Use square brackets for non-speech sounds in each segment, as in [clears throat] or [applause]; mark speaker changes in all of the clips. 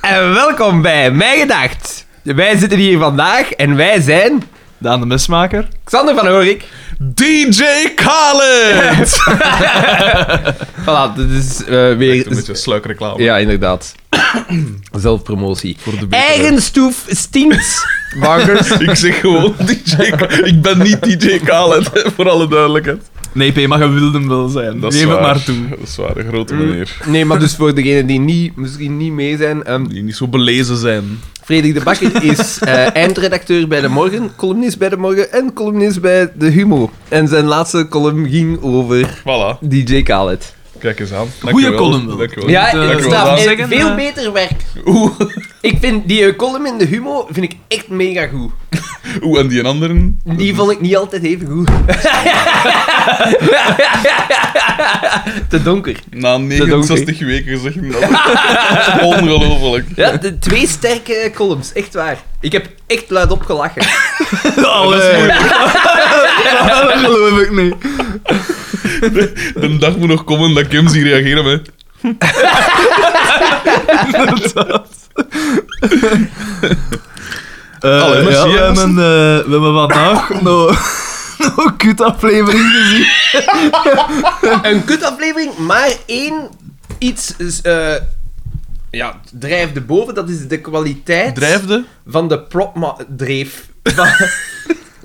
Speaker 1: en welkom bij Mijn Gedacht. Wij zitten hier vandaag en wij zijn
Speaker 2: Daan de Mesmaker.
Speaker 1: Xander van Oorik.
Speaker 2: DJ Khaled!
Speaker 1: Voilà, dit is eh, weer...
Speaker 2: Een beetje sluikreclame.
Speaker 1: Ja, [clears throat] inderdaad. Zelfpromotie.
Speaker 2: Voor de betere.
Speaker 1: Eigen stoef [laughs] stinkt. Bankers.
Speaker 2: Ik zeg gewoon [laughs] DJ Khaled. Ik ben niet DJ Khaled, hè, voor alle duidelijkheid.
Speaker 3: Nee, P, maar je wilde hem wel zijn.
Speaker 2: Dat is
Speaker 3: Neem het
Speaker 2: waar.
Speaker 3: maar toe.
Speaker 2: Dat is waar, een grote meneer.
Speaker 1: Nee, maar dus voor degenen die niet, misschien niet mee zijn. ehm,
Speaker 2: Die niet zo belezen zijn.
Speaker 1: Frederik de Bakker is eh, eindredacteur bij De Morgen, columnist bij De Morgen en columnist bij De Humo. En zijn laatste column ging over
Speaker 2: Voilà,
Speaker 1: DJ Khaled.
Speaker 2: kijk eens aan. Dank
Speaker 3: Goeie
Speaker 2: je wel.
Speaker 3: column wel.
Speaker 2: Dank je wel.
Speaker 1: Ja,
Speaker 3: moet, eh,
Speaker 1: het
Speaker 2: ik wil
Speaker 1: staat
Speaker 2: wel
Speaker 1: in
Speaker 3: zeggen,
Speaker 1: veel
Speaker 3: eh,
Speaker 1: beter werk.
Speaker 2: Oeh,
Speaker 1: [laughs] Ik vind die eh, column in De Humo vind ik echt mega goed.
Speaker 2: oeh, en die anderen?
Speaker 1: Die vond ik niet altijd even goed. [laughs] Te donker.
Speaker 2: Na
Speaker 1: ook
Speaker 2: 69 weken zeg ik dat. [laughs] Ongelooflijk.
Speaker 1: Ja, de twee sterke columns, echt waar. Ik heb echt luid opgelachen.
Speaker 2: Oh,
Speaker 3: Allee.
Speaker 2: [laughs]
Speaker 3: Dat geloof ik niet.
Speaker 2: De dag moet nog komen dat ik hem zie reageren met...
Speaker 3: Eh,
Speaker 2: Allee, maar
Speaker 3: ja,
Speaker 2: zie je,
Speaker 3: we,
Speaker 2: dat is-
Speaker 3: hebben, eh, we hebben [laughs] vandaag nog een kutaflevering gezien.
Speaker 1: Een kutaflevering, maar één iets is, eh ja, drijfde boven. Dat is de kwaliteit
Speaker 2: Drijfde?
Speaker 1: van de propma... Dreef. Van,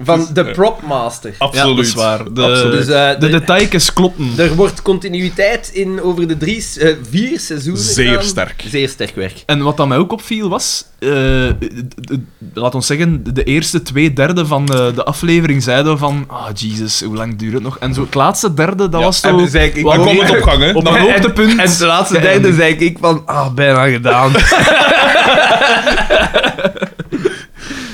Speaker 1: van de propmaster.
Speaker 2: Absoluut.
Speaker 3: dat is waar. De-
Speaker 2: Absoluut.
Speaker 1: Dus eh,
Speaker 3: De
Speaker 1: de-
Speaker 3: detailjes kloppen.
Speaker 1: er wordt continuïteit in over de drie, se- eh, vier seizoenen.
Speaker 2: Zeer
Speaker 1: gedaan.
Speaker 2: sterk.
Speaker 1: Zeer sterk werk.
Speaker 3: En wat dat mij ook opviel was, eh, d- d- laat ons zeggen, de eerste twee derde van eh, de aflevering zeiden we van, ah, Jesus, hoe lang duurt het nog? En zo het laatste derde, dat
Speaker 2: Ja,
Speaker 3: was
Speaker 2: en
Speaker 3: zo...
Speaker 2: dus eigenlijk-
Speaker 3: wat
Speaker 2: dan kwam
Speaker 3: meer
Speaker 2: het op gang, hè.
Speaker 3: Op
Speaker 2: Dan-
Speaker 3: een hoogtepunt.
Speaker 1: En de laatste derde
Speaker 3: geëindigd.
Speaker 1: zei ik van, ah, bijna gedaan.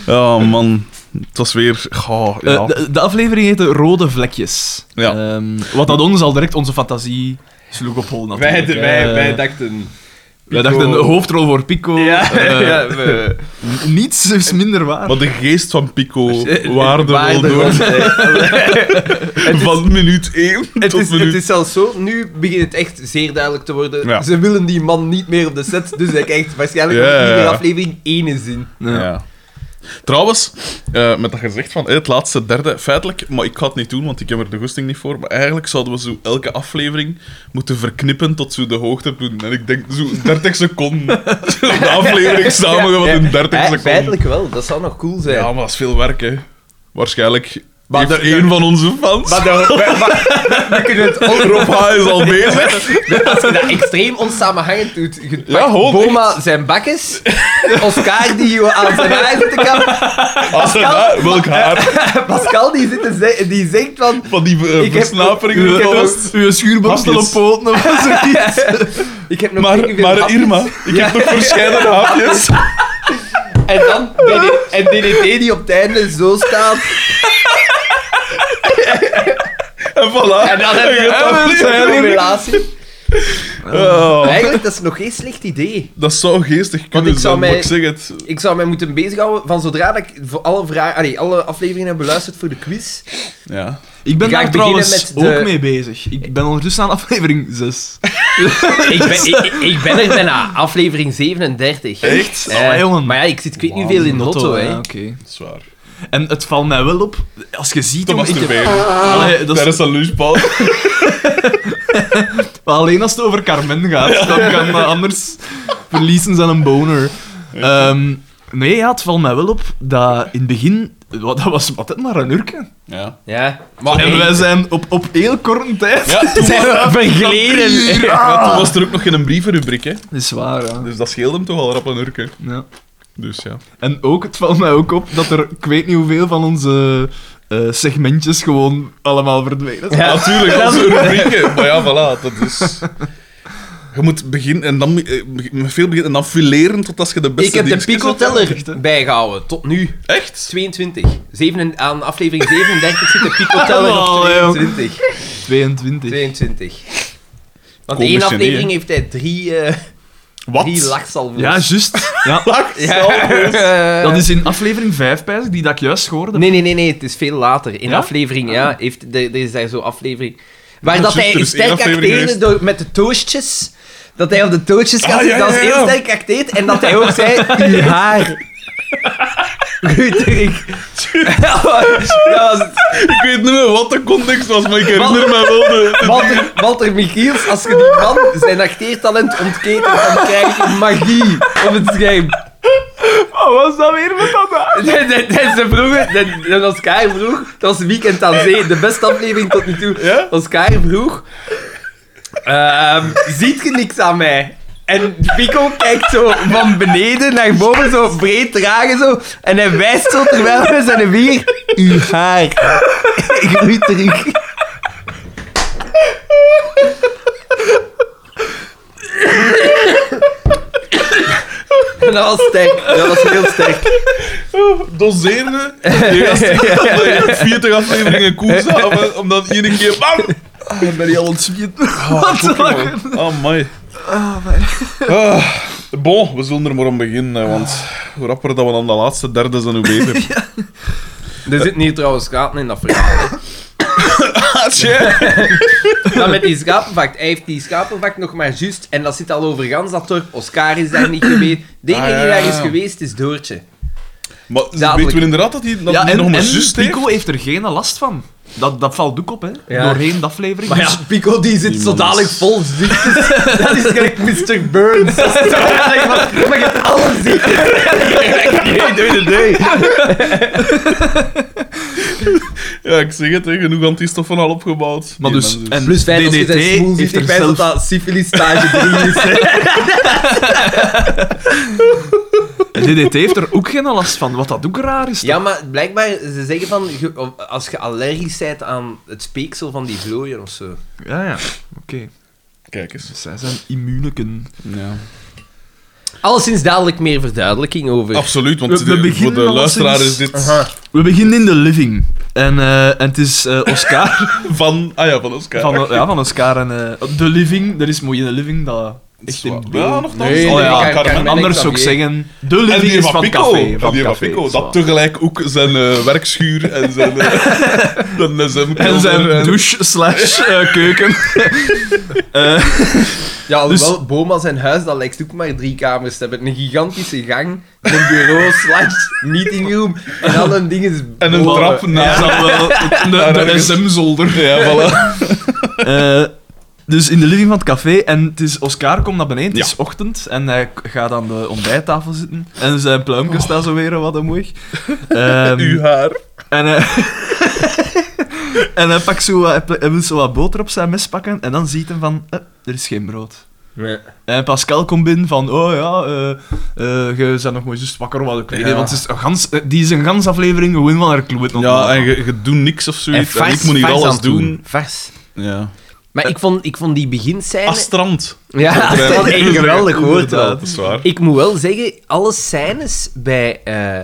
Speaker 2: Oh man, het was weer. Goh, ja.
Speaker 3: Eh, de, de aflevering heette Rode Vlekjes.
Speaker 2: Ja.
Speaker 3: Ehm, wat dat ons al direct onze fantasie sloeg op hol
Speaker 1: wij,
Speaker 3: natuurlijk.
Speaker 1: wij,
Speaker 3: Eh,
Speaker 1: wij dachten...
Speaker 3: wij dachten een hoofdrol voor Pico.
Speaker 1: Ja,
Speaker 3: Eh,
Speaker 1: [laughs] ja, we-
Speaker 3: Niets is minder waar.
Speaker 2: maar de geest
Speaker 1: [laughs]
Speaker 2: van Pico waarde
Speaker 1: Waarde [laughs]
Speaker 2: door.
Speaker 1: was, eh,
Speaker 2: Van minuut 1
Speaker 1: Het
Speaker 2: tot
Speaker 1: is,
Speaker 2: minuut.
Speaker 1: het is zelfs zo, nu begint het echt zeer duidelijk te worden.
Speaker 2: Ja.
Speaker 1: Ze willen die man niet meer op de set, dus hij krijgt waarschijnlijk
Speaker 2: Ja,
Speaker 1: in
Speaker 2: ja,
Speaker 1: iedere
Speaker 2: ja.
Speaker 1: aflevering één zin.
Speaker 2: ja. Trouwens, eh, met dat gezegd van eh, het laatste derde, feitelijk, maar ik ga het niet doen, want ik heb er de goesting niet voor. Maar eigenlijk zouden we zo elke aflevering moeten verknippen tot zo de hoogtepunt. En ik denk zo 30 [laughs] seconden. de aflevering samengevat in 30
Speaker 1: Ja,
Speaker 2: seconden.
Speaker 1: feitelijk wel, dat zou nog cool zijn.
Speaker 2: Ja, maar dat is veel werk, hè. Waarschijnlijk.
Speaker 1: Maar
Speaker 2: heeft
Speaker 1: de-
Speaker 2: één van onze fans.
Speaker 1: Maar dan, we- we- we kunnen het
Speaker 2: [laughs]
Speaker 1: ook-
Speaker 2: Rob H. is
Speaker 1: [laughs]
Speaker 2: al bezig.
Speaker 1: als je dat extreem onsamenhangend doet. Je pakt
Speaker 2: Ja, gewoon
Speaker 1: Boma zijn bakjes, Oscar die aan zijn haar zit te kappen, [laughs]
Speaker 2: Als er daar- welk haar
Speaker 1: Pascal die, zit te ze- die zegt
Speaker 2: [laughs]
Speaker 1: van...
Speaker 2: van die eh,
Speaker 1: Ik heb-
Speaker 2: versnapering
Speaker 1: ik
Speaker 2: dat
Speaker 1: heb-
Speaker 2: was.
Speaker 3: Uw schuurborstel op
Speaker 2: Hapjes.
Speaker 3: poten of zoiets.
Speaker 1: [laughs] Ik heb nog
Speaker 2: Maar,
Speaker 1: tegenveel
Speaker 2: maar
Speaker 1: hapjes.
Speaker 2: Irma, ik heb nog verschillende hapjes.
Speaker 1: En dan DD en DDT die op het einde zo staat.
Speaker 2: En voilà.
Speaker 1: En dan
Speaker 2: [laughs]
Speaker 1: hebben
Speaker 2: je hebt
Speaker 1: we een
Speaker 2: dat
Speaker 3: zijn
Speaker 1: hele
Speaker 3: er.
Speaker 1: relatie.
Speaker 2: Oh,
Speaker 1: Eigenlijk, dat is nog geen slecht idee.
Speaker 2: Dat zou geestig
Speaker 1: Want
Speaker 2: kunnen
Speaker 1: ik zou
Speaker 2: zijn, maar
Speaker 1: mij-
Speaker 2: ik zeg het.
Speaker 1: Ik zou mij moeten bezighouden van zodra dat ik voor alle, vragen, allee, alle afleveringen heb beluisterd voor de quiz.
Speaker 2: Ja.
Speaker 3: Ik ben
Speaker 1: Ga
Speaker 3: daar
Speaker 1: ik beginnen
Speaker 3: trouwens
Speaker 1: met de-
Speaker 3: ook mee bezig. Ik ben ondertussen aan aflevering 6.
Speaker 1: ik, ben, ik, ik ben er bijna, [laughs] aflevering 37.
Speaker 2: Echt?
Speaker 1: Eh,
Speaker 3: Allee, jongen.
Speaker 1: Maar ja, ik zit ik weet niet veel in Lotto, hè.
Speaker 3: ja,
Speaker 1: Ik
Speaker 3: oké.
Speaker 2: Zwaar.
Speaker 3: En het valt mij wel op, als je ziet...
Speaker 2: Te
Speaker 3: jongen, ik heb-
Speaker 1: Ah.
Speaker 2: masturberen.
Speaker 3: Allee, dat is-
Speaker 2: Tijdens een lunchpauze.
Speaker 3: Maar alleen als het over
Speaker 2: [laughs]
Speaker 3: Carmen gaat, dan kan eh, anders verliezen ze een boner. Ehm, nee, ja, het valt mij wel op dat in het begin... Wat, dat was wat, maar een urke.
Speaker 2: Ja.
Speaker 1: Ja.
Speaker 3: Maar en wij zijn op, op heel korte
Speaker 1: [laughs]
Speaker 3: tijd...
Speaker 2: Ja, toen was,
Speaker 1: we
Speaker 3: [laughs] eh,
Speaker 1: vergleden.
Speaker 2: ja, toen was er ook nog geen brievenrubriek, hè.
Speaker 3: Dat is waar, ja.
Speaker 2: Dus dat scheelde hem toch al rap een urke.
Speaker 3: ja.
Speaker 2: Dus ja.
Speaker 3: En ook, het valt mij ook op dat er, ik weet niet hoeveel van onze eh, segmentjes gewoon allemaal verdwenen zijn.
Speaker 1: Ja.
Speaker 2: Natuurlijk, dat is een rubrieken. Maar ja, voilà, dat is... Je moet beginnen en dan eh, met veel beginnen en dan fileren totdat je de beste
Speaker 1: Ik heb de
Speaker 2: dingetjes hebt.
Speaker 1: Pico-teller bijgehouden, tot nu.
Speaker 2: Echt?
Speaker 1: 22. Zeven, aan aflevering 37 zit de Pico-teller op
Speaker 3: Allee, joh.
Speaker 1: 22.
Speaker 3: 22.
Speaker 1: 22. Want
Speaker 2: Komisch,
Speaker 1: één
Speaker 2: hè,
Speaker 1: aflevering
Speaker 2: nee?
Speaker 1: heeft hij drie, eh
Speaker 2: Wat?
Speaker 1: drie lachsalvo's.
Speaker 3: Ja, juist. Ja.
Speaker 1: Ja.
Speaker 3: Dat is in aflevering 5, pijs ik, die dat ik juist hoorde.
Speaker 1: Nee, nee, nee, nee, het is veel later. In
Speaker 3: Ja?
Speaker 1: aflevering, ja, heeft, er, er is daar zo'n aflevering... Waar
Speaker 2: Ja,
Speaker 1: dat
Speaker 2: juist,
Speaker 1: hij
Speaker 2: er is één
Speaker 1: sterk
Speaker 2: aflevering
Speaker 1: acteerde
Speaker 2: geweest.
Speaker 1: door, met de toastjes... dat hij op de tootjes gaat
Speaker 2: Ah,
Speaker 1: zitten,
Speaker 2: ja,
Speaker 1: dat
Speaker 2: ja,
Speaker 1: was
Speaker 2: ja.
Speaker 1: heel sterk acteerd, en dat hij ook zei, uw haar. Ruterig. [laughs] Ja, maar- dat was het.
Speaker 2: Ik weet niet meer wat de context was, maar ik herinner me wel de...
Speaker 1: Walter, Walter Michiels, als je die man zijn acteertalent ontketent, dan krijg je magie op het scherm.
Speaker 3: [laughs] Wat was dat weer met dat haar?
Speaker 1: [laughs] Dat is de vroeger, dat- dat was Kai vroeg, dat was Weekend aan Zee, de beste aflevering tot nu toe.
Speaker 2: Ja?
Speaker 1: Dat was Kai vroeg, ehm, ziet je niks aan mij? En Pico kijkt zo van beneden naar boven, zo breed dragen zo, en hij wijst zo terwijl we zijn weer, uw haar, [laughs] groeit terug. En dat was sterk, dat was heel sterk.
Speaker 2: [laughs] Doseren. Die gasten
Speaker 1: [laughs]
Speaker 2: hadden echt 40 afleveringen koers samen, om dan één keer... Bam!
Speaker 3: Ik ben je al ontspierd. Wat
Speaker 2: Fuck,
Speaker 3: een
Speaker 2: man. Oh, my. Ah, bon, we zullen er maar om beginnen, hè, want
Speaker 3: Ah.
Speaker 2: hoe rapper dat we aan de laatste derde zijn, hoe beter.
Speaker 3: [laughs]
Speaker 1: Er zit niet trouwens schapen in dat verhaal. Maar met die schapenvacht, hij heeft die schapenvacht nog maar juist. En dat zit al over gans dat dorp. Oscar is daar niet geweest. De enige
Speaker 2: Ah, ja,
Speaker 1: die daar
Speaker 2: ja,
Speaker 1: is
Speaker 2: ja.
Speaker 1: geweest is Doortje.
Speaker 2: Maar
Speaker 1: Dadelijk.
Speaker 2: weten we inderdaad dat hij dat
Speaker 3: Ja,
Speaker 2: hij
Speaker 3: en,
Speaker 2: nog maar
Speaker 3: en
Speaker 2: juist heeft?
Speaker 3: Pico heeft er geen last van. Dat, dat valt ook op, hè.
Speaker 1: Ja.
Speaker 3: Doorheen de aflevering.
Speaker 1: Maar ja, Pico die zit
Speaker 2: Die
Speaker 1: zo
Speaker 2: man
Speaker 1: dadelijk
Speaker 2: is-
Speaker 1: vol ziektes. [laughs] Dat is gelijk Mr. Burns. [laughs] Dat is zo dadelijk [laughs] van, maar je hebt alle ziektes.
Speaker 2: [laughs] Nee, nee,
Speaker 3: [laughs]
Speaker 2: nee, nee. Ja, ik zeg het, hè, genoeg antistoffen al opgebouwd.
Speaker 3: Maar
Speaker 2: Die
Speaker 3: dus,
Speaker 2: mensen-
Speaker 3: en
Speaker 1: Plus fijn als je
Speaker 3: DDT
Speaker 1: zijn smoel ziet.
Speaker 3: heeft
Speaker 1: Ik
Speaker 3: er
Speaker 1: ben dat
Speaker 3: zelf...
Speaker 1: dat syfilis stage 3 is. hè.
Speaker 3: DDT heeft er ook geen last van, wat dat ook raar is.
Speaker 1: [laughs] Ja, maar blijkbaar, ze zeggen van, je- of als je allergisch bent aan het speeksel van die vlooien of zo.
Speaker 3: toch? Ja, ja. Oké.
Speaker 2: Kijk eens.
Speaker 3: Dus zij zijn immuuneken.
Speaker 2: Ja.
Speaker 1: Alleszins dadelijk meer verduidelijking over.
Speaker 2: Absoluut, want
Speaker 3: We- we
Speaker 2: de- voor
Speaker 3: beginnen
Speaker 2: de
Speaker 3: al
Speaker 2: luisteraar
Speaker 3: sinds-
Speaker 2: is dit
Speaker 1: Aha.
Speaker 3: We beginnen in de living. En, eh, en het is eh, Oscar.
Speaker 2: [laughs] van... Ah ja, van Oscar.
Speaker 3: van, ja, van Oscar en... eh, de living. Er is mooi in de living dat... Echt in
Speaker 2: Zwaar. Ja,
Speaker 3: beeld.
Speaker 2: nog
Speaker 1: Nee,
Speaker 3: Oh ja,
Speaker 1: Carmen-
Speaker 3: Carmen.
Speaker 1: Carmen
Speaker 3: anders
Speaker 1: Xavier.
Speaker 3: ook zeggen. De
Speaker 2: En
Speaker 3: living
Speaker 2: die
Speaker 3: is
Speaker 2: van
Speaker 3: van
Speaker 2: Pico.
Speaker 3: café.
Speaker 2: en
Speaker 3: Van
Speaker 2: die van
Speaker 3: café,
Speaker 2: Pico.
Speaker 3: zwaar.
Speaker 2: Dat tegelijk ook zijn eh, werkschuur en zijn...
Speaker 3: [laughs]
Speaker 2: eh, dan is hem
Speaker 3: En
Speaker 2: [laughs]
Speaker 3: zijn
Speaker 2: eh,
Speaker 3: douche slash
Speaker 2: [laughs]
Speaker 3: eh, keuken. Eh,
Speaker 1: Ja, alhoewel,
Speaker 3: Dus-
Speaker 1: Boma zijn huis, dat lijkt ook maar drie kamers te hebben. Een gigantische gang, een bureau slash meetingroom en al een ding is...
Speaker 2: En een
Speaker 3: Oh,
Speaker 1: Boma.
Speaker 2: trap
Speaker 3: dat is
Speaker 2: naar...
Speaker 3: dan [laughs] wel de,
Speaker 2: Daar
Speaker 3: de
Speaker 2: ergens.
Speaker 3: SM-zolder.
Speaker 2: Ja, voilà. [laughs]
Speaker 3: Eh, dus in de living van het café. En het is Oscar komt naar beneden. Het is ochtend. En hij k- gaat aan de ontbijttafel zitten. En zijn pluimpjes staan zo weer wat omhoog.
Speaker 2: [laughs]
Speaker 3: Ehm,
Speaker 2: Uw haar.
Speaker 3: en, hij- [laughs] en hij, pakt zo wat, hij pla- hij wil zo wat boter op zijn mes pakken. En dan ziet hij van... eh, er is geen brood.
Speaker 1: Nee.
Speaker 3: En Eh, Pascal komt binnen van, oh ja, eh, eh, je bent nog maar juist wakker, wat ik weet.
Speaker 1: Ja.
Speaker 3: niet, Want het is een gans, eh, die is een gans aflevering gewoon van haar kloot. nog
Speaker 2: Ja,
Speaker 3: maar.
Speaker 2: en je, je doet niks of
Speaker 1: En
Speaker 2: zoiets. En,
Speaker 1: vars-
Speaker 2: ik moet hier
Speaker 1: vars aan
Speaker 2: alles
Speaker 1: het doen.
Speaker 2: doen.
Speaker 1: Vers.
Speaker 2: Ja.
Speaker 1: Maar ik vond, ik vond die beginscène...
Speaker 2: Astrand.
Speaker 1: ja, dat was echt geweldig woord wel.
Speaker 2: Dat is waar.
Speaker 1: Ik moet wel zeggen, alle scènes bij eh,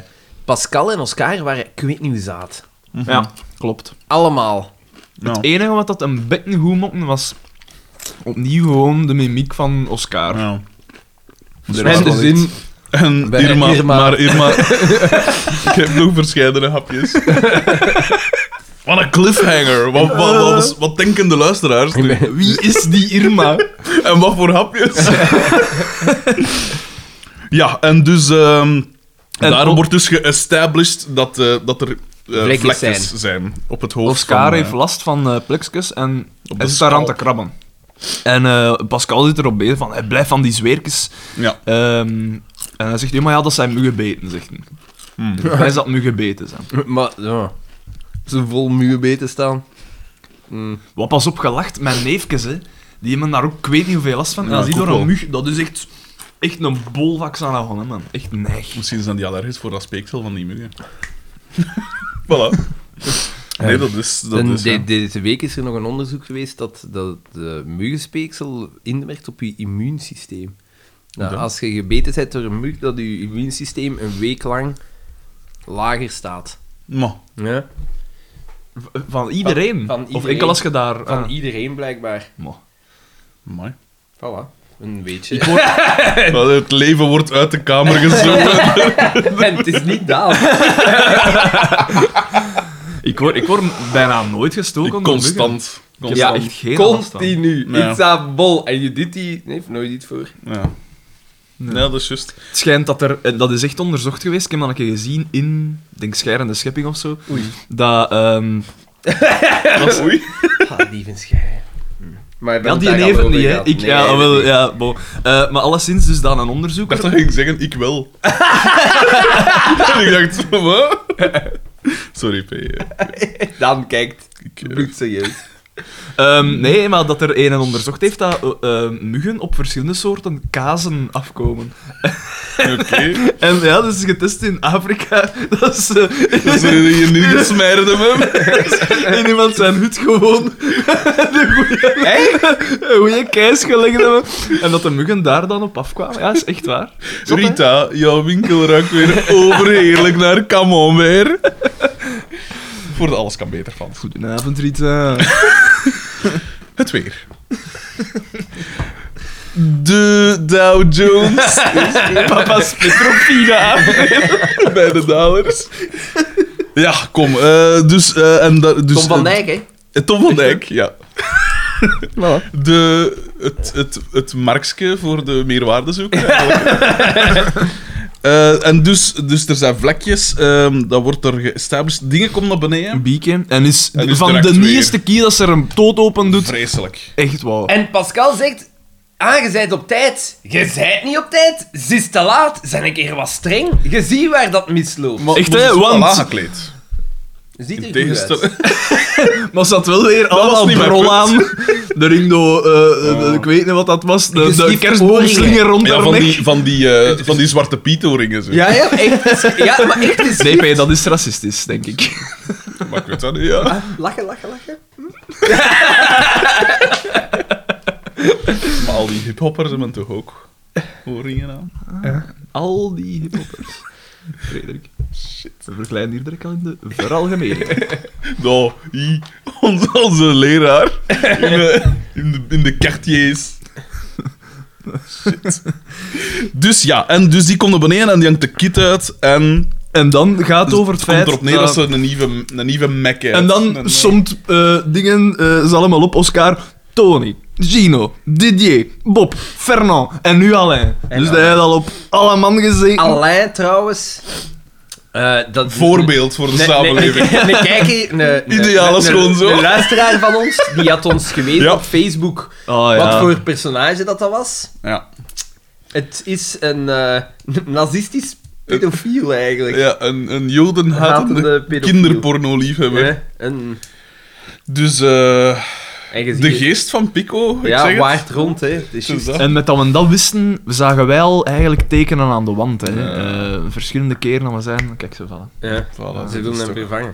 Speaker 1: Pascal en Oscar waren ik weet niet hoe zaad.
Speaker 2: Mhm.
Speaker 3: ja,
Speaker 2: Mm,
Speaker 3: klopt.
Speaker 1: Allemaal.
Speaker 2: Ja.
Speaker 3: Het enige wat dat een beetje goed mokte, was opnieuw gewoon de mimiek van Oscar.
Speaker 2: Ja.
Speaker 3: Er was
Speaker 1: En de
Speaker 3: wel iets.
Speaker 1: zin...
Speaker 2: En
Speaker 1: Bij
Speaker 2: Irma,
Speaker 1: Irma.
Speaker 2: maar
Speaker 3: [laughs]
Speaker 2: Irma... ik heb nog verscheidene hapjes. Wat een cliffhanger. Wat, wat, wat, is- wat denken de luisteraars nu?
Speaker 3: Wie is die
Speaker 2: [laughs]
Speaker 3: Irma?
Speaker 2: En wat voor hapjes? [laughs] ja, en dus... ehm,
Speaker 3: En
Speaker 2: daar
Speaker 3: op-
Speaker 2: wordt dus geestablished dat, eh, dat er eh,
Speaker 1: Vlekjes
Speaker 2: vlekjes, zijn. op het hoofd
Speaker 3: Oscar
Speaker 2: van, eh,
Speaker 3: heeft last van eh plexus en
Speaker 2: op
Speaker 3: hij
Speaker 2: de
Speaker 3: zit daar aan te
Speaker 2: scalp.
Speaker 3: krabben. En eh, Pascal zit erop bezig van, hij blijft van die zwerkjes.
Speaker 2: Ja.
Speaker 3: Ehm, en hij zegt, ja, maar ja, dat zijn muggenbeten,
Speaker 2: [laughs]
Speaker 3: zegt hij.
Speaker 2: Hmm.
Speaker 3: Hij is dat muggenbeten zijn.
Speaker 1: [laughs] Maar, ja. Ze vol muurbeet te staan. Mm.
Speaker 3: Wat pas op gelacht, mijn neefjes, hè. Die hebben daar ook, ik weet niet hoeveel last van. En
Speaker 2: Ja,
Speaker 3: dan zie je
Speaker 2: ik
Speaker 3: door
Speaker 2: ook
Speaker 3: een
Speaker 2: wel.
Speaker 3: mug, dat is echt, echt een bolvak aan dat hè, man. Echt neig.
Speaker 2: Misschien zijn die allergisch voor dat speeksel van die muggen. [laughs] voilà. Nee, dat is... Dat
Speaker 1: En
Speaker 2: is
Speaker 1: de-
Speaker 2: ja.
Speaker 1: deze week is er nog een onderzoek geweest dat, dat de muggenspeksel inwerkt op je immuunsysteem. Nou,
Speaker 2: Dan?
Speaker 1: als je gebeten bent door een mug, dat je immuunsysteem een week lang lager staat.
Speaker 2: Maar,
Speaker 1: Ja?
Speaker 3: V- Van iedereen.
Speaker 1: van
Speaker 3: Of
Speaker 1: iedereen.
Speaker 3: enkel als je daar...
Speaker 1: Van
Speaker 3: ah.
Speaker 1: iedereen blijkbaar.
Speaker 3: Mo.
Speaker 2: amai.
Speaker 1: Voilà. Een beetje.
Speaker 2: Wel, Het leven wordt uit de [laughs] kamer gezogen.
Speaker 1: [laughs] en het is niet daal.
Speaker 3: Ik word, ik word bijna nooit gestoken. door muggen.
Speaker 2: Constant.
Speaker 1: Ja,
Speaker 2: Constant.
Speaker 3: echt geen last van.
Speaker 1: Continu.
Speaker 2: Ja.
Speaker 1: It's a bol. En je doet die... Nee, heeft nooit iets voor.
Speaker 2: Ja.
Speaker 3: Nee.
Speaker 2: Nee, dat is juist.
Speaker 3: Het schijnt dat er, en dat is echt onderzocht geweest, ik heb dat een keer gezien in, ik denk Scheirende Schepping of zo, [laughs]
Speaker 1: Oei.
Speaker 3: dat, ehm,
Speaker 2: Dat- Oei.
Speaker 1: Ah, dievenschijn. Maar je bent
Speaker 3: Hmm. ja, die
Speaker 1: daar al
Speaker 3: neef het
Speaker 1: over
Speaker 3: niet, hè.
Speaker 1: gehad.
Speaker 3: Ik,
Speaker 1: Nee,
Speaker 3: ja,
Speaker 1: nee,
Speaker 3: wel,
Speaker 1: nee.
Speaker 3: ja, bon. Eh, maar alleszins dus dan een
Speaker 2: Ik
Speaker 3: onderzoek.
Speaker 2: dacht dat je ging zeggen, ik wel. [laughs] en ik dacht, wat? Sorry, P. eh,
Speaker 1: [laughs] Dan kijkt
Speaker 2: Ik, eh,
Speaker 1: bloed serieus.
Speaker 3: Ehm, nee, maar dat er een en onderzocht heeft dat eh, eh, muggen op verschillende soorten kazen afkomen.
Speaker 2: Oké.
Speaker 3: En ja, dat is getest in Afrika. [laughs] Dat is eh,
Speaker 2: Dat is hier niet gesmijden hem.
Speaker 3: in iemand zijn hut gewoon [laughs]
Speaker 1: Echt?
Speaker 3: een goede keis gelegd hebben. En dat de muggen daar dan op afkwamen. Ja, is echt waar. Zot, hè?
Speaker 2: Rita, jouw winkel ruikt weer overheerlijk naar camembert. Voor de alles kan beter van.
Speaker 3: Goedenavond, Rita.
Speaker 2: Het weer. De Dow [laughs] Jones
Speaker 3: Papa Petrofina aan.
Speaker 2: bij de dalers. Ja, kom. eh, dus, eh, en da- dus,
Speaker 1: Tom van
Speaker 2: eh,
Speaker 1: Dijk, hè?
Speaker 2: eh, Tom van Dijk, ja. De, het, het, het markske voor de meerwaardezoeker. eigenlijk. Eh, en dus, dus er zijn vlekjes, ehm dat wordt er geëstablished. Dingen komen naar beneden.
Speaker 3: Bieke. En is,
Speaker 2: En is
Speaker 3: van de
Speaker 2: direct weer.
Speaker 3: nieuwste keer dat ze er een toot open doet.
Speaker 2: Vreselijk.
Speaker 3: Echt wauw.
Speaker 1: En Pascal zegt... Ah, je zijt op tijd. Je zijt niet op tijd. Ze is te laat. Zijn een keer wat streng. Je ziet waar dat misloopt.
Speaker 2: Maar-
Speaker 3: Echt,
Speaker 2: maar
Speaker 3: hè,
Speaker 2: ze is wel
Speaker 3: want-
Speaker 2: aangekleed.
Speaker 1: Ziet
Speaker 2: In
Speaker 1: er goed uit.
Speaker 2: tegenstelling...
Speaker 3: Maar ze had wel weer allemaal
Speaker 2: was niet mijn
Speaker 3: brol
Speaker 2: punt.
Speaker 3: aan. De ringdo, eh, eh,
Speaker 2: Oh.
Speaker 3: ik weet niet wat dat was. De, de
Speaker 1: Geschift
Speaker 3: kerstboomslinger
Speaker 1: oorringen.
Speaker 3: rond
Speaker 2: Ja,
Speaker 3: haar
Speaker 2: van
Speaker 3: nek.
Speaker 2: die, van die, eh van die zwarte pietoringen. Zo.
Speaker 1: Ja, ja, echt. Ja, maar echt is...
Speaker 3: Nee, P, dat is racistisch, denk ik.
Speaker 2: Maar ik weet dat niet, ja.
Speaker 1: Lachen, lachen, lachen.
Speaker 2: Maar al die hiphoppers hebben toch ook oorringen aan?
Speaker 3: [laughs] Al die hiphoppers. Frederik. Shit. We verkleinen hier direct al in de veralgemeen.
Speaker 2: Nou, i- onze, onze leraar in de, in de, in de quartiers. Shit. Dus ja, en dus die komt naar beneden en die hangt de kit uit en
Speaker 3: [laughs] En dan gaat het over het
Speaker 2: Dus het komt
Speaker 3: feit...
Speaker 2: erop neer dat ze een nieuwe, een nieuwe Mac heeft.
Speaker 3: En dan somt eh, dingen eh, ze allemaal op. Oscar, Tony, Gino, Didier, Bob, Fernand en nu Alain. dus
Speaker 1: Alain.
Speaker 3: dat heeft al op alle man gezeten.
Speaker 1: Alain, trouwens... eh, dat
Speaker 2: Voorbeeld voor de samenleving.
Speaker 3: [laughs]
Speaker 1: Een, een, kijker, een, een-
Speaker 2: Ideale
Speaker 1: een-
Speaker 2: schoonzoon.
Speaker 1: een luisteraar van ons, die had ons geweest
Speaker 2: Ja. Ah,
Speaker 1: op Facebook
Speaker 3: Oh, ja.
Speaker 1: wat voor personage dat dat was.
Speaker 2: Ja,
Speaker 1: Het is een eh, nazistisch pedofiel, eigenlijk.
Speaker 2: ja een, een jodenhatende
Speaker 1: Hatende pedofiel.
Speaker 2: kinderporno-liefhebber.
Speaker 1: Ja, een,
Speaker 2: Dus eh,
Speaker 1: en je ziet
Speaker 2: de
Speaker 1: het.
Speaker 2: geest van Pico, ik zeg
Speaker 1: Ja,
Speaker 2: het.
Speaker 1: waard rond, hè. Het is
Speaker 2: Het
Speaker 1: juist.
Speaker 2: is dat.
Speaker 3: En met dat we dat wisten, zagen wij al eigenlijk tekenen aan de wand. Hè. Eh, verschillende keren dat we zijn, kijk ze vallen.
Speaker 1: Ja.
Speaker 2: Voilà,
Speaker 1: Ze
Speaker 2: dat
Speaker 1: willen
Speaker 2: is
Speaker 1: hem
Speaker 2: toch-
Speaker 1: vervangen.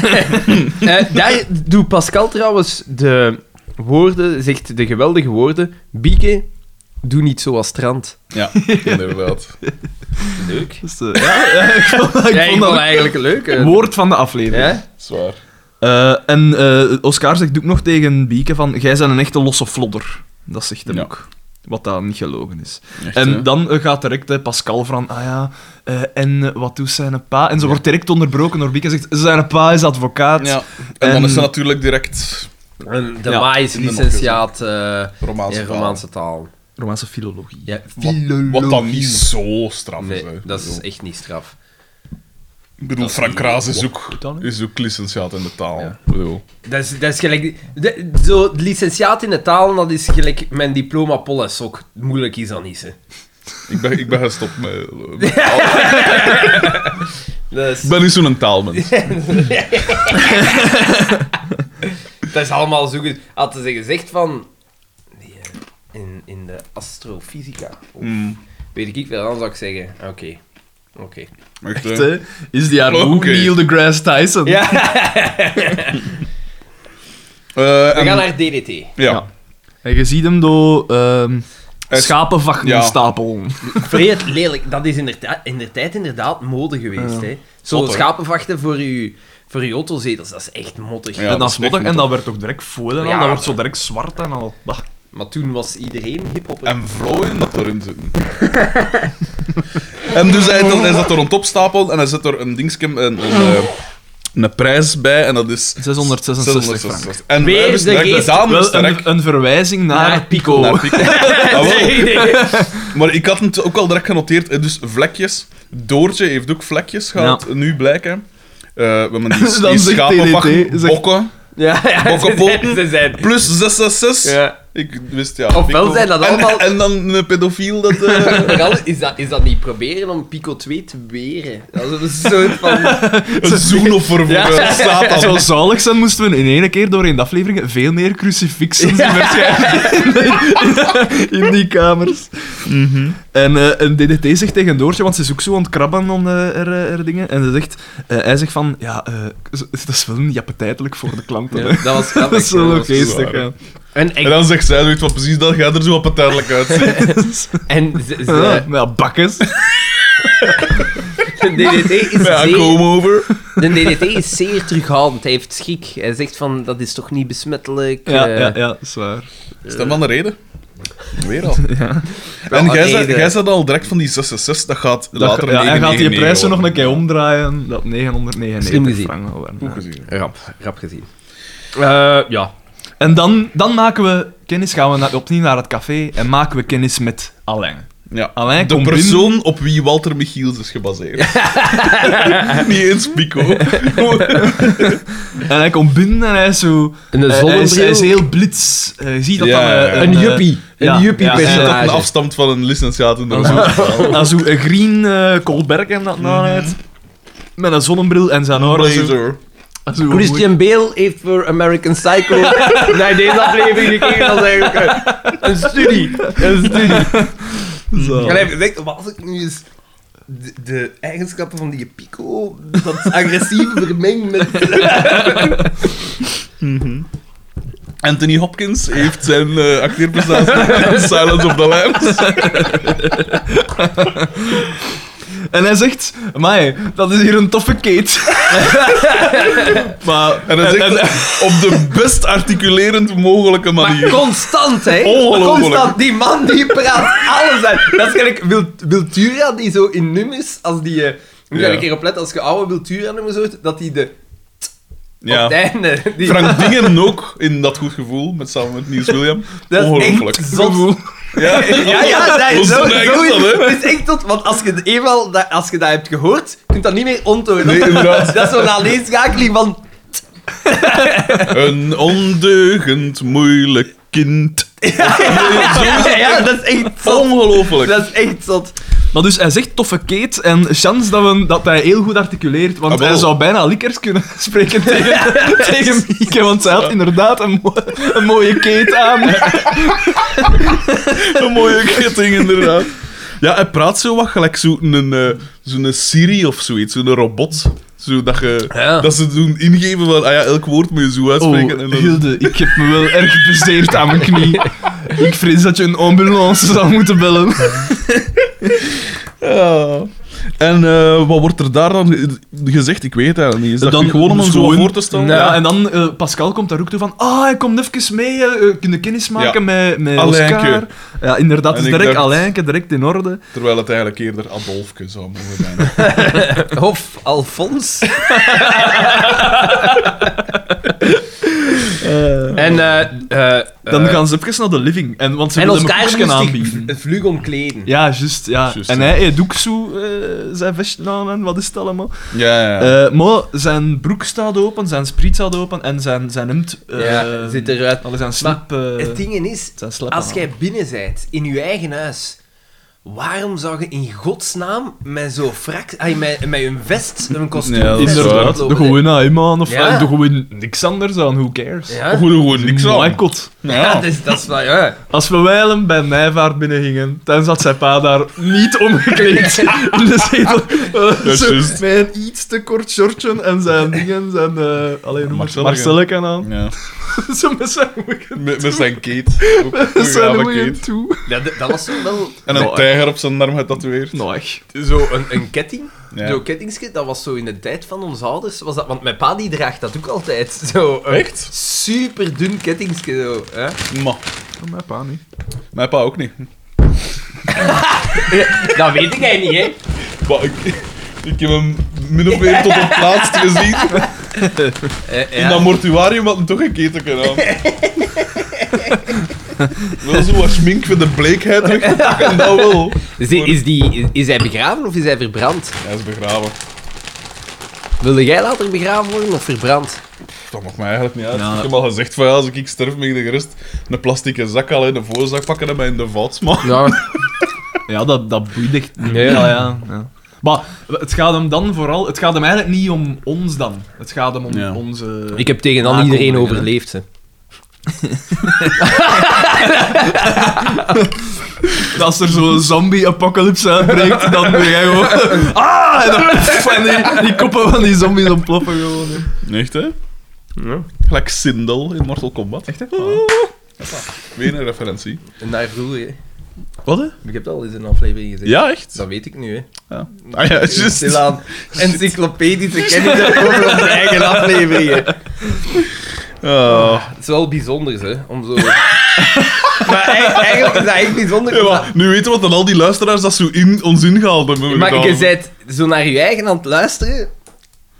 Speaker 1: Eh, eh, daar doet Pascal trouwens de woorden, zegt de geweldige woorden. Bieke, doe niet zoals strand.
Speaker 2: Ja,
Speaker 1: [laughs]
Speaker 2: inderdaad.
Speaker 1: Leuk.
Speaker 3: Dus, eh, ja, ja, ik vond, ik
Speaker 1: Ja, ik
Speaker 3: vond
Speaker 1: vond
Speaker 3: dat
Speaker 1: eigenlijk leuk.
Speaker 3: het
Speaker 1: eh.
Speaker 3: woord van de aflevering.
Speaker 1: Ja?
Speaker 2: Zwaar.
Speaker 3: Eh, en eh, Oscar zegt ook nog tegen Bieke van, jij bent een echte losse flodder. Dat zegt hem
Speaker 2: Ja.
Speaker 3: ook. Wat daar niet gelogen is.
Speaker 2: Echt,
Speaker 3: en
Speaker 2: hè.
Speaker 3: dan eh, gaat direct eh, Pascal van, ah ja, eh, en eh, wat doet zijn pa? En ze wordt direct onderbroken door Bieke en zegt, zijn pa is advocaat.
Speaker 2: Ja. En, dan
Speaker 3: En-
Speaker 2: is ze natuurlijk direct
Speaker 1: En de
Speaker 3: Ja,
Speaker 1: Ma is
Speaker 2: in de
Speaker 1: licentiaat eh,
Speaker 2: Romaanse
Speaker 1: in
Speaker 2: taal.
Speaker 1: Romaanse taal.
Speaker 3: Romaanse filologie.
Speaker 1: Ja,
Speaker 2: Wat dan niet zo straf is. hè.
Speaker 1: Nee, dat is
Speaker 2: Ik bedoel-
Speaker 1: echt niet straf.
Speaker 2: Ik bedoel,
Speaker 1: dat is
Speaker 2: Frank
Speaker 1: niet-
Speaker 2: Kraas is
Speaker 3: Wat
Speaker 2: ook,
Speaker 3: goed dan, hè?
Speaker 2: is ook licentiaat in de taal.
Speaker 1: Ja.
Speaker 2: Ik bedoel.
Speaker 1: Dat is, dat is gelijk... de- zo, het licentiaat in de taal, dat is gelijk mijn diploma pollensok. Moeilijk is dat niet, hè.
Speaker 2: Ik ben, ik ben gestopt met... met-
Speaker 1: Dat is,
Speaker 2: Ik ben niet zo'n taalmens.
Speaker 1: dat is allemaal zo goed. Hadden ze gezegd van... die, eh, in, in de astrofysica. Of,
Speaker 2: Mm,
Speaker 1: Weet ik wel, dan zou ik zeggen... Oké. Oké.
Speaker 2: echt,
Speaker 3: Echt,
Speaker 2: hè.
Speaker 3: hè? Is die haar
Speaker 2: Oké.
Speaker 3: ook Neil deGrasse Tyson?
Speaker 1: Ja,
Speaker 2: Eh,
Speaker 1: we
Speaker 2: en-
Speaker 1: gaan naar DDT.
Speaker 2: Ja.
Speaker 3: En je ziet hem door ehm
Speaker 2: Uit-
Speaker 3: schapenvachtstapel.
Speaker 1: Vreed lelijk. Dat is inderdaad, in de tijd inderdaad mode geweest. hè. Zo'n
Speaker 2: Mottig.
Speaker 1: schapenvachten voor je voor uw autozetels, dat is echt mottig.
Speaker 2: Ja.
Speaker 3: en
Speaker 2: dat
Speaker 3: dat
Speaker 2: is
Speaker 3: is mottig,
Speaker 2: echt
Speaker 3: en dat werd toch direct foil en al.
Speaker 1: Ja.
Speaker 3: Dat wordt zo direct zwart en al. Bah.
Speaker 1: Maar toen was iedereen hiphopper. [laughs]
Speaker 2: En vrouwen dat erin zitten. en dus hij, hij zat er rond opstapelen en hij zet er een dingetje... Een, een, eh, een prijs bij en dat is...
Speaker 3: 666 frank.
Speaker 2: En wij
Speaker 1: Weer
Speaker 2: hebben
Speaker 1: de
Speaker 2: de
Speaker 1: geest-
Speaker 2: gedaan met
Speaker 3: Wel
Speaker 2: sterk.
Speaker 3: een, een verwijzing naar,
Speaker 1: Naar
Speaker 3: Pico.
Speaker 2: Naar
Speaker 1: [laughs]
Speaker 2: Pico. Ah, wel.
Speaker 1: Nee, [laughs] nee.
Speaker 2: Maar ik had het ook al direct genoteerd, hè, dus vlekjes. Doortje heeft ook vlekjes gehad, nu blijken. Eh, we hebben die,
Speaker 3: Dan
Speaker 2: die
Speaker 3: zegt
Speaker 2: schapenwacht,
Speaker 3: TDT, zegt-
Speaker 2: bokken.
Speaker 1: Ja, ja, ze zijn...
Speaker 2: Bokkenpoten.
Speaker 1: Ze zijn.
Speaker 2: Plus
Speaker 1: [laughs]
Speaker 2: 666.
Speaker 1: Ja.
Speaker 2: Ik wist ja.
Speaker 1: Ofwel
Speaker 2: Pico.
Speaker 1: zijn dat
Speaker 2: En-
Speaker 1: allemaal-
Speaker 2: En, dan een pedofiel dat. eh,
Speaker 1: Vooral is dat, is dat niet proberen om Pico 2 te weren. Dat is een soort van...
Speaker 2: eh, een zoenoffer voor
Speaker 1: Ja.
Speaker 3: [laughs]
Speaker 2: eh, Satan.
Speaker 3: Het zou zalig zijn moesten we in één keer doorheen de afleveringen veel meer crucifixen zien waarschijnlijk [laughs] in, in die kamers.
Speaker 1: Mhm.
Speaker 3: En eh, een DDT zegt tegen Doortje, want ze is ook zo aan het krabben om eh, haar, eh, haar dingen, en ze zegt, eh, hij zegt van, ja, eh, z- dat is wel niet appetijtelijk voor de klanten.
Speaker 1: Ja,
Speaker 3: hè.
Speaker 1: dat was
Speaker 3: [laughs] Dat
Speaker 1: grappig.
Speaker 3: is wel
Speaker 1: ja,
Speaker 3: oké,
Speaker 1: dat was-
Speaker 2: zo
Speaker 3: stuk,
Speaker 2: waar,
Speaker 3: ja.
Speaker 1: En,
Speaker 2: En
Speaker 1: en,
Speaker 2: dan zegt zij, weet wat precies, dat gaat er zo appetijtelijk uitzien.
Speaker 1: en ze, ze-
Speaker 3: [laughs] Ja, maar ja, bakkes.
Speaker 1: de DDT is
Speaker 2: Ja,
Speaker 1: zeer...
Speaker 2: come over.
Speaker 1: De DDT is zeer terughoudend. Hij heeft schik. Hij zegt van, dat is toch niet besmettelijk?
Speaker 3: Ja,
Speaker 1: eh,
Speaker 3: ja, ja, zwaar.
Speaker 2: Is dat van de reden? Weer al.
Speaker 1: wel
Speaker 2: En
Speaker 1: een
Speaker 2: jij zei-
Speaker 1: reden.
Speaker 2: jij zei al direct van die 66, dat gaat later
Speaker 3: ja, hij gaat die
Speaker 2: 999
Speaker 3: prijzen nog een
Speaker 2: worden.
Speaker 3: keer omdraaien, dat 999
Speaker 1: Slim gezien.
Speaker 3: frank wel waren, ja. Eh,
Speaker 2: Goed gezien.
Speaker 1: Rap, rap gezien.
Speaker 3: ja. En dan, dan maken we kennis, gaan we na- opnieuw naar het café en maken we kennis met Alain.
Speaker 2: Ja.
Speaker 3: Alain
Speaker 2: De
Speaker 3: komt
Speaker 2: persoon op wie Walter Michiels is
Speaker 1: [laughs]
Speaker 2: gebaseerd. Niet eens Pico.
Speaker 3: binnen en hij komt binnen en hij is zo...
Speaker 1: Een
Speaker 3: hij- hij, Eh, is,
Speaker 1: zonnebril.
Speaker 3: hij is heel blits. Eh, je ziet dat
Speaker 2: Ja,
Speaker 3: dan...
Speaker 2: ja, ja.
Speaker 3: eh,
Speaker 1: Een
Speaker 3: eh,
Speaker 1: juppie. Een
Speaker 3: ja, ja,
Speaker 2: Je ziet dat
Speaker 1: juppie-personage.
Speaker 2: een afstand van een licentiaat in de
Speaker 3: dan zo een green eh Colberg en dat nou uit. Met een zonnebril en zijn haar. zo-
Speaker 2: Mhm. Blazer.
Speaker 3: zo mooi.
Speaker 1: Christian Bale heeft voor American
Speaker 3: [laughs]
Speaker 1: Psycho naar deze aflevering gekeken als eigenlijk een- een studie. Een studie.
Speaker 3: Zo.
Speaker 1: En hij heeft gezegd, wat als ik nu eens de, de eigenschappen van die Pico, dat agressieve vermeng met...
Speaker 2: Anthony Hopkins heeft zijn eh, acteerprestatie in Silence of the Lambs.
Speaker 3: En hij zegt, "Amai, dat is hier een toffe Kate. [laughs] maar...
Speaker 2: En dan zegt hij, op de best articulerend mogelijke
Speaker 1: Maar
Speaker 2: manier.
Speaker 1: constant, hè.
Speaker 2: Ongelooflijk.
Speaker 1: Constant. Die man die praat alles uit. Dat is gelijk Wil- Wiltura die zo in nummers, als die... eh, moet je
Speaker 2: Ja.
Speaker 1: daar een keer op letten, als je oude Wiltura-nummers hoort, dat die de... Op
Speaker 2: Ja.
Speaker 1: het einde... Die,
Speaker 2: Frank Dingen ook in dat goed gevoel, met samen met Niels William.
Speaker 1: dat is
Speaker 2: Ongelooflijk.
Speaker 1: echt zot.
Speaker 2: Ja,
Speaker 1: Ja, [laughs] ja, dat is
Speaker 2: Ons
Speaker 1: zo.
Speaker 2: doen eigenlijk
Speaker 1: zo is,
Speaker 2: dat, hè.
Speaker 1: het is echt tot, want als je, het eenmaal dat, als je dat hebt gehoord, kun je dat niet meer onthouden.
Speaker 2: Nee,
Speaker 1: [laughs]
Speaker 2: inderdaad.
Speaker 1: Dat is zo'n alleenschakeling van.
Speaker 2: Een ondeugend, moeilijk kind.
Speaker 1: Ja, ja, dat is echt zot.
Speaker 2: Ongelooflijk.
Speaker 1: Dat is echt zot.
Speaker 3: Maar dus hij zegt toffe Kate en chance dat, we, dat hij heel goed articuleert, want
Speaker 2: Ah, wel.
Speaker 3: hij zou bijna likkers kunnen [laughs] spreken tegen, tegen Mieke, want zij had inderdaad een, mo- een mooie Kate aan.
Speaker 2: Een [laughs] mooie ketting, inderdaad. Ja, hij praat zo wat gelijk zo'n een zo'n Siri of zoiets, zo'n robot. Zo dat, je,
Speaker 1: Ja.
Speaker 2: dat ze doen ingeven van, ah ja, elk woord moet je zo uitspreken. en
Speaker 3: Oh,
Speaker 2: dan-
Speaker 3: Hilde, ik heb me wel erg bezeerd aan mijn knie. Ik vrees dat je een ambulance zou moeten bellen.
Speaker 2: Ja. En eh, wat wordt er daar dan ge- gezegd? Ik weet het eigenlijk niet. Is dat
Speaker 3: Dan
Speaker 2: gewoon om ons zo
Speaker 3: gewoon-
Speaker 2: voor te stellen?
Speaker 3: Ja, en dan eh, Pascal komt daar ook toe van, ah, hij komt even mee, eh, eh, kunnen kennis maken met, met
Speaker 2: Alainke.
Speaker 3: Oscar. Ja, inderdaad,
Speaker 2: En
Speaker 3: is
Speaker 2: ik
Speaker 3: direct
Speaker 2: dacht-
Speaker 3: Alainke, direct in orde.
Speaker 2: Terwijl het eigenlijk eerder Adolfke zou mogen zijn.
Speaker 1: Hof Alfons. en eh eh
Speaker 3: Dan gaan ze even naar de living, en, want ze
Speaker 1: en
Speaker 3: willen
Speaker 1: Oscar
Speaker 3: hem
Speaker 1: moest
Speaker 3: koekjes
Speaker 1: zich
Speaker 3: aanbieden.
Speaker 1: v- vlug omkleden.
Speaker 3: Ja, juist, ja.
Speaker 2: Juist,
Speaker 3: en
Speaker 2: ja.
Speaker 3: hij heeft ook zo eh, zijn vestje aan en wat is het allemaal.
Speaker 2: ja, ja.
Speaker 3: Eh, maar zijn broek staat open, zijn spriet staat open en zijn, zijn hemd... eh,
Speaker 1: Ja, zit eruit.
Speaker 3: Allee, zijn slip... eh,
Speaker 1: Het ding is,
Speaker 3: zijn slip
Speaker 1: Als
Speaker 3: aan.
Speaker 1: jij binnen zijt in je eigen huis, waarom zou je in godsnaam met zo'n frak, ay, met, met een vest, een kostuum
Speaker 2: Ja, dat is
Speaker 1: rondlopen?
Speaker 3: Inderdaad, doe gewoon aan man of
Speaker 1: Ja.
Speaker 3: eh, doe gewoon niks anders aan, who cares.
Speaker 1: Ja,
Speaker 2: Of we doen gewoon niks
Speaker 3: My
Speaker 2: aan.
Speaker 3: god.
Speaker 1: Ja,
Speaker 2: Ja.
Speaker 1: dat is, dat is wel, ja.
Speaker 3: Als we wijlen bij Nijvaart binnengingen, dan zat zijn pa daar niet
Speaker 1: [laughs]
Speaker 3: omgekleed in de zetel. Eh,
Speaker 2: Dat is
Speaker 3: zo,
Speaker 2: juist.
Speaker 3: met een iets te kort shortje en zijn dingen, zijn... eh alleen
Speaker 2: Marcelleke.
Speaker 3: Marcelleke aan.
Speaker 2: Ja.
Speaker 3: zo met zijn hoeken-
Speaker 2: Met, met zijn Kate. Ook een
Speaker 3: met zijn
Speaker 2: gave
Speaker 3: hoeken
Speaker 2: Kate.
Speaker 3: toe.
Speaker 1: Dat, dat was zo wel...
Speaker 2: En een
Speaker 3: Nou,
Speaker 2: tijger op zijn arm getatoeëerd.
Speaker 3: Nou, echt.
Speaker 1: Zo een, een [laughs] ketting,
Speaker 2: Ja.
Speaker 1: zo'n kettingskit, dat was zo in de tijd van onze ouders. Was dat, want mijn pa die draagt dat ook altijd. [laughs] Zo een
Speaker 2: Echt?
Speaker 1: super dun kettingskit. Zo, hè.
Speaker 2: Maar,
Speaker 3: Oh, Mijn pa niet.
Speaker 2: mijn pa ook niet.
Speaker 1: [laughs] Dat weet jij niet, hè?
Speaker 2: [laughs] Maar ik, ik heb hem min of meer tot op het laatst gezien.
Speaker 1: Eh,
Speaker 2: In dat mortuarium had hem toch een keten [laughs] kunnen Wel zo wat schmink voor de bleekheid [laughs] weg te pakken, dat wel.
Speaker 1: Is, Dus die- is, die, is hij begraven of is hij verbrand?
Speaker 2: Hij is begraven.
Speaker 1: Wilde jij later begraven worden of verbrand?
Speaker 2: Dat mag mij eigenlijk niet uit.
Speaker 3: Ja.
Speaker 2: Ik heb al gezegd van ja, als ik sterf, mag ik de gerust een plastieke zak al in de voorzak pakken en mij in de vat smaken.
Speaker 1: Ja.
Speaker 3: Ja, dat, dat boeit echt niet.
Speaker 1: Nee.
Speaker 3: Ja, ja, ja. Maar het gaat hem dan vooral... Het gaat hem eigenlijk niet om ons dan. Het gaat hem om
Speaker 2: Ja.
Speaker 3: onze...
Speaker 1: Ik heb tegen dan iedereen
Speaker 3: Nakomelingen, hè.
Speaker 1: overleefd. Hè.
Speaker 3: Als er zo'n zombie-apocalypse uitbreekt, [laughs] dan ben jij gewoon... Ah! En dan, [laughs] en die, die koppen van die zombies ontploffen gewoon. hè.
Speaker 2: Echt, hè?
Speaker 1: Ja.
Speaker 2: Gelijk Sindel in Mortal Kombat. Echt, hè?
Speaker 3: Ah.
Speaker 2: Weer een referentie.
Speaker 1: En daar vroeger, hè.
Speaker 2: Wat, hè?
Speaker 1: ik heb het al eens in een aflevering gezegd.
Speaker 2: Ja, echt.
Speaker 1: Dat weet ik nu, hè.
Speaker 2: Ja. Ah ja,
Speaker 1: [laughs]
Speaker 2: juist.
Speaker 1: Stilaan encyclopedische kennis over onze [laughs] eigen afleveringen.
Speaker 2: Ah.
Speaker 1: Het is wel bijzonder, hè, om zo... [laughs] maar ei- eigenlijk is dat echt bijzonder.
Speaker 2: Ja, maar nu weten we wat dan al die luisteraars dat zo in, ons ingehaald hebben.
Speaker 1: maar je bent zo naar je eigen aan het luisteren...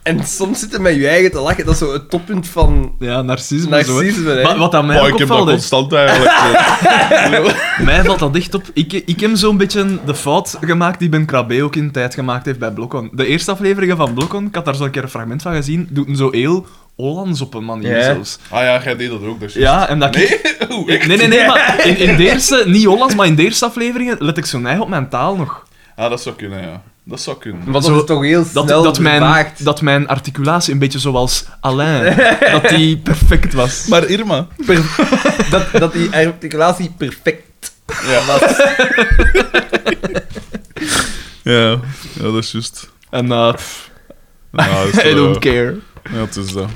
Speaker 1: En soms zitten met je eigen te lachen. Dat is zo het toppunt van
Speaker 3: Ja, narcisme.
Speaker 1: narcisme,
Speaker 3: zo, hè.
Speaker 1: hè.
Speaker 3: Wat, wat aan mij
Speaker 2: Oh,
Speaker 3: ook
Speaker 2: ik heb dat
Speaker 3: opvalt, is-
Speaker 2: constant eigenlijk.
Speaker 3: Mij valt dat echt op. Ik, ik heb zo'n beetje de fout gemaakt die Ben Krabbe ook in tijd gemaakt heeft bij Blokkon. De eerste afleveringen van Blokkon, ik had daar zo'n keer een fragment van gezien, doet hem zo heel Hollands op een manier
Speaker 1: Ja.
Speaker 3: zelfs.
Speaker 2: [laughs] ah ja, jij deed dat ook, dus.
Speaker 3: Ja, en dat ik...
Speaker 2: Nee? [laughs] Oeh, echt?
Speaker 3: Nee, nee, nee,
Speaker 2: [laughs]
Speaker 3: maar in, in de eerste, niet Hollands, maar in de eerste afleveringen let ik zo neig op mijn taal nog.
Speaker 2: Ah, dat zou kunnen, ja. Dat zou kunnen.
Speaker 1: Want dat
Speaker 3: Zo,
Speaker 1: is toch heel
Speaker 3: Dat,
Speaker 1: snel
Speaker 3: dat, mijn,
Speaker 1: vervaagd.
Speaker 3: dat mijn articulatie een beetje zoals
Speaker 2: [laughs]
Speaker 3: Alain, dat die perfect was.
Speaker 2: Maar Irma...
Speaker 1: [laughs] Per- dat, dat die articulatie perfect
Speaker 2: Ja, [laughs]
Speaker 1: was.
Speaker 2: ja, ja dat is juist.
Speaker 3: En eh, pff,
Speaker 2: Ja,
Speaker 3: [laughs]
Speaker 2: dat is,
Speaker 3: I don't
Speaker 2: eh,
Speaker 3: care.
Speaker 2: Ja, het is eh. dat.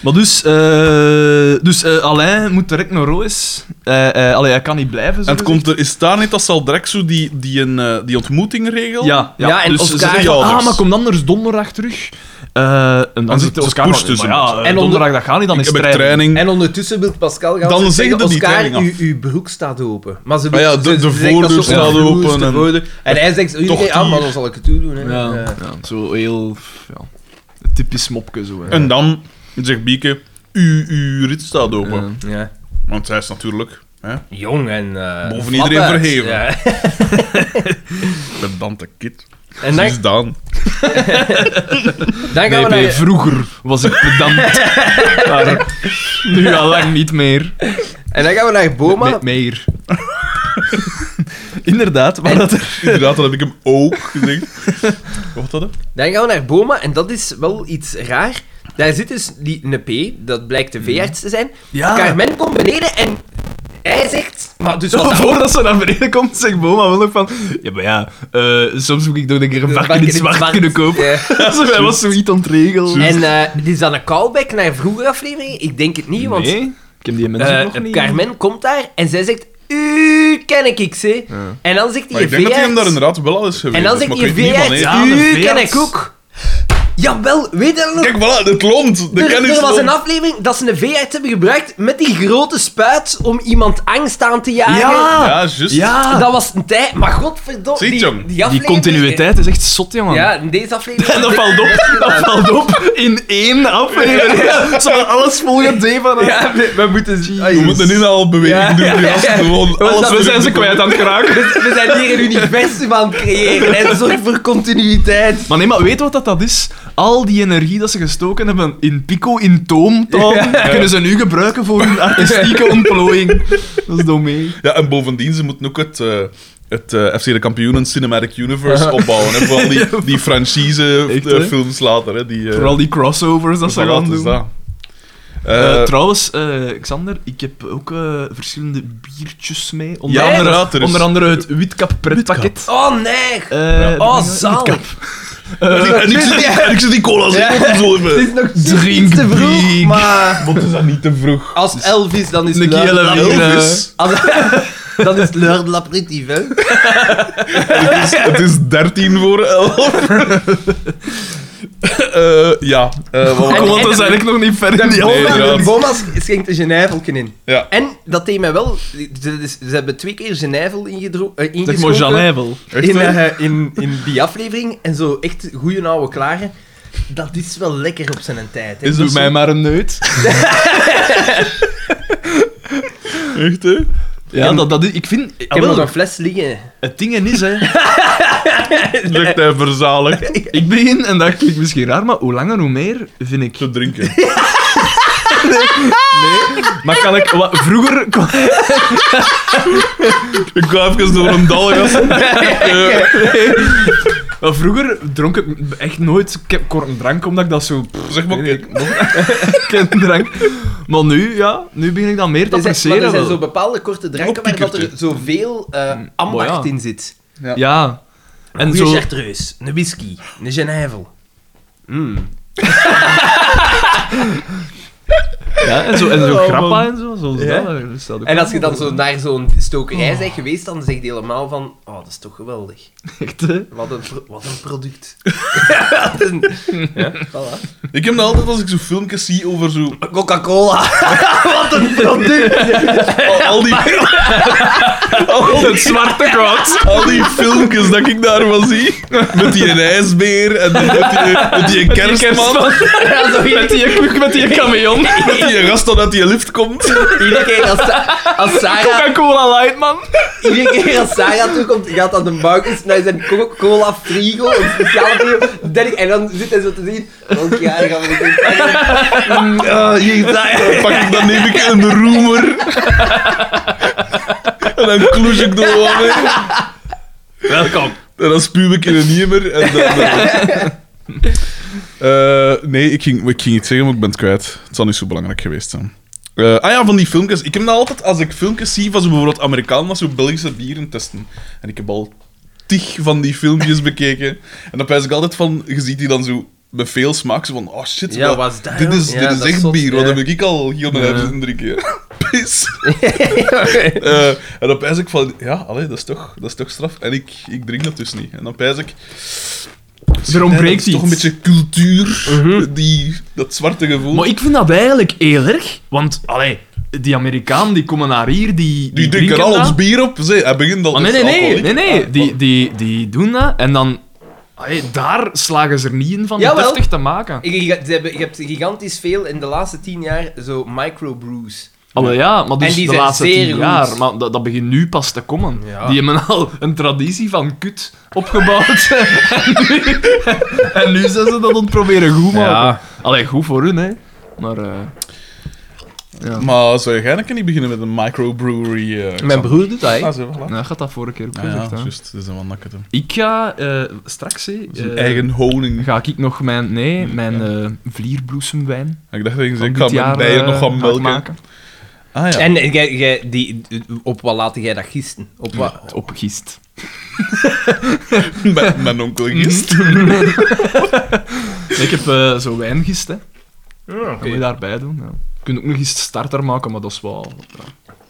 Speaker 3: Maar dus, eh, dus eh, Alain moet direct naar Roos. Eh, eh, allee, hij kan niet blijven. zo
Speaker 2: En het
Speaker 3: gezegd.
Speaker 2: komt er, is daar niet dat zal direct zo die, die, een, eh, die ontmoetingregel?
Speaker 3: Ja, ja.
Speaker 1: Ja, en
Speaker 3: dus ze
Speaker 1: Oscar-
Speaker 3: zeggen van,
Speaker 2: Ja,
Speaker 3: ah,
Speaker 2: dus.
Speaker 3: maar kom dan er donderdag terug. Eh, en dan
Speaker 2: En
Speaker 3: zit
Speaker 2: ze- ze
Speaker 3: Oscar
Speaker 2: pusht
Speaker 3: van,
Speaker 2: dus
Speaker 3: maar ja,
Speaker 2: hem.
Speaker 3: en
Speaker 1: En
Speaker 3: donderdag dat gaat niet, dan
Speaker 2: ik
Speaker 3: is
Speaker 2: heb een
Speaker 3: training.
Speaker 2: training.
Speaker 1: En ondertussen wil Pascal gaan
Speaker 2: Dan
Speaker 1: zeggen,
Speaker 2: zeggen die
Speaker 1: Oscar,
Speaker 2: training af."
Speaker 1: uw- uw broek staat open. Maar ze
Speaker 2: Ah ja,
Speaker 1: ze-
Speaker 2: de-
Speaker 1: ze
Speaker 2: de
Speaker 1: zegt dat
Speaker 2: voordeur
Speaker 1: ze op
Speaker 2: staat
Speaker 1: de vloer
Speaker 2: open
Speaker 1: is, de
Speaker 2: en-
Speaker 1: voordeur. En hij zegt,
Speaker 2: Toch
Speaker 1: iedereen, ah,
Speaker 2: hier.
Speaker 1: maar dan zal ik het toe doen. Hè.
Speaker 3: Ja,
Speaker 1: Eh,
Speaker 3: ja, zo heel... Ja, typisch mopke zo. hè.
Speaker 2: En dan zegt Bieke, u, uw rit staat open.
Speaker 3: Ja.
Speaker 1: ja.
Speaker 2: Want zij is natuurlijk hè,
Speaker 1: Jong en... eh,
Speaker 2: Boven iedereen
Speaker 1: flap uit.
Speaker 2: verheven.
Speaker 1: Ja.
Speaker 2: [laughs] pedante kid.
Speaker 1: En
Speaker 2: Ze
Speaker 1: dan,
Speaker 2: is Daan.
Speaker 1: dan gaan
Speaker 3: Nee,
Speaker 1: we
Speaker 3: bij
Speaker 1: naar...
Speaker 3: vroeger was ik [laughs] pedant. maar nu al lang niet meer.
Speaker 1: En dan gaan we naar Boma.
Speaker 3: Met meer. [laughs] Inderdaad, maar dat er...
Speaker 2: Inderdaad, dat heb ik hem ook gezegd. Wat dat? hè?
Speaker 1: Dan gaan we naar Boma. En dat is wel iets raar. Daar zit dus die een P. Dat blijkt
Speaker 2: Mhm.
Speaker 1: de veearts te zijn.
Speaker 3: Ja.
Speaker 1: Carmen komt beneden en hij zegt... Maar dus
Speaker 2: [laughs]
Speaker 1: wat
Speaker 3: Voordat ze naar beneden komt, zegt Boma wel nog van... Ja, maar ja, eh, soms moet ik nog een keer een varken in het zwart kunnen
Speaker 2: [laughs]
Speaker 3: kopen.
Speaker 1: Ja. [laughs]
Speaker 3: Zo, Hij was zoiets ontregeld.
Speaker 1: En eh, is dat een callback naar vroeger afleveringen? Ik denk het niet, want
Speaker 3: Nee, ik heb die mensen
Speaker 1: eh,
Speaker 3: nog niet.
Speaker 1: Carmen komt daar en zij zegt... U ken ik, ik ze. En dan zegt
Speaker 2: Maar
Speaker 1: die
Speaker 2: ik denk dat hij hem daar
Speaker 1: veearts...
Speaker 2: inderdaad wel al is geweest.
Speaker 1: En dan
Speaker 2: is,
Speaker 1: zegt
Speaker 2: maar
Speaker 1: die
Speaker 2: ik weet niet
Speaker 1: veearts...
Speaker 2: wanneer.
Speaker 3: Ja, de
Speaker 1: U ken
Speaker 3: veearts.
Speaker 1: ik ook. Jawel, weet je dat nog?
Speaker 2: Kijk, voilà, het loont. De
Speaker 1: Er,
Speaker 2: kennis
Speaker 1: er was
Speaker 2: loont.
Speaker 1: een aflevering dat ze een veearts hebben gebruikt met die grote spuit om iemand angst aan te jagen.
Speaker 3: Ja!
Speaker 2: Ja, juist.
Speaker 3: Ja,
Speaker 1: Dat was een tijd, maar godverdomme.
Speaker 2: Ziet,
Speaker 1: die,
Speaker 2: jong,
Speaker 1: die,
Speaker 3: die
Speaker 1: aflevering-
Speaker 3: continuïteit is echt zot, jongen.
Speaker 1: Ja, in deze aflevering.
Speaker 3: En dat valt op, dat valt op in één aflevering. Zodat alles volgend D van
Speaker 1: Ja, we, we moeten zien.
Speaker 2: We moeten nu al beweging
Speaker 1: Ja,
Speaker 2: doen. die
Speaker 1: ja,
Speaker 2: gasten
Speaker 1: ja.
Speaker 2: Gewoon
Speaker 1: was
Speaker 2: alles
Speaker 1: dat?
Speaker 2: terug
Speaker 3: We zijn ze
Speaker 2: doen.
Speaker 3: kwijt aan het geraken.
Speaker 1: We, we zijn hier een universum aan het creëren en zorg voor continuïteit.
Speaker 3: [laughs] Maar nee, maar weet wat dat, dat is? Al die energie dat ze gestoken hebben in pico, in toom, toon, kunnen ze nu gebruiken voor hun artistieke ontplooiing. Dat is domein.
Speaker 2: Ja, en bovendien, ze moeten ook het, eh, het eh, FC de Kampioenen Cinematic Universe opbouwen. En
Speaker 1: [laughs]
Speaker 2: vooral die, die
Speaker 3: Echt,
Speaker 2: franchise-films
Speaker 3: hè?
Speaker 2: later. Hè, die, eh,
Speaker 3: Vooral die crossovers dat ze
Speaker 2: voilà,
Speaker 3: gaan
Speaker 2: het is
Speaker 3: doen.
Speaker 2: dat.
Speaker 3: Eh,
Speaker 2: Eh,
Speaker 3: trouwens, eh, Xander, ik heb ook eh, verschillende biertjes mee. Onder,
Speaker 2: Ja, inderdaad, er
Speaker 3: andere,
Speaker 2: is-
Speaker 3: onder andere het Witkap pretpakket.
Speaker 1: Oh nee!
Speaker 3: Eh,
Speaker 1: Oh,
Speaker 3: Witkap.
Speaker 1: zalig.
Speaker 2: Eh, en
Speaker 1: [laughs]
Speaker 2: ik zit die, en ik zit die cola's in.
Speaker 1: Ja.
Speaker 2: Kom zo even.
Speaker 1: [laughs] Het is nog
Speaker 3: Drink
Speaker 1: niet te vroeg,
Speaker 3: big.
Speaker 1: maar
Speaker 2: Wat is dat niet te vroeg?
Speaker 1: als Elvis dan is
Speaker 3: Een
Speaker 1: het l'heure de
Speaker 3: kiele
Speaker 1: l'aperitief.
Speaker 3: wiel,
Speaker 2: Elvis.
Speaker 1: Als- [laughs] Dan is het l'heure de l'aperitief, hè?
Speaker 2: Het is, het is 13 voor 11. Eh, ja. eh, wat-
Speaker 1: En-
Speaker 3: Kom, Oh, want
Speaker 1: en-
Speaker 3: dat is eigenlijk nog niet verder. in die
Speaker 2: Nee,
Speaker 1: Boma,
Speaker 2: inderdaad.
Speaker 1: Boma schenkt een genijvelken in.
Speaker 2: ja.
Speaker 1: En dat deed mij wel... Ze, ze- ze hebben twee keer genijvel ingedro- eh,
Speaker 3: Zeg
Speaker 1: ingeschoten.
Speaker 3: maar Janijvel.
Speaker 2: Echt,
Speaker 1: in,
Speaker 2: hè?
Speaker 1: eh, in, in die aflevering. En zo echt goede oude klaren. Dat is wel lekker op zijn tijd. Hè? Dus
Speaker 3: Is
Speaker 1: Dat
Speaker 3: Doe mij
Speaker 1: zo-
Speaker 3: maar een neut.
Speaker 2: Echt, hè?
Speaker 3: Ja, dat, dat, is- ik vind... Ik
Speaker 1: Ah,
Speaker 3: heb
Speaker 1: wel
Speaker 3: dat-
Speaker 1: nog een fles liggen.
Speaker 3: Het ding is, hè...
Speaker 2: Lukt hij verzaligd
Speaker 3: Ik begin, en dat klinkt misschien raar, maar hoe langer hoe meer, vind ik.
Speaker 2: te drinken.
Speaker 3: Maar kan ik... Wat, vroeger... kon-
Speaker 2: Ik ga even door een dal, gasten. Eh,
Speaker 3: Wel, vroeger dronk ik echt nooit ik heb kort een drank, omdat ik dat zo... pff,
Speaker 2: Zeg maar,
Speaker 3: weet ik, [laughs] nog- een drank. Maar nu, ja, nu begin ik dat meer te
Speaker 1: Er zijn, maar
Speaker 3: appreciëren.
Speaker 1: Dus er zijn
Speaker 3: wel. Mm.
Speaker 1: zo bepaalde korte dranken waar dat er
Speaker 2: Opkikkertje.
Speaker 1: zoveel eh ambacht
Speaker 3: Mooi, ja.
Speaker 1: in zit.
Speaker 3: Ja. En
Speaker 1: Een
Speaker 3: zo...
Speaker 1: chartreuse, een whisky, een genèvel. Mm.
Speaker 3: Ja, en zo, en zo
Speaker 2: Oh,
Speaker 3: grappa
Speaker 2: man.
Speaker 3: en zo. Zoals
Speaker 1: Ja.
Speaker 3: dat, daar staat ook
Speaker 1: En als
Speaker 3: wel
Speaker 1: je
Speaker 3: Oh.
Speaker 1: dan
Speaker 3: voor.
Speaker 1: zo naar zo'n stokerij bent geweest, dan zegt je helemaal van... Oh, dat is toch geweldig.
Speaker 3: Echt, hè?
Speaker 1: Wat een, pro- wat een product. [laughs] Wat een- ja, voilà.
Speaker 2: Ik heb dat altijd als ik zo filmpjes zie over zo...
Speaker 1: Coca-Cola. wat een product.
Speaker 2: Al, al die, al,
Speaker 3: Het zwarte kwaad.
Speaker 2: al die filmpjes dat ik daarvan zie. Met die ijsbeer en met die, met die kerstman.
Speaker 1: Ja, zo
Speaker 3: Met die koek, met die camion.
Speaker 2: Met die gast dat uit die lift komt.
Speaker 1: Iedere keer als, Sa- als Sarah...
Speaker 3: Coca-Cola light, man.
Speaker 1: Iedere keer als Sarah terugkomt, gaat aan de bakkers naar zijn Coca-Cola frigo, een speciale frigo. Dan- En dan zit hij zo te zien. Elk jaar gaan we dit pakken. Mm, oh, hier, Sarah.
Speaker 2: Dan pak ik, dan neem ik een roemer. En dan kloes ik er wel mee.
Speaker 3: Welkom.
Speaker 2: En dan spuw ik in een niemer. En dan, eh.
Speaker 1: [laughs]
Speaker 2: Eh, nee, ik ging, ik ging iets zeggen, maar ik ben het kwijt. Het zal niet zo belangrijk geweest zijn. Eh, ah ja, van die filmpjes. Ik heb dat altijd, als ik filmpjes zie van zo bijvoorbeeld Amerikanen, dat zo Belgische bieren testen. En ik heb al tig van die
Speaker 1: [laughs]
Speaker 2: filmpjes bekeken. En dan pijs ik altijd van, je ziet die dan zo met veel smaak, zo van, oh shit,
Speaker 1: Ja,
Speaker 2: wat-
Speaker 1: wat is dat,
Speaker 2: dit is,
Speaker 1: joh?
Speaker 2: dit
Speaker 1: Ja,
Speaker 2: is
Speaker 1: dat
Speaker 2: echt
Speaker 1: is zot,
Speaker 2: bier, wat
Speaker 1: ja.
Speaker 2: heb ik al heel mijn
Speaker 3: Ja.
Speaker 2: huis in drie keer. [laughs]
Speaker 1: [laughs]
Speaker 2: Pis. Eh, en dan pijs ik van, ja, allee, dat, is toch, dat is toch straf. En ik, ik drink dat dus niet. En dan pijs ik...
Speaker 3: Er ontbreekt
Speaker 2: Het is toch een
Speaker 3: iets.
Speaker 2: beetje cultuur, die, dat zwarte gevoel.
Speaker 3: Maar ik vind dat eigenlijk heel erg. Want, allee, die Amerikanen die komen naar hier,
Speaker 2: die
Speaker 3: die,
Speaker 2: drinken er
Speaker 3: drinken
Speaker 2: al
Speaker 3: dat.
Speaker 2: ons bier op. Zee, hij begint al
Speaker 3: Maar nee,
Speaker 2: is
Speaker 3: nee, nee,
Speaker 2: alcoholiek.
Speaker 3: nee, nee.
Speaker 2: Ah,
Speaker 3: Die, die, die doen dat en dan... allee, daar slagen ze er niet in van het
Speaker 1: Jawel.
Speaker 3: deftig te maken.
Speaker 1: Ik- ik- ze hebben- Je hebt gigantisch veel in de laatste tien jaar zo microbrews.
Speaker 3: Allee, ja, maar dus
Speaker 1: En die
Speaker 3: de
Speaker 1: zijn
Speaker 3: laatste
Speaker 1: zeer
Speaker 3: tien
Speaker 1: goed.
Speaker 3: jaar. Maar dat, dat begint nu pas te komen.
Speaker 1: Ja.
Speaker 3: Die hebben al een traditie van kut
Speaker 2: [laughs]
Speaker 3: opgebouwd. [laughs] en, nu, en nu zijn ze dat aan het proberen goed maken.
Speaker 1: Ja.
Speaker 3: Allee, goed voor hun, hè. Maar... eh, ja.
Speaker 2: Maar zou jij dan niet beginnen met een microbrewery? eh, Xander?
Speaker 1: broer doet dat,
Speaker 2: Ah, zo, voilà.
Speaker 3: Nou, gaat dat vorige keer ook
Speaker 2: Ah,
Speaker 3: gezegd,
Speaker 2: ja,
Speaker 3: hè.
Speaker 2: juist. Dat is een wat nakket, hè.
Speaker 3: Ik ga eh, straks, hè,
Speaker 2: Zijn
Speaker 3: eh,
Speaker 2: eigen honing.
Speaker 3: ga ik nog mijn, nee, mijn
Speaker 2: ja.
Speaker 3: eh, vlierbloesemwijn
Speaker 2: Ik dacht dat je
Speaker 3: van
Speaker 2: zei, ik
Speaker 3: dit
Speaker 2: ga mijn
Speaker 3: jaar,
Speaker 2: bijen
Speaker 3: eh,
Speaker 2: nog gaan
Speaker 3: ga
Speaker 2: melken.
Speaker 3: maken.
Speaker 2: Ah ja.
Speaker 1: En jij, jij, die, op wat laat jij dat gisten? Op wat?
Speaker 3: Op gist.
Speaker 2: [laughs] mijn, mijn onkel gist.
Speaker 3: Nee, ik heb eh, zo wijngist, hè.
Speaker 1: Ja,
Speaker 3: Dat moet je daarbij doen, ja. Je kunt ook nog eens starter maken, maar dat is wel...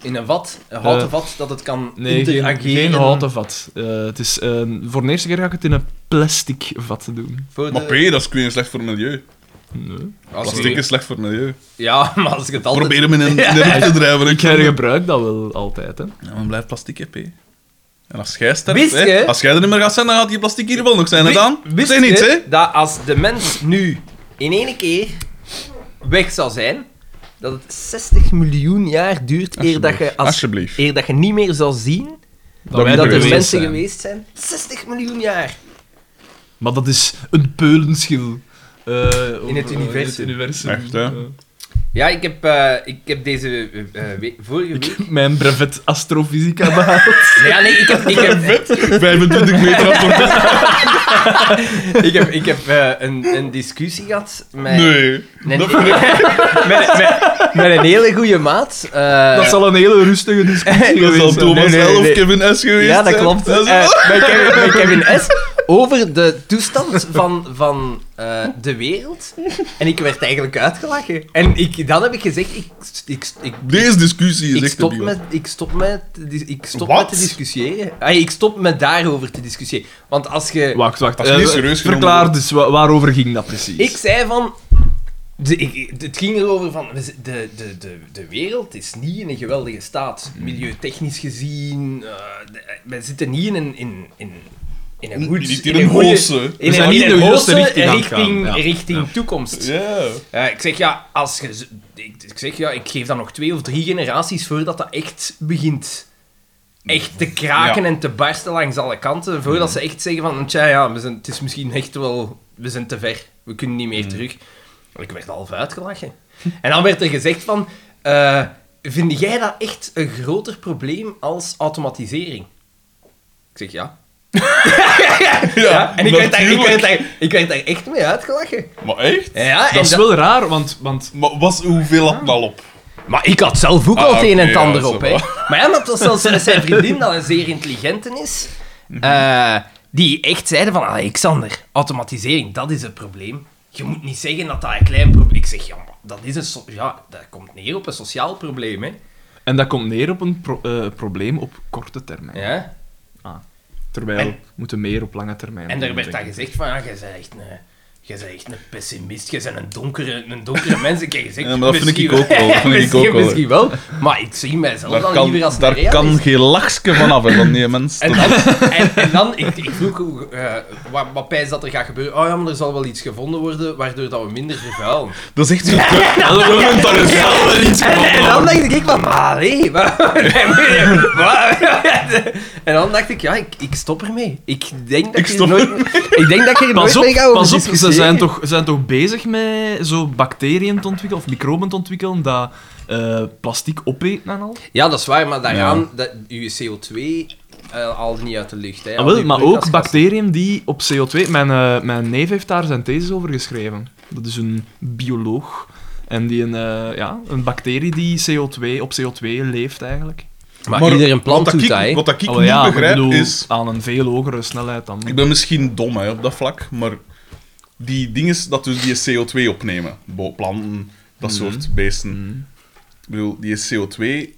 Speaker 1: In een vat, een houten
Speaker 3: Eh,
Speaker 1: vat, dat het kan
Speaker 3: Nee, geen,
Speaker 1: interageren.
Speaker 3: geen houten vat. Eh, het is, eh, voor de eerste keer ga ik het in een plastic vat doen.
Speaker 1: Voor
Speaker 2: Maar
Speaker 1: de-
Speaker 2: P, dat is kwijt slecht voor het milieu.
Speaker 3: Nee.
Speaker 1: Als
Speaker 2: Plastic
Speaker 1: je-
Speaker 2: is slecht voor het milieu.
Speaker 1: [laughs] Ja, maar als ik het altijd...
Speaker 2: Probeer hem in een in een hoek te drijven.
Speaker 3: Ik gebruik dat wel altijd, hè.
Speaker 2: Ja, maar blijft plastic, hè, P. En als jij sterft,
Speaker 1: Wist
Speaker 2: hè,
Speaker 1: je?
Speaker 2: als jij er niet meer gaat zijn, dan gaat die plastic hier wel nog zijn, hè, dan?
Speaker 1: Wist
Speaker 2: Zeg niet, hè?
Speaker 1: je dat als de mens nu in één keer weg zou zijn, dat het 60 miljoen jaar duurt eer dat, je als,
Speaker 2: Alsjeblieft.
Speaker 1: eer dat je niet meer zal zien
Speaker 3: Dat,
Speaker 2: wij
Speaker 1: dat er
Speaker 2: er geweest
Speaker 1: mensen
Speaker 3: zijn.
Speaker 1: geweest zijn. 60 miljoen jaar!
Speaker 3: Maar dat is een peulenschil. eh, over-
Speaker 1: het universum.
Speaker 3: universum.
Speaker 2: Echt, hè?
Speaker 3: Ja.
Speaker 1: Ja, ik heb, eh, ik heb deze eh, eh, we- vorige week...
Speaker 2: [laughs]
Speaker 3: Mijn brevet
Speaker 1: [laughs]
Speaker 3: astrofysica behaald.
Speaker 1: Ja, nee, ik heb... Ik
Speaker 2: [laughs]
Speaker 1: heb
Speaker 2: 25 meter af voor
Speaker 1: ik heb, ik heb eh, een, een discussie gehad met,
Speaker 2: Nee.
Speaker 1: Nee, nee. [laughs] met, met, met een hele goede maat. eh,
Speaker 3: dat zal een hele
Speaker 1: [laughs]
Speaker 3: rustige discussie
Speaker 2: Dat zal
Speaker 3: geweest zijn.
Speaker 2: Thomas
Speaker 1: nee, nee,
Speaker 2: L of
Speaker 1: nee.
Speaker 2: Kevin S geweest
Speaker 1: ja, dat
Speaker 2: zijn.
Speaker 1: klopt.
Speaker 2: Dat is-
Speaker 1: Eh, met, Kevin, met Kevin S.
Speaker 2: [laughs]
Speaker 1: Over de toestand van, van eh, de wereld. En ik werd eigenlijk uitgelachen. En ik, dan heb ik gezegd, ik, ik, ik,
Speaker 2: Deze discussie is
Speaker 1: ik
Speaker 2: echt
Speaker 1: stop,
Speaker 2: debiel.
Speaker 1: met, ik stop, met, te dis- ik stop
Speaker 2: Wat?
Speaker 1: met te discussiëren. Ah, ik stop met daarover te discussiëren. Want als je...
Speaker 3: Wacht, wacht.
Speaker 2: Dat is niet
Speaker 3: eh,
Speaker 2: serieus genomen.
Speaker 3: verklaar dus, wa- waarover ging dat precies?
Speaker 1: Ik zei van. de- ik, het ging erover van. we z- De, de, de, de wereld is niet in een geweldige
Speaker 3: Hmm.
Speaker 1: staat. Milieutechnisch gezien. eh, de- we zitten niet in een, in, in in een goed...
Speaker 2: Niet in een
Speaker 1: goeie-
Speaker 2: hosse.
Speaker 1: In
Speaker 3: zijn
Speaker 1: een,
Speaker 3: niet
Speaker 1: in
Speaker 3: de
Speaker 1: een
Speaker 3: hoogste
Speaker 1: hosse
Speaker 3: richting aan het
Speaker 1: richting,
Speaker 3: gaan, ja.
Speaker 1: richting toekomst.
Speaker 2: Ja.
Speaker 1: Eh, ik zeg ja, als je, z- ik, ik zeg ja, ik geef dan nog twee of drie generaties voordat dat echt begint. Echt te kraken
Speaker 2: Ja.
Speaker 1: en te barsten langs alle kanten. Voordat ze echt zeggen van, tja, ja, we zijn, het is misschien echt wel, we zijn te ver. We kunnen niet meer terug. Ik werd half uitgelachen. [laughs] En dan werd er gezegd van, eh, vind jij dat echt een groter probleem als automatisering? Ik zeg ja. ja, en ik werd, daar, ik,
Speaker 2: natuurlijk.
Speaker 1: werd daar, ik werd daar echt mee uitgelachen.
Speaker 2: Maar echt?
Speaker 1: Ja, [laughs] en
Speaker 3: Dat is
Speaker 1: dat-
Speaker 3: wel raar, want... want
Speaker 2: Maar was, hoeveel had het al op?
Speaker 1: Maar ik had zelf ook
Speaker 2: Ah,
Speaker 1: al het
Speaker 2: oké,
Speaker 1: een en het
Speaker 2: ja,
Speaker 1: ander
Speaker 2: zo
Speaker 1: op, hè.
Speaker 2: wel.
Speaker 1: Maar ja, maar het was zelfs met
Speaker 2: [laughs]
Speaker 1: zijn vriendin, dat een zeer intelligente is,
Speaker 2: Mhm.
Speaker 1: eh, die echt zeiden van, Alexander, automatisering, dat is het probleem. Je moet niet zeggen dat dat een klein probleem... Ik zeg, ja, maar dat is een... so- ja, dat komt neer op een sociaal probleem, hè.
Speaker 3: en dat komt neer op een pro- eh, probleem op korte termijn.
Speaker 1: Ja?
Speaker 3: Terwijl
Speaker 1: En-
Speaker 3: we moeten meer op lange termijn.
Speaker 1: En
Speaker 3: doen,
Speaker 1: er werd dan
Speaker 3: denk ik.
Speaker 1: gezegd van, ja, jij bent echt een... Je bent echt een pessimist, je bent een donkere, een donkere [laughs] mens. Ik heb gezegd,
Speaker 2: Ja, maar dat vind ik
Speaker 1: misschien
Speaker 2: ook wel, dat
Speaker 1: [laughs]
Speaker 2: vind ik
Speaker 1: misschien,
Speaker 2: ook wel, hè.
Speaker 1: misschien wel. Maar ik zie mijzelf
Speaker 2: Daar
Speaker 1: dan
Speaker 2: kan,
Speaker 1: liever als een
Speaker 2: daar
Speaker 1: realist.
Speaker 2: kan geen lachske van af, hè, van die mensen.
Speaker 1: En dan, [laughs] en, en dan ik, ik vroeg hoe, eh, wat, wat pijs dat er gaat gebeuren. Oh ja, maar er zal wel iets gevonden worden waardoor dat we minder vervuilen.
Speaker 2: Dat is
Speaker 1: [laughs]
Speaker 2: echt zo'n kut.
Speaker 3: Dat is wel iets
Speaker 1: En, en dan dacht ik van, maar nee, [laughs] maar- nee, maar- maar- En dan dacht ik, ja, ik, ik stop ermee. Ik denk dat
Speaker 2: Ik
Speaker 1: je
Speaker 2: stop
Speaker 1: nooit, ik denk dat je er
Speaker 3: Pas
Speaker 1: nooit
Speaker 3: op,
Speaker 1: mee gaat over
Speaker 3: pas op ze
Speaker 1: discussiëren.
Speaker 3: zijn toch, ze zijn toch bezig met zo bacteriën te ontwikkelen, of microben te ontwikkelen, dat eh plastic opeten en al.
Speaker 1: Ja, dat is waar, maar daaraan, dat, je CO2 eh, al niet uit de lucht. Hè,
Speaker 3: Ah,
Speaker 1: al
Speaker 3: wel,
Speaker 1: die
Speaker 3: maar ook
Speaker 1: broeikasgassen.
Speaker 3: bacteriën die op CO2... Mijn, eh, mijn neef heeft daar zijn thesis over geschreven. Dat is een bioloog. En die een, eh, ja, een bacterie die CO2, op CO2 leeft eigenlijk.
Speaker 1: Maar, ieder een plant
Speaker 2: wat
Speaker 1: doet
Speaker 2: ik,
Speaker 1: dat, hè.
Speaker 2: Wat dat ik
Speaker 3: Allee,
Speaker 2: niet
Speaker 3: ja, maar
Speaker 2: begrijp
Speaker 3: ik bedoel,
Speaker 2: is...
Speaker 3: Aan een veel hogere snelheid dan...
Speaker 2: Ik ben misschien dom hè, op dat vlak, maar die dingen dat dus die CO2 opnemen, bo- planten, dat
Speaker 1: Mhm.
Speaker 2: soort beesten. Ik bedoel, die CO2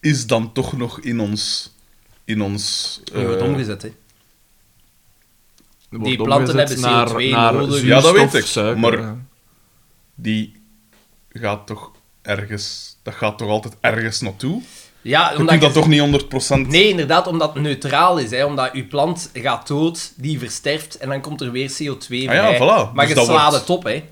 Speaker 2: is dan toch nog in ons. In ons
Speaker 1: Je wordt
Speaker 2: eh,
Speaker 1: omgezet, hè.
Speaker 3: Wordt
Speaker 1: die planten
Speaker 3: omgezet
Speaker 1: hebben CO2 nodig. dus-
Speaker 2: Ja, dat weet
Speaker 3: zuurstof,
Speaker 2: ik,
Speaker 3: suiker, eh.
Speaker 2: maar-
Speaker 3: ja.
Speaker 2: die gaat toch ergens. Dat gaat toch altijd ergens naartoe?
Speaker 1: Ja,
Speaker 2: Je
Speaker 1: omdat
Speaker 2: kunt
Speaker 1: je-
Speaker 2: dat toch niet 100%.
Speaker 1: Nee, inderdaad, omdat het neutraal is. Hè? Omdat uw plant gaat dood, die versterft en dan komt er weer CO2
Speaker 2: Ah
Speaker 1: vrij.
Speaker 2: ja, voilà.
Speaker 1: Maar
Speaker 2: Dus
Speaker 1: je
Speaker 2: dat
Speaker 1: slaat
Speaker 2: wordt-
Speaker 1: het op. Hè?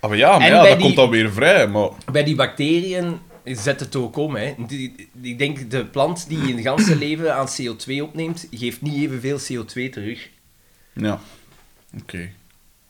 Speaker 2: Ah, maar ja, maar
Speaker 1: En
Speaker 2: ja,
Speaker 1: bij
Speaker 2: dat
Speaker 1: die-
Speaker 2: komt dan weer vrij. Maar
Speaker 1: Bij die bacteriën zet het ook om. Hè? Die, die- ik denk, de plant die in het ganse leven aan CO2 opneemt, geeft niet evenveel CO2 terug.
Speaker 2: ja. Oké.
Speaker 1: [laughs]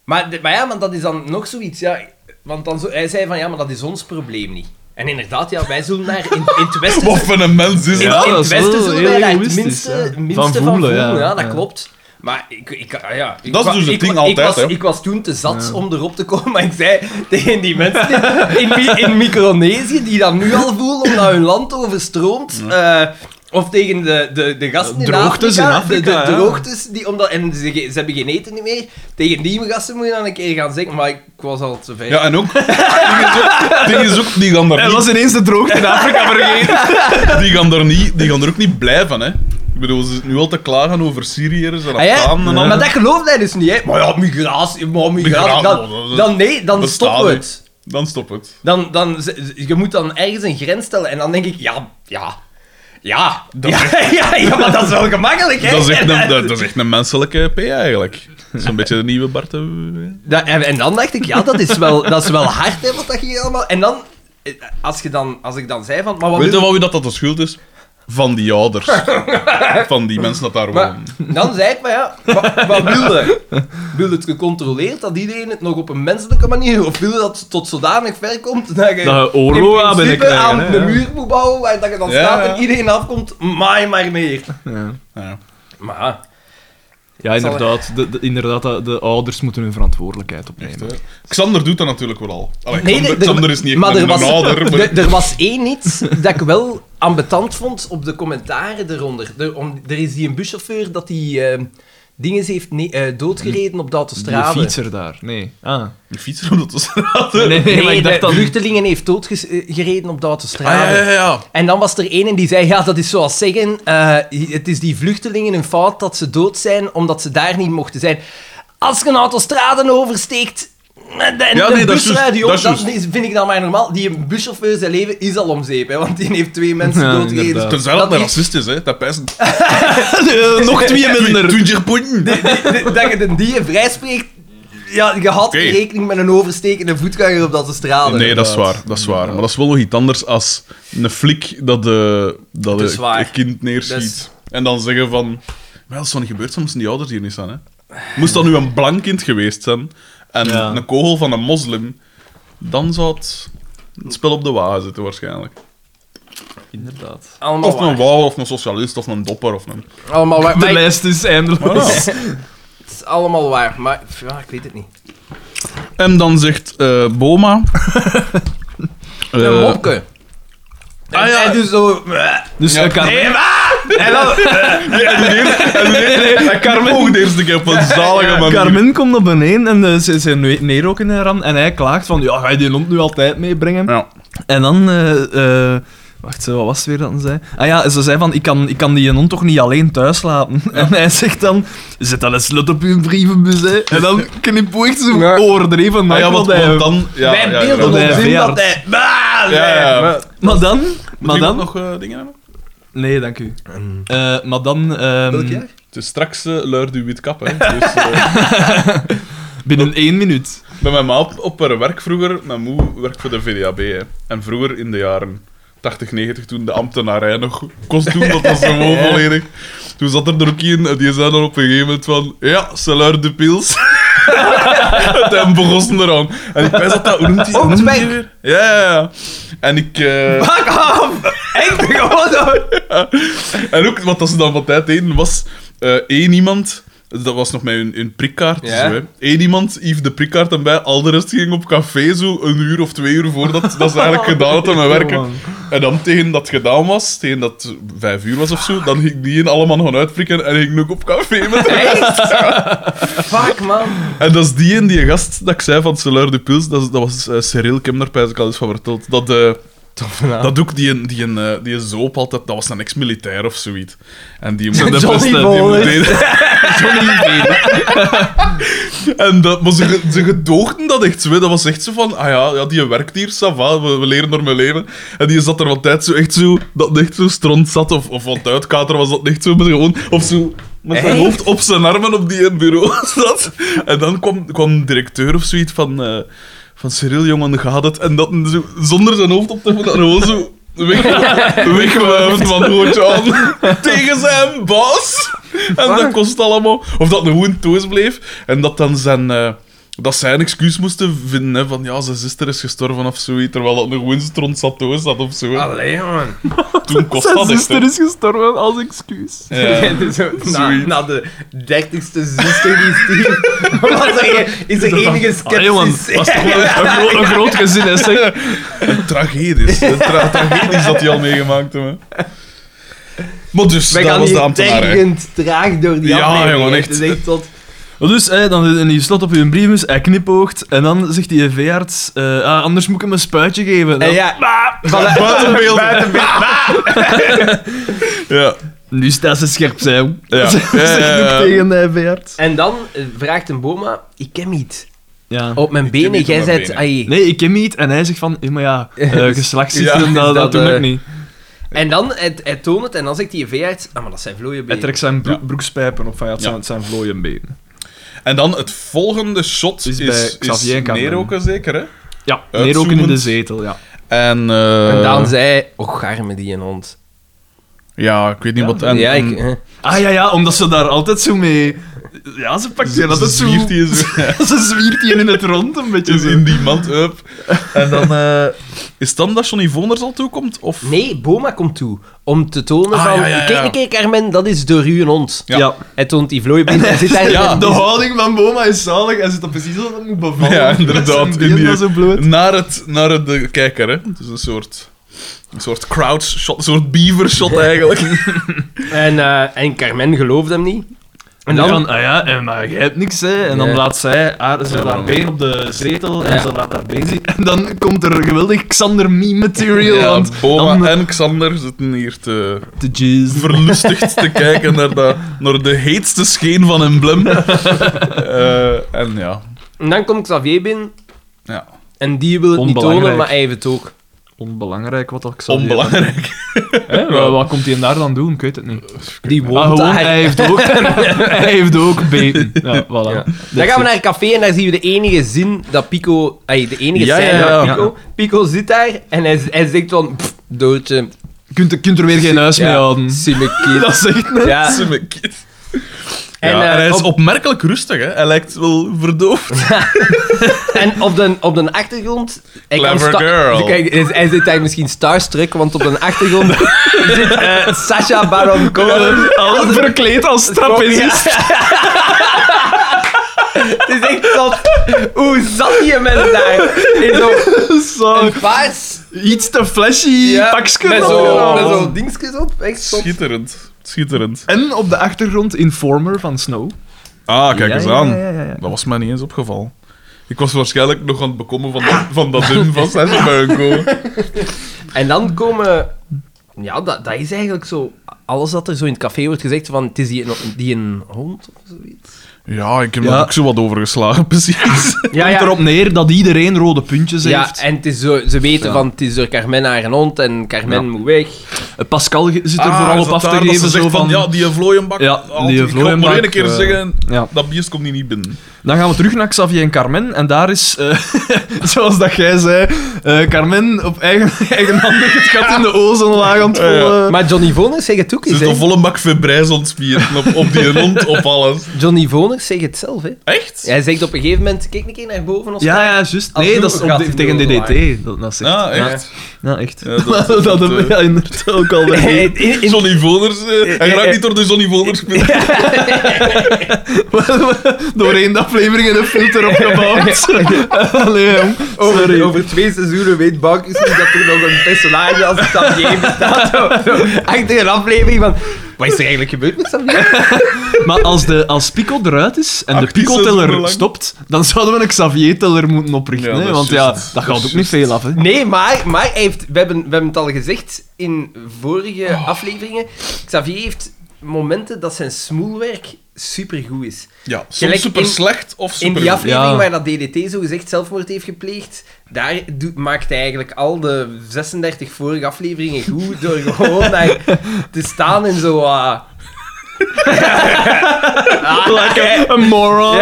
Speaker 1: Maar, de- maar ja, maar dat is dan nog zoiets. Ja, want dan zo, hij zei van, ja, maar dat is ons probleem niet. En inderdaad, ja, wij zullen daar in, in het
Speaker 2: [laughs]
Speaker 1: Westen...
Speaker 2: Wat voor een mens is
Speaker 1: In,
Speaker 3: Dus Ja,
Speaker 2: dat?
Speaker 1: in
Speaker 3: dat
Speaker 1: het
Speaker 3: is
Speaker 1: Westen
Speaker 3: wel
Speaker 1: zullen
Speaker 3: heel
Speaker 1: wij daar het
Speaker 3: egoïstisch,
Speaker 1: minste,
Speaker 3: ja.
Speaker 1: het minste
Speaker 3: Van
Speaker 1: van voelen.
Speaker 3: voelen,
Speaker 1: ja.
Speaker 3: ja.
Speaker 1: dat
Speaker 3: Ja.
Speaker 1: klopt. Maar ik, ik, ah ja, ik
Speaker 2: Dat is
Speaker 1: wa-
Speaker 2: dus het
Speaker 1: ik,
Speaker 2: ding
Speaker 1: wa- ik
Speaker 2: altijd,
Speaker 1: was,
Speaker 2: hè.
Speaker 1: Ik was toen te zat om erop te komen, [laughs] maar ik zei tegen die mensen
Speaker 3: [laughs]
Speaker 1: in- in, Mi- in Micronesië, die dat nu al voelen omdat hun land overstroomt, eh, of tegen de, de, de gasten in
Speaker 3: Droogtes in
Speaker 1: Afrika,
Speaker 3: Afrika,
Speaker 1: de, de
Speaker 3: ja.
Speaker 1: droogtes, die, omdat, en ze, ge- ze hebben geen eten meer, tegen die gasten moet je dan een keer gaan zeggen, maar ik was al te ver.
Speaker 2: Ja, en ook. [laughs] Die is ook, die is ook die gaan daar
Speaker 3: En
Speaker 2: niet
Speaker 3: was ineens de droogte in Afrika [laughs] vergeten.
Speaker 2: Die gaan, daar niet, die gaan er ook niet blijven, hè. Ik bedoel, ze zitten nu al te klagen over Syriërs en
Speaker 1: Ah, ja?
Speaker 2: Afghanen en al.
Speaker 1: Maar dat gelooft hij dus niet, hè? Maar ja, migratie, maar migratie.
Speaker 2: Migratie,
Speaker 1: Dan,
Speaker 2: dat-
Speaker 1: dan nee, dan
Speaker 2: bestaat
Speaker 1: stoppen we
Speaker 2: niet.
Speaker 1: het.
Speaker 2: Dan stop het.
Speaker 1: Dan, dan, z- je moet dan ergens een grens stellen en dan denk ik, ja, ja. Ja, ja, [laughs] ja, ja, maar dat is wel gemakkelijk, hè?
Speaker 2: Dat is echt een, dat, dat is echt een menselijke P eigenlijk. Dat is een beetje de nieuwe Bart. hè.
Speaker 1: Da- en, en dan dacht ik, ja, dat is wel, dat is wel hard, hè, wat dat hier allemaal... En dan, eh, als, je dan, als ik dan zei van... Maar wat
Speaker 2: Weet je
Speaker 1: wil-
Speaker 2: wat wie dat, dat de schuld is? Van die ouders. Van die mensen dat daar
Speaker 1: maar,
Speaker 2: wonen.
Speaker 3: Ehm.
Speaker 1: dan zei ik, maar ja, wat, wat wil je? Wil je het gecontroleerd, dat iedereen het nog op een menselijke manier... Of wil je dat het tot zodanig ver komt dat je...
Speaker 3: Dat je oorlog
Speaker 1: in
Speaker 3: aan
Speaker 1: principe
Speaker 3: binnenkrijgen,
Speaker 1: aan
Speaker 3: hè,
Speaker 1: de
Speaker 3: ja.
Speaker 1: muur moet bouwen waar dat je dan
Speaker 2: Ja,
Speaker 1: staat
Speaker 2: ja.
Speaker 1: en iedereen afkomt, maai maar meer.
Speaker 3: Ja.
Speaker 2: Ja.
Speaker 1: Maar ja.
Speaker 3: Ja, inderdaad. De, de- inderdaad de, de ouders moeten hun verantwoordelijkheid opnemen.
Speaker 2: Xander doet dat natuurlijk wel al. Allee,
Speaker 1: Nee,
Speaker 2: Xander,
Speaker 1: er-
Speaker 2: Xander is niet echt
Speaker 1: maar
Speaker 2: een,
Speaker 1: er was,
Speaker 2: een ouder. Maar...
Speaker 1: Er, er was één iets dat ik wel ambetant vond op de commentaren eronder. Er, om, er is die een buschauffeur dat die eh, dinges heeft ne- eh, doodgereden op de
Speaker 3: Die
Speaker 1: autostrade.
Speaker 3: fietser daar. Nee. [laughs] Ah.
Speaker 2: Een fietser op de autostrade.
Speaker 3: Nee, nee,
Speaker 1: Nee,
Speaker 3: maar ik dacht
Speaker 1: de
Speaker 3: dan...
Speaker 1: vluchtelingen heeft doodgereden op de
Speaker 2: Ah, ja,
Speaker 1: autostrade.
Speaker 2: ja, ja.
Speaker 1: En dan was er één die zei, ja, dat is zoals zeggen, eh, het is die vluchtelingen hun fout dat ze dood zijn, omdat ze daar niet mochten zijn. Als je een autostrade oversteekt, En de,
Speaker 2: Ja,
Speaker 1: de
Speaker 2: nee, dat is
Speaker 1: busrijder,
Speaker 2: juist,
Speaker 1: joh,
Speaker 2: dat is
Speaker 1: dat
Speaker 2: juist.
Speaker 1: is- vind ik dan maar normaal. Die buschauffeur, zijn leven is al om zeep, hè, want die heeft twee mensen
Speaker 3: Ja,
Speaker 1: doodgereden.
Speaker 3: inderdaad.
Speaker 2: Tenzij dat
Speaker 1: Dat
Speaker 2: een
Speaker 1: die-
Speaker 2: racist is, hè.
Speaker 1: [laughs]
Speaker 2: Dat pijzen.
Speaker 3: Eh, nog twee [laughs] minder.
Speaker 2: 20 punten.
Speaker 1: Die- [laughs] dat je de dieren vrijspreekt, ja, je had
Speaker 2: Oké.
Speaker 1: rekening met een overstekende voetganger op dat straat.
Speaker 2: Nee, dat is waar. Dat is waar. Maar dat is wel nog iets anders als een flik dat, de, dat
Speaker 1: is
Speaker 2: een-
Speaker 1: waar.
Speaker 2: een kind neerschiet.
Speaker 1: Dat is-
Speaker 2: En dan zeggen van... Wel, dat is dan gebeurd, soms die ouders hier niet staan, hè. Moest dat nu een blank kind geweest zijn en
Speaker 3: Ja.
Speaker 2: een kogel van een moslim, dan zou het het spel op de wagen zitten waarschijnlijk.
Speaker 3: Inderdaad.
Speaker 1: Allemaal
Speaker 2: Of een
Speaker 1: waar.
Speaker 2: wauw, of een socialist, of een dopper, of een...
Speaker 1: Allemaal waar.
Speaker 3: De
Speaker 1: Maar ik- Oh.
Speaker 3: lijst is eindeloos.
Speaker 1: het is allemaal waar, maar ja, ik weet het niet.
Speaker 2: En dan zegt eh, Boma... [laughs]
Speaker 1: De
Speaker 2: eh,
Speaker 1: mopke. En,
Speaker 2: ah, ja.
Speaker 1: en dus zo...
Speaker 3: Dus
Speaker 2: Ja.
Speaker 3: eh, Carmen,
Speaker 1: En dan...
Speaker 3: [laughs]
Speaker 2: Carmen. Oh, de eerste keer op een zalige manier.
Speaker 3: Carmen komt op beneden en eh, ze, ze ne- neer ook in haar ram. En hij klaagt van, ja, ga je die hond nu altijd meebrengen?
Speaker 2: Ja.
Speaker 3: En dan... eh, eh, Wacht, zo, wat was het weer dat ze zei? Ah ja, ze zei van, ik kan, ik kan die hond toch niet alleen thuis laten? En hij zegt dan, zet dan een slot op uw brievenbus, hè. En dan knipoogt ze
Speaker 1: Ja.
Speaker 3: overdreven.
Speaker 2: Ah,
Speaker 3: Maar
Speaker 2: ja, want, want dan... Ja,
Speaker 1: Wij
Speaker 2: ja, ja,
Speaker 1: beelden
Speaker 3: dat
Speaker 1: ons
Speaker 3: hij
Speaker 1: in dat
Speaker 3: verjaard.
Speaker 1: hij... Bah,
Speaker 2: Ja, ja.
Speaker 1: nee, maar-
Speaker 3: Maar dan...
Speaker 2: Moet
Speaker 3: Maar
Speaker 2: iemand
Speaker 3: dan...
Speaker 2: nog eh, dingen hebben?
Speaker 3: Nee, dank u.
Speaker 2: Mm.
Speaker 3: Eh, maar dan... ehm,
Speaker 1: Welk jaar?
Speaker 2: Het is straks eh, luidt uw wit kap, hè. Dus, eh, [laughs]
Speaker 3: Binnen één minuut.
Speaker 2: bij mijn ma op, op haar werk vroeger, mijn moe werkt voor de VDAB, hè. En vroeger in de jaren 80, 90, toen de ambtenarij nog kost doen, dat was [laughs] gewoon volledig. Toen zat er er ook in, en die zei dan op een gegeven moment van, ja, ze luidt de pils. [laughs] en begon ze eraan. En ik pijs dat dat... Hoe noemt die?
Speaker 1: Oh,
Speaker 2: hoe noemt die
Speaker 1: Spank.
Speaker 2: weer? Ja, ja, ja. En ik... eh,
Speaker 1: Fuck off! Ah, Echt [laughs] gewoon zo.
Speaker 2: [laughs] En ook, wat dat ze dan van tijd deden, was eh, één iemand... Dat was nog met hun, hun prikkaart.
Speaker 1: Ja.
Speaker 2: Zo, hè. Eén iemand hief de prikkaart en bij, al de rest ging op café zo een uur of twee uur voordat dat ze eigenlijk gedaan hadden met werken.
Speaker 3: man.
Speaker 2: En dan tegen dat het gedaan was, tegen dat het vijf uur was of zo, dan ging die een allemaal gaan uitprikken en ging ook op café met de
Speaker 1: Echt? Fuck, man.
Speaker 2: en dat is die en die gast dat ik zei van Solar de Puls, dat, is- dat was eh, Cyril, ik heb hem daar pijs ik al eens van verteld. Dat, eh, dat ook die, een- die, een, eh, die een zoop altijd, dat was een ex-militair of zoiets. En die [laughs] moet
Speaker 3: Johnny
Speaker 1: Bolles.
Speaker 2: [laughs] En dat, maar ze, ge- ze gedoogden dat echt zo. hè. Dat was echt zo van, ah ja, ja die werkt hier, ça va, we, we leren ermee leven. En die zat er wat tijd zo echt zo, dat echt zo stront zat, of, of wat uitkater was dat echt zo, maar gewoon, of zo... Met zijn
Speaker 1: Echt?
Speaker 2: hoofd op zijn armen op die bureau [laughs] zat. En dan kwam, kwam een directeur of zoiets van... eh, van Cyril, jongen, gaat het? En dat hem zo, zonder zijn hoofd op te hebben, dat gewoon zo weg- wegwuift van hoortje
Speaker 3: [laughs]
Speaker 2: aan. Tegen zijn baas. En dat kost allemaal... Of dat een hoen toes bleef. En dat dan zijn... eh, dat zij een excuus moesten vinden, hè, van ja, zijn zuster is gestorven of zoiets, terwijl dat een gewoon stront zat toes zat of zo.
Speaker 1: Allee, man.
Speaker 2: Toen kost
Speaker 3: Ah, Zijn
Speaker 2: dat echt, hè.
Speaker 3: zuster is gestorven als excuus.
Speaker 1: [laughs]
Speaker 3: [laughs]
Speaker 2: Ja.
Speaker 1: Zo, na,
Speaker 2: Zoiets.
Speaker 1: na de dertigste zuster die stierf, [laughs] was er- is er enige
Speaker 3: Ah, jongen, was
Speaker 1: sceptisch. [laughs]
Speaker 3: toch wel een, gro- [laughs] een groot gezin, hè, zeg.
Speaker 2: Een tragedisch. Een tra- tragedisch dat hij al meegemaakt heeft. hè. Maar dus,
Speaker 1: We
Speaker 2: dat
Speaker 1: gaan
Speaker 2: was de
Speaker 1: hier
Speaker 2: ambtenaar. hè.
Speaker 1: tergend traag door die
Speaker 2: Ja,
Speaker 1: aflevering.
Speaker 2: jongen,
Speaker 1: Het is
Speaker 2: echt.
Speaker 1: echt tot...
Speaker 3: Dus eh, dan in je slot op je brievenbus, hij knipoogt en dan zegt die veearts, eh, ah, anders moet ik hem een spuitje geven.
Speaker 2: Eh,
Speaker 1: En
Speaker 2: [laughs]
Speaker 1: ja, voilà.
Speaker 2: Buitenbeeld.
Speaker 1: Buitenbeeld.
Speaker 2: Ja.
Speaker 3: Nu staat [laughs] ze scherp, zei
Speaker 2: Ja.
Speaker 3: Zegt
Speaker 2: Ja, ja, ja.
Speaker 3: ook tegen de veearts.
Speaker 1: En dan eh, vraagt een boma, ik ken niet.
Speaker 3: Ja.
Speaker 1: Op mijn
Speaker 2: ken
Speaker 1: benen,
Speaker 2: niet op
Speaker 1: jij
Speaker 2: mijn
Speaker 1: bent...
Speaker 2: benen.
Speaker 1: ai.
Speaker 3: Nee, ik ken niet. En hij zegt van, eh, maar
Speaker 2: [laughs]
Speaker 3: ja, eh geslachtsziekten,
Speaker 2: Ja, is
Speaker 3: dat,
Speaker 1: dat,
Speaker 3: dat doe
Speaker 1: eh,
Speaker 3: ik niet.
Speaker 1: En dan, hij, hij toont het en dan zegt die veearts, ah, maar dat zijn vlooie
Speaker 3: Hij
Speaker 1: benen.
Speaker 3: trekt zijn broek-
Speaker 2: Ja.
Speaker 3: broekspijpen op, van, ja, het
Speaker 2: Ja.
Speaker 3: zijn, het zijn vlooienbenen.
Speaker 2: En dan het volgende shot
Speaker 3: Is
Speaker 2: is,
Speaker 3: bij
Speaker 2: is,
Speaker 3: Xavier Carmen.
Speaker 2: neerroken, zeker, hè?
Speaker 3: Ja,
Speaker 2: Uitzoemend.
Speaker 3: neer ook in de zetel, ja.
Speaker 2: En, eh,
Speaker 1: En Daan zei, och, arme die een hond.
Speaker 2: Ja, ik weet niet
Speaker 3: Ja,
Speaker 2: wat... En,
Speaker 1: ja, ik...
Speaker 2: en-
Speaker 1: eh.
Speaker 3: Ah ja, ja, omdat ze daar altijd zo mee... Ja, ze pakt die
Speaker 2: Ze
Speaker 3: altijd zo...
Speaker 2: zwiert die zo.
Speaker 3: [laughs] ze zwiert die in het rond, een beetje
Speaker 2: is
Speaker 3: zo.
Speaker 2: in die mand up. En dan...
Speaker 1: [laughs]
Speaker 2: eh, is het dan dat Johnny Voners al toekomt? Of...
Speaker 1: Nee, Boma komt toe. Om te tonen
Speaker 2: Ah,
Speaker 1: van...
Speaker 2: ja, ja, ja.
Speaker 1: Kijk, kijk, Carmen, dat is door u een hond.
Speaker 2: Ja.
Speaker 1: Hij toont die vlooibeen. Hij zit
Speaker 3: [laughs]
Speaker 1: daar
Speaker 2: Ja,
Speaker 1: in-
Speaker 3: De houding van Boma is zalig. Hij zit dan precies als het moet bevallen.
Speaker 2: Ja,
Speaker 3: Met
Speaker 2: inderdaad.
Speaker 3: zijn been
Speaker 2: in die-
Speaker 3: dat zo bloot.
Speaker 2: Naar, het, naar het, de kijker, hè. Het is een soort... Een soort crowd shot, een soort beaver shot eigenlijk.
Speaker 1: en, eh, en Carmen gelooft hem niet. En
Speaker 3: En dan
Speaker 1: dan...
Speaker 3: van, ah ja, en, maar jij hebt niks, hè. En dan
Speaker 1: Ja.
Speaker 3: laat zij haar, ze laat haar been op de zetel en
Speaker 1: Ja.
Speaker 3: ze laat haar been zien. En dan komt er geweldig Xander meme-material,
Speaker 2: Ja,
Speaker 3: want
Speaker 2: Boma
Speaker 3: dan
Speaker 2: en Xander zitten hier te
Speaker 3: de jizz.
Speaker 2: verlustigd te kijken naar, dat, naar de
Speaker 3: [laughs]
Speaker 2: heetste scheen van emblem. Eh en ja,
Speaker 1: En dan komt Xavier binnen
Speaker 2: Ja.
Speaker 1: En die wil het niet tonen,
Speaker 3: Onbelangrijk.
Speaker 1: maar hij heeft het ook.
Speaker 3: Onbelangrijk wat dat ik zou
Speaker 2: Onbelangrijk.
Speaker 3: zeggen. Hè, wa- Wat komt hij daar dan doen? Ik weet het niet.
Speaker 1: Die
Speaker 3: Maar
Speaker 1: woont
Speaker 3: Ah, gewoon,
Speaker 1: daar.
Speaker 3: hij heeft [laughs] ook, hij heeft ook beten. Ja, voilà.
Speaker 1: Ja. Dan
Speaker 3: That's
Speaker 1: gaan we
Speaker 3: it.
Speaker 1: naar een café en daar zien we de enige zin dat Pico... ay, de enige
Speaker 2: Ja,
Speaker 1: scène
Speaker 2: ja, ja.
Speaker 1: van Pico. Pico zit daar en hij, hij zegt van... "Pff, Doortje,
Speaker 3: Je kunt, kunt er weer geen huis mee houden.
Speaker 1: zie me
Speaker 2: [laughs]
Speaker 1: kind."
Speaker 3: Dat zegt net.
Speaker 1: Ja.
Speaker 2: Dat is mijn kind. Ja,
Speaker 1: En,
Speaker 2: En,
Speaker 1: eh,
Speaker 2: hij is
Speaker 1: op-
Speaker 2: opmerkelijk rustig, hè. Hij lijkt wel
Speaker 3: [laughs]
Speaker 2: verdoofd.
Speaker 1: En op de, op de achtergrond... hij kan
Speaker 2: Clever
Speaker 1: sta-
Speaker 2: girl.
Speaker 1: Kijk, hij, hij zit daar misschien starstruck, want op de achtergrond [laughs] zit eh Sacha Baron
Speaker 2: [laughs]
Speaker 1: Cohen.
Speaker 3: Al verkleed als trapezist.
Speaker 1: Het is echt zot. Hoe zat die mensen daar? In zo'n
Speaker 3: [laughs] Zo,
Speaker 1: een paars
Speaker 3: iets te flashy pakje.
Speaker 1: met
Speaker 3: dan.
Speaker 1: zo'n met zo dingetjes op. Echt zot.
Speaker 2: Schitterend. Schitterend.
Speaker 3: En op de achtergrond Informer van Snow.
Speaker 2: Ah, kijk
Speaker 3: Ja,
Speaker 2: eens
Speaker 3: ja,
Speaker 2: aan.
Speaker 3: ja, ja, ja.
Speaker 2: Dat was mij niet eens opgevallen. Ik was waarschijnlijk nog aan het bekomen van, dat- van dat dun
Speaker 3: [laughs]
Speaker 2: van Sessenbuinko.
Speaker 1: En dan komen... Ja, dat, dat is eigenlijk zo... Alles dat er zo in het café wordt gezegd van... Het is die een, die een hond of zoiets.
Speaker 2: Ja, ik heb
Speaker 3: Ja.
Speaker 2: daar ook zo wat overgeslagen, [laughs] precies.
Speaker 1: Ja,
Speaker 3: Komt erop neer dat iedereen rode puntjes
Speaker 1: Ja,
Speaker 3: heeft.
Speaker 1: en het is zo, ze weten
Speaker 3: Ja.
Speaker 1: van... Het is door Carmen haar hond en Carmen
Speaker 3: Ja.
Speaker 1: moet weg.
Speaker 3: Pascal ge- zit er
Speaker 2: Ah,
Speaker 3: vooral
Speaker 2: is
Speaker 3: op
Speaker 2: dat
Speaker 3: af te
Speaker 2: daar dat Ze
Speaker 3: geven. Zo
Speaker 2: zegt van,
Speaker 3: van,
Speaker 2: ja, die vlooienbak.
Speaker 3: Ja,
Speaker 2: altijd-
Speaker 3: die
Speaker 2: Ik ga maar één
Speaker 3: vlooienbak,
Speaker 2: keer
Speaker 3: eh,
Speaker 2: zeggen,
Speaker 3: ja.
Speaker 2: dat biest komt hier niet binnen.
Speaker 3: Dan gaan we terug naar Xavier en Carmen. En daar is, eh, [laughs] zoals dat jij zei, eh, Carmen op eigen, [laughs] eigenhandig het gat in de ozonlaag aan het
Speaker 2: Ja, ja.
Speaker 3: vullen.
Speaker 1: Maar Johnny Voners zegt het ook
Speaker 2: Ze
Speaker 1: eens,
Speaker 2: zit een
Speaker 1: hè.
Speaker 2: Dus volle bak verbrijs ontspieren op, op die rond, op alles.
Speaker 1: Johnny Voners zegt het zelf, hè.
Speaker 2: Echt?
Speaker 1: Hij zegt op een gegeven moment... Kijk een keer naar boven [laughs] ons.
Speaker 3: Ja, ja, juist.
Speaker 1: Als
Speaker 3: Nee, dat
Speaker 1: doel
Speaker 3: is op
Speaker 1: gaat
Speaker 3: de-
Speaker 1: in de
Speaker 3: tegen
Speaker 1: ozonlaag.
Speaker 3: DDT. Dat, dat zegt.
Speaker 2: Ah, echt?
Speaker 3: Ja, echt. [laughs]
Speaker 2: Ja, dat-
Speaker 3: dat
Speaker 2: dat-
Speaker 3: hebben we
Speaker 2: eh,
Speaker 3: ja, inderdaad ook al bij.
Speaker 1: In- in- in-
Speaker 2: Johnny Voners. eh, hij
Speaker 1: eh,
Speaker 2: raakt niet door de Johnny Voners.
Speaker 3: [laughs] Doorheen de aflevering en een filter
Speaker 2: [laughs]
Speaker 3: opgebouwd. [laughs] Allee, jong. Sorry.
Speaker 1: Over, over twee seizoenen weet Bankers niet dat er nog een personage als Xavier [laughs] bestaat. Zo, zo, achter een aflevering van... Wat is er eigenlijk gebeurd met Xavier?
Speaker 3: Maar als, de, als Pico eruit is en de
Speaker 2: Actief seizoenen
Speaker 3: Pico-teller
Speaker 2: lang.
Speaker 3: stopt, dan zouden we een Xavier-teller moeten oprichten.
Speaker 2: Ja,
Speaker 3: hè?
Speaker 2: dat is
Speaker 3: Want ja,
Speaker 2: juist.
Speaker 3: dat
Speaker 2: Dat
Speaker 3: gaat
Speaker 2: is
Speaker 3: ook
Speaker 2: juist.
Speaker 3: niet veel af. Hè?
Speaker 1: Nee, maar, maar hij heeft, we, hebben, we hebben het al gezegd in vorige afleveringen. Xavier heeft momenten dat zijn smoelwerk supergoed is.
Speaker 2: Ja, soms
Speaker 1: Gelijk
Speaker 2: super
Speaker 1: in-
Speaker 2: slecht of
Speaker 1: In
Speaker 2: super
Speaker 1: die aflevering
Speaker 3: Ja.
Speaker 1: waar dat DDT zo gezegd zelfmoord heeft gepleegd, daar doet, maakt hij eigenlijk al de 36 vorige afleveringen goed door gewoon daar te staan en zo... ah,
Speaker 3: [laughs] Like a, a moron.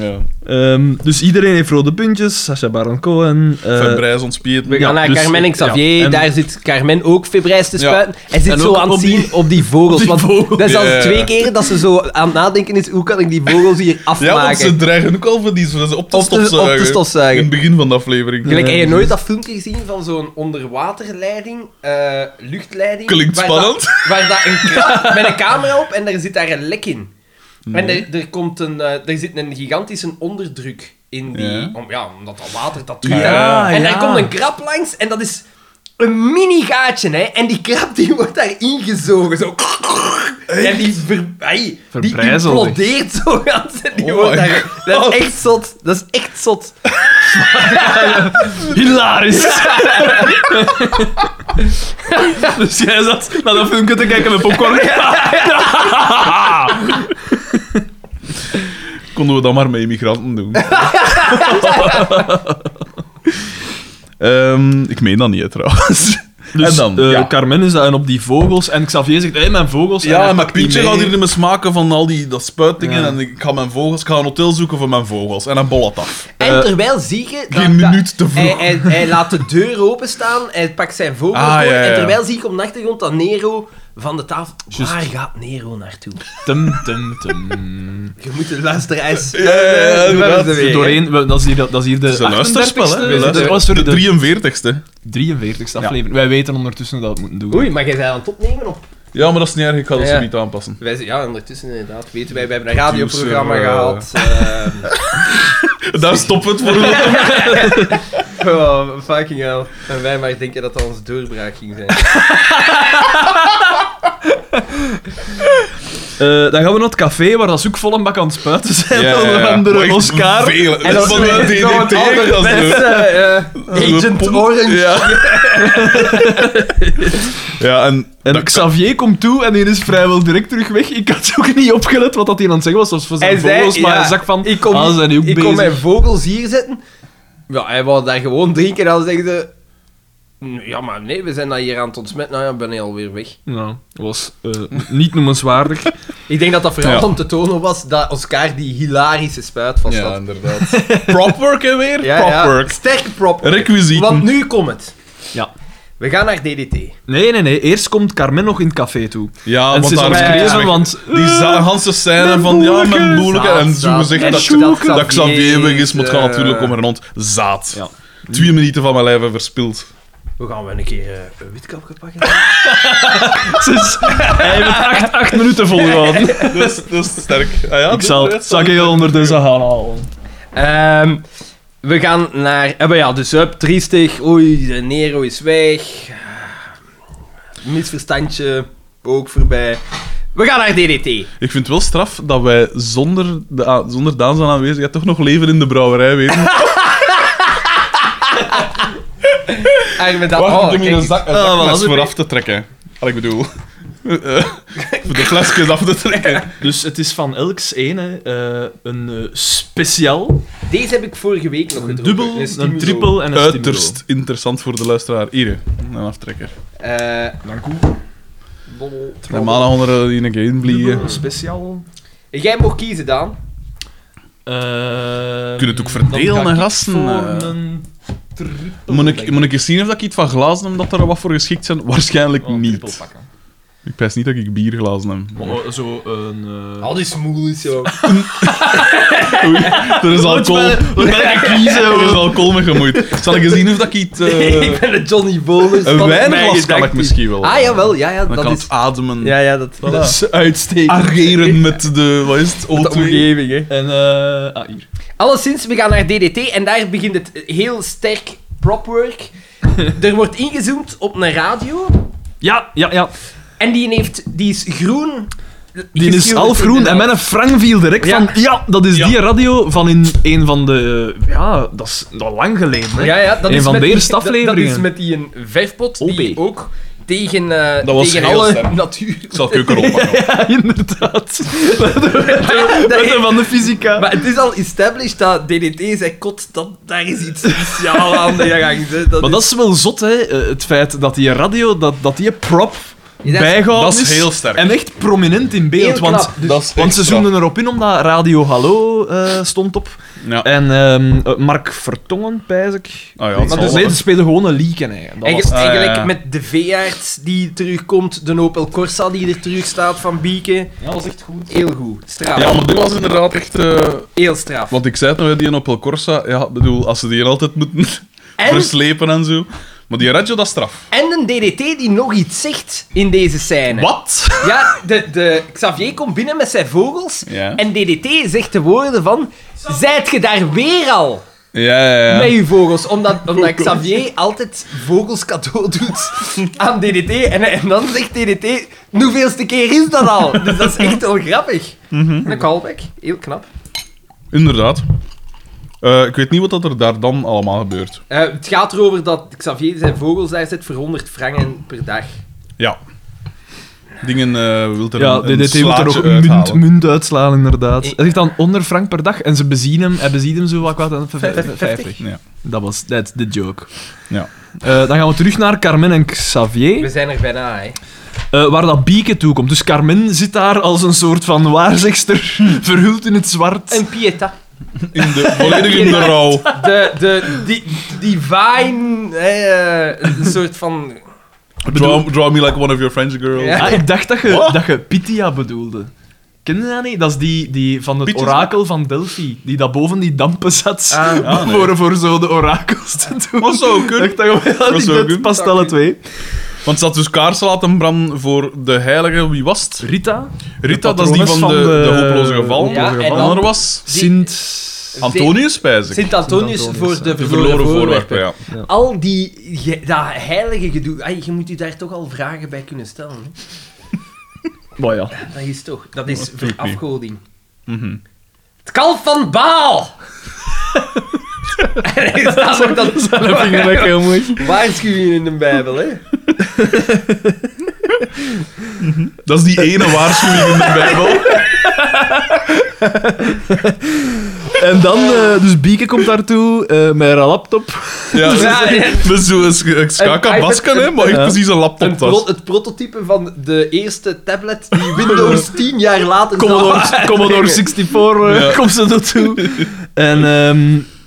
Speaker 2: Ja.
Speaker 3: Ehm, dus iedereen heeft rode puntjes. Sacha Baron Cohen. eh,
Speaker 2: Verbrijs ontspiert.
Speaker 1: We gaan
Speaker 3: Ja,
Speaker 1: naar
Speaker 3: dus-
Speaker 1: Carmen en Xavier,
Speaker 3: ja, en-
Speaker 1: daar zit Carmen ook febrijs te
Speaker 2: Ja.
Speaker 1: spuiten. Hij zit
Speaker 3: En
Speaker 1: zo
Speaker 3: ook
Speaker 1: aan
Speaker 3: op
Speaker 1: het
Speaker 3: die-
Speaker 1: zien op die vogels.
Speaker 3: die
Speaker 1: want
Speaker 3: vogels.
Speaker 1: dat is al
Speaker 2: Ja, ja, ja.
Speaker 1: twee keer dat ze zo aan het nadenken is, hoe kan ik die vogels hier
Speaker 2: Ja, want
Speaker 1: afmaken?
Speaker 2: ze dreigen ook al van die ze op te
Speaker 1: op, de, op de
Speaker 2: stofzuigen. In
Speaker 1: stofzuiger.
Speaker 2: het begin van de aflevering.
Speaker 1: Gelijk, heb je
Speaker 3: Ja.
Speaker 1: nooit dat filmpje gezien van zo'n onderwaterleiding, eh, luchtleiding?
Speaker 2: Klinkt
Speaker 1: waar
Speaker 2: spannend.
Speaker 1: dat- [laughs] waar dat een
Speaker 2: [laughs]
Speaker 1: kraan met een camera op en daar zit daar een lek in. En er, er, komt een, eh, er zit een gigantische onderdruk in die...
Speaker 2: Ja.
Speaker 1: Om, ja, omdat dat water dat
Speaker 2: Ja.
Speaker 1: doet. en daar komt een krab langs en dat is een mini gaatje, hè. En die krab die wordt daar ingezogen, zo... En die, ver, ai, die
Speaker 3: Verbrijzeld.
Speaker 1: implodeert zo gans en die
Speaker 2: Oh
Speaker 1: wordt
Speaker 2: my
Speaker 1: daar... Dat
Speaker 2: God.
Speaker 1: is echt zot. Dat is echt zot.
Speaker 3: Hilarisch. [laughs] dus jij zat naar dat filmpje te kijken met popcorn.
Speaker 2: Konden we dat maar met immigranten
Speaker 3: [laughs]
Speaker 2: doen. Ehm, ik meen dat niet, hè, trouwens.
Speaker 3: Dus
Speaker 2: en dan?
Speaker 3: eh,
Speaker 2: ja,
Speaker 3: Carmen is daar en op die vogels. En Xavier zegt, hé, mijn vogels.
Speaker 2: ja,
Speaker 3: hij
Speaker 2: maar
Speaker 3: pakt die
Speaker 2: Pietje
Speaker 3: mee.
Speaker 2: gaat hier niet meer smaken van al die dat spuitingen.
Speaker 3: Ja.
Speaker 2: En ik ga mijn vogels, ik ga een hotel zoeken voor mijn vogels. En dan bol het af.
Speaker 1: En terwijl zie je... dat-
Speaker 2: Eh, geen
Speaker 1: dat-
Speaker 2: minuut te vroeg.
Speaker 1: Hij, hij, hij laat de deur openstaan, hij pakt zijn vogel
Speaker 2: Ah,
Speaker 1: voor,
Speaker 2: ja, ja.
Speaker 1: en terwijl zie ik op de achtergrond dat Nero van de tafel...
Speaker 3: Juist.
Speaker 1: Waar gaat Nero naartoe?
Speaker 3: Tum, tum, tum.
Speaker 1: Je moet de luisteraars...
Speaker 2: ja, ja,
Speaker 1: Eh, nu
Speaker 2: inderdaad.
Speaker 1: hebben ze weer, hè.
Speaker 3: Doorheen, we- dat, is hier, dat is hier de
Speaker 2: Dat is een
Speaker 3: 38ste.
Speaker 2: luisterspel, hè?
Speaker 3: De, oh, sorry, de,
Speaker 2: de 43ste.
Speaker 3: 43ste aflevering. Wij weten ondertussen dat we het moeten doen.
Speaker 1: Oei, maar jij bent aan het opnemen op...
Speaker 2: Ja, maar dat is niet erg, ik ga dat
Speaker 1: Ja.
Speaker 2: zo niet aanpassen.
Speaker 1: Wij zijn, ja, ondertussen inderdaad. Weten wij, we hebben een
Speaker 2: Producer,
Speaker 1: radioprogramma
Speaker 2: eh. [laughs]
Speaker 1: gehad. ehm,
Speaker 2: [laughs] Daar stoppen we
Speaker 3: [laughs]
Speaker 2: het voor.
Speaker 1: oh, fucking hell. En wij maar denken dat dat onze doorbraak ging zijn.
Speaker 3: Eh, dan gaan we naar het café, waar dat ze ook vol een bak aan het spuiten zijn.
Speaker 2: Ja, ja, ja.
Speaker 3: Onder andere
Speaker 2: Maar echt
Speaker 3: Oscar.
Speaker 2: Veel.
Speaker 1: En
Speaker 2: Dat
Speaker 1: dat
Speaker 2: is
Speaker 1: is
Speaker 3: [laughs]
Speaker 2: van de
Speaker 1: weer zo'n
Speaker 2: DDT.
Speaker 1: andere
Speaker 2: dat is leuk.
Speaker 1: mensen, eh, Agent
Speaker 2: Pomp.
Speaker 1: Orange.
Speaker 2: Ja. ja, en...
Speaker 3: En
Speaker 2: dat-
Speaker 3: Xavier komt toe en die is vrijwel direct terug weg. Ik had ook niet opgelet wat dat hij aan het zeggen was. Dat was voor zijn
Speaker 1: Hij zei,
Speaker 3: vogels, maar
Speaker 1: ja,
Speaker 3: hij zag van...
Speaker 1: ik kom,
Speaker 3: ah, ze zijn nu ook
Speaker 1: ik
Speaker 3: bezig.
Speaker 1: kom mijn vogels hier zitten. Ja, hij wou daar gewoon drinken en dan zeggen ze... "Mm, Ja, maar nee, we zijn dat hier aan het ontsmetten. Nou ja, ben ik alweer weg.
Speaker 3: Nou, was eh, niet noemenswaardig.
Speaker 1: Ik denk dat dat vooral
Speaker 2: Ja.
Speaker 1: om te tonen was dat Oscar die hilarische spuit vast
Speaker 2: Ja,
Speaker 3: [laughs]
Speaker 1: had.
Speaker 2: inderdaad. Propwork hè, weer?
Speaker 1: Ja, ja.
Speaker 2: Propwork.
Speaker 1: Sterk prop.
Speaker 2: Requisieten.
Speaker 1: Want nu komt het.
Speaker 3: Ja.
Speaker 1: We gaan naar DDT.
Speaker 3: Nee, nee, nee. Eerst komt Carmen nog in het café toe.
Speaker 2: Ja,
Speaker 3: en
Speaker 2: Ah, want
Speaker 3: ze is
Speaker 2: daar
Speaker 1: aan het
Speaker 2: is
Speaker 3: geschreven,
Speaker 1: weg.
Speaker 3: want...
Speaker 2: Die za-
Speaker 3: Eh,
Speaker 2: ganse scène
Speaker 3: mijn
Speaker 2: van ja, mijn
Speaker 3: boeleke.
Speaker 2: boeleke. En
Speaker 1: Zaad,
Speaker 2: zo
Speaker 1: zaad.
Speaker 2: gezegd dat,
Speaker 1: En Sjoeke.
Speaker 2: dat, Xavier weg is, maar het gaat
Speaker 1: Eh,
Speaker 2: natuurlijk om rond zaad.
Speaker 3: Ja.
Speaker 2: Twee minuten van mijn leven verspild.
Speaker 1: We gaan wel een keer eh, een witkap pakken.
Speaker 3: Precies. [laughs] Hij heeft het acht, acht minuten volgehouden.
Speaker 2: Dus, dus sterk. Ah, ja,
Speaker 3: Ik zal
Speaker 2: dit-
Speaker 3: Sakeel ondertussen gaan halen.
Speaker 1: Ehm, we gaan naar... eh, maar ja, dus hup, triestig. Oei, de Nero is weg. Ehm, Misverstandje, ook voorbij. We gaan naar DDT.
Speaker 2: Ik vind het wel straf dat wij zonder, de, a- zonder Daan zijn aanwezigheid toch nog leven in de brouwerij weten.
Speaker 1: Arme dat...
Speaker 2: Wacht,
Speaker 1: oh,
Speaker 2: ik doe
Speaker 1: kijk
Speaker 2: hier een
Speaker 1: eens.
Speaker 2: zak, een
Speaker 3: Ah,
Speaker 2: zakmes
Speaker 3: wel, dat is
Speaker 2: voor
Speaker 3: een-
Speaker 2: af te trekken. Wat ik bedoel. Eh, [laughs] voor de flesjes af te [laughs] trekken.
Speaker 3: Dus het is van elks ene eh, een eh, speciaal,
Speaker 1: Deze heb ik vorige week nog
Speaker 3: een
Speaker 1: gedronken.
Speaker 3: dubbel, een
Speaker 1: stimulo.
Speaker 3: triple en een
Speaker 2: Uiterst interessant voor de luisteraar. Hier, een aftrekker.
Speaker 1: Eh,
Speaker 3: stimulo. Dank
Speaker 1: dobbel,
Speaker 2: Normaal onder die eh, een keer
Speaker 3: u.
Speaker 2: inblieën.
Speaker 3: Dubbel, speciaal.
Speaker 1: Jij mag kiezen, Daan.
Speaker 3: Kunnen Eh,
Speaker 2: Kun je het ook verdelen, hè, gasten? Eh.
Speaker 3: een triple.
Speaker 2: Moet
Speaker 3: denk
Speaker 2: ik, moet ik eens zien of ik iets van glazen heb dat er wat voor geschikt zijn? Waarschijnlijk
Speaker 3: Oh, een triple
Speaker 2: niet.
Speaker 3: pakken.
Speaker 2: Ik pijs niet dat ik bierglazen heb.
Speaker 3: Maar, eh, zo een... eh,
Speaker 1: Al die smoel is zo.
Speaker 2: Oei, [laughs] er is alcohol.
Speaker 3: Moet ik kiezen?
Speaker 2: [laughs] Er is alcohol mee gemoeid. Zal ik eens zien of dat ik iets...
Speaker 3: [laughs]
Speaker 2: eh,
Speaker 1: [laughs] ik ben de Johnny Bonus.
Speaker 2: een
Speaker 1: van
Speaker 2: wijnglas
Speaker 1: mijn
Speaker 2: kan ik
Speaker 1: gedachten.
Speaker 2: misschien wel.
Speaker 1: Ah, jawel, ja, ja,
Speaker 2: Dan
Speaker 1: dat
Speaker 2: kan
Speaker 1: is...
Speaker 2: het ademen.
Speaker 1: Ja, ja, dat...
Speaker 3: Dat is uitstekend.
Speaker 2: Ageren met de... Wat is het?
Speaker 1: De
Speaker 2: O2?
Speaker 1: omgeving, hè.
Speaker 3: En, eh ah, hier.
Speaker 1: Alleszins, we gaan naar DDT en daar begint het heel sterk
Speaker 3: [laughs]
Speaker 1: propwork. er wordt ingezoomd op een radio
Speaker 3: Ja, ja, ja.
Speaker 1: en die, heeft, die is groen.
Speaker 3: Die is half groen en met een Frank viel direct
Speaker 1: Ja.
Speaker 3: van... Ja, dat is
Speaker 2: Ja.
Speaker 3: die radio van in een van de... eh, Ja, dat is dat is lang geleden, hè.
Speaker 1: Ja, ja, dat
Speaker 3: Een
Speaker 1: is
Speaker 3: van
Speaker 1: met
Speaker 3: de
Speaker 1: die-
Speaker 3: eerste
Speaker 1: dat- Dat,
Speaker 3: afleveringen.
Speaker 1: is met die een verfpot die
Speaker 3: OB.
Speaker 1: ook tegen, eh,
Speaker 2: Dat was
Speaker 1: tegen
Speaker 2: heel
Speaker 1: alle [laughs]
Speaker 2: sterk.
Speaker 1: natuur...
Speaker 3: [laughs]
Speaker 2: Ik zal keuken oppakken.
Speaker 3: [laughs] Ja, inderdaad.
Speaker 1: Dat is-
Speaker 3: [laughs] van de fysica.
Speaker 1: maar het is al established dat DDT zei, kot, dat, daar is iets speciaal aan de gang. Hè. Dat
Speaker 3: maar dat is wel zot, hè? eh, Het feit dat die radio, dat, dat die prop
Speaker 1: Ja, dat is-
Speaker 3: bijgehouden
Speaker 2: dat is heel sterk.
Speaker 3: En echt prominent in
Speaker 1: Heel
Speaker 3: beeld.
Speaker 1: knap.
Speaker 3: Want,
Speaker 1: Dus-
Speaker 2: Dat is
Speaker 3: want
Speaker 2: echt
Speaker 3: ze
Speaker 2: straf.
Speaker 3: zoomden erop in omdat Radio Hallo eh, stond op.
Speaker 2: Ja.
Speaker 3: En ehm, eh, Mark Vertongen, pijs ik.
Speaker 2: Ah ja,
Speaker 3: maar
Speaker 2: dat zal
Speaker 3: dus,
Speaker 2: wel.
Speaker 3: nee, ze spelen gewoon een leak. Hè. Dat
Speaker 1: En
Speaker 3: was eh,
Speaker 1: je-
Speaker 3: het.
Speaker 2: Ah, ja,
Speaker 1: eigenlijk
Speaker 2: ja.
Speaker 1: met de veearts die terugkomt, de Opel Corsa die er terug staat van Bieken.
Speaker 3: Ja, dat was echt goed.
Speaker 1: Heel goed. Straf.
Speaker 2: Ja, maar dit was inderdaad echt... eh,
Speaker 1: Heel straf.
Speaker 2: Want ik zei het nog, hè, die een Opel Corsa, ja, bedoel, als ze die altijd moeten [laughs]
Speaker 1: En?
Speaker 2: verslepen en zo. Maar die radio, dat is straf.
Speaker 1: En een DDT die nog iets zegt in deze scène.
Speaker 2: Wat?
Speaker 1: Ja, de, de Xavier komt binnen met zijn vogels.
Speaker 2: Ja.
Speaker 1: En DDT zegt de woorden van... Zijt je daar weer al?
Speaker 2: Ja, ja, ja.
Speaker 1: Met je vogels.
Speaker 2: [laughs]
Speaker 1: Omdat, omdat Xavier altijd vogels cadeau doet aan DDT. En, en dan zegt DDT... Hoeveelste keer is dat al? Dus dat is echt wel grappig.
Speaker 2: Mhm.
Speaker 1: Een callback. Heel knap.
Speaker 2: Inderdaad. Eh, ik weet niet wat dat er daar dan allemaal gebeurt.
Speaker 1: Eh, het gaat erover dat Xavier zijn vogels daar zet voor 100 frangen per dag.
Speaker 2: Ja. Dingen eh wil er
Speaker 3: Ja,
Speaker 2: een, een
Speaker 3: DDT moet er nog
Speaker 2: slaatje
Speaker 3: munt,
Speaker 2: uithalen.
Speaker 3: munt uitslaan, inderdaad. Hij zegt dan onder frank per dag en ze bezien hem, hij bezien hem zo wat kwaad aan 50.
Speaker 2: Ja.
Speaker 3: Dat was that's the joke.
Speaker 2: Ja.
Speaker 3: Eh, dan gaan we terug naar Carmen en Xavier,
Speaker 1: We zijn er bijna, hè.
Speaker 3: eh, waar dat bieke toe komt. Dus Carmen zit daar als een soort van waarzegster,
Speaker 2: Hm.
Speaker 3: verhuld in het zwart.
Speaker 1: Een pieta.
Speaker 2: In [laughs] de, volledig in de rouw.
Speaker 1: De, de di, divine... hè, eh, een soort van...
Speaker 2: Draw, draw me like one of your French girls.
Speaker 1: Ja.
Speaker 2: [laughs]
Speaker 3: Ah, ik dacht dat je,
Speaker 2: Wat?
Speaker 3: dat je Pythia bedoelde. Ken je dat niet? Dat is die, die van het
Speaker 2: Pythia?
Speaker 3: orakel van Delphi, die dat boven die dampen zat
Speaker 1: Ah.
Speaker 3: [laughs]
Speaker 2: Ah, nee. Ah.
Speaker 3: voor, voor zo de orakels te doen.
Speaker 2: Dat zou kunnen.
Speaker 3: Ik dacht, ja,
Speaker 2: Dat
Speaker 3: die
Speaker 2: zou
Speaker 3: doet
Speaker 2: kunnen.
Speaker 3: past alle twee.
Speaker 2: Want ze had dus kaarsen laten branden voor de heilige, wie was het?
Speaker 3: Rita,
Speaker 2: Rita,
Speaker 3: De
Speaker 2: dat is die van
Speaker 3: patrones
Speaker 2: de,
Speaker 3: van de-
Speaker 2: de hopeloze gevallen.
Speaker 1: Ja,
Speaker 2: en
Speaker 1: en dan-
Speaker 2: dan er was
Speaker 3: Sint...
Speaker 2: Antonius, spijs ik.
Speaker 1: Sint-Antonius voor de,
Speaker 2: De verloren voorwerpen,
Speaker 1: voorwerpen.
Speaker 2: ja.
Speaker 1: Al die... ge- dat heilige gedoe... ai, je moet je daar toch al vragen bij kunnen stellen. hè.
Speaker 3: Maar ja.
Speaker 1: Dat is toch... Dat is
Speaker 2: weet ik niet.
Speaker 1: verafgoding.
Speaker 2: Mhm.
Speaker 1: Het kalf van
Speaker 2: [laughs]
Speaker 1: Baal! [laughs] en is dat ook dat...
Speaker 3: Dat vind ik heel mooi.
Speaker 1: Waarschuwing in de Bijbel, hè?
Speaker 2: Dat is die ene waarschuwing in de Bijbel.
Speaker 3: En dan, eh, dus Bieke komt daartoe eh, met haar laptop.
Speaker 2: Ja, dus,
Speaker 1: Ja, ja.
Speaker 2: [laughs] dus zo is een
Speaker 1: Een
Speaker 2: skakabasken,
Speaker 1: iPad-
Speaker 2: hè, maar ik
Speaker 3: Ja.
Speaker 2: precies een
Speaker 1: Een
Speaker 2: laptop
Speaker 1: pro-
Speaker 2: was.
Speaker 1: het prototype van de eerste tablet
Speaker 2: [laughs]
Speaker 1: die Windows 10 jaar later zou [laughs]
Speaker 3: Commodore, Commodore 64 eh,
Speaker 2: Ja.
Speaker 3: komt ze
Speaker 2: [laughs]
Speaker 3: naartoe. En ehm,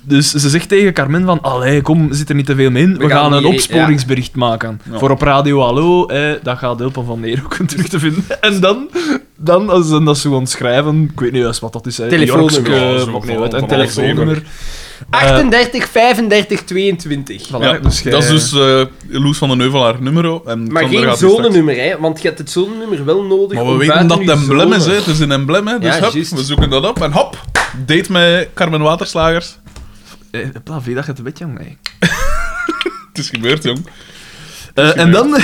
Speaker 3: dus ze zegt tegen Carmen van, allee, kom, zit er niet te veel mee in. We,
Speaker 1: We gaan
Speaker 3: gaan, een
Speaker 1: hier-
Speaker 3: opsporingsbericht maken.
Speaker 2: Ja.
Speaker 3: Voor op Radio Hallo, eh, dat gaat Hilpen van Neer ook [laughs] terug te vinden. En dan, dan als ze dat zo gaan schrijven, ik weet niet juist wat dat is. hè,
Speaker 1: Telefoonnummer.
Speaker 3: Jorkske,
Speaker 2: Ja, zo
Speaker 3: maakt niet
Speaker 2: van-
Speaker 3: uit,
Speaker 2: van
Speaker 3: een
Speaker 2: alles
Speaker 3: telefoonnummer.
Speaker 1: 38, 35, 22.
Speaker 3: Voilà,
Speaker 2: Ja,
Speaker 3: dus
Speaker 2: dat is
Speaker 3: jij-
Speaker 2: dus eh, Loes van den Heuvel haar nummer. En
Speaker 1: Ah, Maar
Speaker 2: Sander
Speaker 1: geen
Speaker 2: gaat die straks-
Speaker 1: zonenummer, hè? Want je hebt het zonenummer wel nodig.
Speaker 2: Maar we
Speaker 1: om
Speaker 2: weten
Speaker 1: buiten
Speaker 2: dat
Speaker 1: je
Speaker 2: het emblem is, hè.
Speaker 1: zone-
Speaker 2: Het is een emblem, hè. Dus
Speaker 1: Ja,
Speaker 2: hop,
Speaker 1: juist.
Speaker 2: we zoeken dat op. En hop, date met Carmen Waterslagers.
Speaker 3: Eh, hopla, vind je dat je het weet, jong? Nee.
Speaker 2: Het is gebeurd, jong.
Speaker 3: Eh, en dan,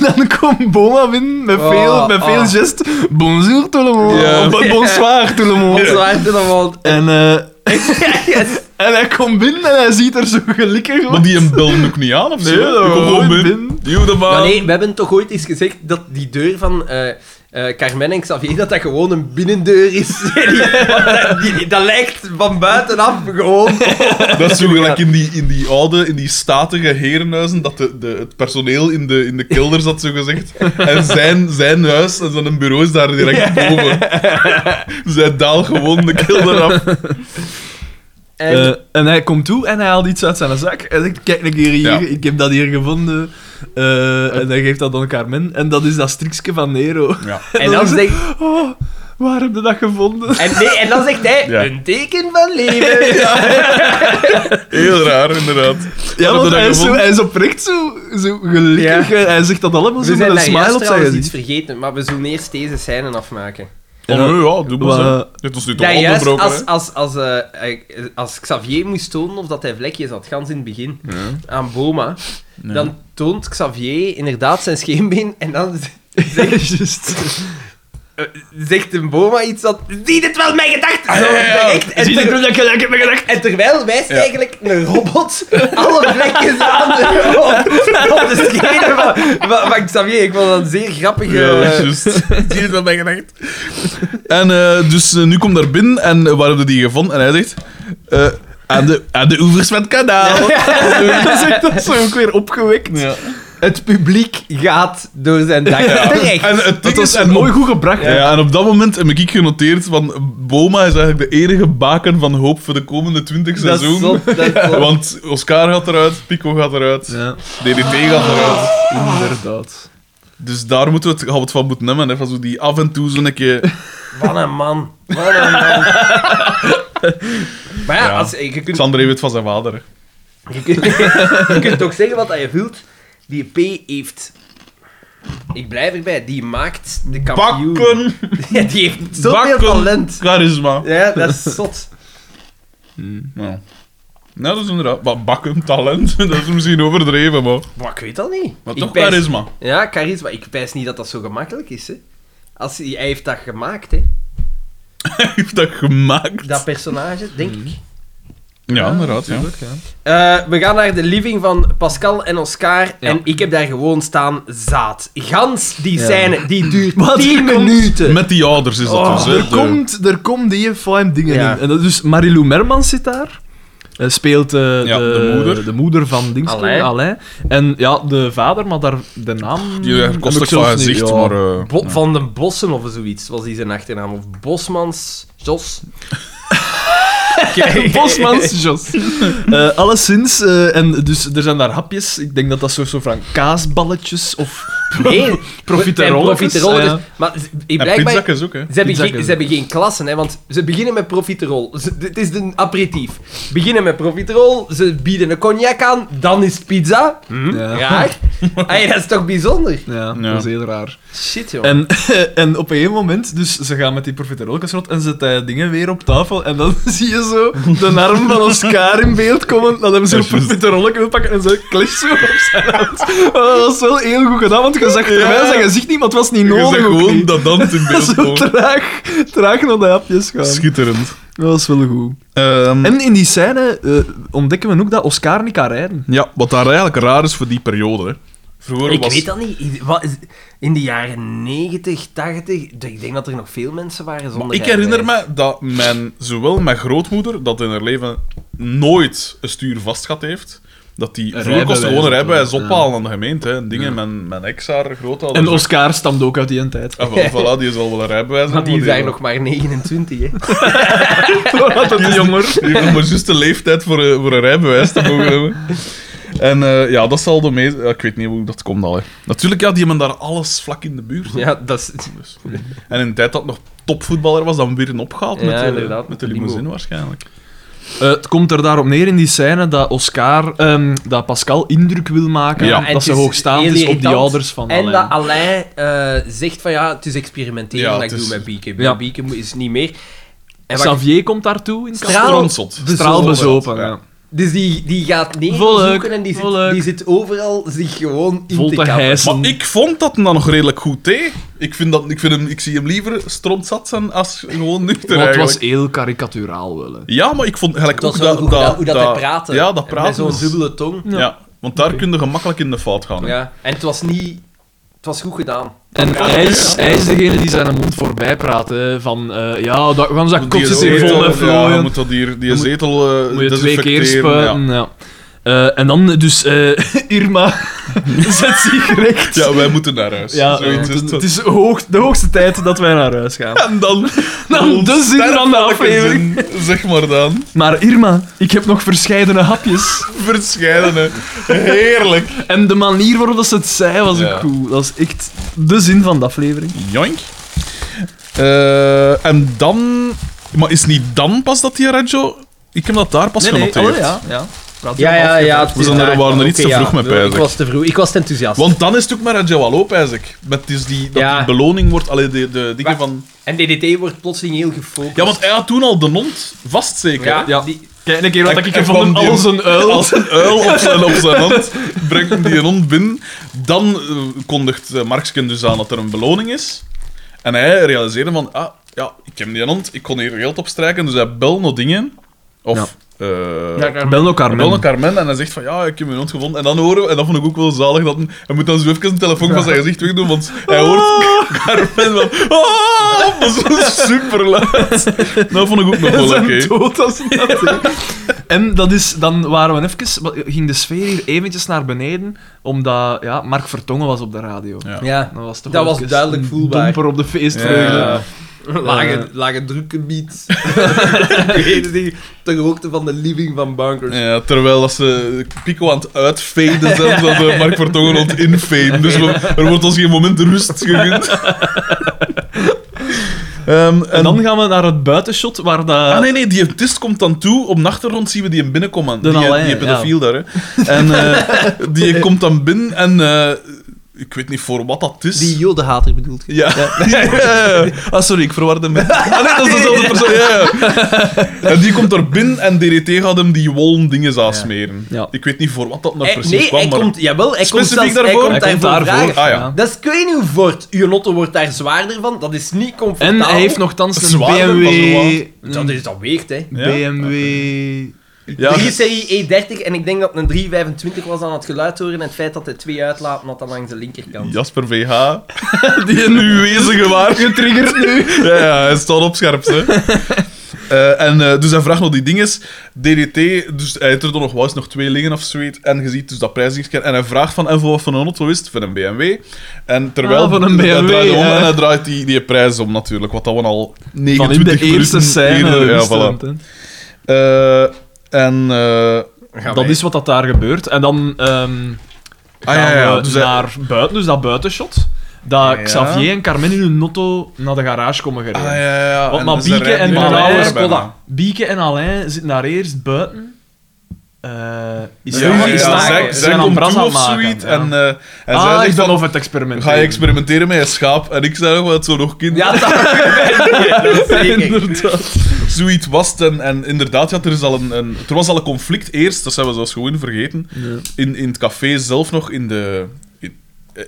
Speaker 3: dan [laughs] komt Boma binnen met veel,
Speaker 1: Oh,
Speaker 3: met veel
Speaker 1: oh.
Speaker 3: gest. Bonjour tout le monde.
Speaker 2: Ah, [laughs] Ja.
Speaker 3: Of, Bonsoir tout le
Speaker 1: Ons
Speaker 3: monde.
Speaker 1: waait het
Speaker 2: [laughs]
Speaker 1: allemaal.
Speaker 3: En, eh,
Speaker 1: Yes.
Speaker 3: en hij komt binnen en hij ziet er zo gelukkig
Speaker 2: Maar
Speaker 3: uit.
Speaker 2: die een bel ook niet aan, of zo?
Speaker 3: Nee, dat
Speaker 2: Die komt
Speaker 3: gewoon binnen.
Speaker 2: binnen. Duw de
Speaker 1: Maar
Speaker 2: baan.
Speaker 1: nee, we hebben toch ooit eens gezegd dat die deur van eh eh, Carmen en Xavier, dat dat gewoon een binnendeur
Speaker 2: [laughs]
Speaker 1: is. Want dat, die- dat lijkt van buitenaf gewoon...
Speaker 2: Dat is zo gelijk in die, in die oude, in die statige herenhuizen, dat de, de, het personeel in de, in de kelder zat, zo gezegd. En zijn, zijn huis en zijn bureau is daar direct boven. Zij daalt gewoon de kelder af.
Speaker 1: En,
Speaker 3: Eh, en hij komt toe en hij haalt iets uit zijn zak. En zegt, kijk een keer hier,
Speaker 2: Ja.
Speaker 3: ik heb dat hier gevonden. Eh, en hij geeft dat aan Carmen. En dat is dat strikske van Nero. [laughs]
Speaker 2: Ja.
Speaker 1: en, dan
Speaker 3: is-
Speaker 1: zegt,
Speaker 3: Oh, waar heb je dat gevonden?
Speaker 1: en, nee, en dan zegt hij,
Speaker 2: Ja.
Speaker 1: een teken van
Speaker 2: [laughs]
Speaker 1: leven.
Speaker 2: Heel raar, inderdaad. Wat heb
Speaker 3: Ja,
Speaker 2: je
Speaker 3: want
Speaker 2: dat
Speaker 3: hij is, zo,
Speaker 2: gevonden?
Speaker 3: hij is oprecht zo, zo gelukkig.
Speaker 1: Ja.
Speaker 3: Eh, Hij zegt dat allemaal zo
Speaker 1: We
Speaker 3: met
Speaker 1: zijn
Speaker 3: een
Speaker 1: daar
Speaker 3: smile
Speaker 1: juist
Speaker 3: op zijn
Speaker 1: trouwens
Speaker 3: gezicht.
Speaker 1: iets vergeten, maar we zullen eerst deze scène afmaken.
Speaker 2: Oh, nee, ja, doe maar
Speaker 3: Wa-
Speaker 2: zo. Dit was nu toch
Speaker 1: Dat juist
Speaker 2: onderbroken,
Speaker 1: als,
Speaker 2: hè?
Speaker 1: als, als, eh, eh, als Xavier moest tonen of dat hij vlekjes had, gans in het begin, aan Boma, dan toont Xavier inderdaad zijn scheenbeen en dan z-
Speaker 3: [laughs] Juist.
Speaker 1: eh, zegt een Boma iets dat... Zie dit wel, mijn gedachten! Zo
Speaker 2: Ah, ja, ja.
Speaker 1: direct. En, ter-
Speaker 3: dat je lekker hebt gedacht?
Speaker 1: en terwijl wijst
Speaker 2: Ja.
Speaker 1: eigenlijk een robot alle vlekjes aan de, op, op de schenen van, van, van Xavier. Ik vond dat een zeer grappige...
Speaker 2: Ja,
Speaker 1: eh,
Speaker 2: juist. Zie je het wel bij gedacht? En eh, dus eh, nu komt daar binnen en eh, waar hebben we die gevonden? En hij zegt... eh, aan, de, aan de oevers van het kanaal.
Speaker 3: Dat is echt- dat is zo ook weer opgewekt.
Speaker 2: Ja.
Speaker 1: Het publiek gaat door zijn dak. Terecht.
Speaker 2: En het
Speaker 3: Dat
Speaker 2: ding
Speaker 3: was
Speaker 2: is, en
Speaker 3: mooi goed gebracht.
Speaker 2: Ja.
Speaker 3: hè.
Speaker 2: en op dat moment heb ik genoteerd van Boma is eigenlijk de enige baken van hoop voor de komende 20
Speaker 1: Dat is
Speaker 2: seizoen.
Speaker 1: zot, dat is zot.
Speaker 2: Want Oscar gaat eruit, Pico gaat eruit,
Speaker 3: Ja,
Speaker 2: DDT gaat eruit.
Speaker 3: inderdaad.
Speaker 2: Dus daar moeten we het, gaan we het van moeten nemen. Hè, van zo die af en toe zo'n keer...
Speaker 1: Wat een man. Wat een [laughs] man. maar ja,
Speaker 2: Ja.
Speaker 1: Als, je, kunt,
Speaker 2: Xander heeft het van zijn vader. hè.
Speaker 1: je, kunt, je kunt toch zeggen wat dat je wilt. Die P heeft... Ik blijf erbij. Die maakt de kampioen.
Speaker 2: Bakken!
Speaker 1: [laughs] Ja, die heeft zoveel
Speaker 2: Bakken!
Speaker 1: talent.
Speaker 2: Charisma.
Speaker 1: Ja, dat is zot.
Speaker 2: Ja. Nou, dat is inderdaad... Maar bakken, talent, dat is misschien overdreven, maar...
Speaker 1: Maar ik weet dat niet.
Speaker 2: Maar
Speaker 1: Ik
Speaker 2: toch
Speaker 1: pijs-
Speaker 2: charisma.
Speaker 1: Ja, charisma. Ik wijs niet dat dat zo gemakkelijk is, hè. Als, hij hij heeft dat gemaakt, hè.
Speaker 2: Hij heeft dat gemaakt.
Speaker 1: Dat personage, denk ik.
Speaker 2: Ja, inderdaad, ja.
Speaker 3: Tuurlijk, ja.
Speaker 1: Eh, we gaan naar de living van Pascal en Oscar. En ik heb daar gewoon staan zaad. Gans die
Speaker 3: Ja.
Speaker 1: scène, die duurt
Speaker 3: [laughs] Wat
Speaker 1: 10
Speaker 3: er komt-
Speaker 1: minuten.
Speaker 2: Met die ouders is dat
Speaker 1: Oh,
Speaker 2: dus, hè.
Speaker 3: Er
Speaker 2: De-
Speaker 3: komt, er komt die fijn dingen
Speaker 1: Ja.
Speaker 3: in. En dat, dus Marilou Mermans zit daar. Eh, speelt eh,
Speaker 2: Ja,
Speaker 3: de,
Speaker 2: de moeder.
Speaker 3: moeder van Dings.
Speaker 1: Alain.
Speaker 3: Alain. En ja, de vader, maar daar, de naam...
Speaker 2: Die
Speaker 3: heb
Speaker 2: er
Speaker 3: ik
Speaker 2: kostelijk
Speaker 3: zelfs
Speaker 2: van
Speaker 3: niet,
Speaker 2: gezicht,
Speaker 3: ja. [laughs]
Speaker 2: maar... eh,
Speaker 1: Bo- van de Bossen of zoiets was die zijn achternaam. Of Bosmans. [laughs] Jos. [laughs]
Speaker 3: Bosmans, Jos. Eh, alleszins, eh, en dus er zijn daar hapjes. Ik denk dat dat soort soort van kaasballetjes of [laughs]
Speaker 1: Nee,
Speaker 3: Profiterolletjes,
Speaker 1: profiterolletjes.
Speaker 3: ja.
Speaker 1: eh, Maar z- ik
Speaker 2: En
Speaker 1: blijkbaar.
Speaker 2: pizzak is ook, hè.
Speaker 1: Ze hebben,
Speaker 3: Pizzakken.
Speaker 1: geen, ze hebben geen klassen, hè, want ze beginnen met profiterol. Ze- dit is een aperitief. Beginnen met profiterol, ze bieden een cognac aan, dan is het pizza. Hm,
Speaker 3: Ja. [laughs]
Speaker 1: Raar. Hey, dat is toch bijzonder?
Speaker 3: Ja,
Speaker 2: Ja.
Speaker 3: dat is heel raar.
Speaker 1: Shit, joh.
Speaker 3: En, [laughs] en op een gegeven moment, dus ze gaan met die profiterolkes rond en zet hij dingen weer op tafel. En dan [laughs] zie je zo de arm van Oscar in beeld komen. Dan hebben ze een
Speaker 2: Dat is juist.
Speaker 3: profiterolke wil pakken en ze klest zo op zijn hand. Oh, dat was wel heel goed gedaan, want je zag terwijl zijn gezicht niet, maar het was niet
Speaker 2: Je
Speaker 3: nodig.
Speaker 2: zegt
Speaker 3: ook
Speaker 2: gewoon
Speaker 3: niet.
Speaker 2: dat dans in beeld
Speaker 3: [laughs] Zo
Speaker 2: komen.
Speaker 3: traag, traag naar de hapjes gaan.
Speaker 2: Schitterend.
Speaker 3: Dat was wel goed.
Speaker 2: Ehm,
Speaker 3: En in die scène eh, ontdekken we ook dat Oscar niet kan rijden.
Speaker 2: Ja, wat daar eigenlijk raar is voor die periode. Hè. Vroeger
Speaker 1: ik
Speaker 2: was...
Speaker 1: weet dat niet. I- wat is- In de jaren 90, 80, d- ik denk dat er nog veel mensen waren zonder
Speaker 2: Maar ik herinner
Speaker 1: rijbewijs.
Speaker 2: me dat mijn, zowel mijn grootmoeder, dat in haar leven nooit een stuur vast gehad heeft, dat die vroeger
Speaker 3: rijbewijs
Speaker 2: kostte gewoon een
Speaker 3: of zo,
Speaker 2: rijbewijs
Speaker 3: ja.
Speaker 2: ophalen aan de gemeente. Hè, en dingen, mijn, mijn ex, haar grootouders...
Speaker 3: En Oscar stamt ook uit die tijd.
Speaker 2: Ah,
Speaker 3: [laughs]
Speaker 2: wel, voilà, die zal wel een rijbewijs
Speaker 1: Want die
Speaker 2: hebben,
Speaker 1: zijn nog maar 29, hè.
Speaker 3: Dat is jonger.
Speaker 2: Die heeft nog maar juist de leeftijd voor een, voor een rijbewijs te mogen hebben. En eh, ja, dat zal de meeste... ja, ik weet niet hoe dat komt al, hè. Natuurlijk, ja, die hebben daar alles vlak in de buurt.
Speaker 1: [laughs] Ja, dat is...
Speaker 2: Dus. En in de tijd dat nog topvoetballer was, dan weer een opgehaald
Speaker 1: Ja,
Speaker 2: met, de,
Speaker 1: inderdaad,
Speaker 2: met de
Speaker 1: met die
Speaker 2: limousine
Speaker 1: mo-
Speaker 2: waarschijnlijk.
Speaker 3: Eh, het komt er daarop neer in die scène dat Oscar, ehm, dat Pascal indruk wil maken,
Speaker 2: Ja.
Speaker 1: en
Speaker 3: dat
Speaker 1: het
Speaker 3: ze
Speaker 1: is dus
Speaker 3: hoogstaand
Speaker 1: heel
Speaker 3: is op die
Speaker 1: irritant.
Speaker 3: ouders van
Speaker 1: En
Speaker 3: Alain.
Speaker 1: dat Alain eh, zegt van ja, het is experimenteren
Speaker 2: Ja,
Speaker 1: dat ik
Speaker 2: het is-
Speaker 1: doe met Bieke.
Speaker 3: Ja.
Speaker 1: Ja. Bieke mo- is niet meer. En wat-
Speaker 3: Xavier komt daartoe in
Speaker 1: Straal-
Speaker 2: Stronseld.
Speaker 3: Kamp- Straalbezopen.
Speaker 2: Ja.
Speaker 3: Ja.
Speaker 1: dus die, die gaat
Speaker 3: Volk,
Speaker 1: neerzoeken en die
Speaker 3: volk.
Speaker 1: zit, die zit overal zich gewoon in
Speaker 3: Vol
Speaker 1: te
Speaker 3: te
Speaker 1: kappen.
Speaker 3: hijsen.
Speaker 2: Maar ik vond dat dan nog redelijk goed thee. Ik, vind dat, ik, vind hem, ik zie hem liever strontzat zijn als gewoon nuchter
Speaker 3: Maar het
Speaker 2: eigenlijk.
Speaker 3: was heel karikaturaal wel. hè.
Speaker 2: Ja, maar ik vond
Speaker 1: Het
Speaker 2: gelijk
Speaker 1: was
Speaker 2: ook
Speaker 1: wel
Speaker 2: dat...
Speaker 1: goed gedaan, hoe dat, hij praatte.
Speaker 2: Ja, dat
Speaker 1: Met
Speaker 2: praten.
Speaker 1: zo'n
Speaker 2: was-
Speaker 1: dubbele tong.
Speaker 2: Ja. want daar kun je gemakkelijk in de fout gaan. hè.
Speaker 1: Ja. En het was niet... Het was goed gedaan.
Speaker 3: En hij is, hij is degene die zijn mond voorbij praat. Hè, van, eh, ja, dat, gaan ze dat
Speaker 2: Want
Speaker 3: kot
Speaker 2: die
Speaker 3: zit hier vol
Speaker 2: zetel,
Speaker 3: met
Speaker 2: ja,
Speaker 3: vlooien.
Speaker 2: moet dat hier, die
Speaker 3: Dan moet-
Speaker 2: zetel eh,
Speaker 3: Moet je twee keer
Speaker 2: desinfecteren,
Speaker 3: spuiten. Ja. Eh, en dan dus eh, [laughs] Irma zet zich recht.
Speaker 2: Ja. ja, wij moeten naar huis. [laughs]
Speaker 3: Ja,
Speaker 2: Zoiets
Speaker 3: eh,
Speaker 2: is
Speaker 3: het,
Speaker 2: het.
Speaker 3: het is hoog, de hoogste tijd dat wij naar huis gaan.
Speaker 2: En dan... [laughs]
Speaker 3: Dan de zin van de aflevering.
Speaker 2: Sterfelijke zin, Zeg maar dan.
Speaker 3: Maar Irma, ik heb nog verscheidene hapjes.
Speaker 2: Verscheidene. Heerlijk.
Speaker 3: En de manier waarop dat ze het zei was
Speaker 2: Ja.
Speaker 3: ook goed. Dat is echt de zin van de aflevering.
Speaker 2: Joink. Eh, en dan... Maar is niet dan pas dat die Reggio... Ik heb dat daar pas genoteerd.
Speaker 3: allee, oh, ja. ja. Praat
Speaker 1: Ja,
Speaker 3: erop
Speaker 1: ja,
Speaker 3: af.
Speaker 1: ja. het
Speaker 2: We
Speaker 1: is
Speaker 2: zijn er-
Speaker 1: daar-
Speaker 2: waren er iets
Speaker 1: oké,
Speaker 2: te vroeg mee, pijs
Speaker 1: Ik
Speaker 2: ik.
Speaker 1: was te vroeg. Ik was te enthousiast.
Speaker 2: Want dan is het ook met Reggio al op, eigenlijk. Met dus die, dat
Speaker 1: Ja.
Speaker 2: die beloning wordt... Allee, de, de dingen
Speaker 1: Wacht.
Speaker 2: van...
Speaker 1: En DDT wordt plotseling heel gefocust.
Speaker 2: Ja, want hij had toen al de hond vast, zeker.
Speaker 1: Ja,
Speaker 3: Ja.
Speaker 1: die-
Speaker 3: Kijk, een keer wat
Speaker 2: En-
Speaker 3: ik,
Speaker 2: en
Speaker 3: ik van eh,
Speaker 2: kwam
Speaker 3: hem
Speaker 2: die-
Speaker 3: als een uil.
Speaker 2: Als een uil op zijn, op zijn
Speaker 3: [laughs]
Speaker 2: hand brengt hem die hond binnen. Dan eh, kondigt eh, Marksken dus aan dat er een beloning is. En hij realiseerde van... Ah, ja, ik heb die hond. Ik kon hier geld op strijken. Dus hij bel nog dingen. Of... eh,
Speaker 3: Bel elkaar,
Speaker 2: Carmen.
Speaker 3: man.
Speaker 2: Carmen en hij zegt van ja, ik heb mijn hond gevonden. En dan horen we, en dat vond ik ook wel zalig, dat hij, hij moet dan zo even zijn telefoon van zijn gezicht wegdoen, want hij hoort Carmen van ah, dat is
Speaker 3: [laughs]
Speaker 2: super luid. Dat vond ik ook nog wel oké.
Speaker 3: [laughs] Zijn dood als dat, hè. En dat is, dan waren we even, wa- ging de sfeer hier eventjes naar beneden, omdat ja, Mark Vertongen was op de radio.
Speaker 2: Ja.
Speaker 1: Ja.
Speaker 3: Dat was, toch
Speaker 1: Dat
Speaker 3: wel
Speaker 1: was
Speaker 3: even
Speaker 1: duidelijk
Speaker 3: een
Speaker 1: voelbaar.
Speaker 3: domper op de feestvreugde.
Speaker 2: Ja.
Speaker 1: [laughs] Lage, lage
Speaker 2: [laughs]
Speaker 1: drukgebied. [laughs] Ik weet het niet. Ter hoogte van de living van Bunkers.
Speaker 2: Ja, terwijl als ze Pico aan het uitfaden
Speaker 3: [laughs]
Speaker 2: zijn, dat eh, Mark Vertongen aan het infaden. Dus we- er wordt ons geen moment rust gegund. Ehm,
Speaker 3: En dan gaan we naar het buitenshot, waar dat...
Speaker 2: Ah nee, nee, die autist komt dan toe. Op de achtergrond zien we die hem binnenkomen.
Speaker 3: De
Speaker 2: Die,
Speaker 3: Alain,
Speaker 2: die pedofiel daar. Hè. En
Speaker 3: [laughs]
Speaker 2: eh, die komt dan binnen en eh, ik weet niet voor wat dat is.
Speaker 1: Die jodenhater bedoelt je?
Speaker 2: Ja. [laughs] Ja, ja, ja. Ah, sorry, ik verwarde hem. met- [laughs] Ah nee, dat is dezelfde persoon. Ja, ja. [laughs] En die komt er binnen en DDT gaat hem die wollen dingen aansmeren.
Speaker 3: Ja.
Speaker 2: Ik weet niet voor wat dat nou
Speaker 1: Eh,
Speaker 2: precies
Speaker 1: nee,
Speaker 2: kwam,
Speaker 1: hij
Speaker 2: maar...
Speaker 1: komt... Jawel, hij komt,
Speaker 2: Specifiek
Speaker 1: zelfs, Hij
Speaker 2: daarvoor?
Speaker 3: Hij
Speaker 1: komt
Speaker 3: komt
Speaker 1: daarvoor
Speaker 3: daarvoor,
Speaker 1: vragen.
Speaker 2: ah, ja.
Speaker 1: Dat is, ik weet niet hoe voort. Uw notto wordt daar zwaarder van. Dat is niet comfortabel.
Speaker 3: En hij heeft nogthans een
Speaker 2: Zwaarder,
Speaker 3: BMW...
Speaker 2: maar zo wat.
Speaker 1: Dat, is, dat weegt, hè.
Speaker 2: Ja?
Speaker 3: BMW...
Speaker 2: Ja.
Speaker 1: 3 serie E30 E en ik denk dat een 325 was aan het geluid horen en het feit dat hij twee uitlaat had dan langs de linkerkant.
Speaker 2: Jasper VH, die een uwezige
Speaker 3: [laughs]
Speaker 2: waard getriggerd nu. [laughs] Ja, ja, hij staat op scherp, hè. Eh, en eh, dus hij vraagt nog die dinges. DDT, dus hij heeft er dan nog wel eens nog twee liggen of zoiets. En je ziet dus dat prijsingskern. En hij vraagt van, en voor wat van een auto is het? Van een BMW. En terwijl...
Speaker 3: Ah, van een
Speaker 2: Hij
Speaker 3: BMW,
Speaker 2: draait om
Speaker 3: ja.
Speaker 2: en hij draait die, die prijs om natuurlijk. Wat dat we al
Speaker 3: Van in
Speaker 2: 29
Speaker 3: de eerste
Speaker 2: minuten
Speaker 3: scène.
Speaker 2: eerder- Ja,
Speaker 3: wist
Speaker 2: voilà.
Speaker 3: het, hè.
Speaker 2: Eh, en... eh,
Speaker 1: Gaan
Speaker 3: Dat
Speaker 1: wij-
Speaker 3: is wat dat daar gebeurt. En dan ehm
Speaker 2: ah
Speaker 3: gaan
Speaker 2: ja, ja.
Speaker 3: we
Speaker 2: Dus hij-
Speaker 3: naar buiten, dus dat buitenshot. Dat
Speaker 2: Ja.
Speaker 3: Xavier en Carmen in hun notto naar de garage komen gereden.
Speaker 2: ah, ja, ja, ja.
Speaker 3: Want
Speaker 2: En
Speaker 3: maar
Speaker 2: dus hij
Speaker 3: Bieke
Speaker 2: rijdt
Speaker 3: en
Speaker 2: die
Speaker 3: Alain
Speaker 2: Alain
Speaker 3: is
Speaker 2: erbij.
Speaker 1: Skoda.
Speaker 3: Bieke en Alain zitten daar eerst buiten.
Speaker 4: eh, is
Speaker 2: Ja,
Speaker 1: ruzie
Speaker 2: ja,
Speaker 4: ruzie
Speaker 1: maken.
Speaker 2: zij,
Speaker 4: slagen.
Speaker 2: zij
Speaker 4: zijn aan
Speaker 2: komt
Speaker 4: bras
Speaker 2: toe
Speaker 4: aan het
Speaker 2: of
Speaker 4: maken.
Speaker 2: zoiets.
Speaker 4: ja.
Speaker 2: En, eh, en zij
Speaker 3: Ah,
Speaker 2: zegt
Speaker 3: ik
Speaker 2: dan,
Speaker 3: dan of het experiment.
Speaker 2: ga je experimenteren met je schaap? En ik zei nog, wat zo nog kinderen.
Speaker 1: Ja, dat [laughs] dat zeker.
Speaker 3: [laughs]
Speaker 2: Inderdaad. Zoiets was het. En, en inderdaad, ja, er, is al een, een- er was al een conflict eerst, dat zijn we zelfs gewoon vergeten, in, in het café zelf nog, in de... In,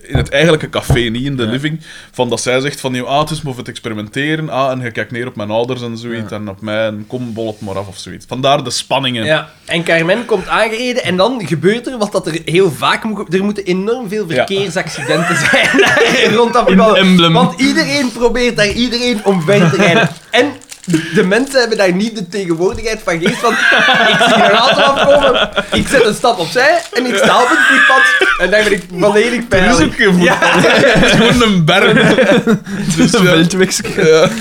Speaker 2: in het eigenlijke café, niet in de living. Van dat zij zegt van, ah, het is maar voor het experimenteren. Ah, en je kijkt neer op mijn ouders en zoiets. En op mij, en kom, bol het maar af of zoiets. Vandaar de spanningen.
Speaker 1: Ja, en Carmen komt aangereden en dan gebeurt er wat dat er heel vaak moet... Er moeten enorm veel verkeersaccidenten [laughs] zijn daar rond dat gebouw.
Speaker 3: Emblem.
Speaker 1: Want iedereen probeert daar iedereen omver te rijden. En de mensen hebben daar niet de tegenwoordigheid van geest, want ik zie een auto afkomen, ik zet een stap opzij en ik sta op het voetpad en daar ben ik volledig
Speaker 2: Er is
Speaker 1: veilig.
Speaker 3: [laughs]
Speaker 2: ook geen voetbal. [laughs] Het is gewoon
Speaker 1: [laughs]
Speaker 2: een berm. [laughs] Dus ja. Ja. [laughs]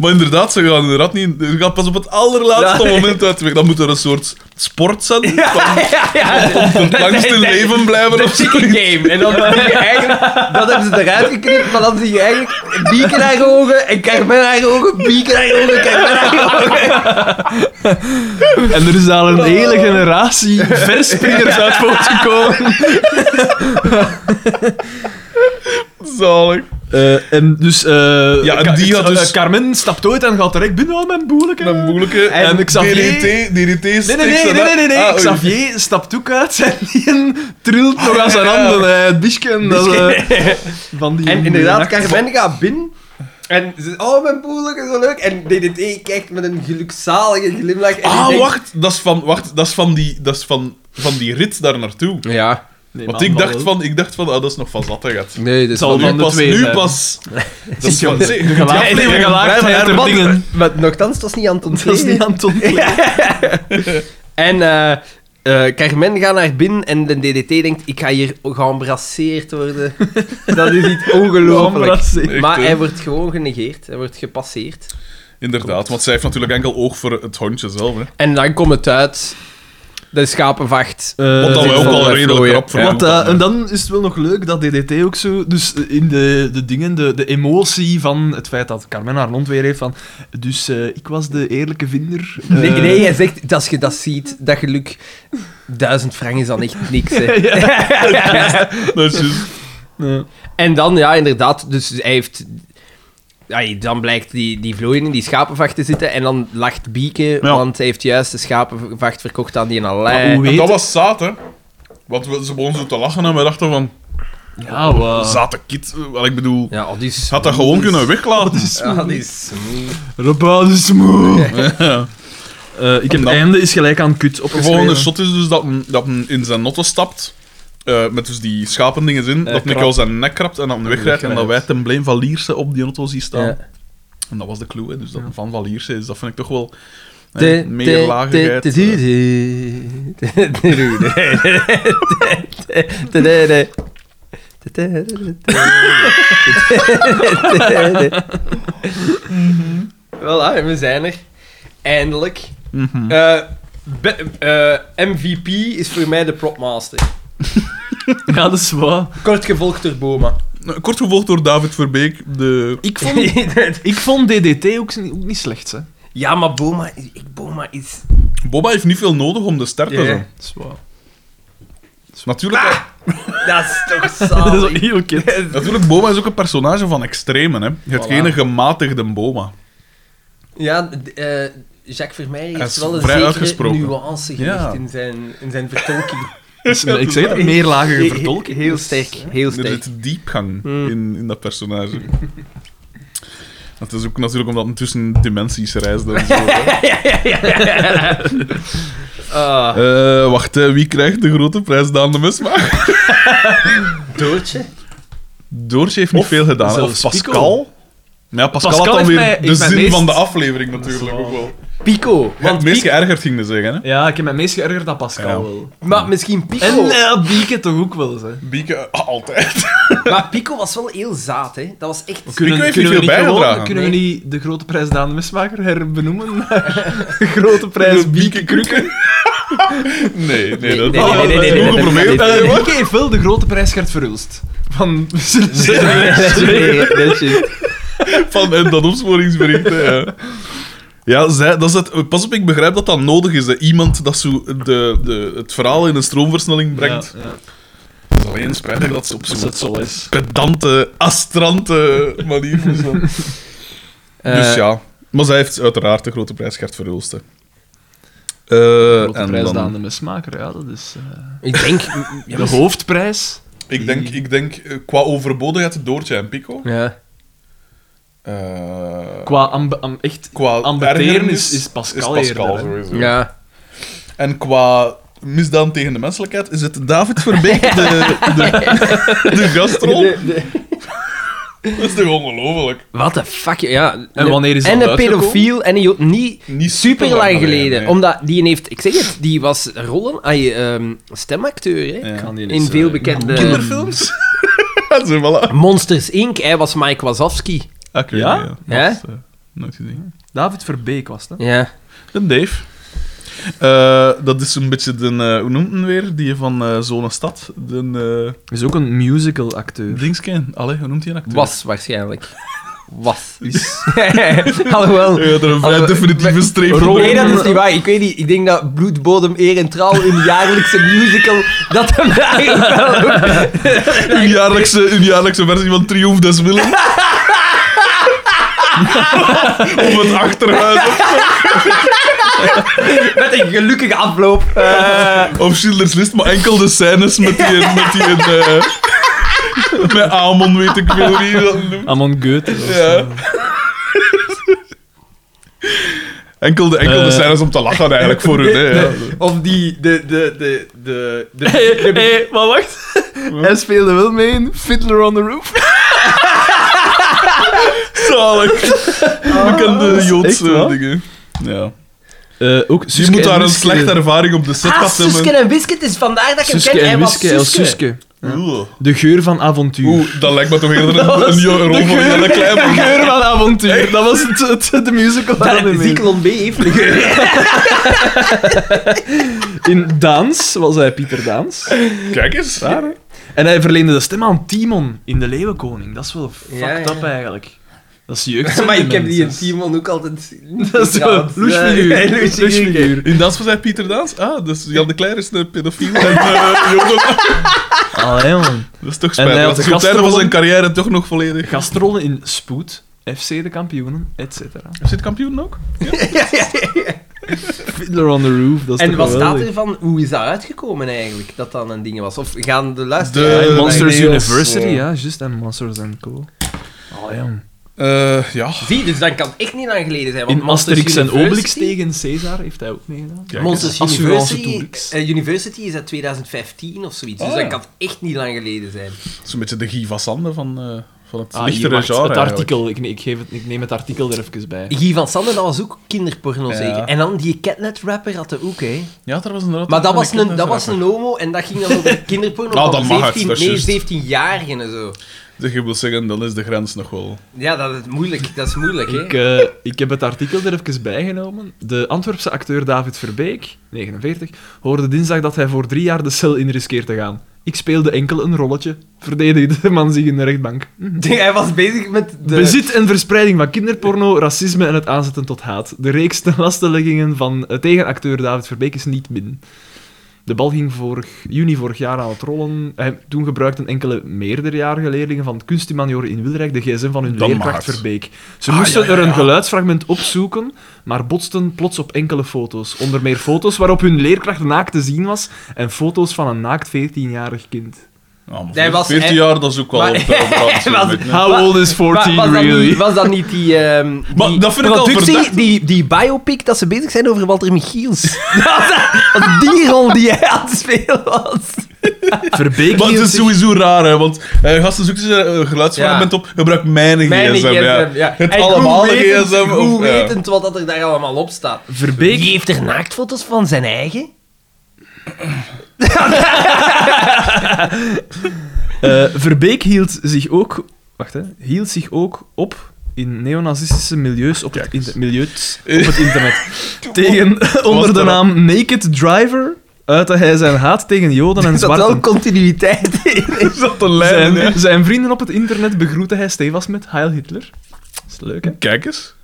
Speaker 2: Maar inderdaad, ze gaan inderdaad niet... Ze gaan pas op het allerlaatste
Speaker 1: Ja.
Speaker 2: moment uit de weg. Dan moet er een soort sport zijn.
Speaker 1: Ja, ja, ja.
Speaker 2: Om het langst in
Speaker 1: Nee, nee.
Speaker 2: leven blijven
Speaker 1: De
Speaker 2: of zo.
Speaker 1: chicken game. En dan eh, zie [laughs] je eigenlijk... Dat hebben ze eruit geknipt, maar dan zie je eigenlijk bieken haar ogen en Carmen haar ogen, bieken haar ogen, Carmen haar ogen.
Speaker 3: En er is al een hele
Speaker 1: [laughs]
Speaker 3: generatie verspringers uit voortgekomen.
Speaker 2: [laughs] Zalig.
Speaker 3: Eh en dus... eh,
Speaker 2: Ja, en
Speaker 3: Ka-
Speaker 2: die had
Speaker 3: eh,
Speaker 2: dus-
Speaker 3: Carmen stapt ooit en gaat direct binnen al mijn boerlijke.
Speaker 2: Een moeilijke.
Speaker 3: En Xavier-
Speaker 2: DDT, DDT
Speaker 3: Nee, nee, nee, nee, nee, nee, nee.
Speaker 2: Ah,
Speaker 3: Xavier stapt ook uit en die trilt nog aan
Speaker 2: Ah,
Speaker 3: zijn handen. eh, Het bischke. en dat, eh, van die
Speaker 1: En inderdaad, Carmen gaat binnen. En ze oh, mijn boel is zo leuk. En DDT kijkt met een gelukzalige glimlach. En die
Speaker 2: Ah,
Speaker 1: denkt-
Speaker 2: wacht. Dat is van, wacht, dat is van, die, dat is van, van die rit daar naartoe.
Speaker 1: Ja,
Speaker 3: Nee,
Speaker 2: Want
Speaker 3: man,
Speaker 2: ik dacht
Speaker 3: hallo.
Speaker 2: van, ik dacht van, ah, dat is nog van zatte gaat.
Speaker 1: nee, dat is
Speaker 3: Zal
Speaker 2: Nu
Speaker 3: van de
Speaker 2: pas,
Speaker 3: twee
Speaker 2: nu
Speaker 3: zijn. [laughs]
Speaker 2: pas. Dat is van,
Speaker 3: jongen,
Speaker 2: zie,
Speaker 3: de gelaagdheid-
Speaker 2: ja, nee,
Speaker 3: de gelaagdheid
Speaker 2: blijf
Speaker 3: der
Speaker 2: maar-
Speaker 3: dingen.
Speaker 1: Maar nogthans, het was niet Anton
Speaker 3: Dat is niet Anton.
Speaker 2: [laughs]
Speaker 1: [laughs] En eh eh, Carmen gaat naar binnen en de DDT denkt, ik ga hier geembrasseerd
Speaker 2: [laughs]
Speaker 1: worden. dat is iets ongelooflijk.
Speaker 3: Geëmbrasseerd.
Speaker 1: Maar
Speaker 2: Echt, hè?
Speaker 1: hij wordt gewoon genegeerd, hij wordt gepasseerd.
Speaker 2: Inderdaad, want zij heeft natuurlijk enkel oog voor het hondje zelf.
Speaker 3: Eh,
Speaker 2: Hè.
Speaker 1: En dan komt het uit, de schapenvacht.
Speaker 2: Wat
Speaker 3: Eh,
Speaker 2: dan
Speaker 1: zit
Speaker 2: wij ook
Speaker 1: wel
Speaker 2: al
Speaker 1: bij
Speaker 2: redelijk
Speaker 1: vlooien.
Speaker 2: rap voor
Speaker 1: Ja.
Speaker 3: Want, eh, en dan is het wel nog leuk dat DDT ook zo... Dus eh, in de, de dingen, de, de emotie van het feit dat Carmen haar lont weer heeft van... Dus eh, ik was de eerlijke vinder. eh,
Speaker 1: Nee, nee,
Speaker 3: [laughs]
Speaker 1: hij zegt, dat als je dat ziet, dat geluk... Duizend frank is dan echt niks,
Speaker 2: [laughs]
Speaker 1: hè. [laughs]
Speaker 2: Dat is juist.
Speaker 3: ja.
Speaker 1: En dan, ja, inderdaad, dus hij heeft... Ai, dan blijkt die, die vlooien in die schapenvacht te zitten en dan lacht Bieke, want hij heeft juist de schapenvacht verkocht aan die
Speaker 3: Maar hoe
Speaker 1: Alain.
Speaker 3: weet-
Speaker 2: En dat was zaad, hè. Want we, ze begonnen zo te lachen en we dachten van...
Speaker 3: Ja, wat.
Speaker 2: Zate kit. eh, Wel, ik bedoel...
Speaker 1: Ja, oh, die is...
Speaker 2: Had dat gewoon kunnen weglaten.
Speaker 1: Ja, die is...
Speaker 3: Robin is moe.
Speaker 2: Ja. En
Speaker 3: Eh, ik heb het
Speaker 2: dan-
Speaker 3: einde is gelijk aan kut
Speaker 2: De
Speaker 3: opgeschreven.
Speaker 2: volgende shot is dus dat men, dat men in zijn notte stapt. eh, met dus die schapendingen in. dat Nico
Speaker 3: krap.
Speaker 2: zijn nek krabt en dan wegrijdt. En dat wij ten blame van Lierse op die auto zien staan.
Speaker 1: Ja.
Speaker 2: En dat was de clue. Hè, dus dat van van Lierse is, dat vind ik toch wel... eh,
Speaker 1: De-
Speaker 2: meer
Speaker 1: de-
Speaker 2: lagerheid.
Speaker 1: de-
Speaker 2: eh.
Speaker 1: de- de- de- de- de- de- de- de- de- de- de- de- de- Voilà, en we zijn er. Eindelijk.
Speaker 2: Mhm.
Speaker 1: Eh, be- eh, MVP is voor mij de propmaster.
Speaker 3: Ja, dat is waar.
Speaker 1: Kort gevolgd door Boma.
Speaker 2: Nou, Kort gevolgd door David Verbeek. De...
Speaker 3: Ik vond,
Speaker 1: [laughs]
Speaker 3: ik vond DDT ook, niet- ook niet slecht, hè.
Speaker 1: ja, maar Boma, is- ik, Boma is...
Speaker 2: Boba heeft niet veel nodig om de ster te
Speaker 1: Ja.
Speaker 2: zijn.
Speaker 3: Dat is waar.
Speaker 2: Natuurlijk,
Speaker 1: Dat is toch [laughs]
Speaker 3: [laughs] Dat is wel
Speaker 1: zalig.
Speaker 3: heel kut.
Speaker 2: natuurlijk, Boma is ook een personage van extremen. Hè. Hetgene gematigde Boma.
Speaker 1: Ja, d- eh, Jacques Vermeij
Speaker 2: Hij
Speaker 1: heeft
Speaker 2: is
Speaker 1: wel een
Speaker 2: vrij
Speaker 1: zekere
Speaker 2: uitgesproken.
Speaker 1: nuance gelegd
Speaker 2: Ja.
Speaker 1: in, zijn, in zijn vertolking.
Speaker 3: Dus, eh, ik zeg het, meer lagere vertolking.
Speaker 1: Heel sterk, heel
Speaker 2: Er
Speaker 1: sterk.
Speaker 2: zit diepgang
Speaker 1: Hmm.
Speaker 2: in, in dat personage. Dat is ook natuurlijk omdat het tussen dimensies reist en
Speaker 3: [laughs]
Speaker 2: zo. hè.
Speaker 1: Ah,
Speaker 2: Eh, wacht, hè, wie krijgt de grote prijs Daan de Mesma?
Speaker 1: Doortje?
Speaker 2: Doortje heeft niet
Speaker 3: Of
Speaker 2: veel gedaan. hè. Of
Speaker 3: zelfs Pico.
Speaker 2: Pascal? Ja, Pascal,
Speaker 3: Pascal
Speaker 2: had dan
Speaker 3: heeft
Speaker 2: weer
Speaker 3: mij-
Speaker 2: de
Speaker 3: heeft mij
Speaker 2: zin
Speaker 3: meest-
Speaker 2: van de aflevering natuurlijk ook wel.
Speaker 1: Pico.
Speaker 2: Want
Speaker 1: Want
Speaker 2: het meest
Speaker 1: Pico-
Speaker 2: geërgerd ging me zeggen, hè?
Speaker 3: Ja, ik heb me meest geërgerd aan Pascal
Speaker 2: Ja.
Speaker 3: wel.
Speaker 1: maar misschien
Speaker 3: En
Speaker 1: Pico.
Speaker 3: uh, Bieke toch ook wel, hè.
Speaker 2: Bieke, ah, altijd.
Speaker 1: Maar Pico was wel heel zaad, hè. Dat was echt...
Speaker 2: Pico heeft
Speaker 3: we
Speaker 2: niet veel
Speaker 3: gewoon-
Speaker 2: bijgedragen.
Speaker 3: Kunnen we
Speaker 1: Nee.
Speaker 3: niet de grote prijs Daan de Mesmaker
Speaker 1: [laughs]
Speaker 3: herbenoemen naar de grote prijs Bieke Krukken?
Speaker 2: [laughs] Nee, nee,
Speaker 1: Nee,
Speaker 2: dat
Speaker 1: nee, nee, nee, nee,
Speaker 2: dat
Speaker 1: nee, nee,
Speaker 2: is goed
Speaker 1: nee,
Speaker 2: geprobeerd.
Speaker 1: nee, nee,
Speaker 2: hè, wat?
Speaker 3: Oh, Eh, Bieke heeft wel de grote prijs Gert Verhulst. Van... [laughs]
Speaker 1: Nee, dat is-
Speaker 2: Van en dat opsporingsbericht. hè, ja. Ja, zij, dat is het. Pas op, ik begrijp dat dat nodig is. Hè. Iemand dat zo de, de, het verhaal in een stroomversnelling brengt.
Speaker 3: Ja, ja.
Speaker 2: Het is alleen spijtig dat ze op
Speaker 3: Als
Speaker 2: zo'n
Speaker 3: het zo is.
Speaker 2: pedante, astrante manier moest doen. Dus
Speaker 1: Eh,
Speaker 2: ja. Maar zij heeft uiteraard de grote prijs Gert Verhulst. hè. Eh,
Speaker 3: Grote
Speaker 2: en
Speaker 3: prijs
Speaker 2: dan-
Speaker 3: aan de mesmaker, ja, dat is... eh,
Speaker 1: Ik denk... Ja,
Speaker 3: de hoofdprijs.
Speaker 2: Ik denk, ik denk eh, qua overbodigheid Doortje en Pico.
Speaker 1: ja.
Speaker 2: Eh,
Speaker 3: Qua amb am- echt...
Speaker 2: qua
Speaker 3: Ambeteren
Speaker 2: ergernis
Speaker 3: is- is Pascal eerder, hè.
Speaker 2: sowieso.
Speaker 1: ja.
Speaker 2: En qua misdaad tegen de menselijkheid is het David Verbeek de, de, de gastrol. Dat is toch ongelooflijk?
Speaker 1: Wat de fuck, ja.
Speaker 3: En wanneer is dat
Speaker 1: En een
Speaker 3: uitgekomen?
Speaker 1: pedofiel en een jood. Niet,
Speaker 2: Niet
Speaker 1: super
Speaker 2: superlang
Speaker 1: lang
Speaker 2: geleden,
Speaker 1: geleden.
Speaker 2: nee.
Speaker 1: Omdat die heeft, ik zeg het, die was rollen, ay, ehm, stemacteur, hè.
Speaker 2: Ja.
Speaker 3: Kan die
Speaker 1: In
Speaker 3: eens,
Speaker 1: veel
Speaker 3: eh,
Speaker 1: bekende... [laughs]
Speaker 2: Kinderfilms? Zo, voilà.
Speaker 1: Monsters Inc., hij was Mike Wazowski.
Speaker 2: Ah, ik weet
Speaker 3: Ja?
Speaker 2: niet,
Speaker 1: Ja?
Speaker 2: Dat is, eh, nooit gezien.
Speaker 3: David Verbeek was dat.
Speaker 1: Ja.
Speaker 2: De Dave. Eh, dat is een beetje de... eh, hoe noemt hem weer? Die van eh Zo'n Stad. De
Speaker 3: Is ook een musical
Speaker 2: eh
Speaker 3: acteur.
Speaker 2: Dingsken. Allee, hoe noemt hij een acteur?
Speaker 1: Was,
Speaker 3: [laughs]
Speaker 1: waarschijnlijk. Was. Alhoewel...
Speaker 2: [laughs] Ja, er een vrij
Speaker 1: Alhoewel-
Speaker 2: definitieve streep
Speaker 3: Ron-
Speaker 2: onder.
Speaker 1: Nee, dat is niet waar. Ik weet niet. Ik denk dat Bloedbodem, Eer en Trouw, hun jaarlijkse musical, dat [laughs] hem eigenlijk wel...
Speaker 2: Een jaarlijkse, een jaarlijkse versie van Triomf des Willen. [laughs] of het achterhuis. Of,
Speaker 1: Met een gelukkige afloop. Eh,
Speaker 2: of Schilders List, maar enkel de scènes met die... Met, die eh, met Amon weet ik veel wie dat noemt.
Speaker 3: Amon Goethe. was,
Speaker 2: Ja. Enkel de, enkel de
Speaker 3: Eh.
Speaker 2: scènes om te lachen eigenlijk voor hun. Hè, ja.
Speaker 1: eh, Of die, de, de, de, de, de,
Speaker 3: Hé, hé, maar wacht. Hij speelde wel mee in Fiddler on the Roof.
Speaker 2: Zalig. Bekende
Speaker 3: echt
Speaker 2: Joodse
Speaker 3: waar?
Speaker 2: dingen. Ja.
Speaker 3: Eh, ook
Speaker 2: Je moet daar een slechte ervaring op de set
Speaker 1: Ah,
Speaker 2: gehad
Speaker 1: Suske
Speaker 2: hebben.
Speaker 1: en Wisket is vandaag dat je hem
Speaker 3: Suske
Speaker 1: kent. Hij
Speaker 3: en
Speaker 1: was
Speaker 3: Wiske als
Speaker 1: Suske.
Speaker 3: Suske.
Speaker 2: Oeh.
Speaker 3: De geur van avontuur.
Speaker 2: Oeh, dat lijkt me toch eerder een, een jo- rol voor Jelle
Speaker 3: De
Speaker 2: Klein.
Speaker 3: geur van avontuur. Dat was het, het- de musical.
Speaker 1: Dat
Speaker 3: waar we mee-
Speaker 1: Zyklon B heeft een geur.
Speaker 3: In Daans was hij Pieter Daans.
Speaker 2: Kijk eens.
Speaker 3: Daar, hè. En hij verleende de stem aan Timon in De Leeuwenkoning. Dat is wel fucked
Speaker 1: Ja, ja.
Speaker 3: up eigenlijk. Dat is jeugd.
Speaker 1: [laughs] [laughs] Maar ik heb die in Timon ook altijd...
Speaker 3: [laughs] Dat is zo.
Speaker 1: eh, [laughs]
Speaker 3: Loesfiguur.
Speaker 1: Ja,
Speaker 3: Loesfiguur.
Speaker 2: In Dans was hij Pieter Daans? Ah, dus Jan de Kleer is een pedofiel. En, eh, jongen.
Speaker 3: Allee, man.
Speaker 2: Dat is toch
Speaker 3: En hij
Speaker 2: spijtig.
Speaker 3: had
Speaker 2: Dat is
Speaker 3: de
Speaker 2: goed het einde van
Speaker 3: gastrol.
Speaker 2: zijn carrière toch nog volledig.
Speaker 3: Gastrollen in Spoed, FC de kampioenen, etc.
Speaker 2: Zit kampioen ook?
Speaker 1: ja, ja, ja.
Speaker 3: Fiddler on the Roof, dat is
Speaker 1: En
Speaker 3: toch
Speaker 1: wat staat
Speaker 3: geweldig.
Speaker 1: ervan? Hoe is dat uitgekomen eigenlijk? Dat dat een ding was? Of gaan de
Speaker 2: De-
Speaker 1: luisteraars...
Speaker 3: Ja, in
Speaker 2: Eh,
Speaker 3: Monsters
Speaker 2: nee, als,
Speaker 3: University,
Speaker 2: eh,
Speaker 3: ja, juist. En Monsters and Co. Allee, man.
Speaker 2: Eh, ja.
Speaker 1: Zie, dus dat kan het echt niet lang geleden zijn. Want
Speaker 3: In Asterix en
Speaker 1: Monsters
Speaker 3: Obelix
Speaker 1: University-
Speaker 3: tegen Caesar heeft hij ook meegedaan.
Speaker 2: Kijk eens.
Speaker 1: Monsters
Speaker 3: Assurance
Speaker 1: University,
Speaker 3: Toolix.
Speaker 1: eh, University is uit 2015 of zoiets. Dus
Speaker 2: Ah,
Speaker 1: dat
Speaker 2: ja.
Speaker 1: kan echt niet lang geleden zijn.
Speaker 2: Dat is een beetje de Guy van Sande van, eh, van het
Speaker 3: Ah, hier,
Speaker 2: lichtere
Speaker 3: wacht,
Speaker 2: genre.
Speaker 3: het
Speaker 2: eigenlijk.
Speaker 3: artikel. Ik, nee, ik, geef het, ik neem het artikel er even bij.
Speaker 1: Guy van Sande, dat was ook kinderporno
Speaker 2: Ja.
Speaker 1: zeker. En dan die catnet-rapper had dat ook, hè.
Speaker 2: Ja, daar was inderdaad
Speaker 1: Maar dat
Speaker 2: ook
Speaker 1: was, een, dat
Speaker 2: kinderfilm.
Speaker 1: was een homo en dat ging dan over kinderporno
Speaker 2: Nou,
Speaker 1: van
Speaker 2: dat mag, dat is
Speaker 1: 17,
Speaker 2: juist.
Speaker 1: nee, 17-jarigen en zo.
Speaker 2: Dus je wil zeggen, dan is de grens nog wel...
Speaker 1: Ja, dat is moeilijk. Dat is moeilijk, hè.
Speaker 3: Ik, eh, ik heb het artikel er even bijgenomen. De Antwerpse acteur David Verbeek, 49, hoorde dinsdag dat hij voor drie jaar de cel in riskeert te gaan. Ik speelde enkel een rolletje, verdedigde de man zich in de rechtbank. Hm.
Speaker 1: [laughs] Hij was bezig met de...
Speaker 3: Bezit en verspreiding van kinderporno, racisme en het aanzetten tot haat. De reeks ten lasteleggingen van eh, tegenacteur David Verbeek is niet min. De bal ging vorig, juni vorig jaar aan het rollen. Hij, toen gebruikten enkele meerderjarige leerlingen van het kunsthumanioor in Wilrijk de gsm van hun
Speaker 2: Dan
Speaker 3: leerkracht
Speaker 2: maar.
Speaker 3: Verbeek. Ze moesten er een geluidsfragment opzoeken, maar botsten plots op enkele foto's. Onder meer foto's waarop hun leerkracht naakt te zien was en foto's van een naakt 14-jarig kind.
Speaker 2: Ah, maar
Speaker 1: Hij was-
Speaker 2: 14 jaar, dat is ook wel...
Speaker 1: Maar-
Speaker 2: een pijl op de hand, zo,
Speaker 1: Hij was-
Speaker 2: weet je.
Speaker 3: How old is
Speaker 1: Wa-
Speaker 3: 14
Speaker 1: was, dat
Speaker 3: really?
Speaker 1: niet, was dat niet die, ehm
Speaker 2: [laughs] Maar
Speaker 1: die
Speaker 2: dat vind ik al
Speaker 1: productie,
Speaker 2: verdacht.
Speaker 1: die, die biopic dat ze bezig zijn over Walter Michiels? [laughs] dat was die rol die hij aan het spelen was.
Speaker 3: Verbeek
Speaker 2: Maar het
Speaker 3: hield
Speaker 2: is
Speaker 3: zich-
Speaker 2: sowieso raar, hè, want eh, gasten zoeken ze een geluidsfragment
Speaker 1: Ja.
Speaker 2: op, gebruik mijn gsm.
Speaker 1: Mijn gsm,
Speaker 2: ja.
Speaker 1: ja.
Speaker 2: Het
Speaker 1: En
Speaker 2: allemaal
Speaker 1: hoe wetend-
Speaker 2: gsm. of-
Speaker 1: Hoe
Speaker 2: ja.
Speaker 1: wetend wat dat er daar allemaal op staat.
Speaker 3: Verbeek
Speaker 1: Die heeft er naaktfoto's van zijn eigen?
Speaker 3: Eh, Verbeek hield zich ook... Wacht, hè. Hield zich ook op in neonazistische milieus op, het,
Speaker 2: Kijk eens. Eh.
Speaker 3: inter- milieus op het
Speaker 2: [laughs]
Speaker 3: internet. tegen, [laughs] onder de
Speaker 2: erop.
Speaker 3: naam Naked Driver uitte hij zijn haat tegen
Speaker 2: [laughs]
Speaker 3: joden en
Speaker 1: Er zat wel
Speaker 3: zwarten.
Speaker 1: continuïteit in.
Speaker 2: Is dat een lijn? hè?
Speaker 3: Zijn, zijn vrienden op het internet begroette hij stevast met Heil Hitler. Dat is leuk, hè?
Speaker 2: Kijk eens.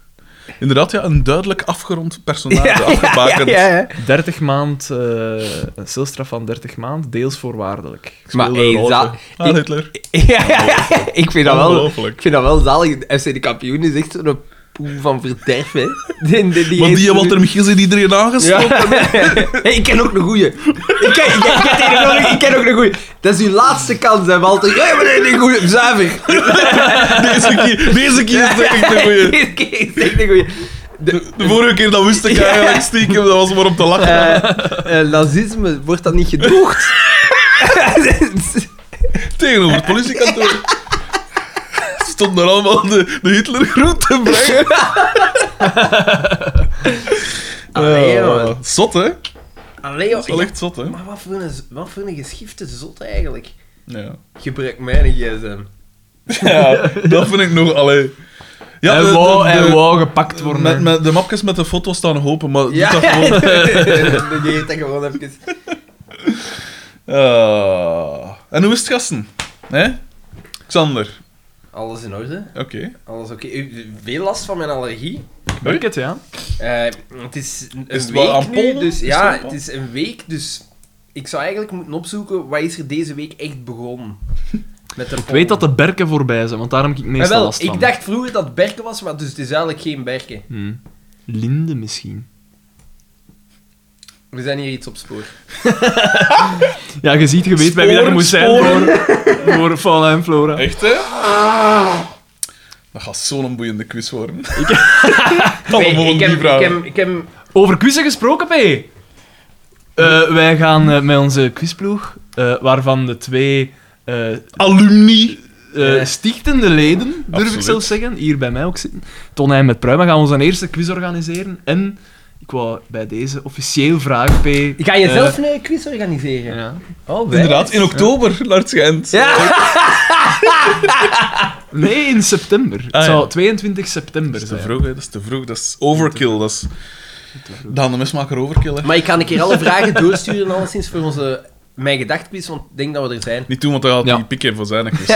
Speaker 2: Inderdaad, ja, een duidelijk afgerond personage,
Speaker 1: Ja, ja,
Speaker 2: afgebakend.
Speaker 1: ja, ja.
Speaker 3: 30 maand, eh, een celstraf van 30 maand, deels voorwaardelijk. Ik
Speaker 1: Maar
Speaker 3: speelde
Speaker 1: hey,
Speaker 3: een
Speaker 1: za-
Speaker 3: rolletje.
Speaker 2: Ah, Hitler.
Speaker 1: Ja, ja, ja. ik vind dat wel...
Speaker 2: Ongelooflijk.
Speaker 1: Ik vind dat wel zalig. FC de kampioen is echt zo'n poe van verderf, hè. Die, die, die
Speaker 2: Want
Speaker 1: heeft-
Speaker 2: die wat er Michiel zit iedereen aangestoken.
Speaker 1: Ja. [laughs] Hey, ik ken ook een goeie. Ik ken, ik, ken, ik, ken die nog- ik ken ook een goeie. Dat is uw laatste kans, hè, Walter. Ja, maar nee, een goeie. Zuiver.
Speaker 2: Deze keer, deze keer is het echt een
Speaker 1: [laughs]
Speaker 2: goeie.
Speaker 1: Deze keer is echt een goeie.
Speaker 2: De, de vorige keer dat wist ik
Speaker 1: Ja.
Speaker 2: eigenlijk stiekem, dat was maar om te lachen.
Speaker 1: Eh, eh, nazisme, wordt dat niet gedroogd?
Speaker 2: Tegenover het politiekantoor. Stonden er allemaal de, de Hitlergroet te brengen.
Speaker 1: Allee, joh.
Speaker 2: Zot, hè? Dat
Speaker 1: [laughs] Allee, joh.
Speaker 2: is wel echt zot, hè?
Speaker 1: Maar wat voor, een, wat voor een geschifte zot eigenlijk.
Speaker 2: Ja.
Speaker 1: Gebruik mijn gsm.
Speaker 2: [laughs] ja, dat vind ik nog... Allee. Ja, de-
Speaker 3: en,
Speaker 2: de-
Speaker 3: wou,
Speaker 2: de-
Speaker 3: en wou gepakt worden.
Speaker 2: Met, met de mapjes met de foto's staan nog open, maar
Speaker 1: Ja,
Speaker 2: doe dat
Speaker 1: [laughs]
Speaker 2: gewoon.
Speaker 1: die heet dat gewoon even.
Speaker 2: Ah. En hoe is het, gasten? Hè? Xander.
Speaker 1: Alles in orde,
Speaker 2: Oké.
Speaker 1: alles oké. U- Veel last van mijn allergie.
Speaker 3: Ik merk het, ja.
Speaker 1: Eh, het is een
Speaker 2: Is het wel aan
Speaker 1: week nu,
Speaker 2: pollen?
Speaker 1: dus
Speaker 2: Is het
Speaker 1: ja,
Speaker 2: aan
Speaker 1: het is een week, dus ik zou eigenlijk moeten opzoeken wat is er deze week echt begonnen met de
Speaker 3: Ik weet dat de berken voorbij zijn, want daarom heb ik meestal
Speaker 1: wel,
Speaker 3: last van.
Speaker 1: ik dacht vroeger dat het berken was, maar dus het is eigenlijk geen berken.
Speaker 3: Hm. Linde misschien.
Speaker 1: We zijn hier iets op spoor.
Speaker 3: Ja, je ziet, je weet bij wie dat je
Speaker 2: Sporen,
Speaker 3: moet zijn voor, voor Fauna en Flora.
Speaker 2: Echt, hè? Dat gaat zo'n boeiende
Speaker 1: [laughs]
Speaker 2: quiz worden. [laughs] Ik kan
Speaker 1: Nee,
Speaker 2: hem gewoon
Speaker 1: ik, heb,
Speaker 2: niet
Speaker 1: ik,
Speaker 2: vragen.
Speaker 1: heb, ik heb
Speaker 3: Over quizzen gesproken, P. Eh, wij gaan eh, met onze quizploeg, eh, waarvan de twee eh,
Speaker 2: Alumni.
Speaker 3: eh,
Speaker 1: Eh.
Speaker 3: stichtende leden, durf ik
Speaker 2: Absoluut.
Speaker 3: zelfs zeggen, hier bij mij ook zitten. Tonijn met Pruim, gaan we onze eerste quiz organiseren. En ik wou bij deze officieel vragen, P.
Speaker 1: Ga je
Speaker 3: eh,
Speaker 1: zelf een quiz organiseren?
Speaker 3: ja.
Speaker 1: Oh, wij?
Speaker 2: Inderdaad, in oktober, naar het schijnt.
Speaker 1: Ja!
Speaker 3: Nee, in september.
Speaker 2: Ah, ja.
Speaker 3: Het zou 22 september
Speaker 2: Dat is te
Speaker 3: zijn.
Speaker 2: vroeg, hè. Dat is te vroeg. Dat is overkill. Dat is... Daan de Mesmaker overkill, hè.
Speaker 1: Maar ik ga een keer alle vragen doorsturen, alleszins voor onze Mijn Gedacht quiz, want ik denk dat we er zijn.
Speaker 2: Niet doen, want dan gaat
Speaker 3: Ja.
Speaker 2: die pikken voor zijn quiz.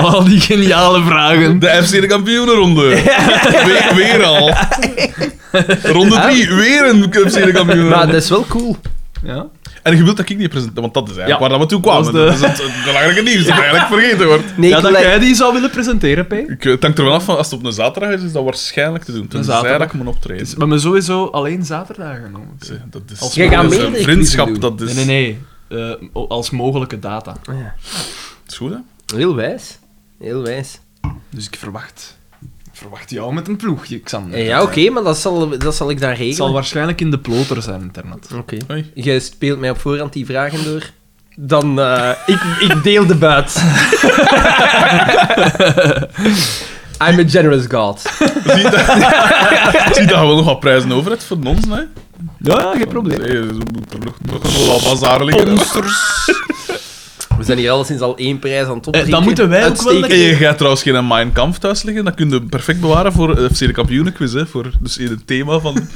Speaker 3: Al die geniale vragen.
Speaker 2: De FC de kampioenenronde. Weer, weer al. Ronde 3, weer een FC de
Speaker 1: Maar
Speaker 2: kampioenenronde.
Speaker 1: dat is wel cool.
Speaker 3: Ja.
Speaker 2: En je wilt dat ik niet presenteer, want dat is eigenlijk
Speaker 3: Ja.
Speaker 2: waar dat we toe kwamen.
Speaker 3: Dat
Speaker 2: Dat
Speaker 3: is
Speaker 2: is het, het belangrijke nieuws dat eigenlijk vergeten wordt.
Speaker 1: Nee,
Speaker 3: ja,
Speaker 1: ik
Speaker 3: dat
Speaker 1: wil-
Speaker 3: jij die zou willen presenteren, P.
Speaker 2: Ik, eh, het hangt er vanaf van als het op een zaterdag is, is dat waarschijnlijk te doen. Tenzij
Speaker 3: zaterdag.
Speaker 2: dat ik moet optreden.
Speaker 3: Dus, maar me sowieso alleen zaterdagen Dus- noemen.
Speaker 2: Eh, Dat is,
Speaker 3: Als
Speaker 1: Jij gaat
Speaker 2: dat is
Speaker 1: meerdere
Speaker 2: een vriendschap,
Speaker 1: quizzen
Speaker 2: dat is...
Speaker 3: Nee, nee, nee. Eh, o- als mogelijke data.
Speaker 1: Oh Ja.
Speaker 2: Het is goed, hè?
Speaker 1: Heel wijs. Heel wijs.
Speaker 3: Dus ik verwacht, ik verwacht jou met een ploegje, Xander.
Speaker 1: Eh, Ja, oké, maar dat zal, dat zal ik dan
Speaker 3: Het zal
Speaker 1: regelen.
Speaker 3: waarschijnlijk in de ploter zijn, internet.
Speaker 1: Oké.
Speaker 2: Hoi.
Speaker 1: Jij speelt mij op voorhand die vragen door. Dan, eh, ik, ik deel de buit. [laughs] I'm a generous god.
Speaker 2: Zie je dat, zie je dat we nog wat prijzen over het voor ons, hè?
Speaker 3: Ja, geen probleem.
Speaker 2: Nee, er moet er nog, nog een labazaar liggen.
Speaker 1: We zijn hier alleszins al één prijs aan het
Speaker 3: Eh, dan
Speaker 1: opdrinken.
Speaker 3: moeten wij ook wel
Speaker 1: Uitstekend.
Speaker 2: En je gaat trouwens geen Mein Kampf thuis liggen, dat kun je perfect bewaren voor eh, FC de Kampioenenquiz, hè? Voor, dus in het thema van
Speaker 3: [laughs]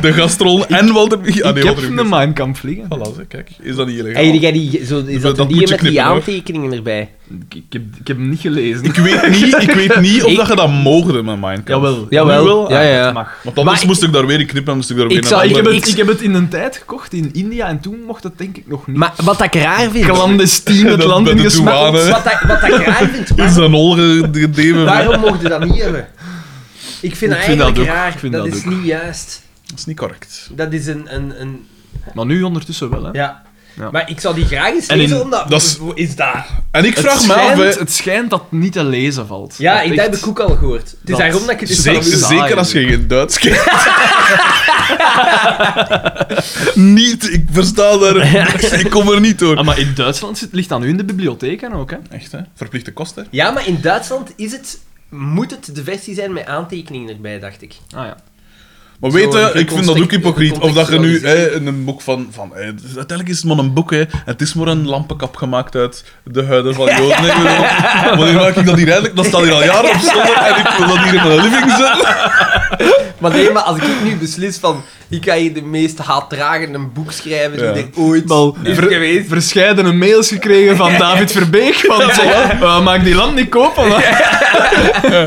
Speaker 2: de gastrol en Walter... Ah,
Speaker 3: ik
Speaker 2: nee,
Speaker 3: heb
Speaker 2: Walter
Speaker 3: een Minecamp vliegen.
Speaker 2: Voilà, zeg, kijk. Is dat niet illegaal?
Speaker 1: Hey, jij die, zo, is dat,
Speaker 2: dat
Speaker 1: die
Speaker 2: moet je
Speaker 1: met die
Speaker 2: knippen, hoor.
Speaker 1: aantekeningen erbij?
Speaker 3: Ik, ik, heb, ik heb hem niet gelezen.
Speaker 2: Ik weet niet, ik weet niet
Speaker 3: [laughs]
Speaker 2: of
Speaker 1: Ik-
Speaker 2: dat je dat moogde met Mein Kampf.
Speaker 3: Jawel.
Speaker 1: Jawel.
Speaker 3: Nu wel?
Speaker 1: Ja,
Speaker 3: Ah,
Speaker 1: ja.
Speaker 3: het mag. Ah,
Speaker 2: Want anders
Speaker 1: Maar-
Speaker 2: moest ik daar weer in knippen, moest Ah, ik daar weer
Speaker 1: Ik
Speaker 2: een
Speaker 1: zou-
Speaker 3: Ik heb,
Speaker 2: andere-
Speaker 3: het, ik heb het in een tijd gekocht in India en toen mocht het denk ik nog niet.
Speaker 1: Maar wat ik raar vind...
Speaker 3: Clandestien het
Speaker 2: [laughs] Dat
Speaker 3: land
Speaker 2: bij de
Speaker 3: ingesmakkeld.
Speaker 2: douane.
Speaker 1: Wat, dat, wat ik raar vind...
Speaker 2: is een hol gedeven.
Speaker 1: Waarom mocht je dat niet hebben? Ik vind dat
Speaker 3: Ik vind dat
Speaker 1: eigenlijk
Speaker 3: ook.
Speaker 1: raar.
Speaker 3: Ik vind
Speaker 1: dat
Speaker 3: dat
Speaker 1: is
Speaker 3: ook.
Speaker 1: niet juist.
Speaker 2: Dat is niet correct.
Speaker 1: Dat is een... een, een
Speaker 3: Maar nu ondertussen wel, hè.
Speaker 1: ja.
Speaker 3: Ja.
Speaker 1: Maar ik zou die graag eens
Speaker 3: En
Speaker 1: lezen,
Speaker 3: in-
Speaker 1: omdat...
Speaker 2: dat is-
Speaker 1: is dat...
Speaker 2: En ik
Speaker 3: Het,
Speaker 2: vraag me af,
Speaker 3: schijnt,
Speaker 2: hè,
Speaker 3: het schijnt dat het niet te lezen valt.
Speaker 1: Ja,
Speaker 3: Dat
Speaker 1: ik,
Speaker 3: echt-
Speaker 1: dat heb ik ook al gehoord. Het is
Speaker 3: Dat-
Speaker 1: daarom dat ik het dus
Speaker 3: Zeker-
Speaker 1: al wil.
Speaker 2: zeker,
Speaker 3: saai,
Speaker 2: zeker als je
Speaker 3: eigenlijk.
Speaker 2: geen Duits
Speaker 3: [laughs]
Speaker 2: kent. [laughs] niet, ik versta daar niks,
Speaker 3: [laughs]
Speaker 2: ik kom er niet
Speaker 3: Ah,
Speaker 2: door.
Speaker 3: maar in Duitsland zit, ligt dat nu in de bibliotheek en ook, hè.
Speaker 2: Echt, hè? Verplichte kosten.
Speaker 1: Ja, maar in Duitsland is het... Moet het de versie zijn met aantekeningen erbij, dacht ik.
Speaker 3: Ah ja.
Speaker 2: Maar weet
Speaker 1: Zo,
Speaker 2: je,
Speaker 1: een
Speaker 2: ik vind dat ook hypocriet. Of dat je nu hè,
Speaker 1: gecontextualiseerd.
Speaker 2: een boek van... van hè, het is- uiteindelijk is het maar een boek, hè. Het is maar een lampenkap gemaakt uit de huiden van Joden. hè. Ik
Speaker 1: [laughs]
Speaker 2: bedoel, Wanneer maak ik dat hier eigenlijk? Dat staat hier al jaren op zolder en ik wil dat hier in mijn living zetten.
Speaker 1: Maar nee, maar als ik nu beslis van... Ik ga hier de meest haatdragende boek schrijven
Speaker 2: Ja.
Speaker 1: die er ooit
Speaker 3: Wel,
Speaker 1: is
Speaker 3: ver-
Speaker 1: geweest.
Speaker 3: verscheidene mails
Speaker 1: [laughs]
Speaker 3: gekregen
Speaker 4: "Oh,
Speaker 3: van David Verbeek. Want zeg, eh, maak die land niet kopen. hè.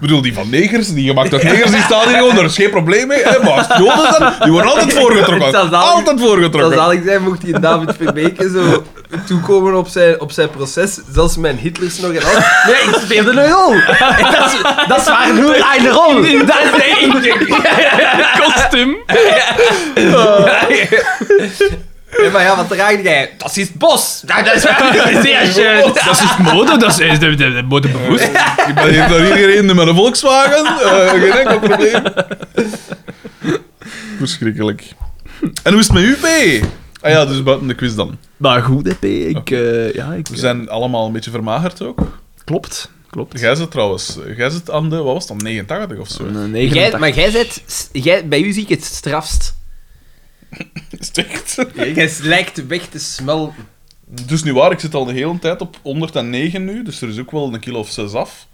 Speaker 2: bedoel, die van negers, die gemaakt uit negers, die staan hier gewoon, daar is geen probleem mee. Hè, maar als het Joden zijn, die worden
Speaker 1: [laughs]
Speaker 2: altijd voorgetrokken.
Speaker 1: Het zou zalig-
Speaker 2: Altijd
Speaker 1: Dat
Speaker 2: voorgetrokken.
Speaker 1: zal ik zijn, mocht die David Verbeke zo toekomen op zijn, op zijn proces. Zelfs mijn Hitlers nog en alles. Nee, ik speelde een rol. En [laughs] Dat is, dat is waar, [laughs] hoe laai de rol. Dat is de indruk.
Speaker 4: [laughs] Kostuum.
Speaker 1: Nee, maar ja, wat draag jij? Dat is het bos. Nou, dat is wel zeer schön.
Speaker 4: [laughs] Dat is dus mode, dat is de, de, de mode bewust.
Speaker 2: Ik ben hier naar hier gereden met een Volkswagen. eh, geen enkel probleem. Verschrikkelijk. En hoe is het met u, P? Ah ja, dus buiten de quiz dan.
Speaker 3: Maar goed, hè, P. Ik, eh, ja, ik,
Speaker 2: We zijn allemaal een beetje vermagerd ook.
Speaker 3: Klopt, klopt.
Speaker 2: Jij zit trouwens, jij zit aan de, wat was het dan, 89 of zo?
Speaker 3: Een
Speaker 1: Jij,
Speaker 3: 89.
Speaker 1: maar jij zit, jij, bij u zie ik het strafst.
Speaker 2: Is het echt?
Speaker 1: Jij lijkt weg te smel.
Speaker 2: Dus nu waar, ik zit al de hele tijd op 109 nu, dus er is ook wel een kilo of 6 af.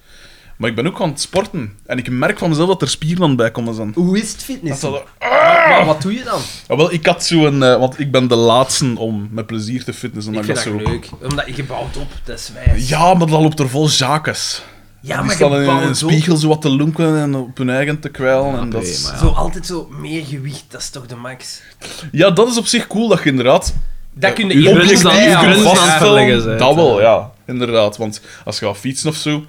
Speaker 2: Maar ik ben ook aan het sporten. En ik merk van mezelf dat er spieren aan het bijkomen zijn.
Speaker 1: Hoe is het
Speaker 2: Dat
Speaker 1: fitness?
Speaker 2: zal er-
Speaker 1: Maar wat doe je dan?
Speaker 2: Ah, wel, ik had zo'n... eh, want ik ben de laatste om met plezier te fitnessen.
Speaker 1: Ik
Speaker 2: en
Speaker 1: vind dat
Speaker 2: zo...
Speaker 1: leuk. Omdat je bouwt op, dat is wijs.
Speaker 2: Ja, maar dan loopt er vol zakes.
Speaker 1: Ja,
Speaker 2: Die
Speaker 1: Ah, maar je
Speaker 2: staan in
Speaker 1: bouwt
Speaker 2: een
Speaker 1: op.
Speaker 2: spiegel zo wat te lonken en op hun eigen te kwijlen.
Speaker 1: Ah,
Speaker 2: en dat is...
Speaker 1: Zo altijd zo meer gewicht, dat is toch de max?
Speaker 2: Ja, dat is op zich cool dat je inderdaad
Speaker 1: Dat kun je
Speaker 2: je
Speaker 1: eerlijk
Speaker 2: objectief
Speaker 4: dan-
Speaker 1: zeggen,
Speaker 4: je
Speaker 2: kunt
Speaker 4: grens dan verleggen,
Speaker 2: vaststellen.
Speaker 4: zei
Speaker 2: Dat
Speaker 4: het,
Speaker 2: wel, ja. Inderdaad, want als je gaat fietsen of zo,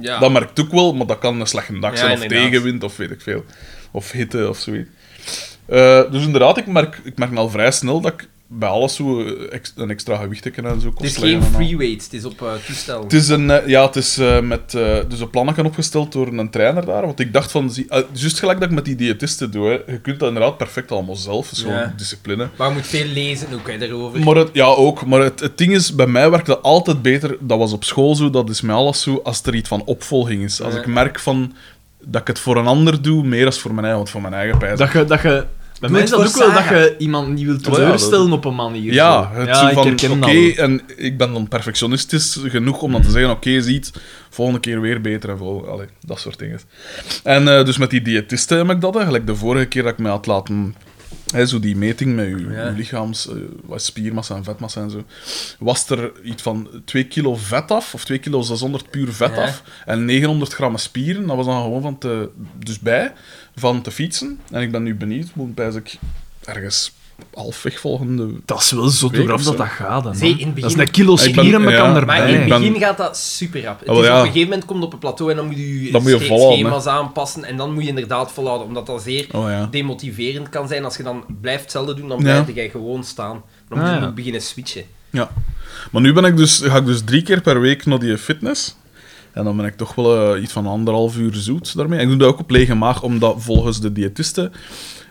Speaker 1: Ja.
Speaker 2: dat merkt ook wel, maar dat kan een slechte dag
Speaker 1: Ja,
Speaker 2: zijn, of
Speaker 1: inderdaad.
Speaker 2: tegenwind, of weet ik veel. Of hitte, of zoiets. Eh, dus inderdaad, ik merk, ik merk al vrij snel dat ik bij alles zo eh, ex- een extra gewicht kan en zo
Speaker 1: Het is
Speaker 2: kost
Speaker 1: geen free weight, het is op eh, toestel.
Speaker 2: Het is een, eh, ja, het is eh, met eh, dus een plannen opgesteld door een trainer daar. Want ik dacht van, zie- eh, juist gelijk dat ik met die diëtisten doe, hè, je kunt dat inderdaad perfect allemaal zelf. Het is gewoon
Speaker 1: Ja.
Speaker 2: discipline.
Speaker 1: Maar je moet veel lezen ook hè, daarover.
Speaker 2: Maar het, ja, ook. Maar het, het ding is, bij mij werkte altijd beter. Dat was op school zo, dat is met alles zo. Als er iets van opvolging is. Als
Speaker 1: Ja.
Speaker 2: ik merk van dat ik het voor een ander doe, meer als voor mijn eigen, want voor mijn eigen pijs.
Speaker 4: Dat je... Dat je bij mij is
Speaker 1: het
Speaker 4: dat ook
Speaker 1: voor
Speaker 4: wel dat
Speaker 1: Sarah.
Speaker 4: je iemand niet
Speaker 1: Oh
Speaker 4: wilt
Speaker 2: ja,
Speaker 4: teleurstellen op een manier.
Speaker 2: ja,
Speaker 4: zo.
Speaker 2: het
Speaker 4: ik
Speaker 2: zo van,
Speaker 4: herken
Speaker 2: oké,
Speaker 4: dat wel.
Speaker 2: en ik ben dan perfectionistisch genoeg om dan te zeggen, oké, ziet, volgende keer weer beter en vol, allee, dat soort dingen. En eh, dus met die diëtisten heb ik dat eigenlijk. De vorige keer dat ik mij had laten, hè, zo die meting met je,
Speaker 1: Ja.
Speaker 2: je lichaams, eh, wat spiermassa en vetmassa en zo, was er iets van 2 kilo vet af, of 2 kilo 600 puur vet
Speaker 1: Ja.
Speaker 2: af, en 900 gram spieren, dat was dan gewoon van te, dus bij, van te fietsen. En ik ben nu benieuwd, moet bij ik ergens halfweg volgende
Speaker 4: Dat is wel zo
Speaker 2: Weet ik
Speaker 4: hoe rap
Speaker 2: zo.
Speaker 4: dat dat gaat. hè, man.
Speaker 1: Zie, in het begin-
Speaker 4: Dat is een kilo
Speaker 2: Ik ben-
Speaker 4: spieren met
Speaker 2: ja,
Speaker 4: elkaar
Speaker 2: maar
Speaker 1: Maar in het
Speaker 2: ik
Speaker 4: erbij.
Speaker 2: ben-
Speaker 1: begin gaat dat super rap. Het
Speaker 2: Ah, wel,
Speaker 1: is
Speaker 2: ja.
Speaker 1: Op een gegeven moment komt het op een plateau en dan moet je
Speaker 2: Dan moet je
Speaker 1: sche-
Speaker 2: volhouden,
Speaker 1: schema's aanpassen en dan moet je inderdaad volhouden, omdat dat zeer
Speaker 2: Oh ja.
Speaker 1: demotiverend kan zijn. Als je dan blijft hetzelfde doen, dan
Speaker 2: Ja.
Speaker 1: blijf jij gewoon staan. Dan moet je
Speaker 4: Ah, ja.
Speaker 1: ook beginnen switchen.
Speaker 2: Ja. Maar nu ben ik dus, ga ik dus drie keer per week naar die fitness. En dan ben ik toch wel eh, iets van anderhalf uur zoet daarmee. En ik doe dat ook op lege maag, omdat volgens de diëtisten...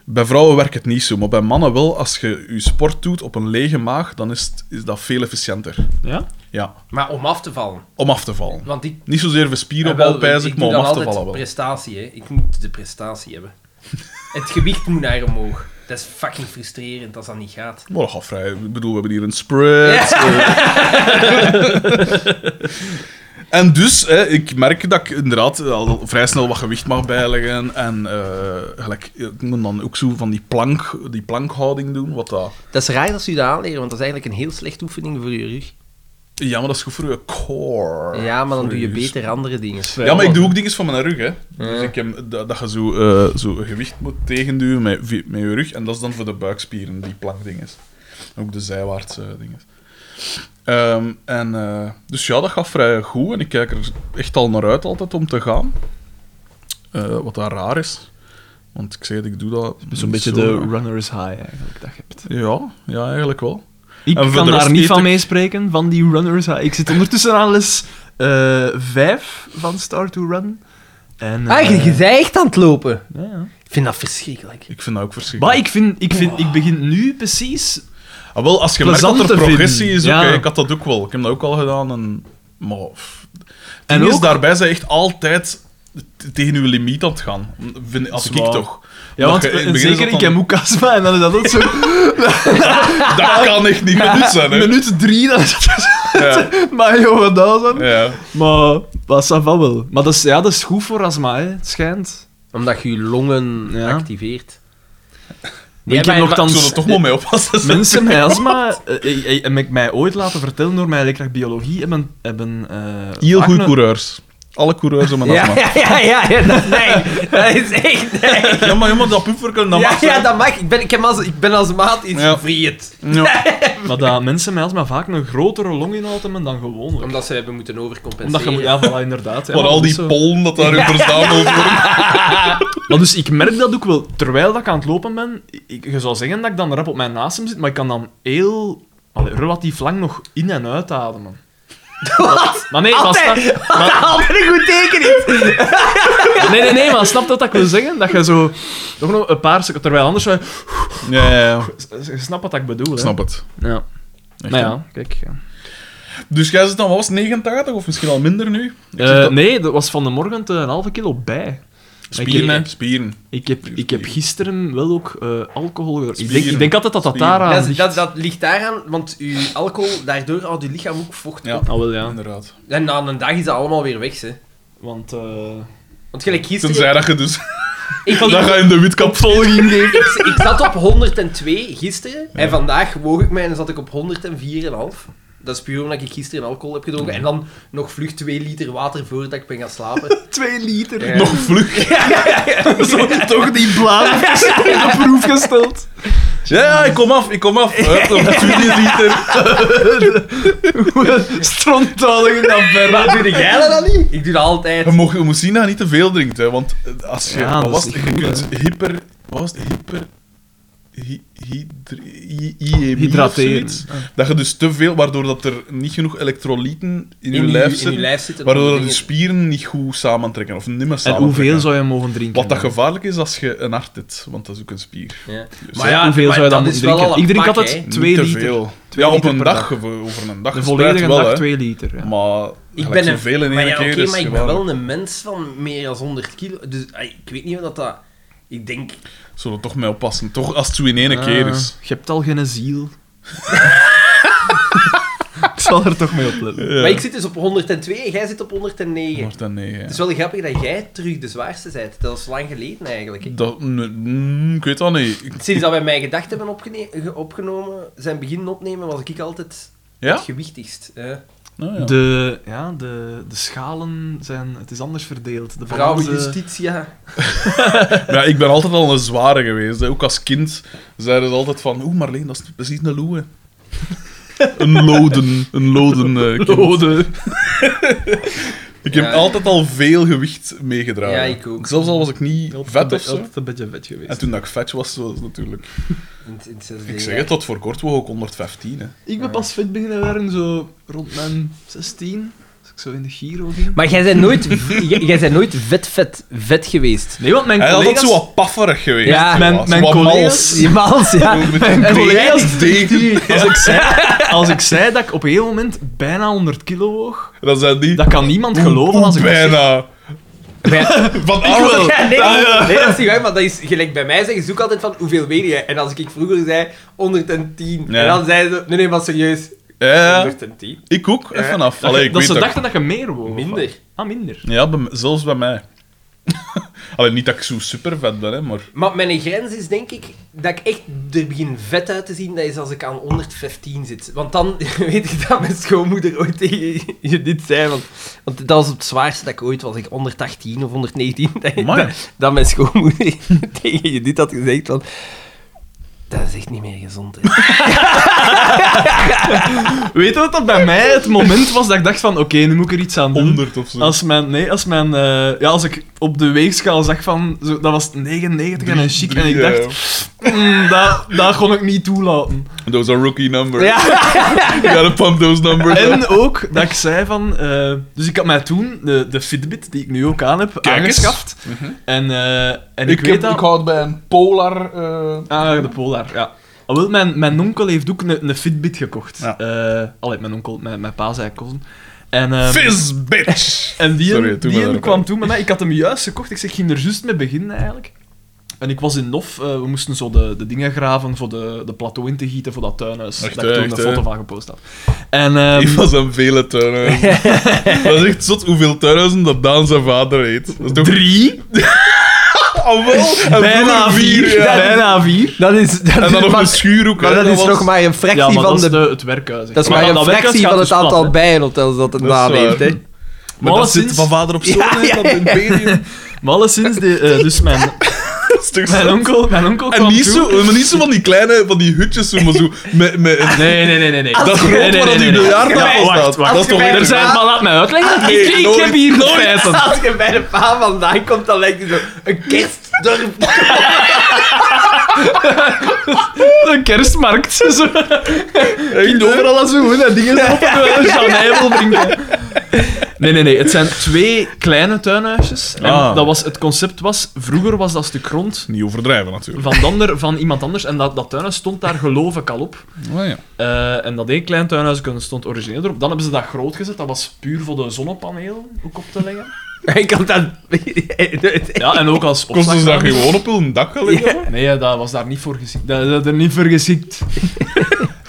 Speaker 2: Bij vrouwen werkt het niet zo, maar bij mannen wel. Als je je sport doet op een lege maag, dan is, het- is dat veel efficiënter.
Speaker 4: Ja?
Speaker 2: Ja,
Speaker 1: Maar om af te vallen.
Speaker 2: om af te vallen.
Speaker 1: Want ik,
Speaker 2: Niet zozeer voor spieren
Speaker 1: eh,
Speaker 2: op
Speaker 1: wel,
Speaker 2: alpijs,
Speaker 1: ik
Speaker 2: maar
Speaker 1: doe
Speaker 2: om
Speaker 1: dan
Speaker 2: af te
Speaker 1: altijd
Speaker 2: vallen wel.
Speaker 1: prestatie. Hè. Ik moet de prestatie
Speaker 2: [laughs]
Speaker 1: hebben. het gewicht moet naar omhoog. Dat is fucking frustrerend als dat niet gaat.
Speaker 2: Maar dat gaat vrij. Ik bedoel, we hebben hier een
Speaker 1: [laughs]
Speaker 2: spread. En dus, hè, ik merk dat ik inderdaad al vrij snel wat gewicht mag bijleggen. En eh, gelijk, ik moet dan ook zo van die, plank, die plankhouding doen. Wat dat...
Speaker 1: Dat is raar dat ze je dat aanleren, want dat is eigenlijk een heel slechte oefening voor je rug.
Speaker 2: Ja, maar dat is goed voor je core.
Speaker 1: Ja, maar dan
Speaker 2: Voor
Speaker 1: doe je
Speaker 2: je
Speaker 1: beter andere dingen.
Speaker 2: Ja, maar ik doe ook dingen van mijn rug, hè. Dus ik heb, dat, dat je zo, eh, zo gewicht moet tegenduwen met, vi- met je rug. En dat is dan voor de buikspieren, die plankdinges. Ook de zijwaartse dingen. Ehm, en, eh, dus ja, dat gaat vrij goed. En ik kijk er echt al naar uit altijd om te gaan. Eh, wat daar raar is. Want ik zei het, ik doe dat...
Speaker 4: Zo'n
Speaker 2: niet
Speaker 4: beetje
Speaker 2: zo
Speaker 4: de
Speaker 2: graag.
Speaker 4: runner's high eigenlijk, dat je hebt.
Speaker 2: Ja, ja, eigenlijk wel.
Speaker 4: Ik
Speaker 2: En voor
Speaker 4: kan
Speaker 2: de
Speaker 4: daar
Speaker 2: rest
Speaker 4: niet
Speaker 2: eet
Speaker 4: van
Speaker 2: ik-
Speaker 4: meespreken, van die runners. Ik zit ondertussen aan les 5 van Start to Run. En, eh,
Speaker 1: Ah, bent echt aan het lopen.
Speaker 4: ja, ja.
Speaker 1: Ik vind dat verschrikkelijk.
Speaker 2: Ik vind dat ook verschrikkelijk.
Speaker 4: Maar ik vind, ik vind, ik begin nu precies...
Speaker 2: Ah, wel, als je merkt dat
Speaker 4: Plezant
Speaker 2: er
Speaker 4: te vinden.
Speaker 2: progressie is,
Speaker 4: Ja.
Speaker 2: oké, ik had dat ook wel. Ik heb dat ook al gedaan. En, maar, pff. Het
Speaker 4: En
Speaker 2: ding is,
Speaker 4: ook-
Speaker 2: daarbij zijn echt altijd t- tegen uw limiet aan het gaan. Vind, als ik
Speaker 4: Zwaar.
Speaker 2: toch.
Speaker 4: Ja,
Speaker 2: Omdat
Speaker 4: want
Speaker 2: je in het
Speaker 4: eh,
Speaker 2: begin
Speaker 4: zeker,
Speaker 2: zat
Speaker 4: ik
Speaker 2: dan-
Speaker 4: heb ook astma en dan is dat ook [laughs] zo...
Speaker 2: [laughs] Dat kan echt niet goed zijn, hè.
Speaker 4: Minuut 3, dan is dat [laughs]
Speaker 2: Ja,
Speaker 4: Maar joh, wat dat dan?
Speaker 2: ja.
Speaker 4: Maar, wat is dat van wel? Maar dat is, ja, dat is goed voor astma, hè. Het schijnt.
Speaker 1: Omdat je je longen
Speaker 4: Ja.
Speaker 1: activeert.
Speaker 4: ik heb
Speaker 1: maar-
Speaker 4: nog
Speaker 2: Ik
Speaker 4: dan
Speaker 2: zou er toch wel mee
Speaker 3: [laughs]
Speaker 2: oppassen.
Speaker 4: Mensen met astma, eh, eh, eh, heb ik mij ooit laten vertellen door mijn leerkracht biologie, hebben... hebben eh,
Speaker 2: Heel
Speaker 4: acne-
Speaker 2: goed coureurs. Alle coureurs om een
Speaker 1: Ja,
Speaker 2: afmaak.
Speaker 1: ja, ja, ja, ja, dat is [laughs] nee. Dat is echt nee.
Speaker 2: [laughs] Ja, maar helemaal dat pufferken, dat
Speaker 1: Ja,
Speaker 2: mag
Speaker 1: ja,
Speaker 2: zijn.
Speaker 1: dat mag. Ik ben, ik heb als, ik ben als maat iets
Speaker 2: Ja.
Speaker 1: gevriet.
Speaker 2: [laughs] Ja.
Speaker 3: Maar dat mensen mij alsmaar vaak een grotere long inademen dan gewoonlijk.
Speaker 1: Omdat ze hebben moeten overcompenseren.
Speaker 3: Omdat je moet... Ja, voilà, inderdaad. hè,
Speaker 2: Maar
Speaker 3: maar
Speaker 2: al
Speaker 3: dat is
Speaker 2: die
Speaker 3: zo.
Speaker 2: pollen dat daarin verzameld worden.
Speaker 3: Maar dus ik merk dat ook wel, terwijl dat ik aan het lopen ben, ik, je zou zeggen dat ik dan rap op mijn naastem zit, maar ik kan dan heel, allee, relatief lang nog in- en
Speaker 2: [laughs]
Speaker 3: uitademen. Wat? Maar nee, maar
Speaker 1: Altijd.
Speaker 3: snap,
Speaker 1: Wat een goed teken is.
Speaker 3: nee, nee, nee, maar snap dat dat ik wil zeggen? Dat je zo nog nog een paar seconden, terwijl anders... zou je-
Speaker 2: Ja, ja, ja.
Speaker 3: Je snapt wat ik bedoel, hè?
Speaker 2: Ik snap het.
Speaker 3: Ja.
Speaker 2: Echt,
Speaker 3: nou
Speaker 2: hè.
Speaker 3: ja, kijk. ja.
Speaker 2: Dus jij zit dan, wat was het, 89 of misschien al minder nu? Ik zeg
Speaker 3: Eh,
Speaker 2: dat-
Speaker 3: nee, dat was van de morgen te een halve kilo bij.
Speaker 2: Spieren,
Speaker 3: ik-
Speaker 2: hè. Spieren.
Speaker 3: Ik heb, ik heb gisteren wel ook eh, alcohol gedronken. Ik denk,
Speaker 2: Spieren.
Speaker 3: ik denk altijd dat dat
Speaker 2: Spieren.
Speaker 3: daaraan
Speaker 1: Dat,
Speaker 3: ligt.
Speaker 1: dat, dat ligt daaraan, want uw alcohol, daardoor houdt uw lichaam ook vocht
Speaker 2: Ja.
Speaker 1: op.
Speaker 3: Ah, wel ja.
Speaker 2: Inderdaad.
Speaker 1: En na een dag is dat allemaal weer weg, hè.
Speaker 3: Want... eh,
Speaker 1: Want gelijk gisteren...
Speaker 2: Tenzij dat je dus...
Speaker 1: ik,
Speaker 2: [laughs] Dat
Speaker 1: ik,
Speaker 2: ga je in de witkap volgen.
Speaker 1: [laughs] ik, ik zat op 102 gisteren, en vandaag woog ik mij en zat ik op 104,5. Dat is puur omdat ik gisteren alcohol heb gedronken. En dan nog vlug 2 liter water voordat ik ben gaan
Speaker 3: [laughs]
Speaker 1: slapen.
Speaker 5: Twee liter.
Speaker 1: Ja.
Speaker 2: Nog vlug.
Speaker 5: Zo, toch die bladen op proef gesteld.
Speaker 2: Ja, ja, ik kom af, ik kom [laughs] af. Hup, nog 20 liter.
Speaker 5: Strontalig in dat
Speaker 1: Maar doe jij dat dan niet? Ik doe dat altijd.
Speaker 2: Je, mocht, je moet zien dat je niet te veel drinkt, hè, want eh, als je...
Speaker 3: Ja,
Speaker 2: wat
Speaker 3: dat
Speaker 2: was
Speaker 3: is
Speaker 2: het?
Speaker 3: niet
Speaker 2: je
Speaker 3: goed,
Speaker 2: kunt hyper... Wat was het? Hyper... hy- hydri- hy- IEMI of
Speaker 3: Hydrateren.
Speaker 2: zoiets. Dat je dus te veel, waardoor dat er niet genoeg elektrolyten in,
Speaker 1: uw-
Speaker 2: je lijf
Speaker 1: in uw
Speaker 2: zitten,
Speaker 1: lijf zitten.
Speaker 2: waardoor dat je
Speaker 1: dingen.
Speaker 2: spieren niet goed samentrekken, of nimmer
Speaker 3: en
Speaker 2: samentrekken.
Speaker 3: hoeveel zou je mogen drinken?
Speaker 2: Wat dat gevaarlijk is als je een hart hebt, want dat is ook een spier.
Speaker 1: Ja.
Speaker 2: Dus
Speaker 1: Maar ja,
Speaker 3: hoeveel zou je dan
Speaker 1: dat
Speaker 3: moeten
Speaker 1: is wel
Speaker 3: drinken?
Speaker 1: al
Speaker 3: Ik
Speaker 1: een
Speaker 3: drink
Speaker 1: pak,
Speaker 3: altijd
Speaker 1: hè.
Speaker 3: twee
Speaker 2: niet te
Speaker 3: liter.
Speaker 2: veel.
Speaker 3: Twee
Speaker 2: ja, op
Speaker 3: liter
Speaker 2: een
Speaker 3: per
Speaker 2: dag,
Speaker 3: dag.
Speaker 2: of, eh, over een dag.
Speaker 3: De
Speaker 2: gespreid
Speaker 3: volledige
Speaker 2: wel,
Speaker 3: dag
Speaker 2: hè.
Speaker 3: 2 liter. Ja.
Speaker 2: Maar
Speaker 1: Ik ben een,
Speaker 2: veel in één
Speaker 1: maar ja,
Speaker 2: keer. dus
Speaker 1: oké,
Speaker 2: is
Speaker 1: maar ik ben
Speaker 2: gevaarlijk.
Speaker 1: wel een mens van meer dan 100 kilo. Dus ah, ik weet niet of dat dat... Ik denk...
Speaker 2: Zullen we toch mee oppassen. Toch als het zo in één keer is.
Speaker 3: Ah, je hebt al geen ziel. [laughs] ik zal er toch mee
Speaker 2: [laughs]
Speaker 3: opletten.
Speaker 2: Ja.
Speaker 1: Maar ik zit dus op 102 en jij zit op 109.
Speaker 2: Maar dan nee, ja.
Speaker 1: Het is wel grappig dat jij terug de zwaarste bent. Dat is lang geleden eigenlijk. hè.
Speaker 2: Dat, nee, mm, ik weet dat niet. Ik-
Speaker 1: Sinds dat wij mijn gedachten hebben opgene- ge- opgenomen, zijn begin opnemen, was ik altijd het
Speaker 2: Ja?
Speaker 1: gewichtigst. hè.
Speaker 2: Nou, ja.
Speaker 3: De, ja, de, de schalen zijn... Het is anders verdeeld. De
Speaker 1: Vrouwen
Speaker 3: balans, eh, [laughs]
Speaker 1: Justitia.
Speaker 2: Maar ja, ik ben altijd al een zware geweest. hè. Ook als kind zeiden ze altijd van... Oeh, Marleen, dat is precies een
Speaker 1: [laughs]
Speaker 2: loe. een loden. Een loden [laughs] eh, kind.
Speaker 3: Lode.
Speaker 2: Ik heb
Speaker 1: Ja.
Speaker 2: altijd al veel gewicht meegedragen.
Speaker 1: Ja, ik ook.
Speaker 2: Zelfs al was ik niet vet of zo.
Speaker 3: Altijd een beetje vet geweest.
Speaker 2: En toen dat ik vet was, was het natuurlijk...
Speaker 1: In het- in het zesde
Speaker 2: Ik
Speaker 1: jaar.
Speaker 2: zeg het, tot voor kort woog ik 115, hè.
Speaker 3: Ik ben pas fit beginnen werken, zo rond mijn 16. Als ik zo in de Giro ging.
Speaker 1: Maar jij bent nooit, v- jij bent nooit vet, vet, vet geweest.
Speaker 3: Nee, want mijn
Speaker 2: Hij is altijd
Speaker 3: collega's...
Speaker 2: zo wat pafferig geweest.
Speaker 1: Ja,
Speaker 2: zo
Speaker 3: mijn-
Speaker 2: wat- zo
Speaker 3: mijn
Speaker 2: wat
Speaker 3: collega's-
Speaker 2: mals.
Speaker 1: Je maals, ja.
Speaker 2: Met
Speaker 3: Mijn
Speaker 2: een
Speaker 3: collega's
Speaker 2: degen.
Speaker 3: [laughs] Als ik, zei, als ik zei dat ik op een gegeven moment bijna 100 kilo woog,
Speaker 2: Dat zijn die...
Speaker 3: dat kan niemand
Speaker 2: Oeh,
Speaker 3: geloven
Speaker 2: oeh,
Speaker 3: als ik dat zeg.
Speaker 2: bijna. Van alle...
Speaker 1: Ja, nee, nee, dat is niet waar, maar dat is gelijk bij mij zeggen ze ook altijd van hoeveel weet jij? En als ik vroeger zei 110,
Speaker 2: Ja.
Speaker 1: en dan zeiden ze, nee, nee, maar serieus,
Speaker 2: Ja,
Speaker 1: 110.
Speaker 2: ik ook. Even af.
Speaker 3: Dat,
Speaker 2: Allee,
Speaker 3: je-
Speaker 2: ik
Speaker 3: dat
Speaker 2: weet
Speaker 3: ze
Speaker 2: dat ik-
Speaker 3: dachten dat je meer woog.
Speaker 1: Minder.
Speaker 3: Ah, minder.
Speaker 2: Ja, bij m- zelfs bij mij. [laughs] Alleen niet dat ik zo super vet ben, hè, maar...
Speaker 1: Maar mijn grens is denk ik dat ik echt er begin vet uit te zien, dat is als ik aan 115 zit. Want dan [laughs] weet ik dat mijn schoonmoeder ooit tegen je dit zei. Want, want dat was het zwaarste dat ik ooit was, ik 118 of 119. [laughs] Dat,
Speaker 2: Amai.
Speaker 1: dat, dat mijn schoonmoeder [laughs] tegen je dit had gezegd van... Dat is echt niet meer gezond, hè.
Speaker 3: Weet je wat dat bij mij het moment was dat ik dacht van, oké, nu moet ik er iets aan doen.
Speaker 2: 100 of zo.
Speaker 3: Als mijn, nee, als mijn, eh, ja, als ik op de weegschaal zag van, zo, dat was 99 en een chic, en ik
Speaker 2: Drie,
Speaker 3: dacht, mm, dat, dat kon ik niet
Speaker 2: [laughs]
Speaker 3: toelaten.
Speaker 2: eh, Those are rookie numbers. [laughs]
Speaker 1: Ja.
Speaker 2: You gotta pump those numbers.
Speaker 3: En ook dat ik zei van, eh, dus ik had mij toen de, de Fitbit, die ik nu ook aan heb,
Speaker 2: Kijk eens. Mhm.
Speaker 3: aangeschaft. En, eh, en ik,
Speaker 2: ik,
Speaker 3: weet
Speaker 2: heb,
Speaker 3: dat...
Speaker 2: ik houd bij een polar... eh,
Speaker 3: Ah, de Polar, ja. Alhoewel, mijn, mijn onkel heeft ook een, een Fitbit gekocht.
Speaker 2: Ja.
Speaker 3: Eh, allee, mijn onkel, mijn, mijn pa zei kozen. En, ehm,
Speaker 2: Fizz, bitch!
Speaker 3: en die,
Speaker 2: Sorry, doe
Speaker 3: die
Speaker 2: maar daarop
Speaker 3: kwam
Speaker 2: uit.
Speaker 3: toen met mij. Ik had hem juist gekocht. Ik zeg, ik ging er juist mee beginnen eigenlijk. En ik was in Nof. eh, we moesten zo de, de dingen graven voor de, de plateau in te gieten voor dat tuinhuis.
Speaker 2: Echt,
Speaker 3: dat ik toen
Speaker 2: echt,
Speaker 3: een
Speaker 2: hè?
Speaker 3: foto van gepost had. En, ehm,
Speaker 2: Die was aan vele tuinhuizen. dat is echt zot hoeveel tuinhuizen dat Daan zijn vader heet. Dat is toch...
Speaker 3: drie?
Speaker 2: Ah, wel? En
Speaker 3: Bijna
Speaker 2: vroeger
Speaker 3: vier.
Speaker 2: ja.
Speaker 3: Bijna vier.
Speaker 1: Dat is... Dat
Speaker 2: En dan
Speaker 1: is
Speaker 2: nog
Speaker 1: maar-
Speaker 2: een schuur ook.
Speaker 1: maar
Speaker 2: hè,
Speaker 1: dat is
Speaker 2: was-
Speaker 1: nog maar een fractie
Speaker 3: Ja,
Speaker 1: van
Speaker 3: maar dat
Speaker 1: de
Speaker 3: is de, het werkhuis. echt.
Speaker 1: Dat is maar,
Speaker 3: dat
Speaker 1: een
Speaker 3: werkhuis
Speaker 1: fractie
Speaker 3: gaat
Speaker 1: van
Speaker 3: dus
Speaker 1: het
Speaker 3: plat,
Speaker 1: aantal
Speaker 3: hè.
Speaker 1: bijenhotels dat een
Speaker 2: Dat is
Speaker 1: naam
Speaker 2: waar.
Speaker 1: heeft. Hè.
Speaker 2: Maar dat
Speaker 3: alleszins-
Speaker 2: zit van vader op zoon,
Speaker 1: Ja,
Speaker 2: hè,
Speaker 1: ja,
Speaker 2: dat imperium.
Speaker 3: Maar alleszins, de, eh, dus mijn,
Speaker 2: Stuk
Speaker 3: mijn,
Speaker 2: zand.
Speaker 3: onkel, mijn onkel kwam
Speaker 2: En niet
Speaker 3: toe.
Speaker 2: zo, maar niet zo van die kleine, van die hutjes, zo, maar zo met... met
Speaker 3: [laughs] Nee, nee, nee, nee. nee.
Speaker 2: dat groot
Speaker 3: nee,
Speaker 2: waar dat die
Speaker 1: Als
Speaker 2: biljarttafel
Speaker 1: je mij- als
Speaker 2: staat. Dat is
Speaker 1: je
Speaker 2: toch
Speaker 1: mij-
Speaker 2: niet
Speaker 3: Er
Speaker 1: Er
Speaker 3: zijn,
Speaker 1: zijn-
Speaker 3: maar laat mij uitleggen.
Speaker 2: Nee,
Speaker 3: ik, ik heb
Speaker 2: nooit,
Speaker 3: hier de
Speaker 2: nooit.
Speaker 3: feiten.
Speaker 1: Als je bij de pa vandaan komt, dan lijkt het zo een kerstdorp.
Speaker 3: [laughs] Een [laughs] kerstmarkt. Zo.
Speaker 2: Echt, hè?
Speaker 3: al zo goed, dat dingen [laughs] op eh, Nee, nee, nee. Het zijn twee kleine tuinhuisjes. En
Speaker 2: Ah.
Speaker 3: dat was, het concept was, vroeger was dat stuk grond
Speaker 2: Niet overdrijven, natuurlijk.
Speaker 3: van, dander, van iemand anders. En dat, dat tuinhuis stond daar geloof ik al op.
Speaker 2: Oh, ja.
Speaker 3: Eh, en dat één klein tuinhuis stond origineel erop. Dan hebben ze dat groot gezet. Dat was puur voor de zonnepaneel ook op te leggen.
Speaker 1: Ik kan dat... [laughs]
Speaker 3: Ja, en ook als
Speaker 2: Kost ze dat
Speaker 3: opslagruimte.
Speaker 2: dus gewoon op hun dak gaan liggen?
Speaker 3: Nee, eh, dat was daar niet voor geschikt. Dat, dat er niet voor
Speaker 1: [laughs]
Speaker 3: geschikt.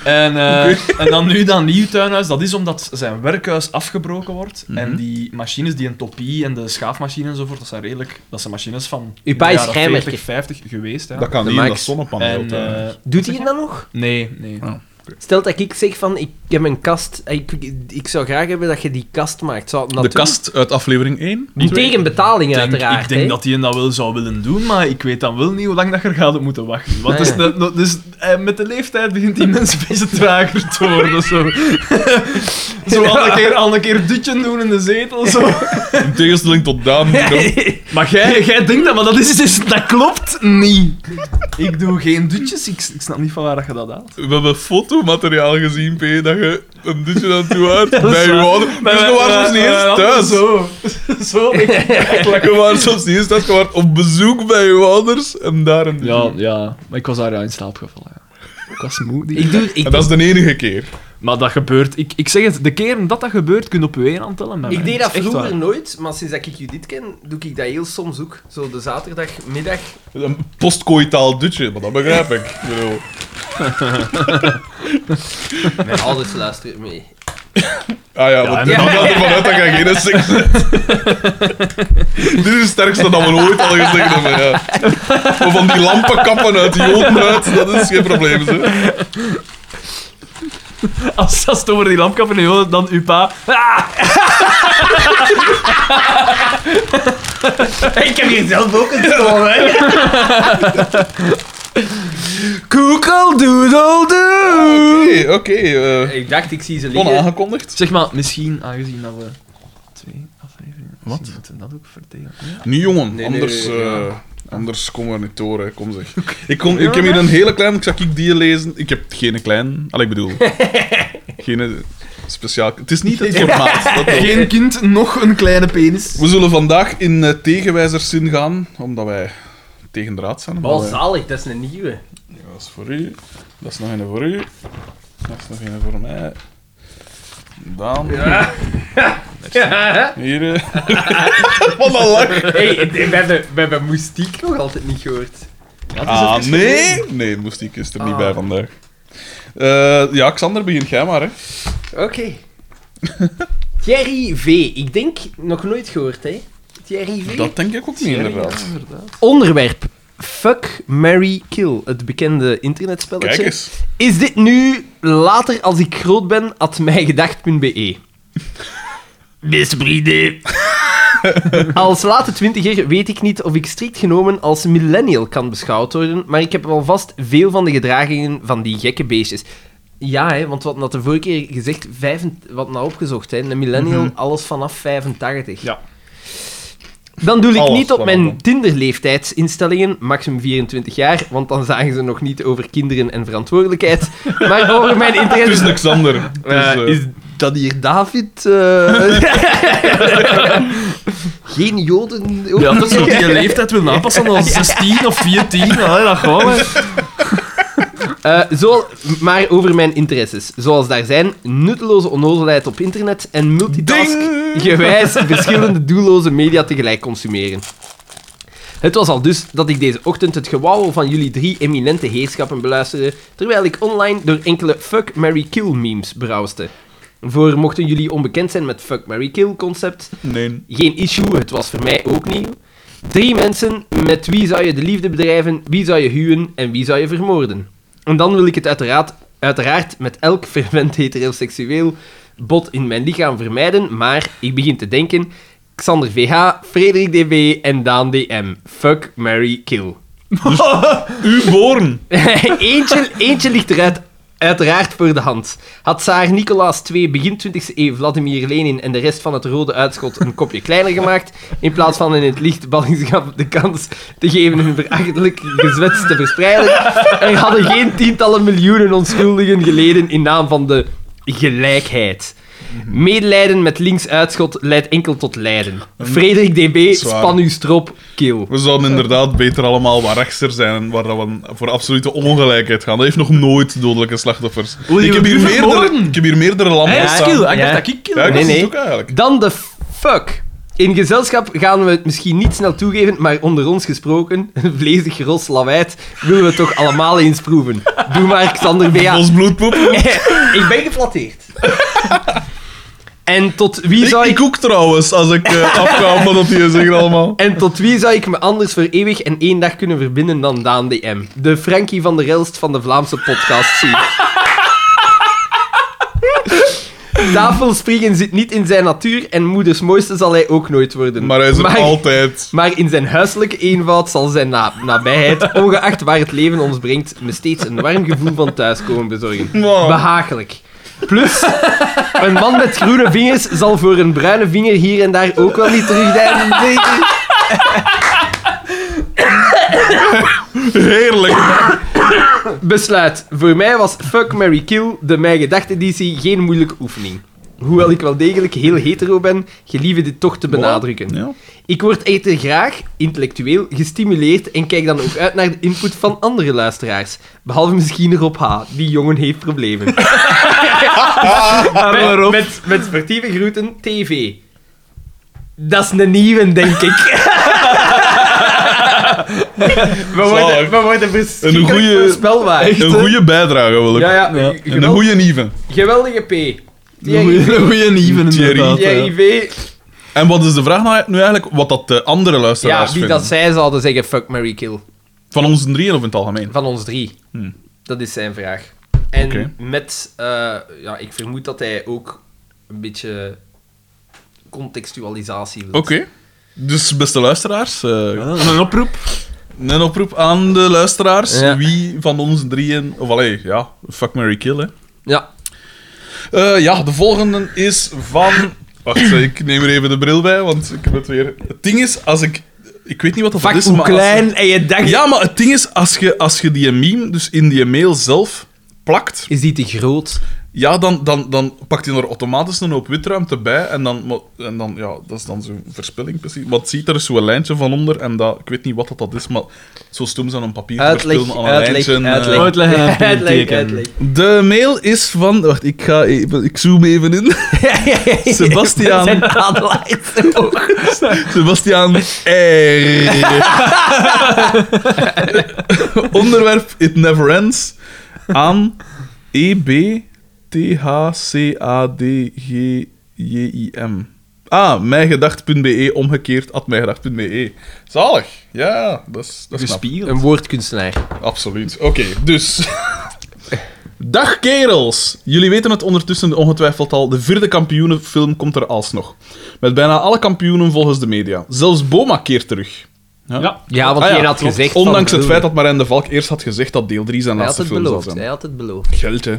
Speaker 3: en, eh, en dan nu dat nieuw tuinhuis, dat is omdat zijn werkhuis afgebroken wordt.
Speaker 1: Mhm.
Speaker 3: En die machines, die entropie en de schaafmachine enzovoort, dat zijn redelijk... Dat zijn machines van
Speaker 1: Uw pa
Speaker 3: de
Speaker 1: is
Speaker 3: jaren
Speaker 1: schrijnwerker.
Speaker 3: 40, 50 geweest. Ja.
Speaker 2: Dat kan
Speaker 1: De
Speaker 2: niet in dat
Speaker 1: Max.
Speaker 2: zonnepaneel.
Speaker 3: en,
Speaker 2: thuis.
Speaker 3: eh,
Speaker 1: Doet hij dat nog?
Speaker 3: nee, nee.
Speaker 1: Ah. Stel dat ik zeg van, ik heb een kast... Ik, ik zou graag hebben dat je die kast maakt. Zou dat
Speaker 2: de
Speaker 1: doen?
Speaker 2: kast uit aflevering 1.
Speaker 1: En Tegen betaling,
Speaker 3: Ik denk-
Speaker 1: uiteraard.
Speaker 3: ik denk
Speaker 1: hè.
Speaker 3: dat hij dat wel zou willen doen, maar ik weet dan wel niet hoe lang dat je gaat op moeten wachten. Want
Speaker 1: Ah,
Speaker 3: dus,
Speaker 1: ja.
Speaker 3: dat- dat- dus, eh, met de leeftijd begint die mens een beetje trager te worden. [laughs] Zo, zo al, een keer, al een keer dutje doen in de zetel. Zo.
Speaker 2: In tegenstelling tot
Speaker 1: [laughs]
Speaker 2: Daan. die nog-
Speaker 3: Maar jij, jij denkt dat, maar dat, is, is- dat klopt niet. Ik doe geen dutjes, ik, ik snap niet van waar dat je dat haalt.
Speaker 2: We hebben fotomateriaal gezien, P, dat je een dutje aan toe uit bij je
Speaker 3: waar.
Speaker 2: ouders. Dus je was soms niet eens thuis.
Speaker 3: Zo. zo.
Speaker 2: Je was soms niet eens thuis. Je was op bezoek bij je ouders en daar een
Speaker 3: Ja, ja, maar ik was daar ja in slaap gevallen. Ja. Ik was moe. die-
Speaker 1: Ik doe... Ik,
Speaker 2: En dat is de enige keer.
Speaker 3: Maar dat gebeurt. Ik, ik zeg het, de keren dat dat gebeurt, kun je op je één hand tellen. met
Speaker 1: ik
Speaker 3: mij.
Speaker 1: deed dat
Speaker 3: is echt
Speaker 1: vroeger
Speaker 3: waar.
Speaker 1: nooit, maar sinds dat ik Judith ken, doe ik dat heel soms ook. Zo de zaterdagmiddag.
Speaker 2: Een postkooitaal dutje, maar dat begrijp ik. Ik bedoel,
Speaker 1: Mijn ouders luisteren mee.
Speaker 2: Ah ja, want
Speaker 3: en-
Speaker 2: ik
Speaker 1: Ja.
Speaker 2: gaat ervan uit dat je geen seks hebt. Dit is het sterkste dat we ooit al gezegd hebben, ja. Maar van die lampenkappen uit die ogen uit, dat is geen probleem, zeg.
Speaker 3: [laughs] Als, als het over die lampkap en je dan uw pa. Ah!
Speaker 1: [laughs] ik heb hier zelf ook een stoel, hè.
Speaker 2: Oké, oké. eh,
Speaker 1: Ik dacht, ik zie ze liggen.
Speaker 2: onaangekondigd.
Speaker 3: Zeg maar, misschien aangezien dat we twee afleveringen.
Speaker 2: Wat?
Speaker 3: misschien moeten we dat ook vertellen.
Speaker 2: Nu jongen,
Speaker 1: Nee,
Speaker 2: anders,
Speaker 1: nee, nee,
Speaker 2: eh, anders komen we niet door, hè. kom
Speaker 1: [laughs]
Speaker 2: zeg. Ik, kon, ik heb hier een hele klein, ik zag ik die lezen. Ik heb geen klein, al ik
Speaker 1: [laughs]
Speaker 2: bedoel, geen eh, speciaal. Het is niet het formaat. dat wel.
Speaker 3: Geen kind, nog een kleine penis.
Speaker 2: We zullen vandaag in eh, tegenwijzerszin gaan, omdat wij tegen draad zijn. omdat
Speaker 1: Wel
Speaker 2: wij-
Speaker 1: zalig, dat is een nieuwe.
Speaker 2: Ja, Dat is voor u, dat is nog een voor u, dat is nog een voor mij. Dan,
Speaker 1: [laughs] Ja.
Speaker 2: hier. eh. Wat een lach.
Speaker 1: Hey, we hebben, we hebben Moestiek nog altijd niet gehoord.
Speaker 2: Ah, nee! Nee, moest ik is er niet
Speaker 1: Ah.
Speaker 2: bij vandaag. Eh, ja, Xander, begin jij maar, hè.
Speaker 1: Oké. Thierry V. Ik denk, nog nooit gehoord, hè. Thierry V.
Speaker 2: Dat denk ik ook niet, inderdaad.
Speaker 1: Onderwerp. Fuck, Mary Kill. Het bekende
Speaker 2: Kijk
Speaker 1: internetspelletje.
Speaker 2: eens.
Speaker 1: Is dit nu later als ik groot ben, at mijgedacht.be? Beste vrienden. [laughs] Als late twintiger weet ik niet of ik strikt genomen als millennial kan beschouwd worden, maar ik heb alvast veel van de gedragingen van die gekke beestjes. Ja, hè, want wat had de vorige keer gezegd, vijf, wat nou opgezocht, hè, een millennial,
Speaker 2: Mhm.
Speaker 1: alles vanaf 85.
Speaker 3: Ja.
Speaker 1: Dan doe ik
Speaker 2: Alles
Speaker 1: niet op
Speaker 2: vanaf, hè.
Speaker 1: mijn Tinder-leeftijdsinstellingen, maximum 24 jaar, want dan zagen ze nog niet over kinderen en verantwoordelijkheid, [laughs] maar over mijn
Speaker 2: Het is
Speaker 1: interesse...
Speaker 2: een Xander. Het is,
Speaker 1: Eh,
Speaker 2: eh,
Speaker 1: is dat hier David?
Speaker 3: [laughs]
Speaker 1: eh? Geen Joden. ook
Speaker 3: Ja,
Speaker 1: niet?
Speaker 3: dat is die leeftijd wil
Speaker 1: [laughs]
Speaker 3: aanpassen als 16 of 14. Allee, dat gewoon. hè.
Speaker 1: Eh, zo, maar over mijn interesses. Zoals daar zijn, nutteloze onnozelheid op internet en multitask-gewijs verschillende doelloze media tegelijk consumeren. Het was al dus dat ik deze ochtend het gewauwel van jullie drie eminente heerschappen beluisterde, terwijl ik online door enkele fuck, Mary kill memes browste. Voor mochten jullie onbekend zijn met fuck, Mary kill concept,
Speaker 2: Nee.
Speaker 1: geen issue, het was voor mij ook nieuw. Drie mensen, met wie zou je de liefde bedrijven, wie zou je huwen en wie zou je vermoorden? En dan wil ik het uiteraard, uiteraard met elk verwend heteroseksueel bot in mijn lichaam vermijden, maar ik begin te denken... Xander VH, Frederik DB en Daan DM. Fuck, Mary kill.
Speaker 2: U
Speaker 1: [laughs]
Speaker 2: born.
Speaker 1: eentje, eentje ligt eruit, uiteraard voor de hand. Had Saar Nicolaas II begin 20e eeuw Vladimir Lenin en de rest van het rode uitschot een kopje kleiner gemaakt, in plaats van in het licht ballingschap de kans te geven hun verachtelijk gezwets te verspreiden, er hadden geen tientallen miljoenen onschuldigen geleden in naam van de gelijkheid. Medelijden met linksuitschot leidt enkel tot lijden. Frederik DB,
Speaker 2: Zwaar.
Speaker 1: span uw strop, keel.
Speaker 2: We zouden inderdaad beter allemaal wat rechtser zijn en waar dat we voor absolute ongelijkheid gaan. Dat heeft nog nooit dodelijke slachtoffers.
Speaker 4: Wil je
Speaker 2: Ik heb, hier
Speaker 4: me
Speaker 2: meerdere,
Speaker 4: vermoorden?
Speaker 2: ik heb hier meerdere landen
Speaker 4: Hij is
Speaker 2: staan.
Speaker 4: kill. Ik
Speaker 3: ah,
Speaker 1: Ah, Ja.
Speaker 4: dacht dat ik kill
Speaker 2: Ja, ik
Speaker 4: was.
Speaker 1: Nee,
Speaker 2: was het
Speaker 1: nee.
Speaker 2: ook eigenlijk.
Speaker 1: Dan de fuck. In gezelschap gaan we het misschien niet snel toegeven, maar onder ons gesproken, [laughs] een vlezig ros lawaait, willen we het toch allemaal eens proeven. Doe maar, Xander [laughs] Bea.
Speaker 2: Ons bloedpoep.
Speaker 1: ik ben geflatteerd. en tot wie
Speaker 2: Ik,
Speaker 1: zou
Speaker 2: ik
Speaker 1: ik...
Speaker 2: ook trouwens, als ik eh afga van dat hier zeggen allemaal.
Speaker 1: En tot wie zou ik me anders voor eeuwig en één dag kunnen verbinden dan Daan DM? De Frankie van de Relst van de Vlaamse podcast zien. Tafelspringen zit niet in zijn natuur en moeders mooiste zal hij ook nooit worden.
Speaker 2: Maar hij is er altijd.
Speaker 1: Maar in zijn huiselijke eenvoud zal zijn na- nabijheid, ongeacht waar het leven ons brengt, me steeds een warm gevoel van thuiskomen bezorgen.
Speaker 2: Wow.
Speaker 1: Behagelijk. Plus, een man met groene vingers zal voor een bruine vinger hier en daar ook wel niet terugdijden, zeker?
Speaker 2: Heerlijk.
Speaker 1: Besluit. Voor mij was Fuck, Mary Kill, de Mijn Gedacht-editie, geen moeilijke oefening. Hoewel ik wel degelijk heel hetero ben, gelieve dit toch te benadrukken.
Speaker 2: Ja.
Speaker 1: Ik word echter graag, intellectueel, gestimuleerd en kijk dan ook uit naar de input van andere luisteraars. Behalve misschien Rob H. Die jongen heeft
Speaker 2: [laughs]
Speaker 1: problemen.
Speaker 2: Ah,
Speaker 3: Arme
Speaker 1: met,
Speaker 3: Rob.
Speaker 1: met, met sportieve groeten, TV. Dat is een nieuwe, denk
Speaker 2: [laughs]
Speaker 1: ik. we, worden,
Speaker 2: Zalig.
Speaker 1: we worden verschrikkelijk
Speaker 2: Een goeie-
Speaker 1: voorspelbaar.
Speaker 2: Een goede bijdrage wil ik.
Speaker 1: Ja, ja.
Speaker 3: Ja.
Speaker 2: En
Speaker 1: gewel-
Speaker 2: een goede nieuwe.
Speaker 1: Geweldige P.
Speaker 3: Een
Speaker 1: Thierry-
Speaker 3: goeie nieuwe,
Speaker 2: Thierry.
Speaker 3: inderdaad. ja.
Speaker 1: Thierry V.
Speaker 2: En wat is de vraag nou nu eigenlijk? Wat dat de andere luisteraars
Speaker 1: Ja, wie
Speaker 2: vinden?
Speaker 1: dat zij zouden zeggen, fuck, Mary kill.
Speaker 2: Van ons drieën of in het algemeen?
Speaker 1: Van ons drie. Dat is zijn vraag. En
Speaker 2: Hmm. Oké.
Speaker 1: met, eh, ja, ik vermoed dat hij ook een beetje contextualisatie wil.
Speaker 2: Oké. Dus beste luisteraars, eh,
Speaker 3: Een oproep.
Speaker 2: een oproep aan de luisteraars.
Speaker 1: Ja.
Speaker 2: Wie van ons drieën... Of allee, ja, fuck, Mary kill, hè.
Speaker 1: Ja.
Speaker 2: Eh, ja, de volgende is van... Wacht, eh, ik neem er even de bril bij, want ik heb het weer... Het ding is, als ik... Ik weet niet wat dat
Speaker 1: Fuck,
Speaker 2: is,
Speaker 1: hoe
Speaker 2: Dus maar als-
Speaker 1: klein en je dacht...
Speaker 2: Ja, maar het ding is, als je, als je die meme dus in die mail zelf plakt,
Speaker 1: Is die te groot?
Speaker 2: ja, dan, dan, dan pakt hij er automatisch een hoop witruimte bij. En dan, maar- en dan ja, dat is dan zo'n verspilling precies. Want ziet er zo'n lijntje van onder en dat, ik weet niet wat dat, dat is, maar zo stom zijn om papier te
Speaker 1: Uitleg,
Speaker 2: verspillen aan een
Speaker 1: uitleg,
Speaker 2: lijntje. eh.
Speaker 1: uitleg. [laughs]
Speaker 3: Uitleggen en
Speaker 1: Uitleg,
Speaker 3: punteken.
Speaker 1: uitleg.
Speaker 2: De mail is van... Wacht, ik ga even... Ik zoom even
Speaker 1: [laughs]
Speaker 2: in. [laughs] Sebastiaan.
Speaker 1: Zijn adelaars ook.
Speaker 2: Sebastiaan R. Onderwerp It Never Ends aan E E-B-T-H-C-A-D-G-J-I-M. Ah, mijngedacht.be, E omgekeerd, at mijngedacht.be. E. Zalig. Ja, dat is, dat is knap.
Speaker 1: Een woordkunstenaar.
Speaker 2: Absoluut. Oké, dus. [laughs] Dag kerels! Jullie weten het ondertussen ongetwijfeld al, de vierde kampioenenfilm komt er alsnog. Met bijna alle kampioenen volgens de media. Zelfs Boma keert terug.
Speaker 4: Ja.
Speaker 1: Ja, want
Speaker 2: Ah ja,
Speaker 1: jij had
Speaker 2: klopt.
Speaker 1: gezegd... van-
Speaker 2: Ondanks het feit dat Marijn de Valk eerst had gezegd dat deel 3 zijn
Speaker 1: Hij had
Speaker 2: laatste
Speaker 1: het
Speaker 2: film zou
Speaker 1: beloofd.
Speaker 2: zijn.
Speaker 1: Hij had het beloofd.
Speaker 2: Geld, hè.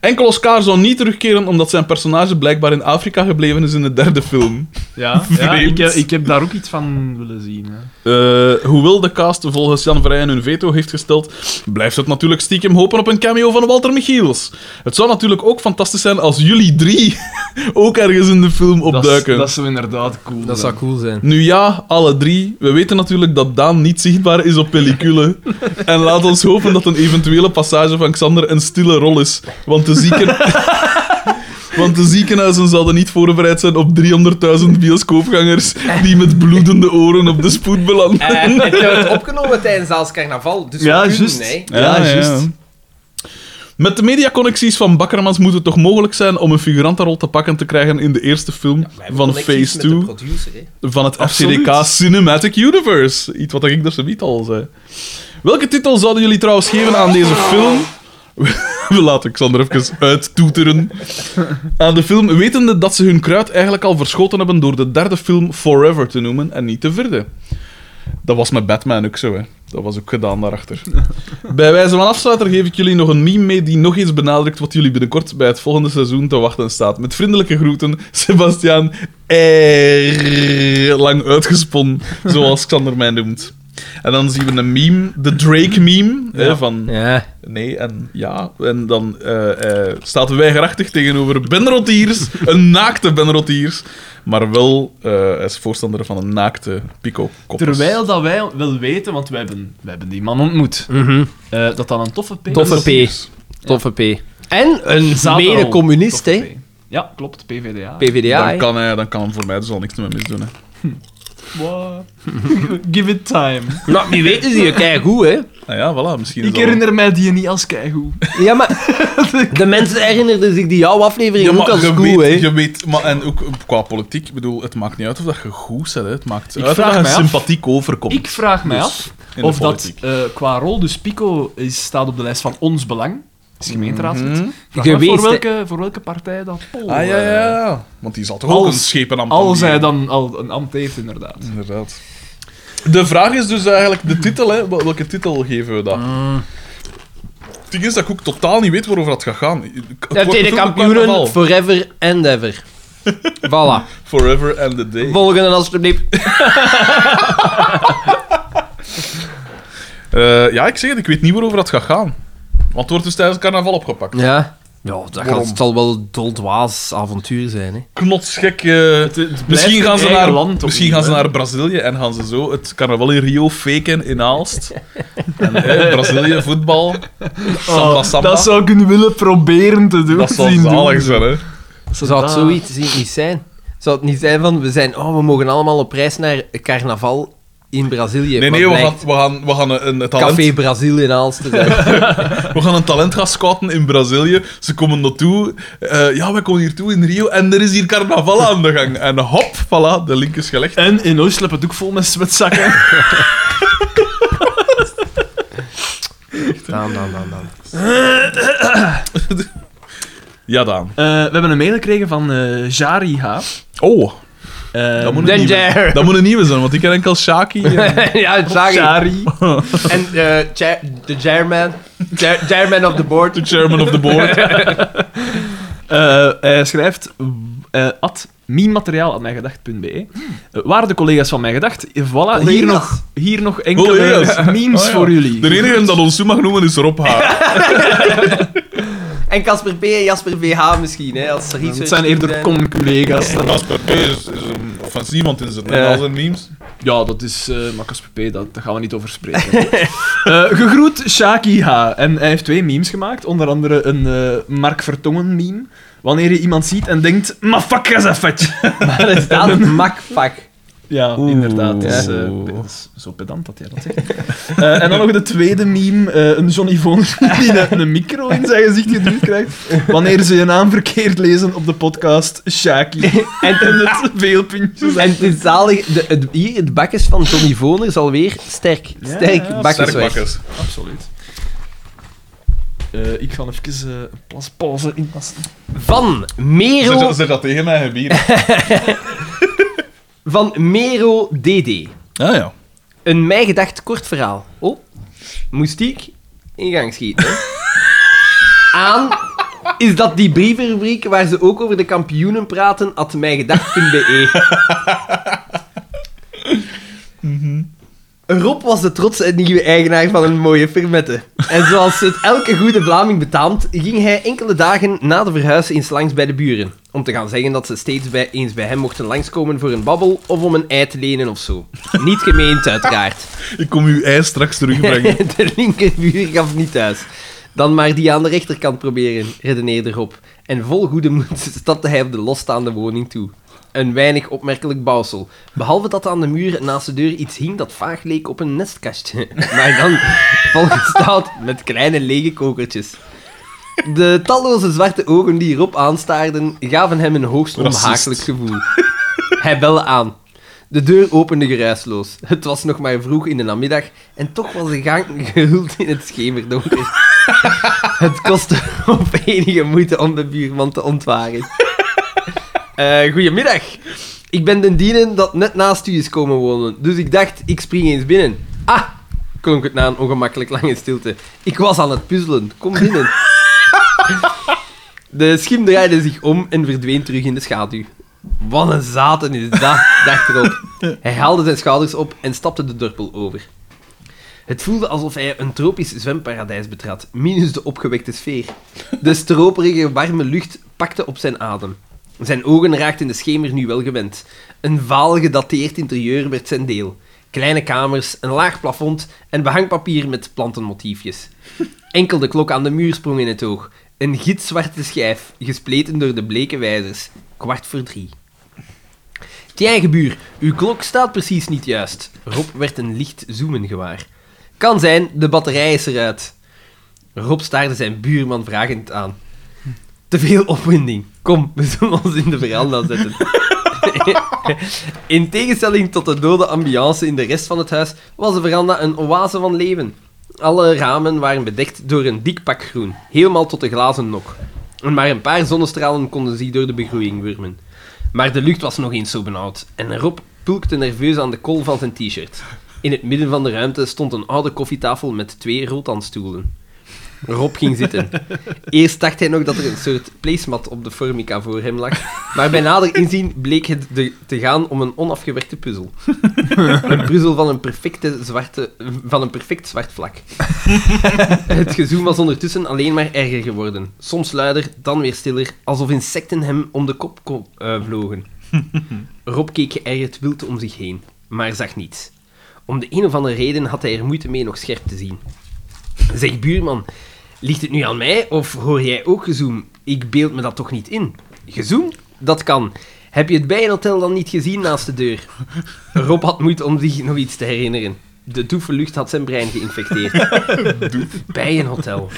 Speaker 2: Enkel Oscar zou niet terugkeren omdat zijn personage blijkbaar in Afrika gebleven is in de derde film. [laughs]
Speaker 4: Ja, ja
Speaker 2: Vreemd.
Speaker 4: ik, heb- ik heb daar ook iets van willen zien. Hè.
Speaker 2: Eh, hoewel de cast volgens Jan Vrijen hun veto heeft gesteld, blijft het natuurlijk stiekem hopen op een cameo van Walter Michiels. Het zou natuurlijk ook fantastisch zijn als jullie drie [laughs] ook ergens in de film
Speaker 4: Dat is-
Speaker 2: opduiken.
Speaker 4: Dat zou inderdaad cool zijn.
Speaker 1: Dat zou cool zijn.
Speaker 2: Nu ja, alle drie. We weten natuurlijk dat Daan niet zichtbaar is
Speaker 4: [laughs]
Speaker 2: op pellicule. En laat ons hopen dat een eventuele passage van Xander een stille rol is. Want de,
Speaker 4: [laughs]
Speaker 2: zieken... want de ziekenhuizen zouden niet voorbereid zijn op 300.000 bioscoopgangers die met bloedende oren op de spoed belanden.
Speaker 4: Eh,
Speaker 1: en je hebt het opgenomen tijdens Zaals Carnaval, dus
Speaker 3: Ja,
Speaker 1: we kunnen,
Speaker 3: juist.
Speaker 1: hè.
Speaker 3: Ja, juist.
Speaker 2: Met de mediaconnecties van Bakkermans moet het toch mogelijk zijn om een figurantenrol te pakken te krijgen in de eerste film
Speaker 1: Wij hebben
Speaker 2: van
Speaker 1: connecties
Speaker 2: Phase
Speaker 1: met de
Speaker 2: 2
Speaker 1: producer, hè.
Speaker 2: van het
Speaker 3: Absoluut.
Speaker 2: FCDK Cinematic Universe. Iets wat ik er zo niet al zei. Welke titel zouden jullie trouwens geven aan deze film? [laughs] We laten Xander even uittoeteren. Aan de film, wetende dat ze hun kruid eigenlijk al verschoten hebben door de derde film Forever te noemen en niet de vierde. Dat was met Batman ook zo, hè. Dat was ook gedaan daarachter. [laughs] bij wijze van afsluiter geef ik jullie nog een meme mee die nog eens benadrukt wat jullie binnenkort bij het volgende seizoen te wachten staat. Met vriendelijke groeten, Sebastiaan R. Lang uitgesponnen, zoals Xander mij noemt. En dan zien we een meme, de Drake-meme, hè, van...
Speaker 1: Ja.
Speaker 2: Nee, en ja, en dan eh, eh, staat weigerachtig tegenover Ben Rotiers, een naakte Ben Rotiers, maar wel eh als voorstander van een naakte Pico Koppers.
Speaker 3: Terwijl dat wij wel weten, want wij hebben, wij hebben die man ontmoet,
Speaker 1: Mhm.
Speaker 3: eh, dat dat een toffe P
Speaker 1: Toffe
Speaker 3: is.
Speaker 1: P. Toffe P. En een
Speaker 3: Zaterol.
Speaker 1: mede-communist,
Speaker 3: Toffe
Speaker 1: hè?
Speaker 3: P. Ja, klopt, PVDA.
Speaker 1: PvdA.
Speaker 2: dan,
Speaker 1: hè.
Speaker 2: kan hij, dan kan hem voor mij dus al niks meer misdoen. Hè.
Speaker 3: Wow. [laughs] Give it time.
Speaker 1: Nou, wie weet is hier keigoed, hè?
Speaker 2: Nou ja, voilà, misschien is
Speaker 3: Ik
Speaker 2: dat wel-
Speaker 3: herinner mij die niet als keigoed.
Speaker 1: Ja, maar [laughs] de mensen herinnerden zich die jouw aflevering
Speaker 2: Ja,
Speaker 1: ook
Speaker 2: maar
Speaker 1: als
Speaker 2: je
Speaker 1: goed,
Speaker 2: weet,
Speaker 1: hè?
Speaker 2: je weet maar, en ook qua politiek, ik bedoel, het maakt niet uit of dat je goed bent, hè. het maakt
Speaker 3: Ik
Speaker 2: uit
Speaker 3: vraag
Speaker 2: dat je
Speaker 3: mij af-
Speaker 2: sympathiek overkomt.
Speaker 3: Ik vraag mij
Speaker 2: Dus,
Speaker 3: af
Speaker 2: in de
Speaker 3: of dat
Speaker 2: politiek.
Speaker 3: eh, qua rol, dus Pico is, staat op de lijst van Ons Belang, is gemeenteraadslid.
Speaker 2: Mhm.
Speaker 3: Vraag me af
Speaker 1: Geweest,
Speaker 3: voor, welke, voor welke partij dat Paul...
Speaker 2: Ah ja, ja,
Speaker 3: eh,
Speaker 2: ja. Want die zal toch ook
Speaker 3: Als-
Speaker 2: een schepenambt
Speaker 3: Als hij
Speaker 2: hanteren?
Speaker 3: dan al een ambt heeft, inderdaad.
Speaker 2: Inderdaad. De vraag is dus eigenlijk de titel, hè? Wel- Welke titel geven we dat? Het ding is dat ik ook totaal niet weet waarover dat gaat gaan. Ik- ik-
Speaker 1: De
Speaker 2: ik-
Speaker 1: tweede
Speaker 2: ik- ik- ik-
Speaker 1: kampioenen,
Speaker 2: ik- ik-
Speaker 1: forever and
Speaker 2: [laughs]
Speaker 1: ever. Voilà.
Speaker 2: Forever and the day.
Speaker 1: Volgende alsjeblieft.
Speaker 2: Eh, ja, ik zeg het, ik weet niet waarover dat gaat gaan. Want het wordt dus tijdens het carnaval opgepakt.
Speaker 1: Ja. Ja, dat gaat,
Speaker 2: Waarom?
Speaker 1: het zal wel een doldwaas avontuur zijn, hè?
Speaker 2: Knotsgek. eh, misschien
Speaker 3: een
Speaker 2: gaan ze,
Speaker 3: eigen
Speaker 2: naar,
Speaker 3: land
Speaker 2: misschien
Speaker 3: opnieuw,
Speaker 2: gaan ze
Speaker 3: hè?
Speaker 2: naar Brazilië en gaan ze zo het carnaval in Rio faken in Aalst. en, eh, Brazilië, voetbal. Samba, samba.
Speaker 3: Oh, Dat zou ik nu willen proberen te doen.
Speaker 2: dat zal
Speaker 3: zien doen. Ah.
Speaker 2: zalig zijn, hè?
Speaker 1: Zou het zoiets niet niet zijn? Zou het niet zijn van, we zijn, oh, we mogen allemaal op reis naar carnaval in Brazilië. maar
Speaker 2: Nee, nee, we gaan,
Speaker 1: blijkt
Speaker 2: we gaan, we gaan een, een talent...
Speaker 1: Café Brazil in Aalst te
Speaker 2: [laughs]
Speaker 1: zijn.
Speaker 2: We gaan een talent gaan scouten in Brazilië. Ze komen naartoe. Eh, ja, wij komen hiertoe in Rio. En er is hier carnaval aan de gang. En hop, voilà, de link is gelegd.
Speaker 3: En in Ooslep het ook vol met
Speaker 2: [laughs]
Speaker 3: zwetzakken.
Speaker 1: Dan, dan, dan, dan.
Speaker 2: Ja, Daan.
Speaker 3: Eh, we hebben een mail gekregen van eh Jari H.
Speaker 2: Oh,
Speaker 3: Eh,
Speaker 2: dat moet, een nieuwe,
Speaker 1: Danger!
Speaker 2: dat moet een nieuwe zijn, want ik ken enkel Shaki.
Speaker 3: [laughs]
Speaker 1: [laughs]
Speaker 2: en-
Speaker 1: ja, het zag ik.
Speaker 3: Jari.
Speaker 1: En eh, chair- de chairman. Chair- Chairman of the board. Ah,
Speaker 2: De chairman of the board.
Speaker 3: Eh, hij schrijft eh at meme-materiaal@mijngedacht.be.
Speaker 2: Hmm.
Speaker 3: Eh, waarde collega's van Mijn Gedacht. Eh, Voilà, hier
Speaker 1: Collega's.
Speaker 3: nog, hier nog enkele
Speaker 2: Oh, Collega's.
Speaker 3: eh, memes
Speaker 2: [laughs] Oh, ja.
Speaker 3: voor jullie.
Speaker 2: De enige dat ons zo mag noemen is Rob Haar.
Speaker 1: En Casper P en Jasper VH misschien, hè, als research.
Speaker 3: Het zijn eerder con-collega's. dan-
Speaker 2: Casper P is, is een offensief, want in zijn
Speaker 3: Ja.
Speaker 2: al zijn memes.
Speaker 3: Ja, dat is eh maar Casper P, dat, daar gaan we niet over spreken. [laughs] Eh, gegroet Shaki H. En hij heeft twee memes gemaakt. Onder andere een eh, Mark Vertongen meme. Wanneer je iemand ziet en denkt, maar fuck, is dat vet.
Speaker 1: Maar er
Speaker 2: [laughs]
Speaker 1: staat makpak.
Speaker 3: [laughs] Ja,
Speaker 1: Oeh.
Speaker 3: inderdaad. Dat is, eh,
Speaker 2: Oeh.
Speaker 3: pe- dat is zo pedant dat jij dat zegt. Eh, en dan nog de tweede meme, eh, een Johnny Von die een, een micro in zijn gezicht geduwd krijgt. Wanneer ze je naam verkeerd lezen op de podcast Shaki.
Speaker 1: [laughs] En,
Speaker 3: En het veelpuntje.
Speaker 1: en het is zalig, de, het, hier, het bakjes van Johnny Voner is alweer sterk. Sterk
Speaker 3: ja,
Speaker 1: bakjes
Speaker 2: Sterk
Speaker 1: weg.
Speaker 2: bakkers.
Speaker 3: Absoluut. Eh, ik ga even eh, een plas pauze inpassen.
Speaker 1: Van
Speaker 2: Zeg
Speaker 1: Mero,
Speaker 2: dat- Zeg dat tegen mij, bier.
Speaker 1: van Mero DD.
Speaker 2: Ah ja.
Speaker 1: Een mij gedacht kort verhaal. Oh, moest ik in gang schieten. hè? Aan is dat die brievenrubriek waar ze ook over de kampioenen praten, at mijgedacht.be. Rob was de trotse nieuwe eigenaar van een mooie firmette. En zoals het elke goede Vlaming betaamt, ging hij enkele dagen na de verhuizen eens langs bij de buren. Om te gaan zeggen dat ze steeds bij, eens bij hem mochten langskomen voor een babbel of om een ei te lenen of zo. Niet gemeend, uiteraard.
Speaker 2: Ik kom uw ei
Speaker 1: [laughs]
Speaker 2: straks
Speaker 3: [laughs]
Speaker 2: terugbrengen.
Speaker 1: De linkerbuur gaf niet thuis. Dan maar die aan de rechterkant proberen, redeneerde Rob. En vol goede moed [laughs] stapte hij op de losstaande woning toe. Een weinig opmerkelijk bouwsel. Behalve dat aan de muur naast de deur iets hing dat vaag leek op een nestkastje. [laughs] Maar dan volgestouwd met kleine lege kokertjes. De talloze zwarte ogen die Rob aanstaarden, gaven hem een hoogst
Speaker 2: Racist.
Speaker 1: onhaakelijk gevoel. Hij belde aan. De deur opende geruisloos. Het was nog maar vroeg in de namiddag en toch was de gang gehuld in het schemerdonker. Het kostte [laughs] op enige moeite om de buurman te ontwaren. Eh, goedemiddag. Ik ben den dienen dat net naast u is komen wonen, dus ik dacht, ik spring eens binnen. Ah, klonk het na een ongemakkelijk lange stilte. Ik was aan het puzzelen. Kom binnen. De schim draaide zich om en verdween terug in de schaduw. Wat een zaten is dat, dacht Rob. Hij haalde zijn schouders op en stapte de dorpel over. Het voelde alsof hij een tropisch zwemparadijs betrad, minus de opgewekte sfeer. De stroperige, warme lucht pakte op zijn adem. Zijn ogen raakten de schemer nu wel gewend. Een vaal gedateerd interieur werd zijn deel. Kleine kamers, een laag plafond en behangpapier met plantenmotiefjes. Enkel de klok aan de muur sprong in het oog. Een gitzwarte schijf, gespleten door de bleke wijzers. Kwart voor drie. Tjijn, gebuur, uw klok staat precies niet juist. Rob werd een licht zoomen gewaar. Kan zijn, de batterij is eruit. Rob staarde zijn buurman vragend aan. Te veel opwinding. Kom, we zullen ons in de veranda zetten. in tegenstelling tot de dode ambiance in de rest van het huis was de veranda een oase van leven. Alle ramen waren bedekt door een dik pak groen, helemaal tot de glazen nok. En maar een paar zonnestralen konden zich door de begroeiing wurmen. Maar de lucht was nog eens zo benauwd en Rob pulkte nerveus aan de kol van zijn t-shirt. In het midden van de ruimte stond een oude koffietafel met twee rotanstoelen. Rob ging zitten. Eerst dacht hij nog dat er een soort placemat op de formica voor hem lag, maar bij nader inzien bleek het de- te gaan om een onafgewerkte puzzel. Een puzzel van een, perfecte zwarte, van een perfect zwart vlak. Het gezoem was ondertussen alleen maar erger geworden. Soms luider, dan weer stiller, alsof insecten hem om de kop ko- eh, vlogen. Rob keek geërgerd wild om zich heen, maar zag niets. Om de een of andere reden had hij er moeite mee nog scherp te zien. Zeg, buurman, ligt het nu aan mij of hoor jij ook gezoem? Ik beeld me dat toch niet in? Gezoem? Dat kan. Heb je het bijenhotel dan niet gezien naast de deur? Rob had moeite om zich nog iets te herinneren. De doeve lucht had zijn brein geïnfecteerd. bijenhotel.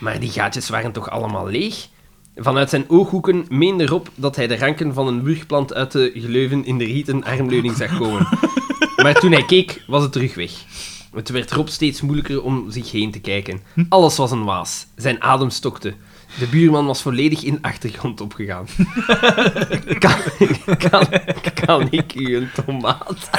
Speaker 1: Maar die gaatjes waren toch allemaal leeg? Vanuit zijn ooghoeken meende Rob dat hij de ranken van een wurgplant uit de geleuven in de rieten armleuning zag komen. Maar toen hij keek, was het terug weg. Het werd Rob steeds moeilijker om zich heen te kijken. Alles was een waas. Zijn adem stokte. De buurman was volledig in de achtergrond [laughs] opgegaan. kan, kan, kan ik u een tomaat?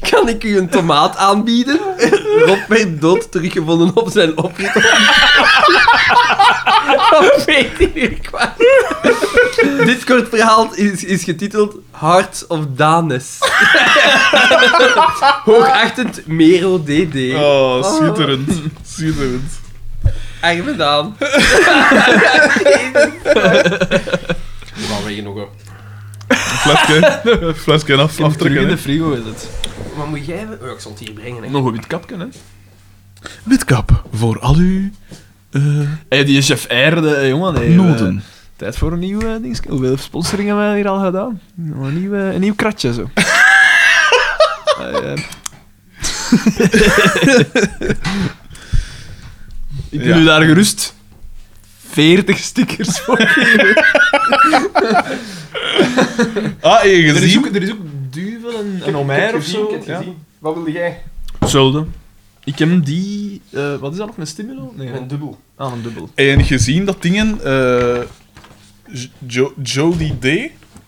Speaker 1: Kan ik u een tomaat aanbieden? Rob werd dood teruggevonden op zijn [laughs] oprit. Op 14 uur kwart. Dit kort verhaal is, is getiteld Hearts of [laughs] Danes. Hoogachtend Mero DD.
Speaker 2: Oh, schitterend. Schitterend.
Speaker 1: Arme Daan. We gaan weg nog. hoor.
Speaker 2: Flesje. Flesje af,
Speaker 3: Terug in de
Speaker 2: aftrekken.
Speaker 3: frigo is het.
Speaker 1: Wat moet jij... Oh, ik zal het hier brengen. Hè.
Speaker 4: Nog een wit kapje, hè.
Speaker 2: Witkap, voor al uw... eh,
Speaker 3: Hey, die chef R, de, eh, jongen. Hey,
Speaker 2: noden.
Speaker 3: eh, tijd voor een nieuw eh, dingetje. Hoeveel sponsoringen hebben we hier al gedaan? Nog Een nieuw, eh, een nieuw kratje,
Speaker 2: [laughs]
Speaker 3: zo. Eh, eh. [laughs] Ik doe
Speaker 2: Ja.
Speaker 3: u daar gerust 40 stickers voor.
Speaker 2: Ah, heb je
Speaker 4: Er is ook,
Speaker 2: gezien?
Speaker 4: er is ook duvel en een omer of zo. Ja.
Speaker 1: Wat wilde jij?
Speaker 4: Hetzelfde. Ik heb die... eh, wat is dat nog? Een stimulo? Nee,
Speaker 1: Een
Speaker 4: een,
Speaker 1: dubbel.
Speaker 4: ah, een dubbel.
Speaker 2: Heb je gezien dat dingen... eh, J- Jo- Jody D,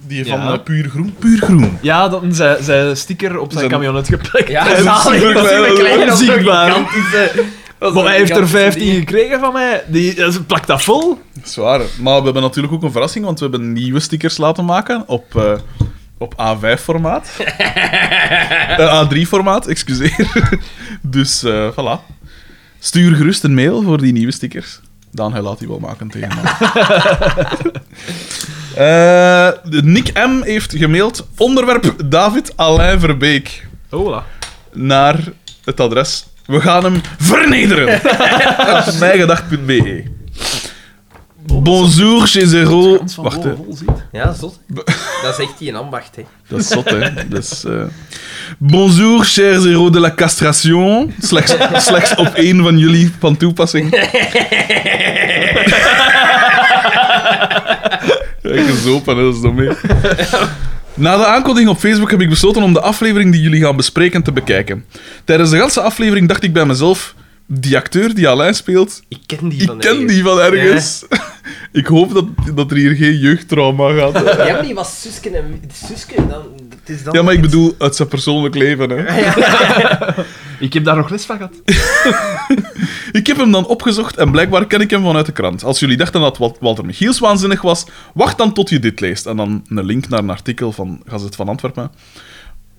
Speaker 2: die van
Speaker 4: Ja.
Speaker 2: eh, Puur Groen... Puur Groen.
Speaker 4: Ja, dat zijn, zijn sticker op zijn
Speaker 2: Zijn-
Speaker 4: camionet geplakt. [laughs]
Speaker 1: Ja,
Speaker 2: is
Speaker 1: zalig.
Speaker 2: super
Speaker 1: Dat is een
Speaker 2: klein,
Speaker 1: kleine
Speaker 3: onzichtbaar.
Speaker 1: Maar
Speaker 4: Maar hij heeft er 15 gekregen van mij. Die eh, ze plakt dat vol.
Speaker 2: Zwaar. Maar we hebben natuurlijk ook een verrassing, want we hebben nieuwe stickers laten maken op, eh, op A5-formaat. Eh, A3-formaat, excuseer. [laughs] dus eh, voilà. Stuur gerust een mail voor die nieuwe stickers. Dan hij laat die wel maken tegen mij. Eh, de Nick M. heeft gemaild onderwerp David Alain Verbeek
Speaker 4: Hola.
Speaker 2: naar het adres We gaan hem vernederen. Mijgedacht.be. E. Bonjour, chez Zero.
Speaker 4: Kans van
Speaker 2: Wacht, hè.
Speaker 4: vol- vol ziet.
Speaker 1: Ja, zot. [laughs] Dat is echt die een ambacht, hè.
Speaker 2: Dat is zot, hè. Dat is, eh, Bonjour, chers héros de la castration. Slechts, slechts op één van jullie
Speaker 1: [laughs]
Speaker 2: van toepassing. Kijk eens open, hè, dat is dom, hè. Na de aankondiging op Facebook heb ik besloten om de aflevering die jullie gaan bespreken te bekijken. Tijdens de ganse aflevering dacht ik bij mezelf... Die acteur die Alain speelt,
Speaker 1: Ik ken die
Speaker 2: ik
Speaker 1: van
Speaker 2: ken
Speaker 1: ergens.
Speaker 2: die van ergens. [laughs] Ik hoop dat, dat er hier geen jeugdtrauma gaat.
Speaker 1: Ja, maar die was Suske en... Suske, dan... Het is dan...
Speaker 2: Ja, maar ik bedoel, uit zijn persoonlijk leven. Hè.
Speaker 3: Ik heb daar nog les van gehad.
Speaker 2: Ik heb hem dan opgezocht en blijkbaar ken ik hem vanuit de krant. Als jullie dachten dat Wal- Walter Michiels waanzinnig was, wacht dan tot je dit leest. En dan een link naar een artikel van Gazet van Antwerpen.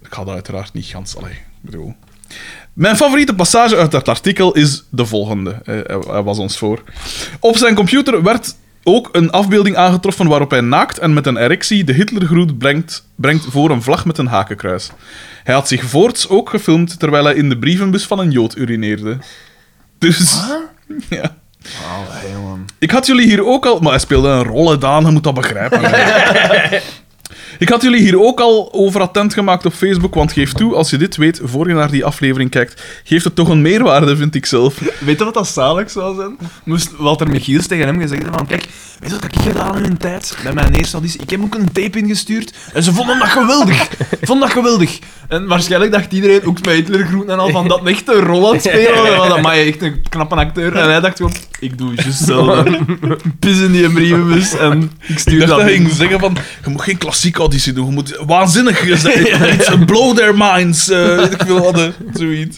Speaker 2: Ik ga dat uiteraard niet gans... Allee, ik bedoel... Mijn favoriete passage uit dat artikel is de volgende. Eh, Hij hij was ons voor. Op zijn computer werd ook een afbeelding aangetroffen waarop hij naakt en met een erectie de Hitlergroet brengt, brengt voor een vlag met een hakenkruis. Hij had zich voorts ook gefilmd terwijl hij in de brievenbus van een jood urineerde. Dus... [laughs] Ja. Ik had jullie hier ook al... Maar hij speelde een rol, hè, Daan. Je moet dat begrijpen. [laughs] Ik had jullie hier ook al over attent gemaakt op Facebook, want geef toe, als je dit weet, voor je naar die aflevering kijkt, geeft het toch een meerwaarde, vind ik zelf.
Speaker 3: Weet je wat dat zalig zou zijn? Moest Walter Michiels tegen hem gezegd hebben van kijk, weet je wat ik gedaan in een tijd met mijn eerste auditie? Ik heb ook een tape ingestuurd en ze vonden dat
Speaker 2: [laughs]
Speaker 3: geweldig. vonden dat geweldig. En waarschijnlijk dacht iedereen, ook met Hitlergroet en al, van dat echt een rol aan het
Speaker 2: [laughs]
Speaker 3: spelen. Want dat maakt echt een knappe acteur. En hij dacht gewoon, ik doe het
Speaker 2: [laughs]
Speaker 3: juist hetzelfde. Pis in die brievenbus en ik
Speaker 2: Ik
Speaker 3: stuur
Speaker 2: dacht
Speaker 3: dat,
Speaker 2: dat hij
Speaker 3: in.
Speaker 2: ging zeggen van, je moet geen klassieke auditie doen, je moet waanzinnig zijn, iets, blow their minds, eh, weet ik wil hadden, zoiets.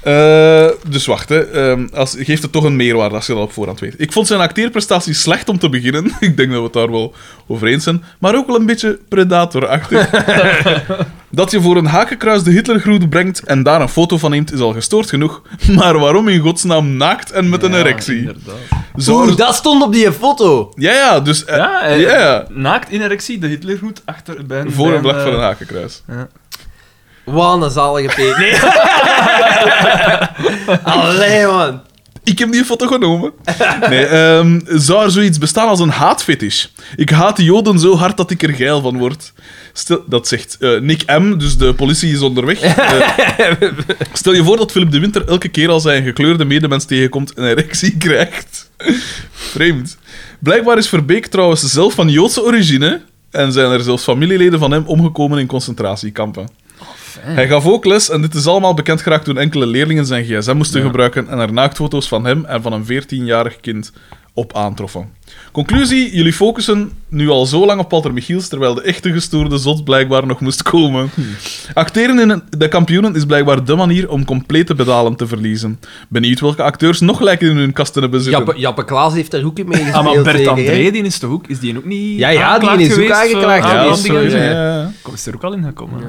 Speaker 2: Eh, dus wacht, hè. Ehm, als, geeft het toch een meerwaarde als je dat op voorhand weet. Ik vond zijn acteerprestatie slecht om te beginnen. [laughs] Ik denk dat we het daar wel over eens zijn. Maar ook wel een beetje predatorachtig. dat je voor een hakenkruis de Hitlergroet brengt en daar een foto van neemt, is al gestoord genoeg. Maar waarom in godsnaam naakt en met een erectie? Zo,
Speaker 1: Oeh, dat stond op die foto.
Speaker 2: Ja, ja, dus... eh,
Speaker 4: Ja, eh,
Speaker 2: ja.
Speaker 4: Naakt in erectie, de Hitlerhoed achter bij
Speaker 2: Voor
Speaker 4: bij
Speaker 2: een vlag
Speaker 4: eh,
Speaker 2: van een hakenkruis.
Speaker 1: Wat een zalige peet. Nee. [laughs] Allee, man.
Speaker 2: Ik heb die foto genomen. [laughs] Nee, ehm, zou er zoiets bestaan als een haatfetish? Ik haat de Joden zo hard dat ik er geil van word. Stel, dat zegt eh, Nick M., dus de politie is onderweg. Eh, stel je voor dat Philip de Winter elke keer als hij een gekleurde medemens tegenkomt een erectie krijgt. Vreemd. Blijkbaar is Verbeek trouwens zelf van Joodse origine en zijn er zelfs familieleden van hem omgekomen in concentratiekampen. Hij gaf ook les en dit is allemaal bekend geraakt toen enkele leerlingen zijn gsm moesten gebruiken en er naaktfoto's van hem en van een 14-jarig kind op aantroffen. Conclusie, jullie focussen nu al zo lang op Walter Michiels, terwijl de echte gestoorde zot blijkbaar nog moest komen. Acteren in een- de kampioenen is blijkbaar de manier om complete bedalen te verliezen. Benieuwd welke acteurs nog lijken in hun kasten hebben zitten.
Speaker 1: Jappe, Jappe Klaas heeft daar ook in mee gespeeld.
Speaker 3: Ah, maar Bert
Speaker 1: zeker, hè?
Speaker 3: André, die is toch ook, is die ook niet
Speaker 1: Ja, ja, die
Speaker 3: aangeklaagd
Speaker 1: is ook
Speaker 3: geweest,
Speaker 1: aangeklaagd
Speaker 3: eh,
Speaker 2: ja,
Speaker 1: geweest,
Speaker 2: dat is
Speaker 3: aanrandingen?
Speaker 2: zo,
Speaker 1: sorry,
Speaker 2: ja,
Speaker 1: hè.
Speaker 2: ja, ja.
Speaker 4: Kom, Is er ook al in gekomen? hè?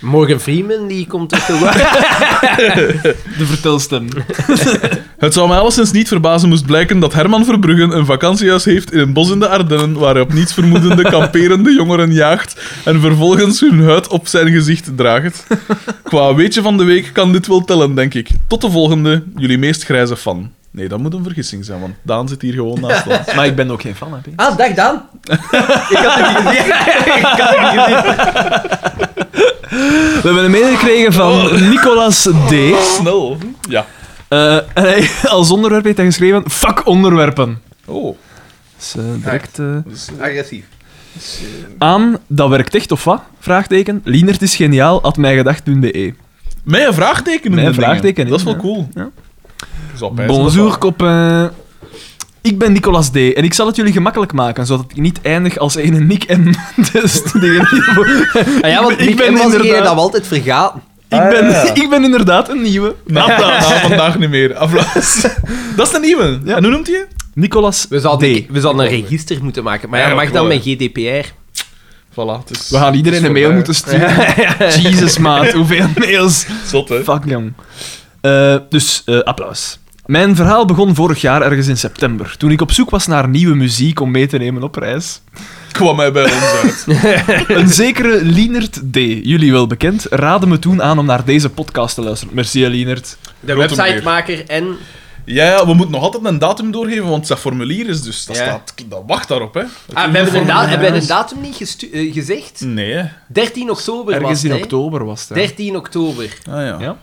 Speaker 1: Morgan Freeman, die komt toch wel...
Speaker 3: De
Speaker 4: [laughs]
Speaker 3: vertelstem.
Speaker 2: Het zou mij alleszins niet verbazen moest blijken dat Herman Verbruggen een vakantiehuis heeft in een bos in de Ardennen, waar hij op niets
Speaker 3: [laughs]
Speaker 2: vermoedende kamperende jongeren jaagt en vervolgens hun huid op zijn gezicht draagt. Qua weetje van de week kan dit wel tellen, denk ik. Tot de volgende, jullie meest grijze fan. Nee, dat moet een vergissing zijn, want Daan zit hier gewoon naast
Speaker 3: [laughs]
Speaker 2: ons.
Speaker 3: Maar ik ben ook geen fan, hè, Piet.
Speaker 1: Ah, dag Daan. ik had het niet gezien. ik had het niet gezien.
Speaker 3: We hebben een mail gekregen van
Speaker 4: Oh.
Speaker 3: Nicolas D.
Speaker 2: Snel. Ja.
Speaker 3: Eh, en hij, als onderwerp heeft hij geschreven: Fuck onderwerpen.
Speaker 2: Oh,
Speaker 3: Dus, eh, direct eh,
Speaker 1: Agressief. Dus, eh,
Speaker 3: aan, dat werkt echt of wat? Vraagteken. Lienert is geniaal, at mijgedacht.be.
Speaker 2: met een vraagteken. in
Speaker 3: Met een
Speaker 2: de dingen.
Speaker 3: vraagteken in,
Speaker 2: Dat is wel
Speaker 3: ja.
Speaker 2: cool.
Speaker 3: Ja.
Speaker 2: Zo pijzen dat
Speaker 3: Bonjour,
Speaker 2: wel.
Speaker 3: copain. Ik ben Nicolas D. En ik zal het jullie gemakkelijk maken, zodat ik niet eindig als een Nick M. [laughs] Dus dingen die-
Speaker 1: Ah, ja,
Speaker 3: Ik
Speaker 1: want
Speaker 3: ben-
Speaker 1: ik,
Speaker 3: ik ben
Speaker 1: ben was degene
Speaker 3: inderdaad-
Speaker 1: dat we altijd vergaten.
Speaker 3: ik, ben,
Speaker 2: Ah, ja.
Speaker 3: ik ben inderdaad een nieuwe.
Speaker 2: Nou, [laughs] nou, vandaag niet meer. Applaus. [laughs] Dat is de nieuwe.
Speaker 3: Ja.
Speaker 2: En hoe noemt hij je?
Speaker 3: Nicolas
Speaker 1: We
Speaker 3: D.
Speaker 1: zouden, we zouden een register moeten maken. Maar ja, mag
Speaker 2: Eigenlijk
Speaker 1: dat
Speaker 2: wel,
Speaker 1: met GDPR?
Speaker 2: Voilà, het is...
Speaker 3: We gaan iedereen
Speaker 2: het is
Speaker 3: een mail
Speaker 2: voorbij.
Speaker 3: moeten
Speaker 1: [laughs]
Speaker 3: sturen. Jesus, maat, hoeveel mails.
Speaker 2: Zot, hè?
Speaker 3: Fuck, jong. Eh, dus, eh, applaus. Mijn verhaal begon vorig jaar ergens in september, toen ik op zoek was naar nieuwe muziek om mee te nemen op reis.
Speaker 2: Kwam hij bij ons [laughs] uit.
Speaker 3: Een zekere Lienert D, jullie wel bekend, raadde me toen aan om naar deze podcast te luisteren. Merci, hè, Lienert.
Speaker 1: De
Speaker 2: Grote meneer.
Speaker 1: Ah, websitemaker en...
Speaker 2: Ja, ja, we moeten nog altijd een datum doorgeven, want zijn formulier is dus. Dat,
Speaker 1: Ja.
Speaker 2: staat, dat wacht daarop, hè?
Speaker 1: Ah, we hebben de, da- hebben we de datum niet gestu- eh, gezegd.
Speaker 2: Nee, hè. Ah,
Speaker 1: 13 oktober was
Speaker 6: Ergens
Speaker 1: het,
Speaker 6: in
Speaker 1: hè?
Speaker 6: oktober was het. hè.
Speaker 1: 13 oktober.
Speaker 2: Ah, ja.
Speaker 3: Ja.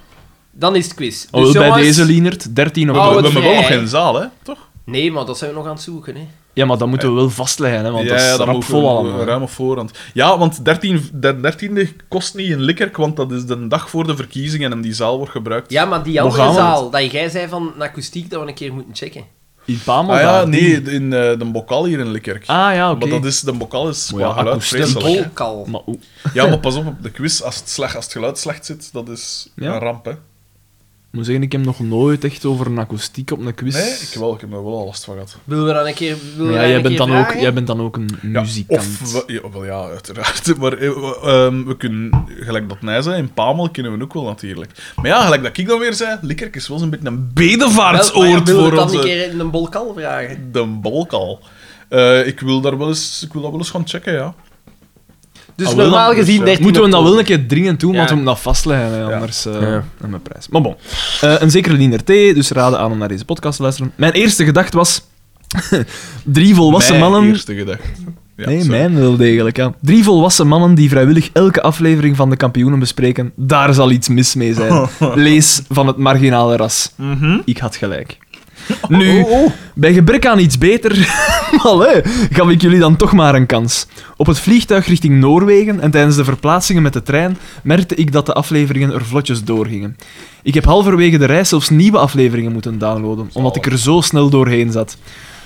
Speaker 1: Dan is het quiz.
Speaker 3: Oh, wel,
Speaker 1: Dus
Speaker 3: bij
Speaker 1: jongens-
Speaker 3: deze Lienert, 13
Speaker 2: We,
Speaker 1: Oh,
Speaker 3: oktober.
Speaker 1: het
Speaker 2: we hebben wel nog
Speaker 1: vrij.
Speaker 2: geen zaal, hè? Toch?
Speaker 1: Nee, maar dat zijn we nog aan het zoeken, hè.
Speaker 3: Ja, maar dat moeten we wel vastleggen, hè, want dat is rap
Speaker 2: moeten we-
Speaker 3: vol
Speaker 2: we-
Speaker 3: allemaal.
Speaker 2: ruim op voorhand. Ja, want 13, de 13e kost niet in Likkerk, want dat is de dag voor de verkiezingen en die zaal wordt gebruikt.
Speaker 1: Ja, maar die
Speaker 3: Nog
Speaker 1: andere
Speaker 3: gaan we
Speaker 1: zaal, dat jij zei van een akoestiek, dat we een keer moeten checken.
Speaker 3: In Pamel
Speaker 2: ah, ja
Speaker 3: daar, die-
Speaker 2: nee, in eh, de bokal hier in Likkerk.
Speaker 3: Ah ja, oké.
Speaker 2: Maar dat is, de bokal is
Speaker 3: Maar ja,
Speaker 2: qua geluid
Speaker 3: akoestiek.
Speaker 2: vreselijk. hè.
Speaker 1: Bolkal.
Speaker 3: Maar oeh.
Speaker 2: Ja, maar pas op, op de quiz, als het, slecht, als het geluid slecht zit, dat is
Speaker 3: Ja.
Speaker 2: een ramp, hè.
Speaker 3: Ik moet zeggen, ik heb nog nooit echt over een akoestiek op een quiz.
Speaker 2: Nee, ik wel, ik heb er wel al last van gehad.
Speaker 1: Willen we dan een keer willen we
Speaker 3: Ja,
Speaker 1: dan
Speaker 3: jij
Speaker 1: een
Speaker 3: bent,
Speaker 1: keer
Speaker 3: dan ook,
Speaker 1: vragen?
Speaker 3: jij bent dan ook een
Speaker 2: Ja,
Speaker 3: muzikant.
Speaker 2: of we, ja, wel ja, uiteraard. [laughs] Maar eh, we, ehm, we kunnen, gelijk dat Nij zei, in Pamel kunnen we ook wel natuurlijk. Maar ja, gelijk dat ik dan weer zei, Likkerk is wel eens een beetje een
Speaker 1: Wel, maar ja,
Speaker 2: bedevaartsoord
Speaker 1: willen we
Speaker 2: voor
Speaker 1: dan
Speaker 2: onze...
Speaker 1: een keer in een bolkal vragen?
Speaker 2: De Balkal. Eh ik, wil daar wel eens, ik wil dat wel eens gaan checken, ja.
Speaker 1: Dus
Speaker 3: Ah, wel,
Speaker 1: normaal
Speaker 3: dan-
Speaker 1: gezien
Speaker 3: ja.
Speaker 1: 13
Speaker 3: Moeten we dat
Speaker 1: oktober.
Speaker 3: wel een keer dringend doen, want
Speaker 1: Ja.
Speaker 3: we moeten dat vastleggen, hè,
Speaker 2: Ja.
Speaker 3: anders eh
Speaker 1: Ja.
Speaker 3: aan mijn prijs. Maar bon. Eh, een zekere Liener T, dus raden aan om naar deze podcast te luisteren. Mijn eerste gedachte was... [laughs] drie volwassen
Speaker 2: Mijn
Speaker 3: mannen...
Speaker 2: eerste gedachte. Ja,
Speaker 3: nee,
Speaker 2: sorry.
Speaker 3: mijn wel degelijk, ja. Drie volwassen mannen die vrijwillig elke aflevering van de kampioenen bespreken. Daar zal iets mis mee
Speaker 2: [laughs]
Speaker 3: zijn. Lees van het marginale ras.
Speaker 2: Mhm.
Speaker 3: Ik had gelijk.
Speaker 2: Oh,
Speaker 3: Nu, bij gebrek aan iets beter, [laughs] allee, gaf ik jullie dan toch maar een kans. Op het vliegtuig richting Noorwegen en tijdens de verplaatsingen met de trein merkte ik dat de afleveringen er vlotjes doorgingen. Ik heb halverwege de reis zelfs nieuwe afleveringen moeten downloaden, omdat ik er zo snel doorheen zat.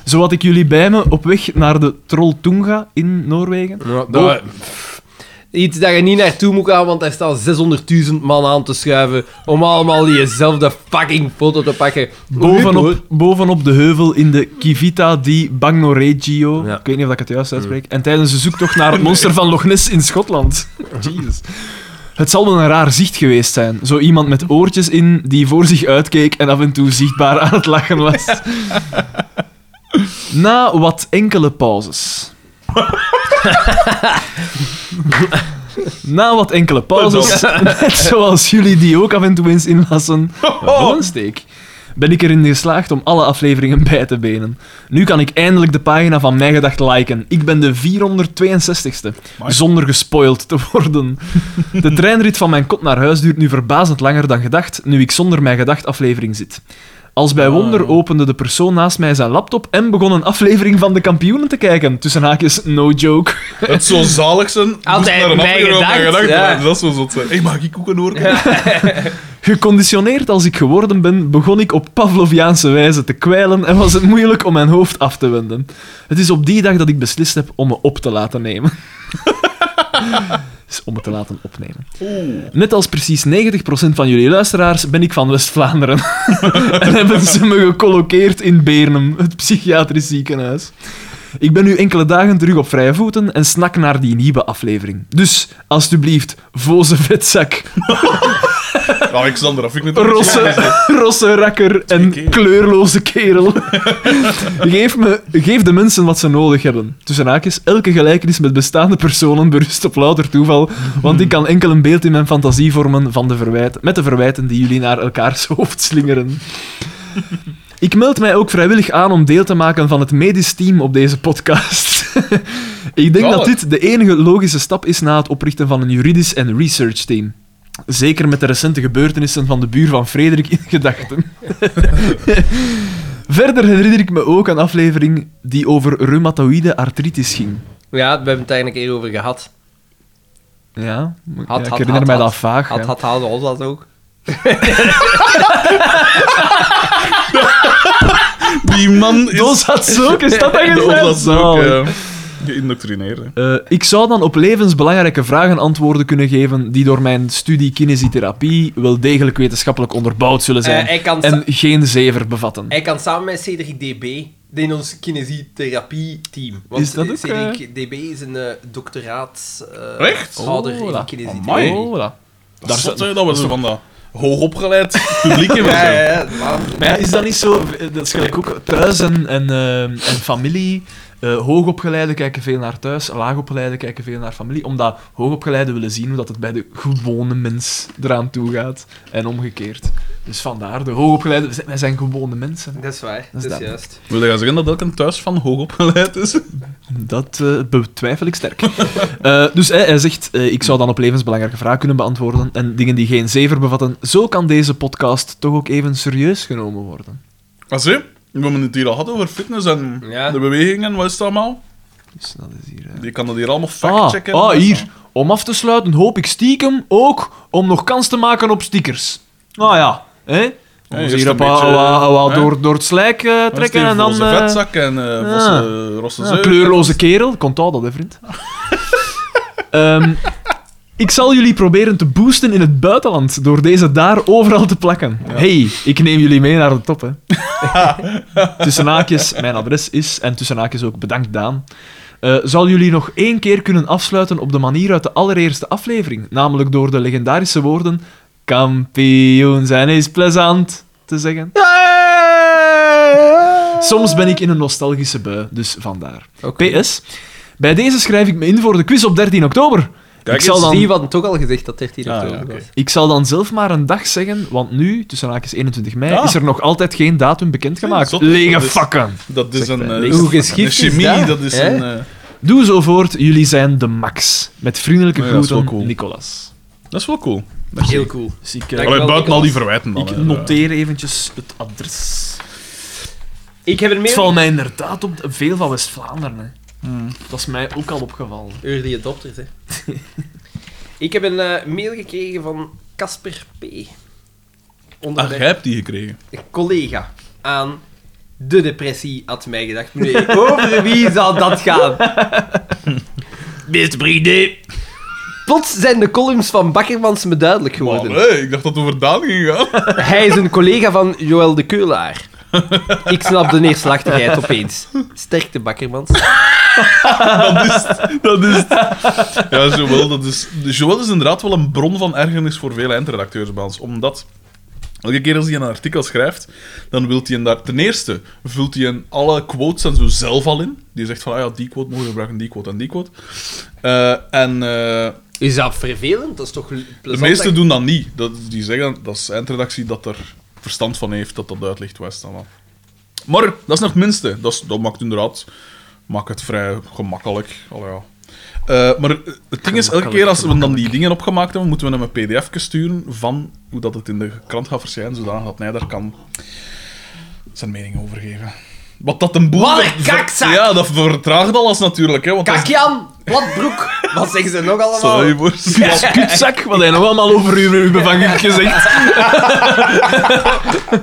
Speaker 3: Zo had ik jullie bij me op weg naar de Trolltunga in Noorwegen.
Speaker 1: Ja,
Speaker 2: Ah. [laughs]
Speaker 1: dat- Iets dat je niet naartoe moet gaan, want daar staan 600.000 man aan te schuiven om allemaal diezelfde fucking foto te pakken.
Speaker 3: Bovenop, bovenop de heuvel in de Civita di Bagnoregio.
Speaker 1: Ja.
Speaker 3: Ik weet niet of ik het juist uitspreek. En tijdens de zoektocht naar het monster van Loch Ness in Schotland. Jezus. Het zal wel een raar zicht geweest zijn. Zo iemand met oortjes in die voor zich uitkeek en af en toe zichtbaar aan het lachen was. Na wat enkele pauzes. Na wat enkele pauzes, net zoals jullie die ook af en toe eens inlassen,
Speaker 2: Oh.
Speaker 3: van een steek, ben ik erin geslaagd om alle afleveringen [laughs] bij te benen. Nu kan ik eindelijk de pagina van Mijn Gedacht liken. Ik ben de 462ste,
Speaker 2: Amai.
Speaker 3: zonder gespoild te worden. De treinrit van mijn kot naar huis duurt nu verbazend langer dan gedacht, nu ik zonder Mijn Gedacht aflevering zit. Als bij wonder opende de persoon naast mij zijn laptop en begon een aflevering van de kampioenen te kijken. Tussen haakjes, no joke.
Speaker 2: Het zou zalig zijn.
Speaker 1: Altijd
Speaker 2: moest naar een
Speaker 1: mijn
Speaker 2: aflevering op
Speaker 1: gedacht,
Speaker 2: gedacht
Speaker 1: ja.
Speaker 2: worden. Dat zou zot zijn. Hey, mag ik ook een oorkop?
Speaker 3: Geconditioneerd als ik geworden ben, begon ik op Pavloviaanse wijze te kwijlen en was het moeilijk om mijn hoofd af te wenden. Het is op die dag dat ik beslist heb om me op te laten nemen. [laughs] Dus om me te laten opnemen. Net als precies 90% van jullie luisteraars ben ik van West-Vlaanderen. [laughs] en hebben ze me gecolloqueerd in Beernum, het psychiatrisch ziekenhuis. Ik ben nu enkele dagen terug op vrije voeten en snak naar die nieuwe aflevering. Dus, alstublieft, voze vetzak,
Speaker 2: Alexander, dat vind ik natuurlijk
Speaker 3: rosse, rosse rakker en
Speaker 2: keer.
Speaker 3: kleurloze kerel. [laughs] geef, me, geef de mensen wat ze nodig hebben. Tussen haakjes, elke gelijkenis met bestaande personen berust op louter toeval, want ik kan enkel een beeld in mijn fantasie vormen van de verwijt, met de verwijten die jullie naar elkaars [laughs] hoofd slingeren. Ik meld mij ook vrijwillig aan om deel te maken van het medisch team op deze podcast. [laughs] ik denk dat
Speaker 2: Zalig.
Speaker 3: dit de enige logische stap is na het oprichten van een juridisch en research team. Zeker met de recente gebeurtenissen van de buur van Frederik in gedachten. [laughs] Verder herinner ik me ook een aflevering die over reumatoïde artritis ging.
Speaker 1: Ja, we hebben het daar een keer over gehad.
Speaker 3: Ja,
Speaker 1: Had,
Speaker 3: ja, ik
Speaker 1: had,
Speaker 3: herinner
Speaker 1: had,
Speaker 3: mij
Speaker 1: had.
Speaker 3: dat vaag.
Speaker 1: Had,
Speaker 3: ja.
Speaker 1: had, had ons dat ook.
Speaker 2: Die man is...
Speaker 3: Doos
Speaker 1: [laughs]
Speaker 3: had zo, is dat dan
Speaker 2: Doos
Speaker 3: gezegd?
Speaker 2: had zo ook
Speaker 3: Zalig.
Speaker 2: eh, geïndoctrineerd. hè.
Speaker 3: Eh, ik zou dan op levensbelangrijke vragen antwoorden kunnen geven die door mijn studie kinesietherapie wel degelijk wetenschappelijk onderbouwd zullen zijn
Speaker 1: Eh, hij, kan sa-
Speaker 3: en geen zever bevatten.
Speaker 1: hij kan samen met Cedric DB in ons kinesietherapie-team. Want
Speaker 3: Is dat ook,
Speaker 1: Cedric DB is een eh, doctoraat eh,
Speaker 2: Echt?
Speaker 1: houder
Speaker 3: Hola.
Speaker 1: in kinesietherapie.
Speaker 2: Amai.
Speaker 3: Oh, voilà.
Speaker 2: Dat is zot, hè, dat we zo van dat hoogopgeleid publiek
Speaker 3: [laughs]
Speaker 2: hebben.
Speaker 1: Ja, ja,
Speaker 2: zo.
Speaker 1: ja. waarom-
Speaker 3: Maar ja, is dat niet zo? Dat is gelijk ook thuis en, en, eh, en familie. Eh hoogopgeleiden kijken veel naar thuis, laagopgeleiden kijken veel naar familie. Omdat hoogopgeleiden willen zien hoe dat het bij de gewone mens eraan toe gaat. En omgekeerd. Dus vandaar, de hoogopgeleide, we zijn- wij zijn gewone mensen.
Speaker 1: Dat is waar, dat
Speaker 3: Dat
Speaker 1: is,
Speaker 3: is dat.
Speaker 1: juist.
Speaker 2: Wil je zeggen dat elke thuis van hoog opgeleid is?
Speaker 3: Dat eh, betwijfel ik sterk. [laughs] Eh, dus hij, hij zegt, eh, ik zou dan op levensbelangrijke vragen kunnen beantwoorden en dingen die geen zever bevatten. Zo kan deze podcast toch ook even serieus genomen worden.
Speaker 2: Als hè? We hebben het hier al gehad over fitness en
Speaker 1: Ja.
Speaker 2: de bewegingen, wat is dat allemaal?
Speaker 3: Dus dat is hier... eh.
Speaker 2: Je kan dat hier allemaal
Speaker 3: Ah,
Speaker 2: factchecken.
Speaker 3: ah, hier. Om af te sluiten hoop ik stiekem ook om nog kans te maken op stickers. Nou ja, hè? Om
Speaker 2: Ja,
Speaker 3: ons
Speaker 2: eerst
Speaker 3: hier
Speaker 2: een
Speaker 3: op wa-
Speaker 2: beetje,
Speaker 3: wa- wa-
Speaker 2: hè?
Speaker 3: door, door het slijk eh, trekken en dan... eh,
Speaker 2: vetzak en eh
Speaker 3: ja.
Speaker 2: vosse rosse
Speaker 3: Ja,
Speaker 2: zeug.
Speaker 3: Ah, kleurloze kerel, komt al dat, hè, vriend. Ehm, ik zal jullie proberen te boosten in het buitenland door deze daar overal te plakken. Hey, ik neem jullie mee naar de top, hè. tussen haakjes, mijn adres is, en tussen haakjes ook bedankt Daan. Eh, zal jullie nog één keer kunnen afsluiten op de manier uit de allereerste aflevering, namelijk door de legendarische woorden kampioen zijn is plezant te zeggen. Soms ben ik in een nostalgische bui, dus vandaar. PS. Bij deze schrijf ik me in voor de quiz op 13 oktober.
Speaker 2: Kijk
Speaker 3: ik, zal
Speaker 2: eens,
Speaker 1: Dan...
Speaker 3: dan,
Speaker 1: Steve had het ook al gezegd dat 13
Speaker 2: Ah,
Speaker 1: oktober
Speaker 2: ja, oké.
Speaker 1: was.
Speaker 3: ik zal dan zelf maar een dag zeggen, want nu, tussen haakjes 21 mei,
Speaker 2: Ah.
Speaker 3: is er nog altijd geen datum bekendgemaakt.
Speaker 2: Nee, zot.
Speaker 3: Lege
Speaker 2: Dat is-
Speaker 3: fakken.
Speaker 2: Dat is
Speaker 3: Zeg,
Speaker 2: een...
Speaker 3: eh,
Speaker 2: eh,
Speaker 3: lees-
Speaker 1: Hoe
Speaker 2: dat is
Speaker 1: geschikt
Speaker 2: een
Speaker 1: is
Speaker 2: chemie,
Speaker 1: dat,
Speaker 2: dat is
Speaker 1: hè?
Speaker 2: een... eh,
Speaker 3: Doe zo voort, jullie zijn de max. Met vriendelijke
Speaker 2: Nee, dat is
Speaker 3: groeten,
Speaker 2: wel cool.
Speaker 3: Nicolas.
Speaker 2: dat is wel cool.
Speaker 1: Heel cool.
Speaker 3: Dus ik, eh,
Speaker 1: Dank-
Speaker 2: Allee,
Speaker 1: wel,
Speaker 2: buiten al die
Speaker 1: Nicolas.
Speaker 2: verwijten dan.
Speaker 3: ik
Speaker 2: hè.
Speaker 3: noteer eventjes het adres.
Speaker 1: Ik heb er
Speaker 3: Het
Speaker 1: meer
Speaker 3: valt mij inderdaad op veel van West-Vlaanderen. hè. Dat is mij ook al opgevallen.
Speaker 1: Early adopters, hè. [laughs] ik heb een eh, mail gekregen van Casper P.
Speaker 2: Ah, jij
Speaker 1: Onderweg
Speaker 2: hebt die gekregen.
Speaker 1: een collega aan de depressie had mij gedacht. Nee, over [laughs] wie zal dat gaan? Beste vrienden. Plots zijn de columns van Bakkermans me duidelijk
Speaker 2: Maar
Speaker 1: geworden.
Speaker 2: nee, ik dacht dat het over Daan ging gaan.
Speaker 1: [laughs] Hij is een collega van Joël de [laughs] Keulaar. Ik snap de neerslachtigheid opeens. Sterkte, Bakkermans.
Speaker 2: dat is het. Dat is het. Ja, Joël, dat is... Joël is inderdaad wel een bron van ergernis voor veel eindredacteurs bij ons. Omdat... Elke keer als hij een artikel schrijft, dan wil hij een daar... Ten eerste vult hij een alle quotes en zo zelf al in. Die zegt van, ah ja, die quote mogen we gebruiken, die quote en die quote. Eh, en... eh,
Speaker 1: Is dat vervelend? Dat is toch plezant?
Speaker 2: De meesten doen dat niet. Dat, die zeggen dat is eindredactie dat er verstand van heeft dat dat uitlegt West allemaal. Maar dat is nog het minste. Dat, is- dat maakt inderdaad maakt het vrij gemakkelijk. Allee, ja. Eh, maar het ding is, elke keer als we dan die dingen opgemaakt hebben, moeten we hem een pdf sturen van hoe dat het in de krant gaat verschijnen, zodat dat hij daar kan zijn mening over geven. Wat dat een boel...
Speaker 1: Wat een kakzak!
Speaker 2: Ja, dat vertraagt alles natuurlijk. Hè, want dat is-
Speaker 1: Kakjan, platbroek. Wat zeggen ze nog allemaal?
Speaker 2: Sorry, voor
Speaker 1: [laughs]
Speaker 3: Kutzak, wat hij nog allemaal over u bevangen heeft gezegd.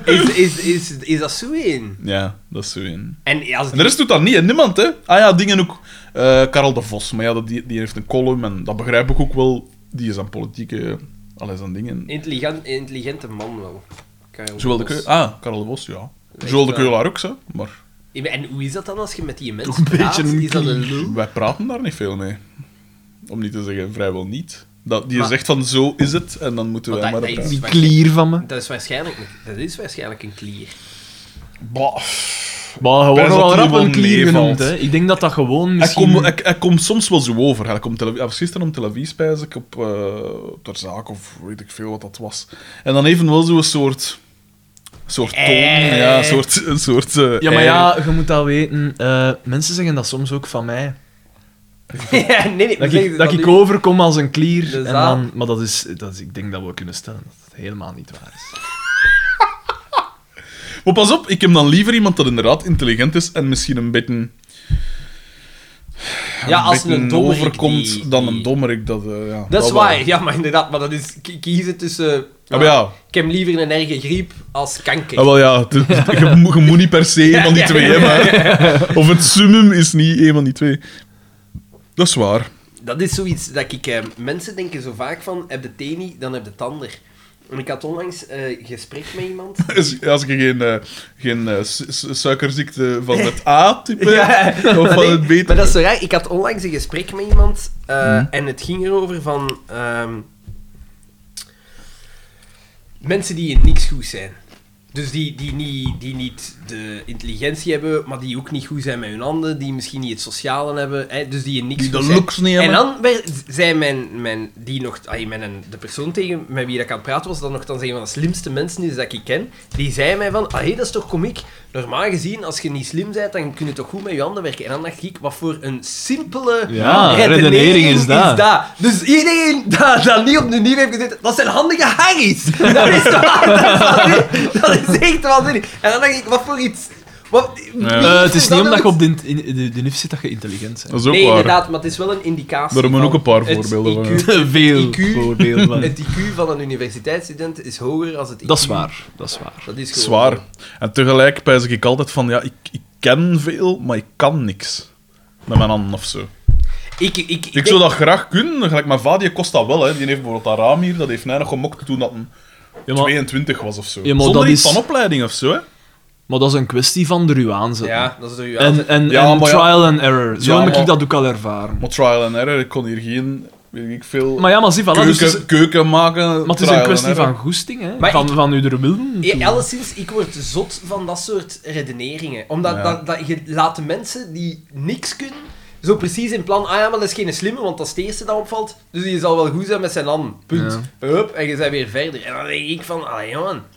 Speaker 1: Is, is, is, is dat zo één?
Speaker 2: Ja, dat is zo in.
Speaker 1: En als
Speaker 2: En de rest doet dat niet, hè? niemand, hè? Ah ja, dingen ook. eh Karel de Vos, maar ja, dat- die, die heeft een column en dat begrijp ik ook wel. Die is aan politieke. eh, Alles aan dingen.
Speaker 1: Intelligent, intelligente man wel. eh, Karel
Speaker 2: Zowel de
Speaker 1: Bos.
Speaker 2: Keu Ah, Karel de Vos, ja. Zowel de
Speaker 1: waar.
Speaker 2: Keulaar ook, hè? Maar
Speaker 1: Ja, maar En hoe is dat dan als je met die mensen
Speaker 3: Toch een
Speaker 1: praat?
Speaker 3: beetje een
Speaker 1: Is dat een lul?
Speaker 2: wij praten daar niet veel mee. Om niet te zeggen, vrijwel niet. Dat, die
Speaker 1: Maar-
Speaker 2: zegt van zo is het en dan moeten
Speaker 1: Maar
Speaker 2: wij
Speaker 1: dat-
Speaker 2: maar.
Speaker 1: dat
Speaker 2: praten.
Speaker 1: is-
Speaker 3: Die klier van me.
Speaker 1: Dat is waarschijnlijk, een- dat is waarschijnlijk een
Speaker 2: [laughs]
Speaker 1: klier.
Speaker 2: Bah.
Speaker 3: Maar
Speaker 2: Best
Speaker 3: gewoon
Speaker 2: dat
Speaker 3: wel
Speaker 2: die
Speaker 3: rap
Speaker 2: gewoon
Speaker 3: een klier
Speaker 2: meevalt.
Speaker 3: genoemd, hè. Ik denk dat dat gewoon
Speaker 2: Hij
Speaker 3: misschien...
Speaker 2: komt hij- hij komt soms wel zo over. Hij komt tele- hij was gisteren om televisie, spijs ik, op eh, ter zaak of weet ik veel wat dat was. En dan even wel zo'n soort... soort toon,
Speaker 1: Eh.
Speaker 2: ja, een soort... Een soort eh,
Speaker 3: Ja, maar
Speaker 2: eh.
Speaker 3: ja, je moet dat weten. Eh, mensen zeggen dat soms ook van mij.
Speaker 1: ja, nee, nee,
Speaker 3: Dat
Speaker 1: zeg
Speaker 3: ik,
Speaker 1: het
Speaker 3: dat
Speaker 1: dan
Speaker 3: ik
Speaker 1: nu.
Speaker 3: overkom als een klier.
Speaker 1: De
Speaker 3: En
Speaker 1: zaal.
Speaker 3: dan, maar dat is, dat is, ik denk dat we kunnen stellen dat het helemaal niet waar is.
Speaker 2: Maar pas op, ik heb dan liever iemand dat inderdaad intelligent is en misschien een beetje...
Speaker 1: Ja, als
Speaker 2: beetje
Speaker 1: een dommerik
Speaker 2: overkomt
Speaker 1: die-
Speaker 2: dan
Speaker 1: die-
Speaker 2: een dommerik. Dat, eh, ja,
Speaker 1: Dat is
Speaker 2: wel.
Speaker 1: waar, ja, maar inderdaad, maar dat is k- kiezen tussen...
Speaker 2: Ja, maar ja,
Speaker 1: Ik heb liever een erge griep als kanker.
Speaker 2: ja, Ah, wel, ja
Speaker 1: [laughs]
Speaker 2: het- het- je, moet- je moet niet per se een van die
Speaker 1: Ja, ja,
Speaker 2: twee hebben.
Speaker 1: [laughs]
Speaker 2: hè. Of het summum is niet een van die twee. Dat is waar.
Speaker 1: Dat is zoiets dat ik... eh, mensen denken zo vaak van, heb de teen niet, dan heb de tander. En ik had onlangs eh gesprek met iemand...
Speaker 2: Als, als je geen, eh, geen eh, su- su- suikerziekte van het
Speaker 1: [laughs]
Speaker 2: A-type
Speaker 1: Ja,
Speaker 2: hebt, of
Speaker 1: maar
Speaker 2: van
Speaker 1: nee,
Speaker 2: het Mhm. B-type.
Speaker 1: Maar dat is zo raar. Ik had onlangs een gesprek met iemand eh, en het ging erover van ehm, mensen die in niks goed zijn. Dus die, die, niet, die niet de intelligentie hebben, maar die ook niet goed zijn met hun handen, die misschien niet het sociale hebben, hè, dus die in niks
Speaker 2: Die de
Speaker 1: goed zijn.
Speaker 2: looks niet
Speaker 1: En
Speaker 2: hebben.
Speaker 1: dan werd- zei mijn, mijn, die nog, ay, mijn, de persoon tegen met wie dat ik aan het praten was, dat nog dan een van de slimste mensen is dat ik ken, die zei mij van, ah, hé, dat is toch komiek? Normaal gezien, als je niet slim bent, dan kun je toch goed met je handen werken. En dan dacht ik, wat voor een simpele
Speaker 3: Ja, redenering is dat.
Speaker 1: Dus iedereen dat, dat niet op de nieuw heeft gezeten, dat zijn handige Harry's. Dat is toch waanzinnig? Dat is echt waanzinnig. En dan dacht ik, wat voor iets... Wat, wie
Speaker 2: Eh,
Speaker 1: heeft
Speaker 3: het is
Speaker 1: er
Speaker 3: niet
Speaker 1: dan
Speaker 3: omdat je
Speaker 1: nog
Speaker 3: op de, in, de, de NIF zit dat je intelligent
Speaker 2: Dat
Speaker 3: bent.
Speaker 2: is ook
Speaker 1: Nee,
Speaker 2: waar.
Speaker 1: inderdaad, maar het is wel een indicatie.
Speaker 2: Daar hebben we
Speaker 1: van
Speaker 2: ook een paar
Speaker 1: het
Speaker 2: voorbeelden van,
Speaker 1: IQ
Speaker 3: [laughs] Veel
Speaker 1: IQ.
Speaker 2: [laughs]
Speaker 3: voordeel
Speaker 1: [laughs]
Speaker 3: van.
Speaker 1: Het IQ van een universiteitsstudent is hoger dan het IQ.
Speaker 3: Dat is waar, dat is waar.
Speaker 1: Dat is gewoon
Speaker 2: Zwaar. En tegelijk pijs ik altijd van, ja, ik, ik ken veel, maar ik kan niks. Met mijn handen of zo.
Speaker 1: Ik, ik, ik,
Speaker 2: Ik
Speaker 1: denk-
Speaker 2: zou dat graag kunnen. Gelijk mijn vader, die kost dat wel. Hè. Die heeft bijvoorbeeld dat raam hier, dat heeft mij nog gemokt toen dat een
Speaker 4: Ja, maar-
Speaker 2: 22 was of zo.
Speaker 4: Ja, maar
Speaker 2: Zonder
Speaker 4: dat
Speaker 2: iets
Speaker 4: is-
Speaker 2: van opleiding of zo. Hè.
Speaker 4: Maar dat is een kwestie van de ruw aanzetten.
Speaker 1: Ja, dat is door je
Speaker 4: En, en,
Speaker 2: Ja,
Speaker 4: en
Speaker 2: maar ja.
Speaker 4: trial and error. Zo
Speaker 2: Ja,
Speaker 4: heb
Speaker 2: maar-
Speaker 4: ik dat ook al ervaren.
Speaker 2: Maar trial and error, ik kon hier geen, weet ik veel,
Speaker 4: Maar ja, maar zie, voilà, dus
Speaker 2: keuken,
Speaker 4: het is-
Speaker 2: keuken maken.
Speaker 4: maar het is
Speaker 2: trial
Speaker 4: een
Speaker 2: and
Speaker 4: kwestie
Speaker 2: error.
Speaker 4: van goesting, hè.
Speaker 1: Maar
Speaker 4: van,
Speaker 1: ik-
Speaker 4: van u er willen
Speaker 1: Ja,
Speaker 4: toe.
Speaker 1: alleszins, ik word zot van dat soort redeneringen. Omdat
Speaker 2: Ja.
Speaker 1: dat, dat, je laat de mensen die niks kunnen, zo precies in plan, ah ja, maar dat is geen slimme, want dat is het eerste dat opvalt, dus die zal wel goed zijn met zijn hand. Punt. Hup, en je bent weer verder. En dan denk ik van, ah jongen.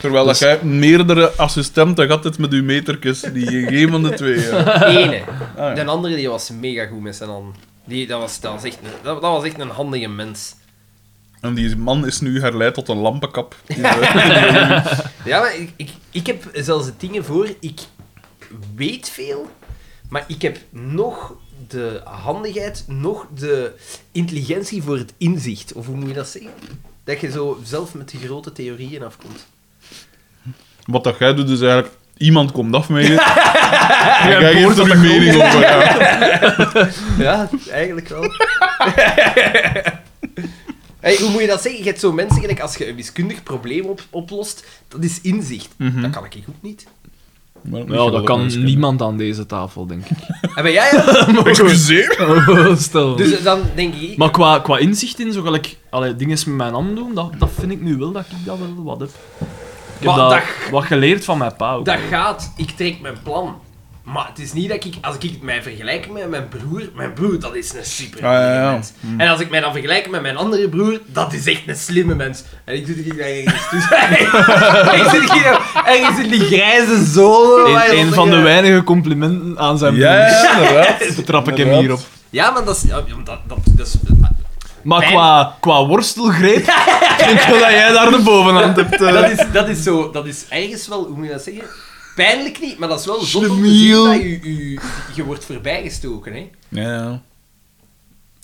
Speaker 2: Terwijl
Speaker 4: Dus-
Speaker 2: dat jij meerdere assistenten gaat het met uw metertjes, die
Speaker 4: [laughs]
Speaker 2: gegeven van de twee. eh, Ja. [laughs]
Speaker 1: Ene.
Speaker 2: Ah, ja.
Speaker 1: De andere, die was mega goed met zijn hand. Die, dat, was, dat, was echt, een- dat, dat was echt een handige mens.
Speaker 2: En die man is nu herleid tot een
Speaker 4: [laughs]
Speaker 2: lampenkap. eh,
Speaker 1: Ja, maar ik, ik, ik heb zelfs de dingen voor. Ik weet veel, maar ik heb nog de handigheid, nog de intelligentie voor het inzicht. Of hoe moet je dat zeggen? Dat je zo zelf met de grote theorieën afkomt.
Speaker 2: Wat dat jij doet is eigenlijk, iemand komt
Speaker 4: [laughs]
Speaker 2: af met je. en jij
Speaker 4: hoort
Speaker 2: geeft er
Speaker 4: dat
Speaker 2: een mening over. Ja.
Speaker 1: Ja, eigenlijk wel. [laughs] Hey, hoe moet je dat zeggen? Je hebt zo mensen, gelijk, als je een wiskundig probleem op, oplost, dat is inzicht. Dat kan ik ook niet.
Speaker 2: Maar
Speaker 4: Ja, dat kan niemand aan deze tafel, denk
Speaker 2: [laughs]
Speaker 4: ik.
Speaker 1: En ben jij dat?
Speaker 4: [laughs]
Speaker 2: Excuseer.
Speaker 4: Stel.
Speaker 1: Dus dan denk ik...
Speaker 4: maar qua, qua inzicht in, zo gelijk allee, dingen met mijn hand doen, dat, dat vind ik nu wel dat ik dat wel wat heb. Ik heb
Speaker 1: Maar
Speaker 4: dat,
Speaker 1: dat-
Speaker 4: wat geleerd van mijn pa ook.
Speaker 1: Dat gaat, ik trek mijn plan. Maar het is niet dat ik, als ik mij vergelijk met mijn broer, mijn broer dat is een super
Speaker 2: Ah, ja, ja.
Speaker 1: mens. En als ik mij dan vergelijk met mijn andere broer, dat is echt een slimme mens. En ik zit hier daar ergens
Speaker 2: [laughs]
Speaker 1: tussen. [laughs] ik zit hier ergens in die grijze zone. waar je eh,
Speaker 3: Een,
Speaker 1: dan
Speaker 3: een van de
Speaker 1: zeggen-
Speaker 3: weinige complimenten aan zijn broer.
Speaker 2: Ja,
Speaker 4: [laughs]
Speaker 2: ja, inderdaad.
Speaker 3: Trap ik hem
Speaker 2: Inderdaad.
Speaker 3: hierop.
Speaker 1: Ja, maar dat is, ja, dat, dat, dat is... eh,
Speaker 3: Maar
Speaker 1: Pijn.
Speaker 3: qua, qua
Speaker 1: [laughs]
Speaker 3: worstelgreep, denk ik wel dat jij daar de bovenhand hebt. eh.
Speaker 1: Dat is, dat is zo, dat is ergens wel, hoe moet je dat zeggen? Pijnlijk niet, maar dat is wel zot om te zien
Speaker 3: Schlemiel.
Speaker 1: dat je, je, je wordt voorbijgestoken, hè.
Speaker 2: Ja, ja.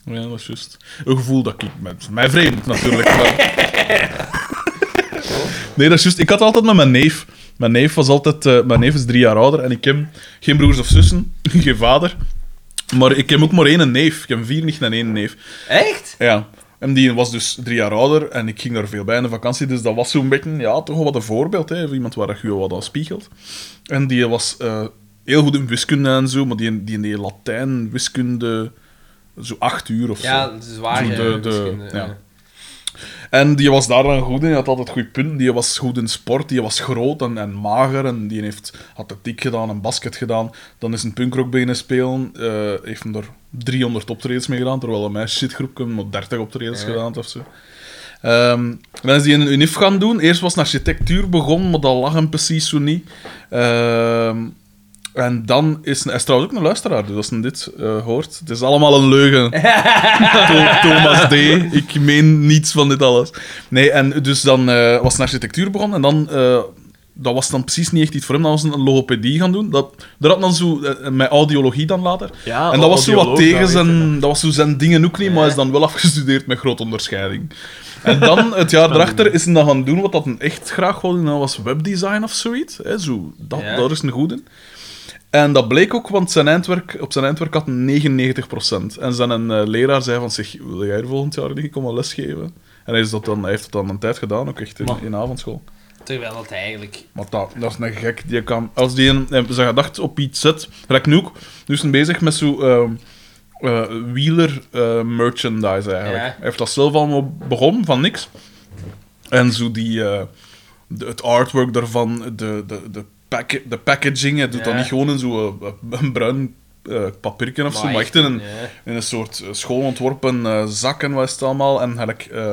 Speaker 2: Ja, dat is juist. Een gevoel dat ik... met- Mij vreemd, natuurlijk. maar- Nee, dat is juist. Ik had altijd met mijn neef... Mijn neef, was altijd, eh, mijn neef is drie jaar ouder en ik heb geen broers of zussen, [laughs] geen vader. Maar ik heb ook maar één neef. Ik heb vier nicht en één neef.
Speaker 1: Echt?
Speaker 2: Ja. En die was dus drie jaar ouder en ik ging daar veel bij in de vakantie. Dus dat was zo'n beetje, ja, toch wel wat een voorbeeld. Hè, van iemand waar je wat aan spiegelt. En die was eh, heel goed in wiskunde en zo, maar die, die deed Latijn, wiskunde, zo acht uur of
Speaker 1: Ja,
Speaker 2: zo.
Speaker 1: dat is waar.
Speaker 2: Zo
Speaker 1: eh,
Speaker 2: de- de-
Speaker 1: misschien, eh,
Speaker 2: ja. En die was daar dan goed in, die had altijd goede punten. Die was goed in sport, die was groot en, en mager. En die heeft atletiek gedaan en basket gedaan. Dan is een punkrock beginnen spelen. eh, heeft hem er 300 optredens mee gedaan, terwijl mijn shitgroep hem op 30 optredens
Speaker 1: Ja.
Speaker 2: gedaan had of zo. Ehm, dan is die een unif gaan doen. Eerst was hij architectuur begonnen, maar dat lag hem precies zo niet. Ehm, en dan is hij, hij is trouwens ook een luisteraar, dus als hij dit eh, hoort. Het is allemaal een
Speaker 4: [laughs]
Speaker 2: leugen. Tho- Thomas D. Ik meen niets van dit alles. Nee, en dus dan eh, was een architectuur begonnen en dan... eh, dat was dan precies niet echt iets voor hem. Dan was hij een logopedie gaan doen. Dat, dat had dan zo... eh, met audiologie dan later.
Speaker 4: Ja,
Speaker 2: en dat was zo wat
Speaker 4: audioloog, dat
Speaker 2: tegen
Speaker 4: weet
Speaker 2: zijn... Dat was zo zijn dingen ook niet, maar hij is dan wel afgestudeerd met grote onderscheiding. En dan, het jaar daarachter, is hij dan gaan doen wat dat een echt graag wilde. En dat was webdesign of zoiets. Hè, zo, dat,
Speaker 1: Ja.
Speaker 2: Daar is een goed in. En dat bleek ook, want zijn eindwerk, op zijn eindwerk had hij 99%. En zijn een, eh, leraar zei van zich, wil jij er volgend jaar denk ik om een les geven? En hij, is dat dan, hij heeft dat dan een tijd gedaan, ook echt in,
Speaker 4: Maar-
Speaker 2: in avondschool.
Speaker 1: Terwijl dat eigenlijk...
Speaker 2: Maar dat, dat is een gek. Die kan, als die een, eh, zijn gedacht op iets zet, gelijk nu ook, nu is hij bezig met zo ehm, eh, wieler eh, merchandise eigenlijk.
Speaker 1: Ja.
Speaker 2: Hij heeft dat zelf allemaal begonnen van niks. En zo die, eh, de- het artwork daarvan, de, de, de, pack, de packaging. Hij doet dat
Speaker 3: Ja.
Speaker 2: niet gewoon in zo'n eh, een bruin eh papiertje of zo, maar echt in een, in een soort eh, schoonontworpen eh, zak en wat is het allemaal. En hij eh,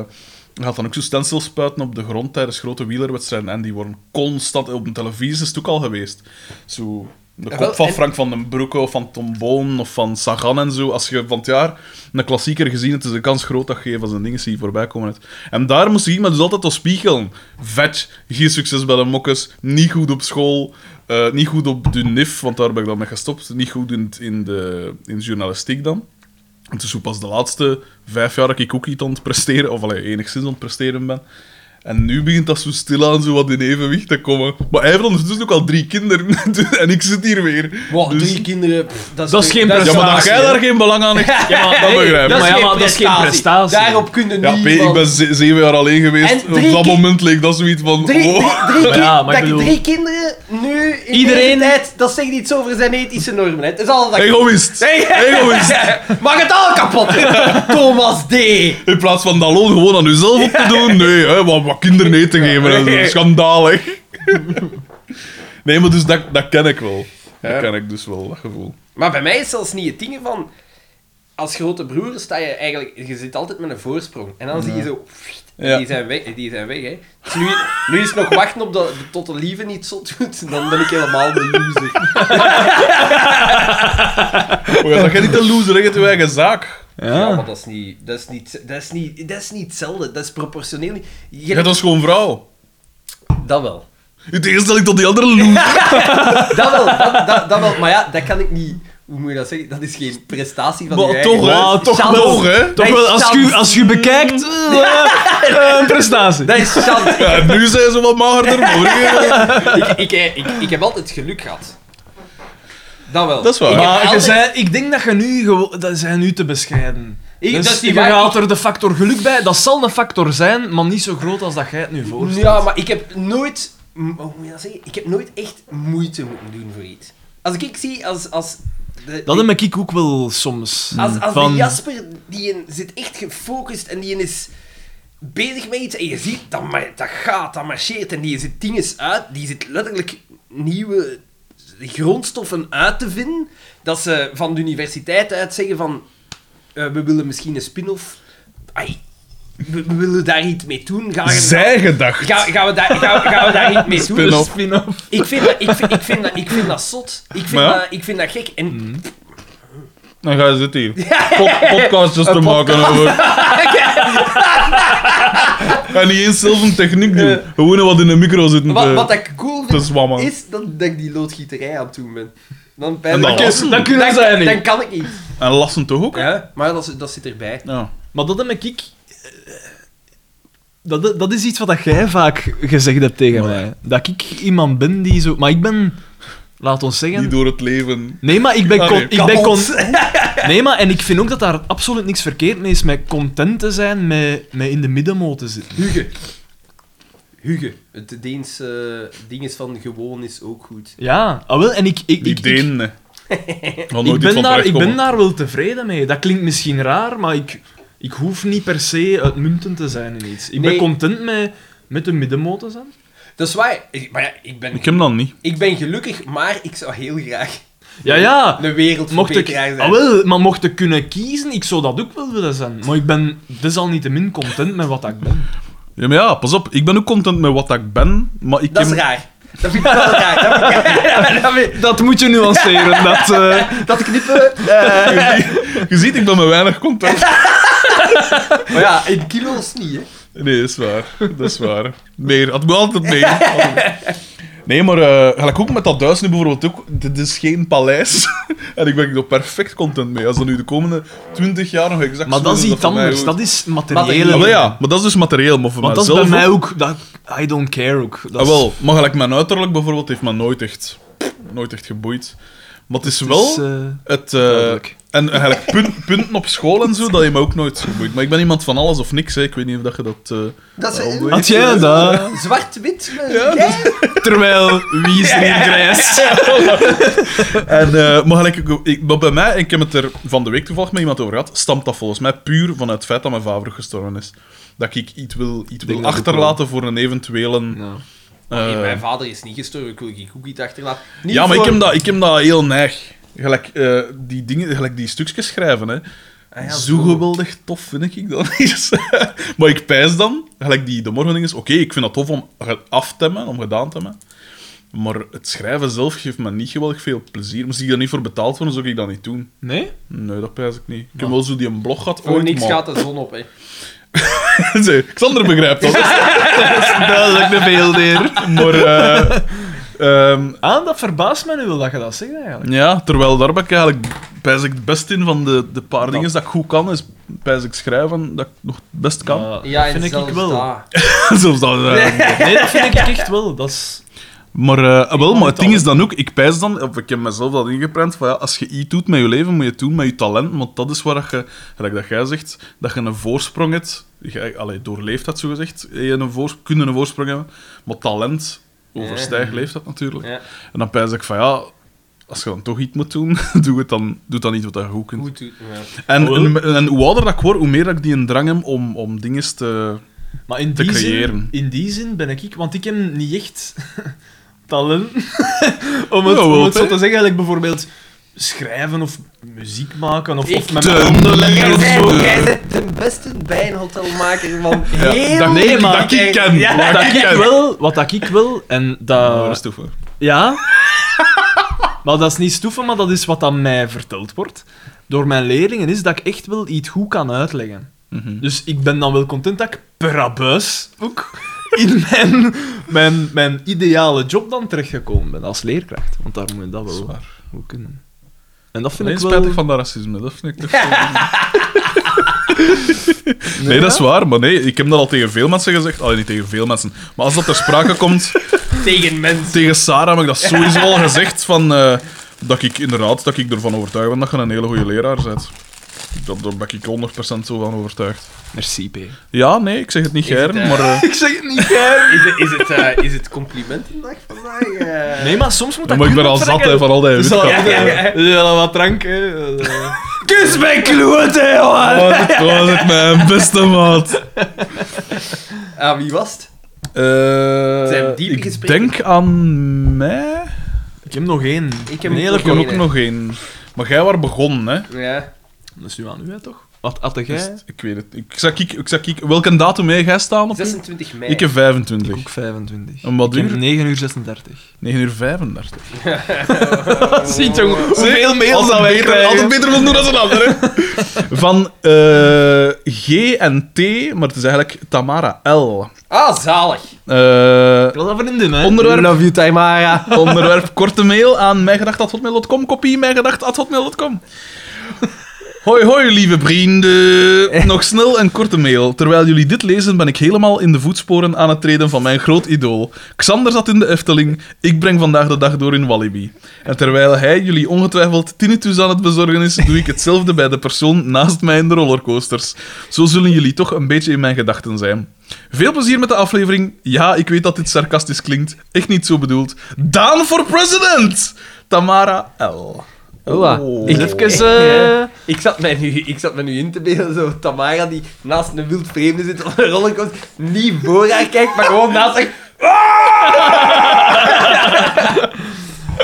Speaker 2: hij had dan ook zo stencils spuiten op de grond tijdens grote wielerwedstrijden. En die worden constant... Op de televisie is het ook al geweest. Zo... De
Speaker 1: Ja,
Speaker 2: kop
Speaker 1: wel,
Speaker 2: van
Speaker 1: en-
Speaker 2: Frank van den Broeke of van Tom Boon of van Sagan en zo. Als je van het jaar een klassieker gezien hebt, is de kans groot dat je een van zijn dingen ziet voorbij komen. Uit. En daar moest ik iemand dus altijd op spiegelen. Vet, geen succes bij de mokkers, niet goed op school, eh, niet goed op de NIF, want daar ben ik dan mee gestopt. Niet goed in, het- in, de, in journalistiek dan. Het is zo pas de laatste vijf jaar dat ik ook iets aan het presteren, of allee, enigszins aan het presteren ben. En nu begint dat zo stilaan zo wat in evenwicht te komen. Maar hij heeft ondertussen ook al drie kinderen. [laughs] Dus- en ik zit hier weer.
Speaker 1: Wow,
Speaker 2: Dus-
Speaker 1: drie kinderen, pff, dat is,
Speaker 3: Dat is geen
Speaker 2: Ja,
Speaker 3: prestatie,
Speaker 2: maar dat jij
Speaker 3: hè?
Speaker 2: daar geen belang aan hecht,
Speaker 3: Ja, maar-
Speaker 2: dat
Speaker 3: nee,
Speaker 2: begrijp ik.
Speaker 3: dat is maar ja, maar dat is geen prestatie.
Speaker 1: Daarop kunnen
Speaker 2: Ja, P,
Speaker 1: niemand...
Speaker 2: ik ben ze- zeven jaar alleen
Speaker 1: En
Speaker 2: geweest.
Speaker 1: drie
Speaker 2: Op dat
Speaker 1: ki-
Speaker 2: moment leek dat zoiets van...
Speaker 1: Drie, drie,
Speaker 2: wow.
Speaker 1: drie,
Speaker 3: Maar ja,
Speaker 1: ki-
Speaker 3: maar
Speaker 1: dat
Speaker 3: ik bedoel-
Speaker 1: drie kinderen nu in
Speaker 3: Iedereen-
Speaker 1: deze tijd, dat zegt iets over zijn ethische normen. hè. Het is al dat [laughs]
Speaker 2: Egoïst. Egoïst.
Speaker 1: Mag het al
Speaker 2: [laughs]
Speaker 1: kapot? Thomas D.
Speaker 2: In plaats van dat loon gewoon aan uzelf op te doen. Nee, hè, wat, wat kinderen eten te geven. Dat is schandalig.
Speaker 1: [laughs]
Speaker 2: Nee, maar dus dat, dat ken ik wel. Dat ken ik dus wel, dat gevoel.
Speaker 1: Maar bij mij is zelfs niet het ding van... Als grote broer sta je eigenlijk... Je zit altijd met een voorsprong. En dan zie je zo...
Speaker 2: Ja.
Speaker 1: Die zijn weg, die zijn weg, hè. Dus nu, nu is het nog wachten op dat, tot de lieve niet zot doet. Dan ben ik helemaal de loser.
Speaker 2: Oh ja, dat jij niet de loser, hè, je hebt je eigen zaak.
Speaker 1: Ja, maar dat is niet... Dat is niet, dat is niet, dat is niet hetzelfde. Dat is proportioneel niet...
Speaker 2: Je
Speaker 1: Je-
Speaker 2: bent een schoon vrouw.
Speaker 1: Dat wel.
Speaker 2: In tegenstelling tot die andere loser.
Speaker 1: Dat wel, dat, dat, dat wel. Maar ja, dat kan ik niet... Hoe moet je dat zeggen? Dat is geen prestatie van je
Speaker 2: Maar
Speaker 1: eigen...
Speaker 2: toch, hè.
Speaker 3: Wauw, toch
Speaker 2: Toch,
Speaker 1: wel.
Speaker 2: hè.
Speaker 3: Toch
Speaker 1: Hij
Speaker 3: wel, als
Speaker 1: stamt.
Speaker 3: je, als je bekijkt...
Speaker 1: Mm.
Speaker 3: eh,
Speaker 1: [laughs]
Speaker 3: eh, een prestatie.
Speaker 1: Dat is chance.
Speaker 2: Ja, nu zijn ze wat magerder, maar vroeger-
Speaker 1: ik, ik, ik, ik heb altijd geluk gehad. Dat wel.
Speaker 2: Dat is waar.
Speaker 1: Ik heb
Speaker 3: Maar je
Speaker 1: altijd-
Speaker 3: zei, ik denk dat je nu, gewo- dat zijn nu te bescheiden.
Speaker 1: Ik-
Speaker 3: Dus
Speaker 1: dat is
Speaker 3: je
Speaker 1: niet waar,
Speaker 3: haalt
Speaker 1: ik-
Speaker 3: er de factor geluk bij. Dat zal een factor zijn, maar niet zo groot als dat jij het nu voorstelt.
Speaker 1: Ja, maar ik heb nooit... m- Hoe moet je dat zeggen? Ik heb nooit echt moeite moeten doen voor iets. Als ik, ik zie, als... als de,
Speaker 3: Dat heb ik ook wel soms.
Speaker 1: als, als
Speaker 3: van-
Speaker 1: de Jasper, die een- zit echt gefocust en die een is bezig met iets en je ziet dat, maar, dat gaat, dat marcheert en die zit dingen uit, die zit letterlijk nieuwe grondstoffen uit te vinden, dat ze van de universiteit uit zeggen van eh, we willen misschien een spin-off, Ai, we, we willen daar iets mee doen, gaan we,
Speaker 2: Zij gedacht.
Speaker 1: gaan, gaan we, daar, gaan, we- gaan we daar iets mee doen? Dus
Speaker 2: Spin-off.
Speaker 3: Spin-off.
Speaker 1: Ik vind, dat, ik, vind, ik, vind dat, ik vind dat zot, ik vind,
Speaker 2: Maar ja.
Speaker 1: dat, ik vind dat gek en...
Speaker 2: Dan ga je zitten hier. Pod- podcastjes te maken over. en niet eens zelf een techniek doen. Gewoon wat in de micro zitten
Speaker 1: Wat,
Speaker 2: te,
Speaker 1: wat ik cool
Speaker 2: te
Speaker 1: vind,
Speaker 2: zwammen.
Speaker 1: is dat, dat ik die loodgieterij aan het doen ben. Dan,
Speaker 2: En dan
Speaker 1: dan,
Speaker 2: lassen.
Speaker 3: Dat kunnen zij
Speaker 1: dan,
Speaker 3: niet.
Speaker 1: dan kan ik niet.
Speaker 2: En lassen toch ook?
Speaker 1: Ja, maar dat, is- dat zit erbij.
Speaker 2: Ja.
Speaker 3: Maar dat heb ik... eh, Dat, dat is iets wat dat jij vaak gezegd hebt tegen mij. Dat ik iemand ben die zo... Maar ik ben... Laat ons zeggen...
Speaker 2: Niet door het leven.
Speaker 3: Nee, maar ik ben,
Speaker 2: Ah,
Speaker 3: con-
Speaker 2: nee,
Speaker 3: ik ben con-
Speaker 1: [laughs]
Speaker 3: Nee, maar en ik vind ook dat daar absoluut niks verkeerd mee is met content te zijn, met, met in de middenmoot te zitten.
Speaker 1: Huge. Huge. Het Deense ding is van gewoon is ook goed.
Speaker 3: Ja, ah, wel, en ik, ik,
Speaker 2: Die
Speaker 3: ik, ik,
Speaker 2: Denen. Ik,
Speaker 3: ik ben daar, ik ben daar wel tevreden mee. Dat klinkt misschien raar, maar ik, ik hoef niet per se uitmuntend te zijn in iets. Ik
Speaker 1: Nee.
Speaker 3: ben content met, met de middenmoot te zijn.
Speaker 1: Dat is waar. Ik- Maar ja, ik ben,
Speaker 2: Ik heb dan niet.
Speaker 1: ik ben gelukkig, maar ik zou heel graag
Speaker 3: Ja, ja.
Speaker 1: een
Speaker 3: Mocht ik,
Speaker 1: wereldverbeteraar zijn.
Speaker 3: ah, wel, maar mocht ik kunnen kiezen, ik zou dat ook wel willen zijn. Maar ik ben desalniettemin content met wat dat ik
Speaker 1: [laughs]
Speaker 3: ben.
Speaker 2: Ja, maar ja, pas op. Ik ben ook content met wat dat ik ben, maar ik
Speaker 1: dat is
Speaker 2: heb-
Speaker 1: raar. Dat vind ik wel raar. Dat, vind ik raar. dat, vind-
Speaker 3: Dat moet je
Speaker 1: [laughs]
Speaker 3: nuanceren. Dat, eh,
Speaker 1: dat knippen.
Speaker 2: Je ziet, ik ben met weinig content.
Speaker 1: Maar Oh ja, in kilo's niet, hè.
Speaker 2: Nee, dat is waar. Dat is waar. Meer. Had me altijd meer.
Speaker 1: [laughs]
Speaker 2: Altijd. Nee, maar eh gelijk ook met dat duis nu bijvoorbeeld ook. Dit is geen paleis. [laughs] en ik ben er perfect content mee. Als dat nu de komende 20 jaar nog exact
Speaker 3: maar
Speaker 2: zo
Speaker 3: dat is iets
Speaker 2: voor mij
Speaker 3: anders.
Speaker 2: ook-
Speaker 3: Dat is
Speaker 2: Ja, maar
Speaker 3: materiële.
Speaker 2: ja, maar dat is dus materieel. Maar voor
Speaker 3: Want dat is bij
Speaker 2: mijzelf
Speaker 3: mij
Speaker 2: ook-
Speaker 3: ook... Dat, I don't care ook. Dat
Speaker 2: Ah,
Speaker 3: is-
Speaker 2: wel, maar gelijk mijn uiterlijk bijvoorbeeld heeft me nooit echt, nooit echt geboeid. Maar het is wel
Speaker 3: Dus, eh,
Speaker 2: het... eh,
Speaker 3: duidelijk.
Speaker 2: en eigenlijk punt- punten op school en zo, dat je me ook nooit geboeid. Maar ik ben iemand van alles of niks, hè. Ik weet niet of dat je dat... eh,
Speaker 1: Dat is...
Speaker 2: Wel,
Speaker 3: had jij dat?
Speaker 1: Zwart-wit.
Speaker 2: Ja,
Speaker 1: jij?
Speaker 3: Terwijl, wie
Speaker 2: [laughs]
Speaker 3: is er in grijs?
Speaker 2: En, eh, maar, gelijk, ik- ik, maar bij mij, en ik heb het er van de week toevallig met iemand over gehad, stamt dat volgens mij puur vanuit het feit dat mijn vader gestorven is. Dat ik iets wil, iets
Speaker 3: denk
Speaker 2: wil
Speaker 3: dat ook
Speaker 2: achterlaten voor een eventuele
Speaker 1: Maar nee,
Speaker 2: Eh.
Speaker 1: mijn vader is niet gestorven, ik wil geen cookie achterlaten. Niet
Speaker 2: ja, maar ik
Speaker 1: voor-
Speaker 2: heb, dat, ik heb dat heel neig. Gelijk, eh, die dingen, gelijk die stukjes schrijven, hè.
Speaker 1: Ah ja,
Speaker 2: zo geweldig tof vind ik dat [laughs] is. maar ik pijs dan, gelijk die de morgen is, oké, ik vind dat tof om ge- af te hebben, om gedaan te hebben. Maar het schrijven zelf geeft me niet geweldig veel plezier. Moest ik daar niet voor betaald worden, zou ik dat niet doen.
Speaker 3: Nee?
Speaker 2: Nee, dat pijs ik niet. Ik heb wel zo die een blog gehad
Speaker 1: Voor
Speaker 2: ooit,
Speaker 1: niks
Speaker 2: maar-
Speaker 1: gaat de zon op, hè.
Speaker 2: [laughs] Zee, Xander
Speaker 1: [laughs]
Speaker 2: begrijpt dat.
Speaker 7: Duidelijk de beeldeer.
Speaker 2: Maar, eh, ehm,
Speaker 3: Ah, dat verbaast mij nu wel dat je dat zegt eigenlijk.
Speaker 2: ja, terwijl daar ben ik eigenlijk pijs ik het best in van de, de paar
Speaker 1: Nou.
Speaker 2: dingen dat ik goed kan, is pijs ik schrijven dat ik nog het best kan.
Speaker 3: Maar
Speaker 1: Ja,
Speaker 3: dat
Speaker 1: en
Speaker 3: vind ik,
Speaker 1: zelfs
Speaker 3: ik wel.
Speaker 1: daar.
Speaker 2: [laughs] Zelfs dat... eh,
Speaker 3: Nee, dat vind ik echt wel. Dat is...
Speaker 2: Maar, eh, ah, wel,
Speaker 3: Ik
Speaker 2: maar het
Speaker 3: mag het
Speaker 2: ding
Speaker 3: al,
Speaker 2: is dan ook, ik pijs dan, of ik heb mezelf dat ingeprent, van ja, als je iets doet met je leven, moet je het doen met je talent, want dat is waar dat je, gelijk dat jij zegt, dat je een voorsprong hebt, je, allee, door leeftijd zogezegd, heb je Eh, een voors- kunnen een voorsprong hebben, maar talent overstijgt leeftijd natuurlijk.
Speaker 1: Ja,
Speaker 2: En dan pijs ik van ja, als je dan toch iets moet doen, [laughs] doe, het dan, doe dan iets wat je goed kunt.
Speaker 1: goed doet. Ja.
Speaker 2: En,
Speaker 3: Oh,
Speaker 2: en, en hoe ouder dat ik word, hoe meer dat ik die een drang heb om, om dingen te...
Speaker 3: Maar in
Speaker 2: Te
Speaker 3: die,
Speaker 2: creëren.
Speaker 3: zin, in die zin ben ik ik, want ik heb niet echt [laughs] talent. [laughs] om het,
Speaker 2: Ja, wel,
Speaker 3: om het zo
Speaker 2: hè?
Speaker 3: te zeggen, like bijvoorbeeld schrijven of muziek maken of, of
Speaker 1: Ik-
Speaker 3: met
Speaker 2: Te
Speaker 3: mijn
Speaker 2: leren.
Speaker 3: handen leggen.
Speaker 1: Jij
Speaker 2: Heel
Speaker 1: bent-
Speaker 2: goed.
Speaker 1: jij bent de beste bijenhotelmaker van
Speaker 2: Ja,
Speaker 1: heel...
Speaker 2: dat,
Speaker 3: Nee,
Speaker 2: ik-
Speaker 3: maar-
Speaker 2: dat ik ken.
Speaker 1: Ja.
Speaker 2: dat
Speaker 3: Wat ik wil, wat dat ik wil, en
Speaker 2: Ja, dat is
Speaker 3: dat...
Speaker 2: tof, hoor.
Speaker 3: Ja. Maar dat is niet stoeven, maar dat is wat aan mij verteld wordt door mijn leerlingen, is dat ik echt wel iets goed kan uitleggen.
Speaker 2: Mhm.
Speaker 3: Dus ik ben dan wel content dat ik per abuis
Speaker 2: [laughs]
Speaker 3: ook in mijn, mijn, mijn ideale job dan terechtgekomen ben als leerkracht. Want daar moet je dat wel
Speaker 2: Zwaar.
Speaker 3: goed kunnen. En dat vind
Speaker 2: Alleen
Speaker 3: ik wel...
Speaker 2: spijtig van dat racisme, dat vind ik toch zo- Nee, dat is waar, maar nee, ik heb dat al tegen veel mensen gezegd. Alleen niet tegen veel mensen. Maar als dat ter
Speaker 1: [laughs]
Speaker 2: sprake komt,
Speaker 1: Tegen mensen.
Speaker 2: tegen Sarah heb ik dat sowieso al gezegd. Van, eh, dat ik inderdaad dat ik ervan overtuigd ben dat je een hele goede leraar bent. Dat, daar ben ik 100% zo van overtuigd.
Speaker 3: Merci,
Speaker 2: [laughs]
Speaker 3: P.
Speaker 2: Ja, nee, ik zeg het niet,
Speaker 1: Is het,
Speaker 2: Germ,
Speaker 1: eh,
Speaker 2: maar. eh,
Speaker 3: Ik zeg het niet, hè.
Speaker 1: Is het, is het, eh, is het complimentendag vandaag? eh?
Speaker 3: Nee, maar soms moet dat...
Speaker 2: maar ik ben
Speaker 3: goed
Speaker 2: al zat
Speaker 3: optrekken.
Speaker 2: hè, van al die
Speaker 3: Dus al-
Speaker 2: witkap.
Speaker 3: ja, ja, ja. Dus al wat Eh, drank, hè.
Speaker 1: Kus mijn klote,
Speaker 2: Dat
Speaker 1: jongen!
Speaker 2: was het, dat was het, mijn beste maat.
Speaker 1: Ah, wie was het?
Speaker 2: Eh,
Speaker 1: Zijn diepe
Speaker 2: ik
Speaker 1: gesprekken.
Speaker 2: denk aan mij.
Speaker 3: Ik heb nog één.
Speaker 1: Ik heb
Speaker 3: Een hele
Speaker 2: Ik heb ook
Speaker 1: één.
Speaker 2: nog één. Maar jij waar begonnen, hè?
Speaker 1: Ja.
Speaker 3: Dat is nu aan u, hè, toch? Wat had
Speaker 2: Dus
Speaker 3: jij?
Speaker 2: ik weet het. Ik zag ik, ik zag ik. Welke datum heb jij staan? Of niet?
Speaker 1: 26 mei.
Speaker 2: Ik heb 25.
Speaker 3: Ook 25.
Speaker 2: Om wat
Speaker 3: Ik heb
Speaker 2: uur?
Speaker 3: 9 uur 36.
Speaker 2: 9 uur 35.
Speaker 1: Oh.
Speaker 3: Ziet jongen, Oh. hoeveel mails dat
Speaker 2: altijd,
Speaker 3: wij
Speaker 2: beter, altijd
Speaker 3: krijgen.
Speaker 2: beter van doen dan een ander. hè. [laughs] Van eh, G en T, maar het is eigenlijk Tamara L.
Speaker 1: Ah, zalig.
Speaker 2: Eh,
Speaker 3: Ik was dat vriendin, hè?
Speaker 2: onderwerp,
Speaker 1: Love you, Taimara.
Speaker 2: [laughs] onderwerp korte mail aan mijgedacht.hotmail.com. Kopie mijgedacht.hotmail.com. Hoi, hoi, lieve vrienden. Nog snel een korte mail. Terwijl jullie dit lezen, ben ik helemaal in de voetsporen aan het treden van mijn groot idool. Xander zat in de Efteling. Ik breng vandaag de dag door in Walibi. En terwijl hij jullie ongetwijfeld tinnitus aan het bezorgen is, doe ik hetzelfde bij de persoon naast mij in de rollercoasters. Zo zullen jullie toch een beetje in mijn gedachten zijn. Veel plezier met de aflevering. Ja, ik weet dat dit sarcastisch klinkt. Echt niet zo bedoeld. Daan voor president! Tamara L.
Speaker 1: Oeh,
Speaker 2: Oh.
Speaker 1: ik-
Speaker 3: Even, eh,
Speaker 1: [laughs] Ja. Ik zat, mij nu, ik zat mij nu in te beelden, zo Tamara die naast een wild vreemde zit op een rollercoaster, niet voor haar kijkt, maar gewoon naast haar...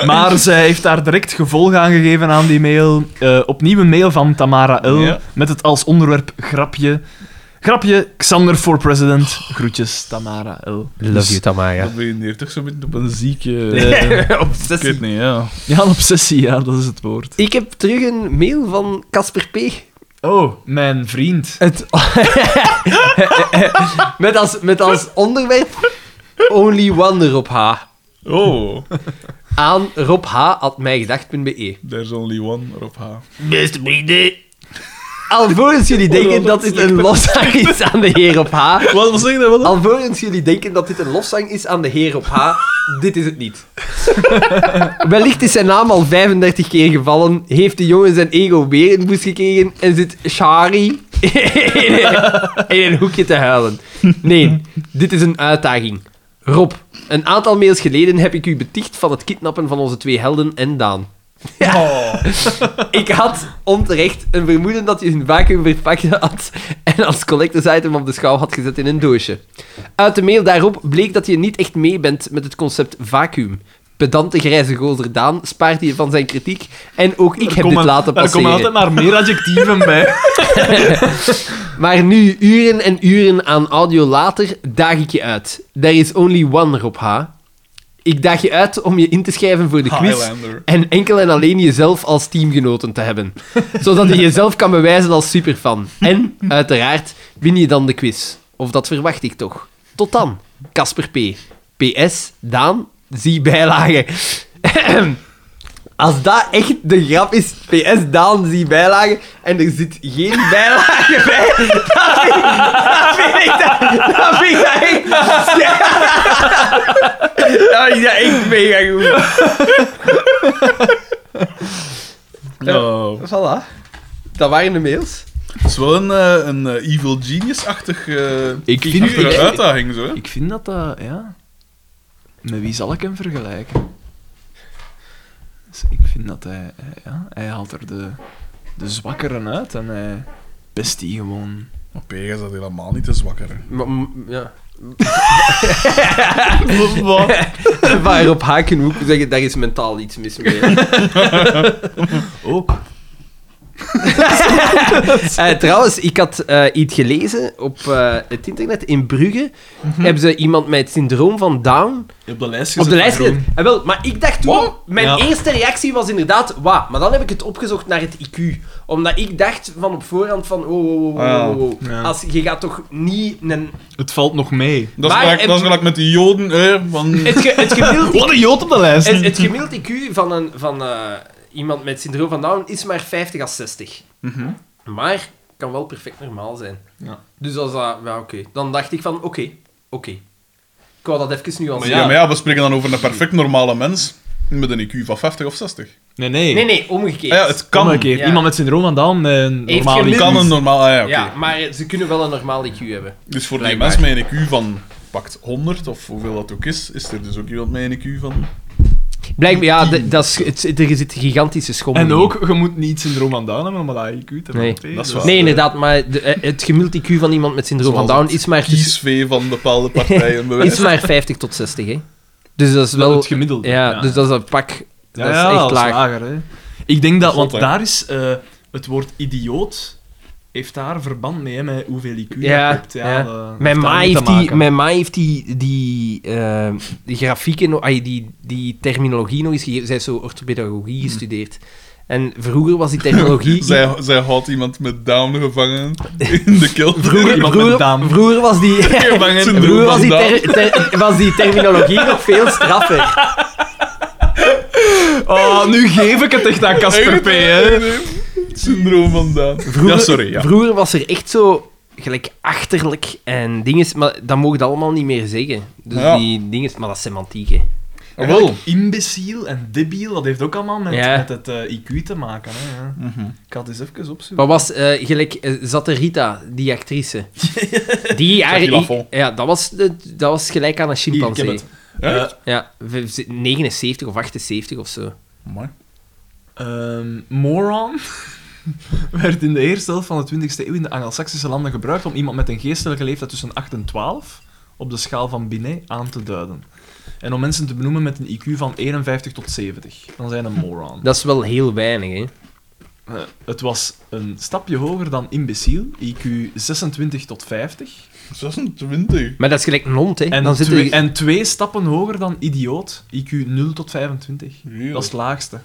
Speaker 3: Maar zij heeft daar direct gevolg aan gegeven aan die mail. Eh, opnieuw een mail van Tamara L.
Speaker 2: Ja.
Speaker 3: Met het als onderwerp grapje. Grapje, Xander voor president. Groetjes, Tamara L. Dus-
Speaker 1: Tamara. [laughs]
Speaker 2: Dat ben je hier toch zo met op een zieke...
Speaker 3: [laughs] Eh,
Speaker 2: Ik weet
Speaker 1: Obsessie.
Speaker 2: niet, ja.
Speaker 3: ja, een obsessie, ja, dat is het woord.
Speaker 1: Ik heb terug een mail van Casper P.
Speaker 3: Oh, mijn vriend.
Speaker 1: Het... [laughs] met, als, met als onderwerp Only One Rob H.
Speaker 2: Oh,
Speaker 1: Aan robh.mijgedacht.be
Speaker 2: there's only one, Rob H.
Speaker 1: Beste vrienden. Alvorens jullie denken dat dit een loszang is aan de heer op H.
Speaker 2: Wat, wat zeg je nou? Wat?
Speaker 1: Alvorens jullie denken dat dit een lofzang is aan de heer op H, dit is het niet. [laughs] Wellicht is zijn naam al 35 keer gevallen, heeft de jongen zijn ego weer in de boost gekregen en zit Shari [laughs] in een, [laughs] in een hoekje te huilen. Nee, dit is een uitdaging. Rob, een aantal mails geleden heb ik u beticht van het kidnappen van onze twee helden en Daan. [laughs]
Speaker 3: Oh.
Speaker 1: Ik had onterecht een vermoeden dat je een vacuüm verpakt had en als collectors item op de schouw had gezet in een doosje. Uit de mail daarop bleek dat je niet echt mee bent met het concept vacuüm. Pedante grijze gozer Daan spaart je van zijn kritiek en ook ik heb dit laten
Speaker 3: Er komen altijd
Speaker 1: passeren.
Speaker 3: maar meer adjectieven
Speaker 1: [laughs]
Speaker 3: bij.
Speaker 1: Maar nu, uren en uren aan audio later, daag ik je uit. There is only one, Rob H. Ik daag je uit om je in te schrijven voor de quiz
Speaker 2: Highlander.
Speaker 1: en enkel en alleen jezelf als teamgenoten te hebben. Zodat je jezelf kan bewijzen als superfan. En, uiteraard, win je dan de quiz. Of dat verwacht ik toch. Tot dan, Casper P. PS, Daan, zie bijlagen. Als dat echt de grap is, PS, Daan, zie bijlagen, en er zit geen bijlage bij, dan vind ik dat, dat, vind ik dat echt... [laughs] Dat vind ik dat echt mega goed.
Speaker 2: Oh.
Speaker 1: Voilà. Dat waren de mails.
Speaker 2: Het is wel een, eh, een eh, Evil Genius-achtig eh,
Speaker 3: Ik vind,
Speaker 2: achtige
Speaker 3: ik,
Speaker 2: uitdaging, zo. hè.
Speaker 3: ik vind dat dat, ja... Met wie zal ik hem vergelijken? Dus ik vind dat hij, eh, ja, hij haalt er de, de zwakkeren uit en hij pest die gewoon.
Speaker 2: Maar Pega is dat helemaal niet te zwakker. hè.
Speaker 1: mm, ja. Waarop Hakenhoek zeggen, daar is mentaal iets mis mee.
Speaker 3: Oh,
Speaker 1: [laughs] Eh, trouwens, ik had eh, iets gelezen op eh, het internet. In Brugge hebben ze iemand met het syndroom van Down
Speaker 3: op de lijst
Speaker 1: op de lijst gezet. Eh, wel, maar ik dacht toen,
Speaker 2: Wat?
Speaker 1: mijn
Speaker 3: Ja.
Speaker 1: eerste reactie was inderdaad, wauw. Maar dan heb ik het opgezocht naar het IQ. Omdat ik dacht van op voorhand van, oh, oh, oh,
Speaker 2: Ah, ja.
Speaker 1: oh, oh.
Speaker 3: Ja.
Speaker 1: Als, je gaat toch niet een...
Speaker 3: Het valt nog mee.
Speaker 2: Dat is,
Speaker 1: Maar
Speaker 2: gelijk,
Speaker 1: heb-
Speaker 2: dat is gelijk met die Joden, hè, van...
Speaker 1: Het, ge-
Speaker 2: [laughs]
Speaker 1: het gemiddeld
Speaker 3: Wat een jood op de lijst.
Speaker 1: Het, het gemiddeld IQ van, een, van eh, iemand met syndroom van Down is maar 50 à 60.
Speaker 2: Mhm.
Speaker 1: Maar kan wel perfect normaal zijn.
Speaker 3: Ja.
Speaker 1: Dus als dat... Ja, oké. Dan dacht ik van, oké, oké. Ik wou dat even nuanceren.
Speaker 2: ja. maar ja, we spreken dan over een perfect normale mens met een IQ van 50 of 60.
Speaker 3: Nee, nee.
Speaker 1: Nee, nee, omgekeerd.
Speaker 2: Ah, ja, het kan.
Speaker 3: Kom een keer.
Speaker 1: Ja.
Speaker 3: Iemand met syndroom van Down, een
Speaker 1: Heeft
Speaker 3: normaal
Speaker 1: geen
Speaker 3: IQ.
Speaker 2: kan een normaal... Ah, ja, oké.
Speaker 1: Ja, maar ze kunnen wel een normaal IQ hebben.
Speaker 2: Dus voor die
Speaker 1: Blijkbaar.
Speaker 2: mens met een IQ van pakt 100, of hoeveel dat ook is, is er dus ook iemand met een IQ van...
Speaker 1: Blijkbaar, ja, d- dat is, het, het- er zit gigantische schommel
Speaker 3: En
Speaker 1: in.
Speaker 3: ook, je moet niet syndroom van Down hebben om dat IQ te hebben.
Speaker 1: Nee,
Speaker 2: dat is waar.
Speaker 1: Nee, inderdaad, maar de- eh, het gemiddeld IQ van iemand met syndroom van
Speaker 2: Zoals
Speaker 1: Down is maar, tussen-
Speaker 2: Kiesvee van bepaalde partijen bewijs.
Speaker 1: is maar 50 tot 60, hè. Dus dat is wel...
Speaker 3: het gemiddelde,
Speaker 1: Ja,
Speaker 3: ja.
Speaker 1: dus dat is een pak...
Speaker 3: Ja,
Speaker 1: dat is
Speaker 3: ja,
Speaker 1: echt
Speaker 3: dat is
Speaker 1: laag.
Speaker 3: lager, hè. Ik denk dat, want
Speaker 2: Zot, hè.
Speaker 3: daar is eh, het woord idioot heeft daar verband mee, hè, met hoeveel IQ
Speaker 1: Ja,
Speaker 3: je hebt. Ja,
Speaker 1: ja.
Speaker 3: dat heeft
Speaker 1: Mijn
Speaker 3: daar
Speaker 1: ma,
Speaker 3: mee
Speaker 1: heeft
Speaker 3: te
Speaker 1: die,
Speaker 3: maken.
Speaker 1: mijn ma heeft die, die, eh, die grafieken, no- ay, die, die terminologie nog eens gegeven. Zij heeft zo orthopedagogie
Speaker 3: Hmm.
Speaker 1: gestudeerd. En vroeger was die
Speaker 3: [laughs]
Speaker 1: terminologie...
Speaker 2: [laughs] Zij, zij houdt iemand met Down gevangen in de [laughs] kelder.
Speaker 3: iemand met
Speaker 1: vroeger,
Speaker 3: Down.
Speaker 1: vroeger was die... [laughs]
Speaker 2: Gevangen.
Speaker 1: Vroeger was die,
Speaker 2: Down.
Speaker 1: ter- ter- was die terminologie nog veel straffer.
Speaker 3: Oh, nu geef ik het echt aan Casper P. Hè.
Speaker 2: Het Syndroom van Down.
Speaker 1: Vroeger,
Speaker 2: Ja, sorry. Ja.
Speaker 1: vroeger was er echt zo gelijk achterlijk en dinges, maar dat mogen we allemaal niet meer zeggen. Dus
Speaker 2: Ja.
Speaker 1: die dinges, maar dat is semantiek, hè.
Speaker 2: Wel.
Speaker 3: Imbeciel en debiel, dat heeft ook allemaal met,
Speaker 1: Ja.
Speaker 3: met het eh, IQ te maken. Hè, ja. Ik had eens even opzoeken.
Speaker 1: Wat was eh, gelijk eh, zat er Rita, die actrice? Die
Speaker 2: Jackie
Speaker 1: jaren.
Speaker 2: Lafont.
Speaker 1: Ja, dat was, de- dat was gelijk aan een
Speaker 3: Hier, ik
Speaker 1: chimpansee.
Speaker 3: heb het.
Speaker 2: Ja.
Speaker 3: Eh,
Speaker 1: Ja, v- v- 79 of 78 of zo.
Speaker 2: Amai.
Speaker 3: Ehm, moron [laughs] werd in de eerste helft van de 20e eeuw in de Anglo-Saxische landen gebruikt om iemand met een geestelijke leeftijd tussen 8 en 12 op de schaal van Binet aan te duiden. En om mensen te benoemen met een IQ van 51 tot 70. Dan zijn een
Speaker 1: [laughs]
Speaker 3: moron.
Speaker 1: Dat is wel heel weinig, hè?
Speaker 3: Eh, het was een stapje hoger dan imbeciel, IQ 26 tot 50.
Speaker 2: 26.
Speaker 1: Maar dat is gelijk een hond, hè?
Speaker 3: En,
Speaker 1: dan zit
Speaker 3: twee,
Speaker 1: er-
Speaker 3: en twee stappen hoger dan idioot, IQ 0 tot 25.
Speaker 2: Jezus.
Speaker 3: Dat is het laagste.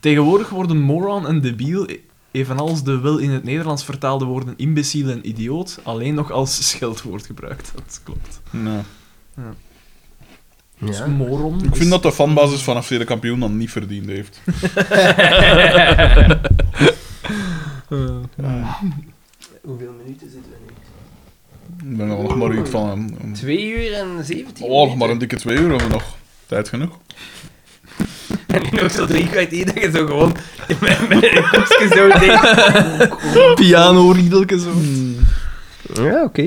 Speaker 3: Tegenwoordig worden moron en debiel, e- evenals de wel in het Nederlands vertaalde woorden imbeciel en idioot, alleen nog als scheldwoord gebruikt. Dat klopt.
Speaker 2: Nee.
Speaker 1: Ja.
Speaker 3: Dus moron.
Speaker 2: Ik vind dat de fanbasis van FC de kampioen dan niet verdiend heeft.
Speaker 1: Hoeveel minuten zitten we nu?
Speaker 2: Ik ben er nog maar iets van. een- een-
Speaker 1: 2 uur en 17.
Speaker 2: Oh, nog maar een dikke twee uur hebben we nog. Tijd genoeg.
Speaker 1: En nu nog zo drie kwartier dat je zo gewoon met met een kopje zo
Speaker 3: [laughs]
Speaker 1: deed.
Speaker 3: piano-riedelke zo. [laughs]
Speaker 1: Ja, oké.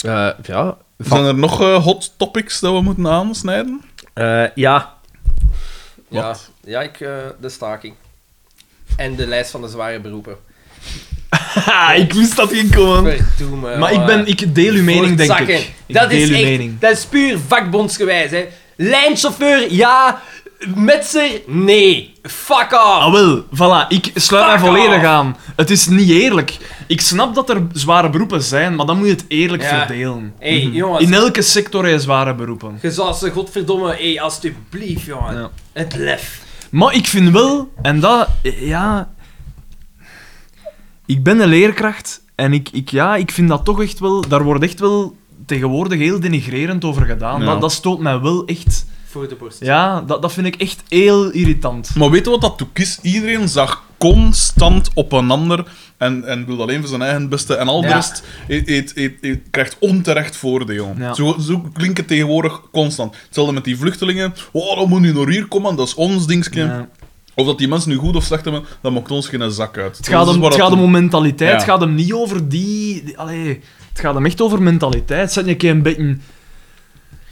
Speaker 1: Eh, ja.
Speaker 2: Zijn er nog eh, hot topics dat we moeten aansnijden?
Speaker 1: Eh, ja.
Speaker 2: Wat?
Speaker 1: Ja, ja ik, eh, de staking. En de lijst van de zware beroepen.
Speaker 3: Ha, Ah, ik wist dat ging komen.
Speaker 1: Verdomme,
Speaker 3: Maar ik, ben,
Speaker 1: jongen.
Speaker 3: ik deel uw mening, denk
Speaker 1: Voortzakken.
Speaker 3: ik. Ik
Speaker 1: dat
Speaker 3: deel
Speaker 1: is
Speaker 3: uw
Speaker 1: echt,
Speaker 3: mening.
Speaker 1: Dat is puur vakbondsgewijs, hè. Lijnchauffeur, ja. Metser, nee. Fuck off.
Speaker 3: Ah, wel, voilà, ik sluit
Speaker 1: Fuck
Speaker 3: mij volledig
Speaker 1: off.
Speaker 3: aan. Het is niet eerlijk. Ik snap dat er zware beroepen zijn, maar dan moet je het eerlijk
Speaker 1: Ja.
Speaker 3: verdelen.
Speaker 1: Hé, hey, jongens.
Speaker 3: Mhm. In elke sector zijn zware beroepen.
Speaker 1: Je zou ze, godverdomme, hé, alstublieft, jongen.
Speaker 3: Ja.
Speaker 1: Het lef.
Speaker 3: Maar ik vind wel, en dat, ja. Ik ben een leerkracht en ik, ik, ja, ik vind dat toch echt wel, daar wordt echt wel tegenwoordig heel denigrerend over gedaan.
Speaker 2: Ja.
Speaker 3: Dat, dat stoot mij wel echt.
Speaker 1: Voor de borst.
Speaker 3: Ja, dat, dat vind ik echt heel irritant.
Speaker 2: Maar weet je wat dat toek is? Iedereen zag constant op een ander en, en wil alleen voor zijn eigen beste. En al de
Speaker 1: Ja.
Speaker 2: rest eet, eet, eet, eet- krijgt onterecht voordeel.
Speaker 3: Ja.
Speaker 2: Zo, zo klinkt het tegenwoordig constant. Hetzelfde met die vluchtelingen. Oh, dan moet nu naar hier komen, dat is ons dingetje.
Speaker 3: Ja.
Speaker 2: Of dat die mensen nu goed of slecht hebben, dat maakt ons geen zak uit.
Speaker 3: Het gaat,
Speaker 2: Dat is
Speaker 3: hem,
Speaker 2: waar
Speaker 3: het
Speaker 2: dat-
Speaker 3: gaat hem om mentaliteit,
Speaker 2: Ja.
Speaker 3: het gaat hem niet over die... die- allee, het gaat hem echt over mentaliteit. Zijn je keer een beetje...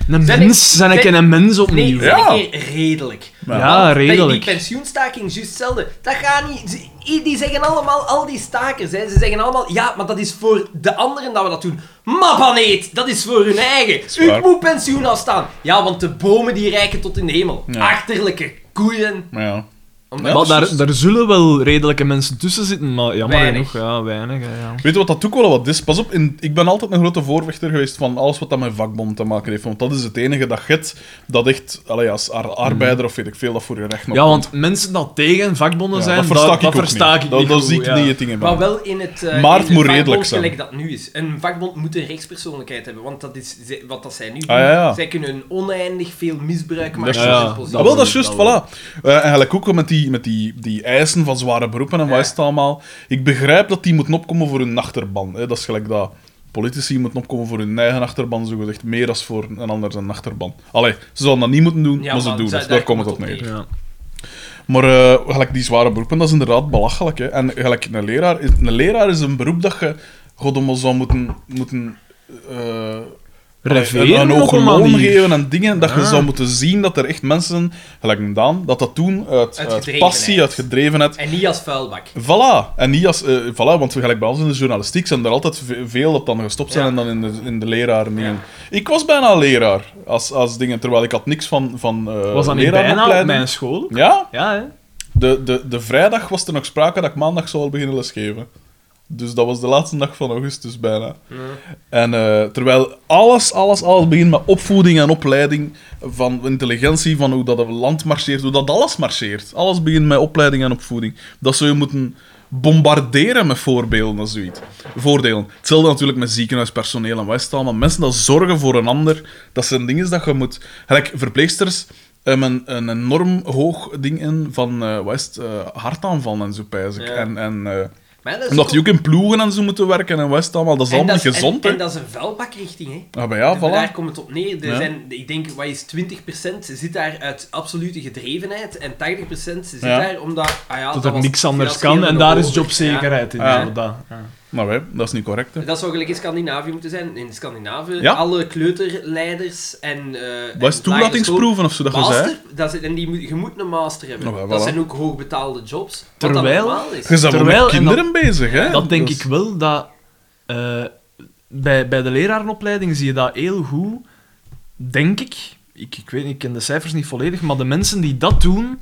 Speaker 3: Een
Speaker 1: Zijn
Speaker 3: mens,
Speaker 1: ik-
Speaker 3: zijn ik
Speaker 1: zijn-
Speaker 3: een mens
Speaker 1: Nee,
Speaker 3: opnieuw.
Speaker 1: zeg
Speaker 2: Ja.
Speaker 1: een keer redelijk.
Speaker 2: Ja.
Speaker 3: Ja,
Speaker 1: Want die-
Speaker 3: redelijk.
Speaker 1: Die pensioenstaking, juist hetzelfde. Dat gaat niet... eh, Die die zeggen allemaal, al die stakers, hè, ze zeggen allemaal... Ja, maar dat is voor de anderen dat we dat doen. Maar baneet, dat is voor hun eigen.
Speaker 2: waar.
Speaker 1: U moet pensioen afstaan. Ja, want de bomen die reiken tot in de hemel.
Speaker 2: Ja.
Speaker 1: Achterlijke koeien.
Speaker 2: Maar ja.
Speaker 1: Om-
Speaker 2: Ja,
Speaker 3: maar
Speaker 2: dat is
Speaker 3: daar,
Speaker 2: juist.
Speaker 3: daar zullen wel redelijke mensen tussen zitten, maar jammer
Speaker 1: Weinig.
Speaker 3: genoeg, ja, weinig. hè, Ja.
Speaker 2: Weet je wat dat ook wel wat is? Pas op, in, ik ben altijd een grote voorvechter geweest van alles wat dat met vakbond te maken heeft. Want dat is het enige dat get dat echt, allee, als ar- arbeider of weet ik veel, dat voor je recht nog
Speaker 3: Mhm. ja, want mensen dat tegen vakbonden
Speaker 2: Ja,
Speaker 3: zijn,
Speaker 2: dat versta ik, ook
Speaker 3: versta
Speaker 2: niet.
Speaker 3: ik
Speaker 2: dat,
Speaker 3: niet
Speaker 2: dat
Speaker 3: goed,
Speaker 2: zie ik
Speaker 3: ja.
Speaker 2: niet het ding in
Speaker 1: Maar
Speaker 2: mijn-
Speaker 1: wel in het, eh
Speaker 2: Maar het
Speaker 1: in
Speaker 2: moet
Speaker 1: het
Speaker 2: redelijk
Speaker 1: vakbond
Speaker 2: zijn.
Speaker 1: gelijk dat het nu is. Een vakbond moet een rechtspersoonlijkheid hebben, want dat is ze- wat dat zij nu doen.
Speaker 2: Ah, ja, ja.
Speaker 1: Zij kunnen oneindig veel misbruik maken
Speaker 2: Dat is
Speaker 1: van
Speaker 3: juist.
Speaker 1: hun
Speaker 3: Ja,
Speaker 1: positie.
Speaker 2: Ah, wel, dat is juist,
Speaker 3: Dat wel.
Speaker 2: voilà. Eh, eigenlijk ook met, die, met die, die eisen van zware beroepen en
Speaker 1: Ja.
Speaker 2: wat is het allemaal. Ik begrijp dat die moeten opkomen voor hun achterban. Hè. Dat is gelijk dat politici moeten opkomen voor hun eigen achterban, zogezegd, meer dan voor een ander zijn achterban. Allee, ze zullen dat niet moeten doen,
Speaker 1: Ja,
Speaker 2: maar ze
Speaker 1: maar
Speaker 2: doen
Speaker 1: zij-
Speaker 2: het. Daar
Speaker 1: daar
Speaker 2: komt het op
Speaker 1: komt het
Speaker 2: neer.
Speaker 1: op
Speaker 3: Ja.
Speaker 2: Maar eh, gelijk die zware beroepen, dat is inderdaad belachelijk. Hè. En gelijk een leraar, is, een leraar is een beroep dat je, goddomme, zou moeten... moeten eh,
Speaker 3: Reveren
Speaker 2: een, een
Speaker 3: op
Speaker 2: hoger
Speaker 3: een
Speaker 2: loon
Speaker 3: manier.
Speaker 2: geven en dingen. Dat je
Speaker 3: Ah.
Speaker 2: zou moeten zien dat er echt mensen, gelijk een Daan, dat dat doen uit,
Speaker 1: Uit
Speaker 2: uit
Speaker 1: gedrevenheid.
Speaker 2: passie, uit gedrevenheid.
Speaker 1: En niet als vuilbak.
Speaker 2: Voilà. En niet als... eh, voilà, want gelijk bij ons in de journalistiek zijn er altijd ve- veel dat dan gestopt zijn
Speaker 1: Ja.
Speaker 2: en dan in de, in de leraar dingen. Ik was bijna leraar als, als dingen, terwijl ik had niks van, van eh
Speaker 3: Was dat niet bijna op
Speaker 2: leraaropleiding.
Speaker 3: mijn school?
Speaker 2: Ja,
Speaker 3: Ja, hè?
Speaker 2: de, de, de vrijdag was er nog sprake dat ik maandag zou al beginnen lesgeven. Dus dat was de laatste dag van augustus bijna. En eh, terwijl alles, alles, alles begint met opvoeding en opleiding, van intelligentie, van hoe dat het land marcheert, hoe dat alles marcheert. Alles begint met opleiding en opvoeding. Dat zou je moeten bombarderen met voorbeelden en zoiets. Voordelen. Hetzelfde natuurlijk met ziekenhuispersoneel en wat is het allemaal. Mensen dat zorgen voor een ander, dat zijn dingen dat je moet... Gelijk, verpleegsters hebben een, een enorm hoog ding in van, eh wat is het, eh, hartaanvallen en zo, pijs ik.
Speaker 1: Ja.
Speaker 2: En, en eh,
Speaker 1: Maar dat is
Speaker 2: omdat die ook in ploegen en zo moeten werken en wat is het allemaal. Dat is allemaal
Speaker 1: en
Speaker 2: niet
Speaker 1: dat is-
Speaker 2: gezond,
Speaker 1: en,
Speaker 2: hè.
Speaker 1: en dat is een vuilbakrichting, hè.
Speaker 2: Ah, maar ja,
Speaker 1: En Daar
Speaker 2: voilà.
Speaker 1: komt het op neer. Er
Speaker 2: Ja.
Speaker 1: zijn, ik denk, wat is 20% zit daar uit absolute gedrevenheid en 80% zit
Speaker 2: Ja.
Speaker 1: daar omdat... Ah ja,
Speaker 3: Dat
Speaker 1: dat
Speaker 3: er
Speaker 1: was
Speaker 3: niks anders
Speaker 1: financieel
Speaker 3: kan en daar is
Speaker 1: nodig.
Speaker 3: jobzekerheid in.
Speaker 2: Ja.
Speaker 3: zo, dat. Ja.
Speaker 2: Maar wij, dat is niet correct, hè.
Speaker 1: Ja. Dat zou gelijk in Scandinavië moeten zijn. In Scandinavië,
Speaker 2: Ja.
Speaker 1: alle kleuterleiders en... eh
Speaker 2: Wat is
Speaker 1: en lagere school-
Speaker 2: toelatingsproeven of zo dat je zei?
Speaker 1: Master, dat is, en die, moet- je moet een master hebben.
Speaker 2: Nou, ja,
Speaker 1: Dat
Speaker 2: voilà.
Speaker 1: zijn ook hoogbetaalde jobs. wat
Speaker 3: Terwijl-
Speaker 1: dat normaal is.
Speaker 2: Je bent wel
Speaker 3: Terwijl-
Speaker 2: met
Speaker 3: en
Speaker 2: kinderen bezig, hè. Dus
Speaker 3: Dat denk
Speaker 2: is-
Speaker 3: ik wel, dat... eh, bij, bij de lerarenopleiding zie je dat heel goed, denk ik. Ik, ik weet niet, ik ken de cijfers niet volledig, maar de mensen die dat doen...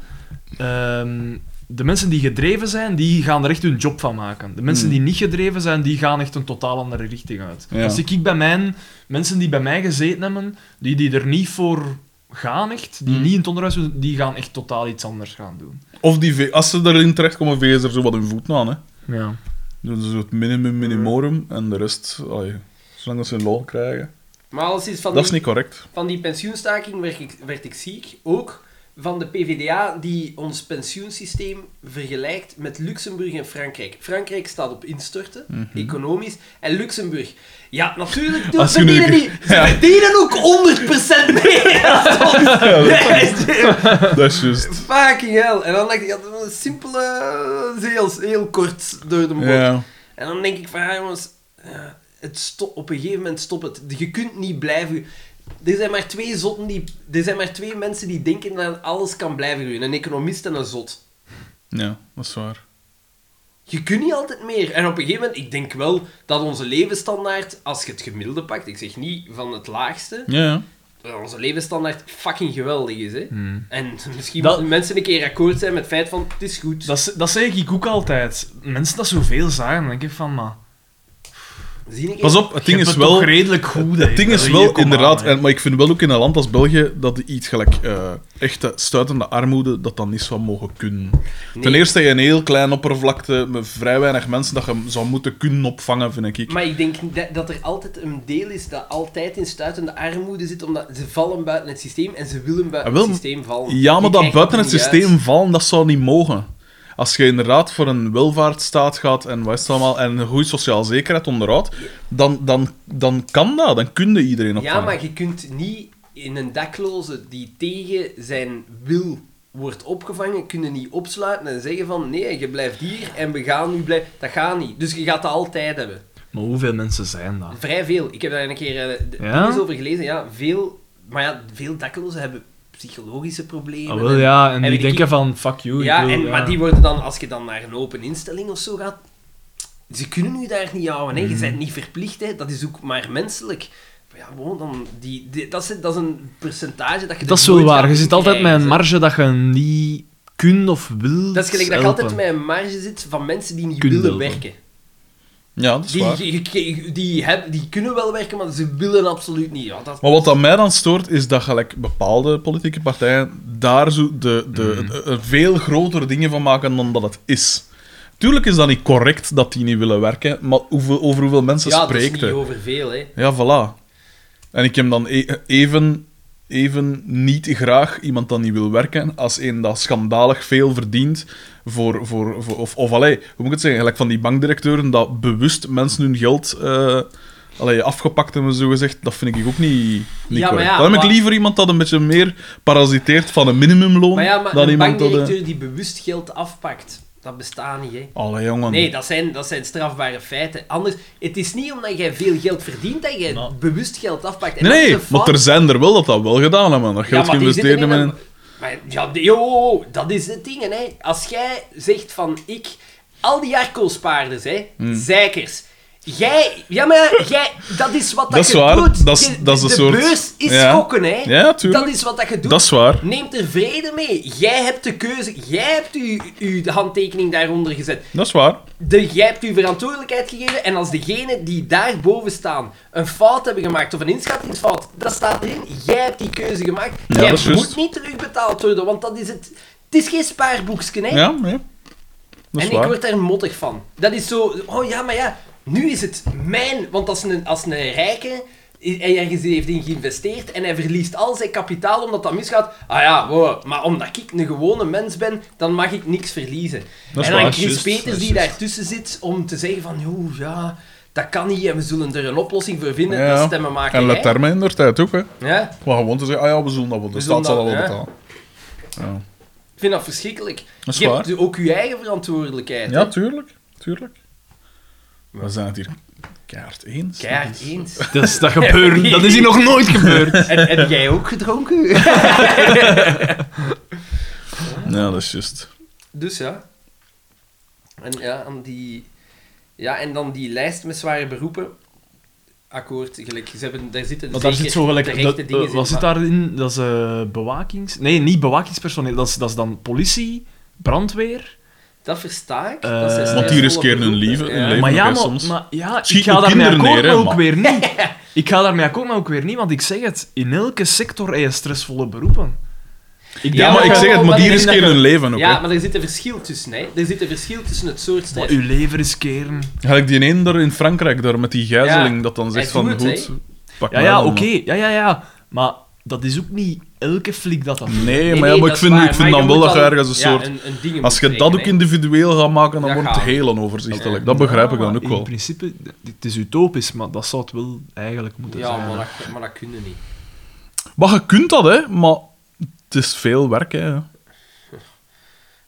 Speaker 3: ehm, de mensen die gedreven zijn, die gaan er echt hun job van maken. De mensen
Speaker 2: Hmm.
Speaker 3: die niet gedreven zijn, die gaan echt een totaal andere richting uit.
Speaker 2: Ja.
Speaker 3: Als ik bij mijn... Mensen die bij mij gezeten hebben, die, die er niet voor gaan echt, die
Speaker 2: Hmm.
Speaker 3: niet in het onderwijs willen, die gaan echt totaal iets anders gaan doen.
Speaker 2: Of die ve- als ze erin terechtkomen, vezen ze er zo wat hun voet aan, hè.
Speaker 3: Ja.
Speaker 2: Dus zo het minimum minimorum en de rest, allee, zolang dat ze hun lol krijgen.
Speaker 1: Maar als iets van
Speaker 2: Dat is
Speaker 1: die-
Speaker 2: niet
Speaker 1: [laughs]
Speaker 2: correct.
Speaker 1: Van die pensioenstaking werd ik, werd ik ziek. Ook van de PvdA die ons pensioensysteem vergelijkt met Luxemburg en Frankrijk. Frankrijk staat op instorten, economisch. En Luxemburg... Ja, natuurlijk, doen,
Speaker 2: Mhm. Als je
Speaker 1: verdienen
Speaker 2: nu-
Speaker 1: die,
Speaker 2: [laughs]
Speaker 1: ze verdienen ook 100% meer dan ons. [laughs] Nee,
Speaker 2: Dat is juist.
Speaker 1: Fucking hell. En dan dacht ik, ja, dat is een simpele... eh, Heel, heel kort door de bocht.
Speaker 2: Ja.
Speaker 1: En dan denk ik van, ja jongens, eh, het sto- op een gegeven moment stop het. Je kunt niet blijven... Er zijn maar twee zotten die... Er zijn maar twee mensen die denken dat alles kan blijven groeien. Een economist en een zot.
Speaker 2: Ja, dat is waar.
Speaker 1: Je kunt niet altijd meer. En op een gegeven moment, ik denk wel dat onze levensstandaard, als je het gemiddelde pakt, ik zeg niet van het laagste,
Speaker 2: Ja, ja.
Speaker 1: dat onze levensstandaard fucking geweldig is. Hè? En misschien
Speaker 3: Dat-
Speaker 1: moeten mensen een keer akkoord zijn met het feit van, het is goed.
Speaker 3: Dat, ze- dat zeg ik ook altijd. Mensen dat zoveel zagen, dan denk ik van, maar...
Speaker 1: Zie ik
Speaker 2: Pas op, het
Speaker 3: je
Speaker 2: ding is
Speaker 3: hebt het
Speaker 2: wel...
Speaker 3: toch redelijk goed, hè.
Speaker 2: Het ding is
Speaker 3: Hier,
Speaker 2: wel,
Speaker 3: kom aan,
Speaker 2: inderdaad,
Speaker 3: hè.
Speaker 2: en, maar ik vind wel ook in een land als België dat die iets gelijk eh, echte stuitende armoede, dat dan niet zou mogen kunnen. Ten
Speaker 1: Nee.
Speaker 2: eerste heb je een heel klein oppervlakte met vrij weinig mensen dat je zou moeten kunnen opvangen, vind ik.
Speaker 1: Maar ik denk dat, dat er altijd een deel is dat altijd in stuitende armoede zit, omdat ze vallen buiten het systeem en ze willen buiten
Speaker 2: Ah, wel,
Speaker 1: het systeem vallen.
Speaker 2: Ja,
Speaker 1: Je
Speaker 2: maar dat
Speaker 1: krijgt
Speaker 2: buiten het
Speaker 1: niet uit.
Speaker 2: systeem vallen, dat zou niet mogen. Als je inderdaad voor een welvaartsstaat gaat en wat is het allemaal, en een goede sociaal zekerheid onderhoudt, dan, dan, dan kan dat, dan kun je iedereen opvangen.
Speaker 1: Ja, maar je kunt niet in een dakloze die tegen zijn wil wordt opgevangen, kunnen niet opsluiten en zeggen van nee, je blijft hier en we gaan nu blijven. Dat gaat niet. Dus je gaat dat altijd hebben.
Speaker 3: Maar hoeveel mensen zijn dat?
Speaker 1: Vrij veel. Ik heb daar een keer eh, d-
Speaker 3: Ja?
Speaker 1: dingen over gelezen. Ja, veel, maar ja, veel daklozen hebben psychologische problemen.
Speaker 3: Ah, wel,
Speaker 1: en-
Speaker 3: ja, en
Speaker 1: weet
Speaker 3: die
Speaker 1: ik-
Speaker 3: denken van, fuck you,
Speaker 1: ja,
Speaker 3: ik wil,
Speaker 1: en,
Speaker 3: ja.
Speaker 1: maar die worden dan, als je dan naar een open instelling of zo gaat, ze kunnen u daar niet houden. Hè. Je
Speaker 3: Mhm.
Speaker 1: bent niet verplicht, hè. dat is ook maar menselijk. Maar ja, gewoon dan, die, die- dat, is, dat is een percentage dat je
Speaker 3: Dat
Speaker 1: er
Speaker 3: is wel
Speaker 1: nooit
Speaker 3: waar.
Speaker 1: gaat
Speaker 3: Je zit altijd met
Speaker 1: inkrijgen,
Speaker 3: een
Speaker 1: hè.
Speaker 3: marge dat je niet kunt of wilt
Speaker 1: Dat is gelijk dat je
Speaker 3: helpen.
Speaker 1: altijd met een marge zit van mensen die niet
Speaker 3: Kunnen
Speaker 1: willen
Speaker 3: helpen.
Speaker 1: werken.
Speaker 2: Ja, dat is waar.
Speaker 1: Die, die, die, hebben, die kunnen wel werken, maar ze willen absoluut niet. Ja, dat,
Speaker 2: Maar wat aan mij dan stoort, is dat gelijk bepaalde politieke partijen daar zo de, de, er veel grotere dingen van maken dan dat het is. Tuurlijk is dat niet correct dat die niet willen werken, maar hoeveel, over hoeveel mensen
Speaker 1: ja, dat is
Speaker 2: spreekt
Speaker 1: niet
Speaker 2: hij?
Speaker 1: over veel, hè.
Speaker 2: Ja, voilà. En ik heb dan e- even, even niet graag iemand dat niet wil werken als een dat schandalig veel verdient voor... voor, voor of, of allee, hoe moet ik het zeggen? Gelijk van die bankdirecteuren dat bewust mensen hun geld... eh allee, afgepakt hebben, zo gezegd. Dat vind ik ook niet,
Speaker 1: Ja,
Speaker 2: niet
Speaker 1: maar
Speaker 2: correct.
Speaker 1: ja,
Speaker 2: Dan heb ik
Speaker 1: maar-
Speaker 2: liever iemand dat een beetje meer parasiteert van een minimumloon
Speaker 1: Maar ja, maar
Speaker 2: dan
Speaker 1: een
Speaker 2: iemand dat... eh,
Speaker 1: bankdirecteur die bewust geld afpakt, dat bestaat niet, hè.
Speaker 2: Allee, jongen.
Speaker 1: Nee, dat zijn, dat zijn strafbare feiten. Anders, het is niet omdat jij veel geld verdient dat jij bewust geld afpakt. En
Speaker 2: Nee,
Speaker 1: dat is
Speaker 2: nee,
Speaker 1: een
Speaker 2: maar
Speaker 1: fout.
Speaker 2: er zijn er wel dat dat wel gedaan hebben. Dat
Speaker 1: Ja,
Speaker 2: geld
Speaker 1: maar die
Speaker 2: geïnvesteerd
Speaker 1: zitten
Speaker 2: hebben in...
Speaker 1: een- Maar, ja, die- yo, yo, yo, dat is het ding, hè. Als jij zegt van, ik... Al die arco-spaarders, hè.
Speaker 2: Hmm.
Speaker 1: Zeikers. Jij... Ja, maar ja, jij... Dat is wat dat,
Speaker 2: Dat is
Speaker 1: je
Speaker 2: waar.
Speaker 1: doet.
Speaker 2: Dat is-
Speaker 1: Je-
Speaker 2: dat is een
Speaker 1: de
Speaker 2: soort-
Speaker 1: beurs is
Speaker 2: Ja.
Speaker 1: gokken, hè.
Speaker 2: Ja, tuurlijk.
Speaker 1: Dat is wat dat je doet.
Speaker 2: Dat is waar.
Speaker 1: Neem er vrede mee. Jij hebt de keuze. Jij hebt uw- uw handtekening daaronder gezet.
Speaker 2: Dat is waar.
Speaker 1: De, jij hebt uw verantwoordelijkheid gegeven en als degenen die daarboven staan een fout hebben gemaakt of een inschattingsfout, dat staat erin. Jij hebt die keuze gemaakt.
Speaker 2: Ja,
Speaker 1: jij
Speaker 2: dat is
Speaker 1: moet
Speaker 2: juist.
Speaker 1: niet terugbetaald worden, want dat is het. Het is geen spaarboekje, hè?
Speaker 2: Ja, nee. Dat is
Speaker 1: en ik
Speaker 2: waar.
Speaker 1: word daar mottig van. Dat is zo, oh ja, maar ja, nu is het mijn. Want als een, als een rijke i- ergens heeft in geïnvesteerd en hij verliest al zijn kapitaal omdat dat misgaat, ah ja, wow, maar omdat ik een gewone mens ben, dan mag ik niks verliezen.
Speaker 2: Dat is
Speaker 1: en dan
Speaker 2: waar,
Speaker 1: Chris
Speaker 2: juist,
Speaker 1: Peters
Speaker 2: dat is
Speaker 1: die
Speaker 2: juist.
Speaker 1: daartussen zit om te zeggen van, joh, ja, dat kan niet en we zullen er een oplossing voor vinden,
Speaker 2: Ja.
Speaker 1: dat eh, stemmen maken.
Speaker 2: En let daarmee in de tijd ook, hè.
Speaker 1: ja?
Speaker 2: Maar gewoon te zeggen, ah ja, we zullen dat wel. De
Speaker 1: We zullen
Speaker 2: staat zal dat
Speaker 1: dat-
Speaker 2: wel
Speaker 1: ja.
Speaker 2: betalen. Ja,
Speaker 1: Ik vind dat verschrikkelijk.
Speaker 2: Dat is
Speaker 1: je
Speaker 2: waar.
Speaker 1: hebt ook je eigen verantwoordelijkheid.
Speaker 2: ja
Speaker 1: Ja.
Speaker 2: tuurlijk. Tuurlijk. We zijn het hier keihard eens.
Speaker 1: Keihard eens. [laughs]
Speaker 3: Dat, is, [laughs] dat gebeurt, dat is hier nog nooit [laughs] gebeurd.
Speaker 1: en, heb jij ook gedronken?
Speaker 2: Ja, dat is juist.
Speaker 1: Dus ja. En ja, aan die... Ja, en dan die lijst met zware beroepen. Akkoord, gelijk. Ze hebben, daar zitten
Speaker 3: Want daar zit zo gelijk...
Speaker 1: terechte
Speaker 3: Dat, eh,
Speaker 1: dingen
Speaker 3: wat
Speaker 1: in,
Speaker 3: zit
Speaker 1: maar-
Speaker 3: daarin? Dat is eh, bewakings... Nee, niet bewakingspersoneel. Dat is, dat is dan politie, brandweer...
Speaker 1: Dat versta ik.
Speaker 3: Eh,
Speaker 1: dat zijn
Speaker 2: Want die
Speaker 1: stressvolle
Speaker 2: riskeren hun
Speaker 1: beroepen.
Speaker 2: leven. Hun
Speaker 1: Ja.
Speaker 2: leven
Speaker 3: maar
Speaker 2: ook,
Speaker 3: ja,
Speaker 2: hè,
Speaker 3: maar,
Speaker 2: soms.
Speaker 3: maar ja, ik
Speaker 2: Schiet
Speaker 3: ga
Speaker 2: uw
Speaker 3: daarmee
Speaker 2: kinderen
Speaker 3: akkoord,
Speaker 2: neer,
Speaker 3: maar
Speaker 2: hè,
Speaker 3: ook
Speaker 2: man.
Speaker 3: weer niet. [laughs] Ik ga daarmee akkoord, maar ook weer niet, want ik zeg het, in elke sector heb je stressvolle beroepen. Ik
Speaker 2: Ja, maar ik zeg het, maar die
Speaker 1: Ik denk dat
Speaker 2: riskeren hun leven ook.
Speaker 1: Ja,
Speaker 2: Ja,
Speaker 1: maar er zit een verschil tussen, hè. Er zit een verschil tussen het soort
Speaker 3: Maar
Speaker 1: stress.
Speaker 3: uw leven riskeren.
Speaker 2: Ga ik die een daar in Frankrijk, daar met die gijzeling,
Speaker 1: Ja,
Speaker 2: dat dan zegt
Speaker 1: hij
Speaker 2: van,
Speaker 1: doet het,
Speaker 2: goed, pak
Speaker 3: Ja,
Speaker 2: mij
Speaker 3: ja,
Speaker 2: dan,
Speaker 3: oké.
Speaker 2: man.
Speaker 3: Ja, ja, ja. Maar dat is ook niet elke flik dat dat
Speaker 2: Nee,
Speaker 3: doet.
Speaker 1: Nee,
Speaker 2: maar, ja,
Speaker 1: nee,
Speaker 2: maar
Speaker 1: dat
Speaker 2: ik
Speaker 1: is
Speaker 2: vind,
Speaker 1: waar,
Speaker 2: ik vind
Speaker 1: maar
Speaker 2: dan
Speaker 1: je
Speaker 2: wel
Speaker 1: moet
Speaker 2: dat je
Speaker 1: dan-
Speaker 2: ergens
Speaker 1: ja,
Speaker 2: een soort...
Speaker 1: een- een ding
Speaker 2: Als
Speaker 1: moet
Speaker 2: je dat ook
Speaker 1: rekenen, hè.
Speaker 2: individueel gaat maken, dan
Speaker 1: Dat
Speaker 2: wordt het
Speaker 1: gaat.
Speaker 2: heel onoverzichtelijk.
Speaker 1: Ja.
Speaker 2: Dat begrijp ik
Speaker 3: Ja,
Speaker 2: dan
Speaker 3: maar
Speaker 2: ook wel.
Speaker 3: In principe, het is utopisch, maar dat zou het wel eigenlijk moeten
Speaker 1: Ja,
Speaker 3: zijn.
Speaker 1: maar dat, maar dat kunnen niet.
Speaker 2: Maar je kunt dat, hè. Maar het is veel werk, hè.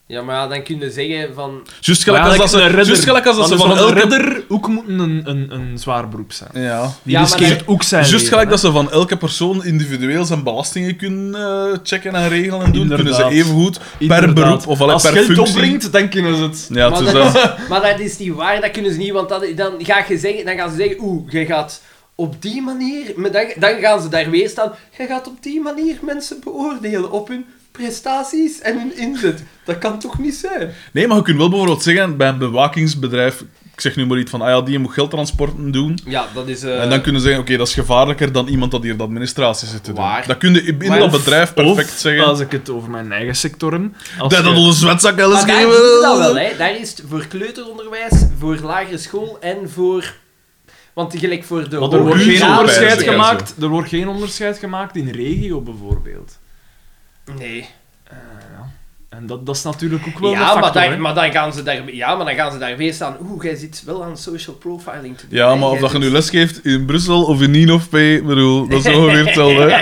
Speaker 1: Ja, maar ja, dan kun je zeggen van...
Speaker 2: Juist gelijk
Speaker 3: Maar
Speaker 2: als dat
Speaker 3: eigenlijk
Speaker 2: ze,
Speaker 3: een
Speaker 2: juist gelijk als dat ze
Speaker 3: Want
Speaker 2: van
Speaker 3: dus een
Speaker 2: elke...
Speaker 3: redder ook moet een, een, een zwaar beroep zijn.
Speaker 2: Ja.
Speaker 3: Die
Speaker 1: Ja, maar
Speaker 3: riskeert
Speaker 1: dat-
Speaker 3: ook zijn
Speaker 2: Juist
Speaker 3: leven,
Speaker 2: gelijk
Speaker 3: hè.
Speaker 2: dat ze van elke persoon individueel zijn belastingen kunnen eh, checken en regelen en doen, kunnen
Speaker 3: Inderdaad.
Speaker 2: ze evengoed per
Speaker 3: Inderdaad.
Speaker 2: beroep of allee,
Speaker 3: Als
Speaker 2: per
Speaker 3: geld
Speaker 2: functie...
Speaker 3: opbrengt, dan kunnen ze het.
Speaker 2: Ja, het
Speaker 1: maar, dat
Speaker 2: is dat.
Speaker 1: is, maar dat is niet waar, dat kunnen ze niet, want dat, dan, ga je zeggen, dan gaan ze zeggen, oeh, je gaat op die manier, maar dan, dan gaan ze daar weer staan, je gaat op die manier mensen beoordelen op hun prestaties en hun inzet. Dat kan toch niet zijn?
Speaker 2: Nee, maar je kunt wel bijvoorbeeld zeggen, bij een bewakingsbedrijf, ik zeg nu maar iets van, ah ja, die moet geldtransporten doen.
Speaker 1: Ja, dat is... eh,
Speaker 2: en dan kunnen ze zeggen, oké, dat is gevaarlijker dan iemand dat hier de administratie zit te doen.
Speaker 1: Waar?
Speaker 2: Dat kun je in
Speaker 3: Maar
Speaker 2: dat
Speaker 3: of-
Speaker 2: bedrijf perfect
Speaker 3: of,
Speaker 2: zeggen.
Speaker 3: Als ik het over mijn eigen sector heb. als
Speaker 2: Dat
Speaker 3: je-
Speaker 2: dat onze zwetzak wel
Speaker 1: Maar
Speaker 2: eens
Speaker 1: daar doen ze dat wel,
Speaker 2: geven.
Speaker 1: hè. Daar is het voor kleuteronderwijs, voor lagere school en voor... Want gelijk voor de...
Speaker 3: Want er wordt
Speaker 1: hoger-
Speaker 3: geen
Speaker 2: Uren
Speaker 3: onderscheid
Speaker 2: onderwijs, ja,
Speaker 3: gemaakt. Er wordt geen onderscheid gemaakt in regio bijvoorbeeld.
Speaker 1: Nee.
Speaker 3: En dat, dat is natuurlijk ook wel
Speaker 1: ja,
Speaker 3: een factor.
Speaker 1: maar,
Speaker 3: hè.
Speaker 1: dan, maar dan gaan ze daar, ja, maar dan gaan ze daar weer staan. Oeh, jij zit wel aan social profiling te doen.
Speaker 2: Ja,
Speaker 1: hè.
Speaker 2: maar of
Speaker 1: Jij
Speaker 2: dat je
Speaker 1: zit-
Speaker 2: nu lesgeeft in Brussel of in Ninov, ik bedoel, dat is ongeveer hetzelfde. hè.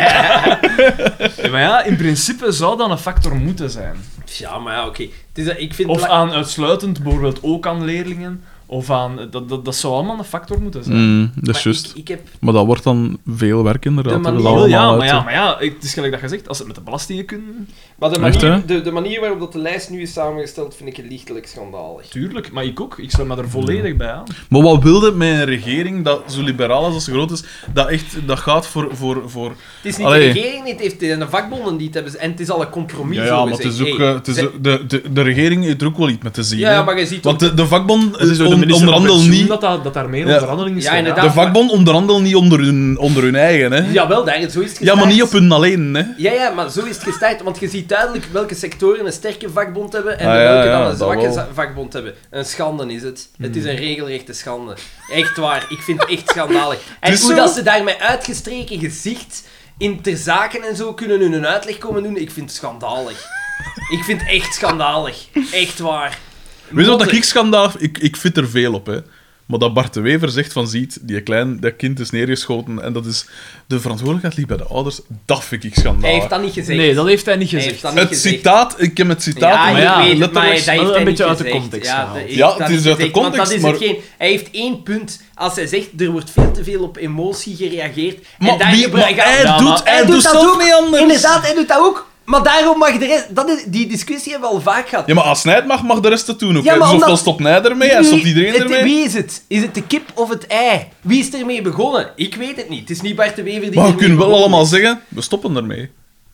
Speaker 3: Ja, maar ja, in principe zou dat een factor moeten zijn.
Speaker 1: Ja, maar ja, oké. Het is dat- Ik vind...
Speaker 3: Of
Speaker 1: la-
Speaker 3: aan uitsluitend, bijvoorbeeld ook aan leerlingen. Of aan... Dat, dat, dat zou allemaal een factor moeten zijn.
Speaker 2: [laughs] Mm, dat is
Speaker 1: maar
Speaker 2: juist.
Speaker 1: Ik, ik heb...
Speaker 2: Maar dat wordt dan veel werk inderdaad.
Speaker 1: De
Speaker 2: hè. Dat
Speaker 1: manier-
Speaker 2: allemaal
Speaker 3: ja, maar
Speaker 2: uit,
Speaker 3: ja,
Speaker 2: hè.
Speaker 3: maar ja, ik- het is gelijk dat je zegt, als ze het met de belastingen kunnen...
Speaker 1: Maar de
Speaker 2: Echt,
Speaker 1: manier,
Speaker 2: hè?
Speaker 1: de, de manier waarop dat de lijst nu is samengesteld, vind ik lichtelijk schandalig.
Speaker 3: Tuurlijk, maar ik ook. Ik sluit me er volledig bij aan.
Speaker 2: Maar wat wilde met een regering dat zo liberaal is als ze groot is, dat echt dat gaat voor, voor, voor
Speaker 1: Het is niet
Speaker 2: Allee.
Speaker 1: de regering, niet, het heeft- het zijn de vakbonden die het hebben. En het is al een compromis,
Speaker 2: Ja,
Speaker 1: zo
Speaker 2: ja maar het
Speaker 1: gezegd.
Speaker 2: is ook,
Speaker 1: Hey,
Speaker 2: eh, het is
Speaker 1: ze-
Speaker 2: ook- de, de, de regering heeft er ook wel iets met te zien.
Speaker 1: Ja,
Speaker 2: hè.
Speaker 1: maar je ziet
Speaker 2: Want de, de vakbond
Speaker 3: Het is door de
Speaker 2: on-
Speaker 3: minister van
Speaker 2: onderhandelt
Speaker 3: Pensioen
Speaker 2: niet.
Speaker 3: Dat, dat, dat daar meer
Speaker 2: Ja.
Speaker 3: onderhandeling is
Speaker 1: Ja,
Speaker 3: gedaan.
Speaker 1: inderdaad.
Speaker 2: De vakbond onderhandelt niet onder hun, onder hun eigen, hè?
Speaker 1: Jawel, daar, zo is het
Speaker 2: Ja, maar niet
Speaker 1: gestart.
Speaker 2: op hun alleen, hè?
Speaker 1: Ja, ja, maar zo is het gestart, want je ziet duidelijk welke sectoren een sterke vakbond hebben en
Speaker 2: Ah, ja,
Speaker 1: welke
Speaker 2: ja,
Speaker 1: dan een
Speaker 2: dat
Speaker 1: zwakke
Speaker 2: wel. Hmm.
Speaker 1: za- vakbond hebben. Een schande is het. Het is een regelrechte schande. Echt waar, ik vind het echt
Speaker 2: [laughs]
Speaker 1: schandalig. En
Speaker 2: is
Speaker 1: hoe
Speaker 2: zo.
Speaker 1: dat ze daar met uitgestreken gezicht in ter zaken en zo kunnen hun een uitleg komen doen, ik vind het schandalig. Ik vind het echt schandalig. Echt waar.
Speaker 2: Weet je wat dat
Speaker 1: Motte-
Speaker 2: ik schandaal Ik, ik fit er veel op, hè? Maar dat Bart de Wever zegt van ziet, die klein, dat kind is neergeschoten en dat is de verantwoordelijkheid ligt bij de ouders, dat vind ik schandaal.
Speaker 1: Hij heeft dat niet gezegd.
Speaker 3: Nee, dat heeft hij niet
Speaker 1: Hij
Speaker 3: gezegd.
Speaker 1: heeft dat niet
Speaker 2: het
Speaker 1: gezegd.
Speaker 2: citaat, ik heb het citaat,
Speaker 1: Ja,
Speaker 3: maar
Speaker 1: ik
Speaker 3: ja,
Speaker 1: weet het, maar dat
Speaker 3: letterlijk
Speaker 1: heeft hij
Speaker 3: wel een
Speaker 1: niet
Speaker 3: beetje uit de
Speaker 1: gezegd.
Speaker 3: context
Speaker 1: Ja,
Speaker 3: gehaald.
Speaker 1: dat heeft
Speaker 2: Ja,
Speaker 1: hij
Speaker 2: het
Speaker 1: niet
Speaker 2: is uit de
Speaker 1: gezegd, want
Speaker 2: context,
Speaker 1: dat is
Speaker 2: maar-
Speaker 1: hetgeen- Hij heeft één punt. Als hij zegt, er wordt veel te veel op emotie gereagereerd.
Speaker 2: Maar,
Speaker 1: en daar
Speaker 2: wie-
Speaker 1: gebruik-
Speaker 2: maar
Speaker 1: ja,
Speaker 2: hij,
Speaker 3: maar
Speaker 2: doet,
Speaker 3: hij
Speaker 2: hij, doet
Speaker 1: dat
Speaker 2: zelf
Speaker 1: ook.
Speaker 2: niet anders.
Speaker 1: Inderdaad, hij doet dat ook. Maar daarom mag de rest... Dat is, die discussie hebben we al vaak gehad.
Speaker 2: Ja, maar als hij het mag, mag de rest het doen ook.
Speaker 1: Ja,
Speaker 2: hè.
Speaker 1: maar
Speaker 2: dus ofwel
Speaker 1: omdat-
Speaker 2: stopt hij ermee en
Speaker 1: Wie-
Speaker 2: stopt iedereen
Speaker 1: het-
Speaker 2: ermee.
Speaker 1: Wie is het? Is het de kip of het ei? Wie is ermee begonnen? Ik weet het niet. Het is niet Bart de Wever die
Speaker 2: Maar je
Speaker 1: ermee
Speaker 2: kunt wel
Speaker 1: begonnen
Speaker 2: allemaal
Speaker 1: is.
Speaker 2: zeggen, we stoppen ermee.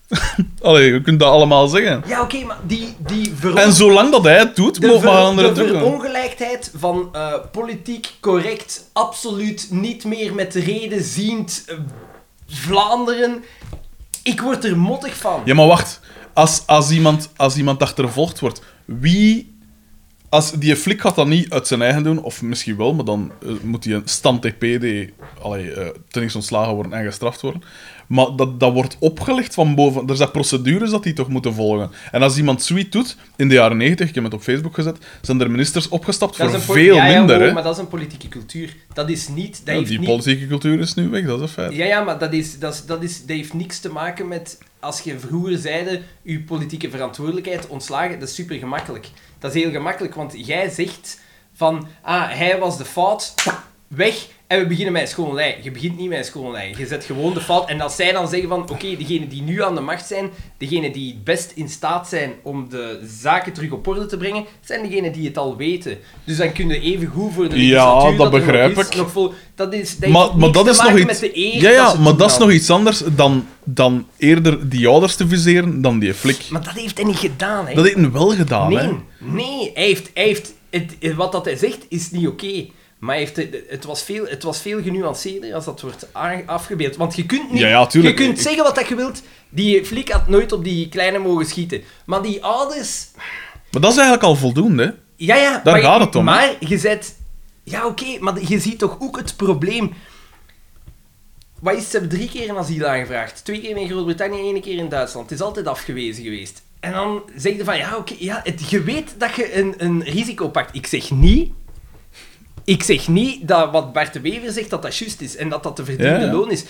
Speaker 2: [laughs] Allee, je kunt dat allemaal zeggen.
Speaker 1: Ja, oké, maar die... die veron-
Speaker 2: En zolang dat hij het doet,
Speaker 1: De,
Speaker 2: mogen
Speaker 1: ver,
Speaker 2: maar anderen
Speaker 1: de
Speaker 2: het ook doen.
Speaker 1: verongelijkheid van eh, politiek correct, absoluut niet meer met reden ziend eh, Vlaanderen. Ik word er mottig van.
Speaker 2: Ja, maar wacht. Als, als, iemand, als iemand achtervolgd wordt, wie... Als, die flik gaat dat niet uit zijn eigen doen, of misschien wel, maar dan eh, moet hij een stand TPD allee, eh ten eerste ontslagen worden en gestraft worden. Maar dat, dat wordt opgelegd van boven. Er zijn procedures dat die toch moeten volgen. En als iemand zoiets doet, in de jaren 90, ik heb het op Facebook gezet, zijn er ministers opgestapt
Speaker 1: Dat is
Speaker 2: voor
Speaker 1: een po-
Speaker 2: veel
Speaker 1: ja, ja,
Speaker 2: minder.
Speaker 1: wow,
Speaker 2: hè.
Speaker 1: maar dat is een politieke cultuur. Dat is niet... Dat
Speaker 2: Ja,
Speaker 1: heeft
Speaker 2: die
Speaker 1: niet
Speaker 2: politieke cultuur is nu weg, dat is een feit.
Speaker 1: ja, ja, maar dat, is, dat, is, dat, is, dat heeft niks te maken met... Als je vroeger zeide, je politieke verantwoordelijkheid ontslagen, dat is super gemakkelijk. Dat is heel gemakkelijk, want jij zegt van... Ah, hij was de fout, weg, en we beginnen met een schone lijn. Je begint niet met een schone lijn. Je zet gewoon de fout. En als zij dan zeggen van... Oké, degenen die nu aan de macht zijn, degenen die het best in staat zijn om de zaken terug op orde te brengen, zijn degenen die het al weten. Dus dan kun je even goed voor de
Speaker 2: Ja,
Speaker 1: legislatuur
Speaker 2: dat
Speaker 1: er nog
Speaker 2: begrijp
Speaker 1: is,
Speaker 2: ik.
Speaker 1: nog vol- dat is, dat
Speaker 2: Maar,
Speaker 1: heeft
Speaker 2: maar
Speaker 1: niks
Speaker 2: dat
Speaker 1: te
Speaker 2: is nog
Speaker 1: maken
Speaker 2: iets.
Speaker 1: met de eer
Speaker 2: ja, ja
Speaker 1: ze
Speaker 2: maar dat is
Speaker 1: toedragen.
Speaker 2: nog iets anders dan, dan eerder die ouders te viseren dan die flik.
Speaker 1: Maar dat heeft hij niet gedaan, hè?
Speaker 2: Dat Ah, heeft hij wel gedaan, hè?
Speaker 1: nee, nee, hij heeft, hij heeft het, wat dat hij zegt is niet oké. Maar hij heeft, het- het, was veel, het was veel genuanceerder als dat wordt aange- afgebeeld. Want je kunt niet,
Speaker 2: Ja, ja,
Speaker 1: je
Speaker 2: tuurlijk.
Speaker 1: kunt
Speaker 2: Ik-
Speaker 1: zeggen wat dat je wilt. Die flik had nooit op die kleine mogen schieten. Maar die ouders,
Speaker 2: Maar dat is eigenlijk al voldoende, hè?
Speaker 1: ja, ja.
Speaker 2: Daar
Speaker 1: maar
Speaker 2: gaat
Speaker 1: je-
Speaker 2: het om, hè?
Speaker 1: Maar je zet... Ja, oké, maar je ziet toch ook het probleem. Wat is, ze hebben drie keer een asiel aangevraagd. Twee keer in Groot-Brittannië, één keer in Duitsland. Het is altijd afgewezen geweest. En dan zeg je van, ja, oké, ja, het, je weet dat je een, een risico pakt. Ik zeg niet... Ik zeg niet dat wat Bart de Wever zegt, dat dat juist is. En dat dat de verdiende
Speaker 2: Ja, ja.
Speaker 1: loon is.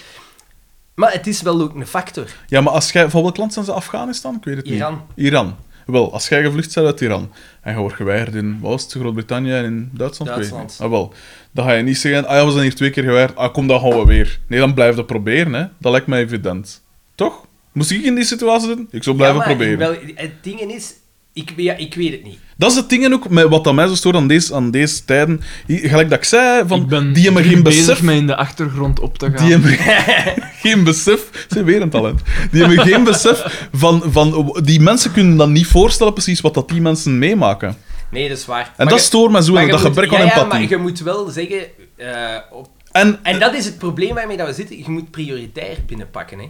Speaker 1: Maar het is wel ook een factor.
Speaker 2: Ja, maar als jij, van welk land zijn ze Afghanistan? Ik weet het
Speaker 1: Iran.
Speaker 2: niet. Iran. Wel, als jij gevlucht bent uit Iran en je wordt geweigerd in wat was het, Groot-Brittannië en in Duitsland? Ik weet het
Speaker 1: Duitsland.
Speaker 2: niet. Ah, wel. Dan ga je niet zeggen, ah ja, we zijn hier twee keer geweigerd, ah kom, dan gaan we weer. Nee, dan blijf dat proberen, hè. Dat lijkt mij evident. Toch? Moest ik in die situatie zitten? Ik zou blijven
Speaker 1: Ja, maar
Speaker 2: proberen.
Speaker 1: Wel, het ding is, ik, weet- ja, ik weet het niet.
Speaker 2: Dat is het ding en ook, met wat dat mij zo stoort aan deze, aan deze tijden. Hier, Gelijk dat ik zei, van,
Speaker 3: ik ben
Speaker 2: die hebben geen
Speaker 3: druk bezig
Speaker 2: besef.
Speaker 3: met in de achtergrond op te gaan.
Speaker 2: Die hebben [laughs] geen besef. Ze weer een talent. Die hebben geen besef van, van. Die mensen kunnen dan niet voorstellen precies wat dat die mensen meemaken. En
Speaker 1: Nee, dat is waar. En
Speaker 2: dat stoort me zo en dat gebrek aan
Speaker 1: ja, Ja, maar
Speaker 2: empathie.
Speaker 1: je moet wel zeggen... eh, op,
Speaker 2: En
Speaker 1: en dat is het probleem waarmee dat we zitten. Je moet prioritair binnenpakken, hè.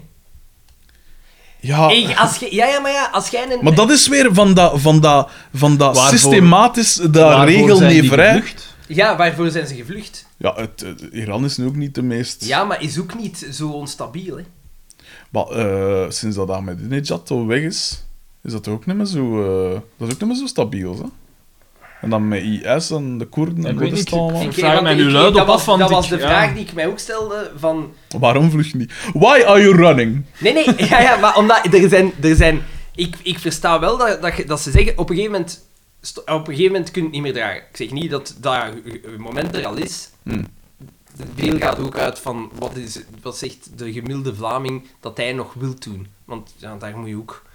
Speaker 2: ja,
Speaker 1: Hey, als je, ja, ja, maar ja, als jij een...
Speaker 2: Ah. maar dat is weer van dat, van dat, van dat
Speaker 3: Waarvoor-
Speaker 2: systematisch, dat
Speaker 3: Waarvoor zijn die
Speaker 2: regelneverij.
Speaker 3: gevlucht?
Speaker 1: Ja, waarvoor zijn ze gevlucht?
Speaker 2: Ja, het, het- Iran is nu ook niet de meest.
Speaker 1: Ja, maar is ook niet zo onstabiel, hè.
Speaker 2: Maar eh, sinds dat Ahmadinejad al weg is, is dat ook niet meer zo, eh, dat is ook niet meer zo stabiel. Hè? En dan met IS en de Koerden en
Speaker 3: Ik weet niet,
Speaker 2: Koerdistan. allemaal.
Speaker 3: Ik
Speaker 1: Oké,
Speaker 3: vraag
Speaker 1: want
Speaker 3: mij
Speaker 1: ik-
Speaker 3: nu
Speaker 1: ik-
Speaker 3: luid
Speaker 1: dat
Speaker 3: op
Speaker 1: was-
Speaker 3: af, want
Speaker 1: Dat
Speaker 3: ik-
Speaker 1: was de
Speaker 3: ja.
Speaker 1: vraag die ik mij ook stelde, van...
Speaker 2: Waarom vlucht je niet? Why are you running?
Speaker 1: Nee, nee, [laughs] ja, ja, maar omdat er zijn. Er zijn ik, ik versta wel dat, dat, je- dat ze zeggen: op een gegeven moment. sto- Op een gegeven moment kun je het niet meer dragen. Ik zeg niet dat dat eh, moment er al is. Het beeld gaat ook uit van wat, is, wat zegt de gemiddelde Vlaming dat hij nog wil doen. Want ja, daar moet je ook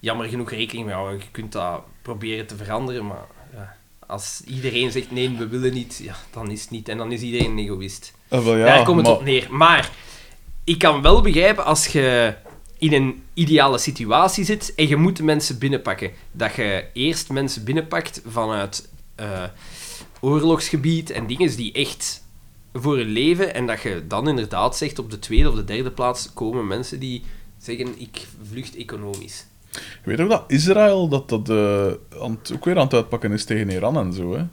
Speaker 1: jammer genoeg rekening mee houden. Je kunt dat proberen te veranderen, maar ja, als iedereen zegt nee, we willen niet, ja, dan is het niet. En dan is iedereen een egoïst.
Speaker 2: Eh, wel, ja,
Speaker 1: Daar komt het
Speaker 2: maar-
Speaker 1: op neer. Maar ik kan wel begrijpen als je in een ideale situatie zit en je moet de mensen binnenpakken. Dat je eerst mensen binnenpakt vanuit eh, oorlogsgebied en dingen die echt voor hun leven. En dat je dan inderdaad zegt op de tweede of de derde plaats komen mensen die zeggen ik vlucht economisch.
Speaker 2: Ik weet ook dat Israël dat, dat eh, aan het- ook weer aan het uitpakken is tegen Iran en zo. Hè? Eh,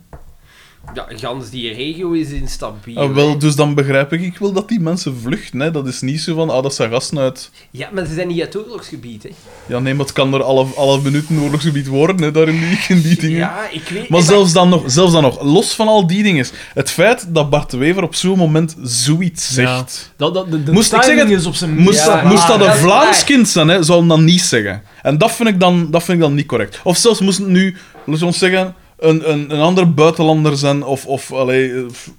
Speaker 1: Ja, gans die regio is instabiel.
Speaker 2: Ah, wel, dus dan begrijp ik, ik wil dat die mensen vluchten. Hè? Dat is niet zo van, ah, dat zijn gasten uit.
Speaker 1: Ja, maar ze zijn niet uit oorlogsgebied, hè.
Speaker 2: Ja, nee, maar het kan er alle, alle minuten oorlogsgebied worden, hè, daar in die, in die dingen.
Speaker 1: Ja, ik weet...
Speaker 2: Maar
Speaker 1: ik-
Speaker 2: zelfs dan, nog, zelfs dan nog, los van al die dingen, het feit dat Bart de Wever op zo'n moment zoiets zegt.
Speaker 3: Dat, dat, de, de
Speaker 2: Moest ik
Speaker 3: timing
Speaker 2: zeggen-
Speaker 3: is op zijn
Speaker 2: Moest,
Speaker 1: Ja,
Speaker 2: dat,
Speaker 1: maar-
Speaker 2: moest dat
Speaker 1: dat
Speaker 2: een
Speaker 1: is
Speaker 2: Vlaams
Speaker 1: waar.
Speaker 2: kind zijn, hè, zou hem dat niet zeggen. En dat vind ik dan, dat vind ik dan niet correct. Of zelfs moest het nu, laten we ons zeggen, een, een, een ander buitenlander zijn, of, of allee, eh, f-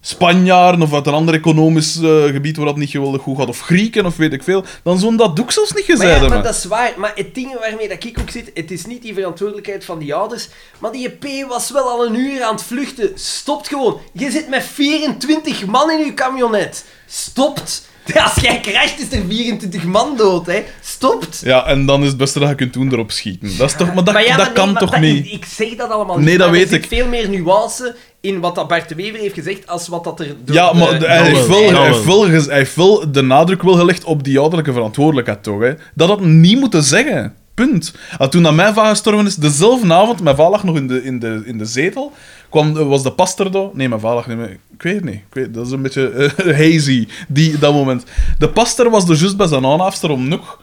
Speaker 2: Spanjaarden, of uit een ander economisch eh, gebied waar dat niet geweldig goed gaat, of Grieken, of weet ik veel, dan zo'n dat doek zelfs niet
Speaker 1: Maar
Speaker 2: gezegd
Speaker 1: ja,
Speaker 2: hebben.
Speaker 1: maar dat is waar. Maar het ding waarmee dat ik ook zit, het is niet die verantwoordelijkheid van die ouders, maar die P was wel al een uur aan het vluchten. Stopt gewoon. Je zit met 24 man in je camionet. Stopt. [laughs] Als jij crasht, is er 24 man dood, hè. Stopt.
Speaker 2: Ja, en dan is het beste dat je kunt doen erop schieten. Dat, is toch, maar dat,
Speaker 1: Maar ja,
Speaker 2: dat
Speaker 1: maar nee,
Speaker 2: kan
Speaker 1: maar
Speaker 2: toch
Speaker 1: dat-
Speaker 2: niet?
Speaker 1: Ik zeg dat allemaal
Speaker 2: Nee,
Speaker 1: niet,
Speaker 2: dat
Speaker 1: maar er
Speaker 2: weet
Speaker 1: zit
Speaker 2: ik.
Speaker 1: veel meer nuance in wat dat Bart de Wever heeft gezegd, als wat dat er... door
Speaker 2: Ja,
Speaker 1: de-
Speaker 2: maar eh, hij,
Speaker 3: dat
Speaker 2: heeft
Speaker 3: wel,
Speaker 2: wel,
Speaker 3: dat
Speaker 2: hij, heeft
Speaker 3: wel.
Speaker 2: wel gez- hij heeft wel de nadruk wel gelegd op die ouderlijke verantwoordelijkheid, toch? Hè? Dat had hem niet moeten zeggen. Punt. En toen dat mijn vader gestorven is, dezelfde avond, mijn vader lag nog in de, in de, in de zetel, kwam, was de pastor daar. Nee, mijn vader lag niet meer. Ik weet het niet. Ik weet, dat is een beetje eh, [laughs] hazy, die, dat moment. De pastor was er juist bij zijn aanhaafster om nog.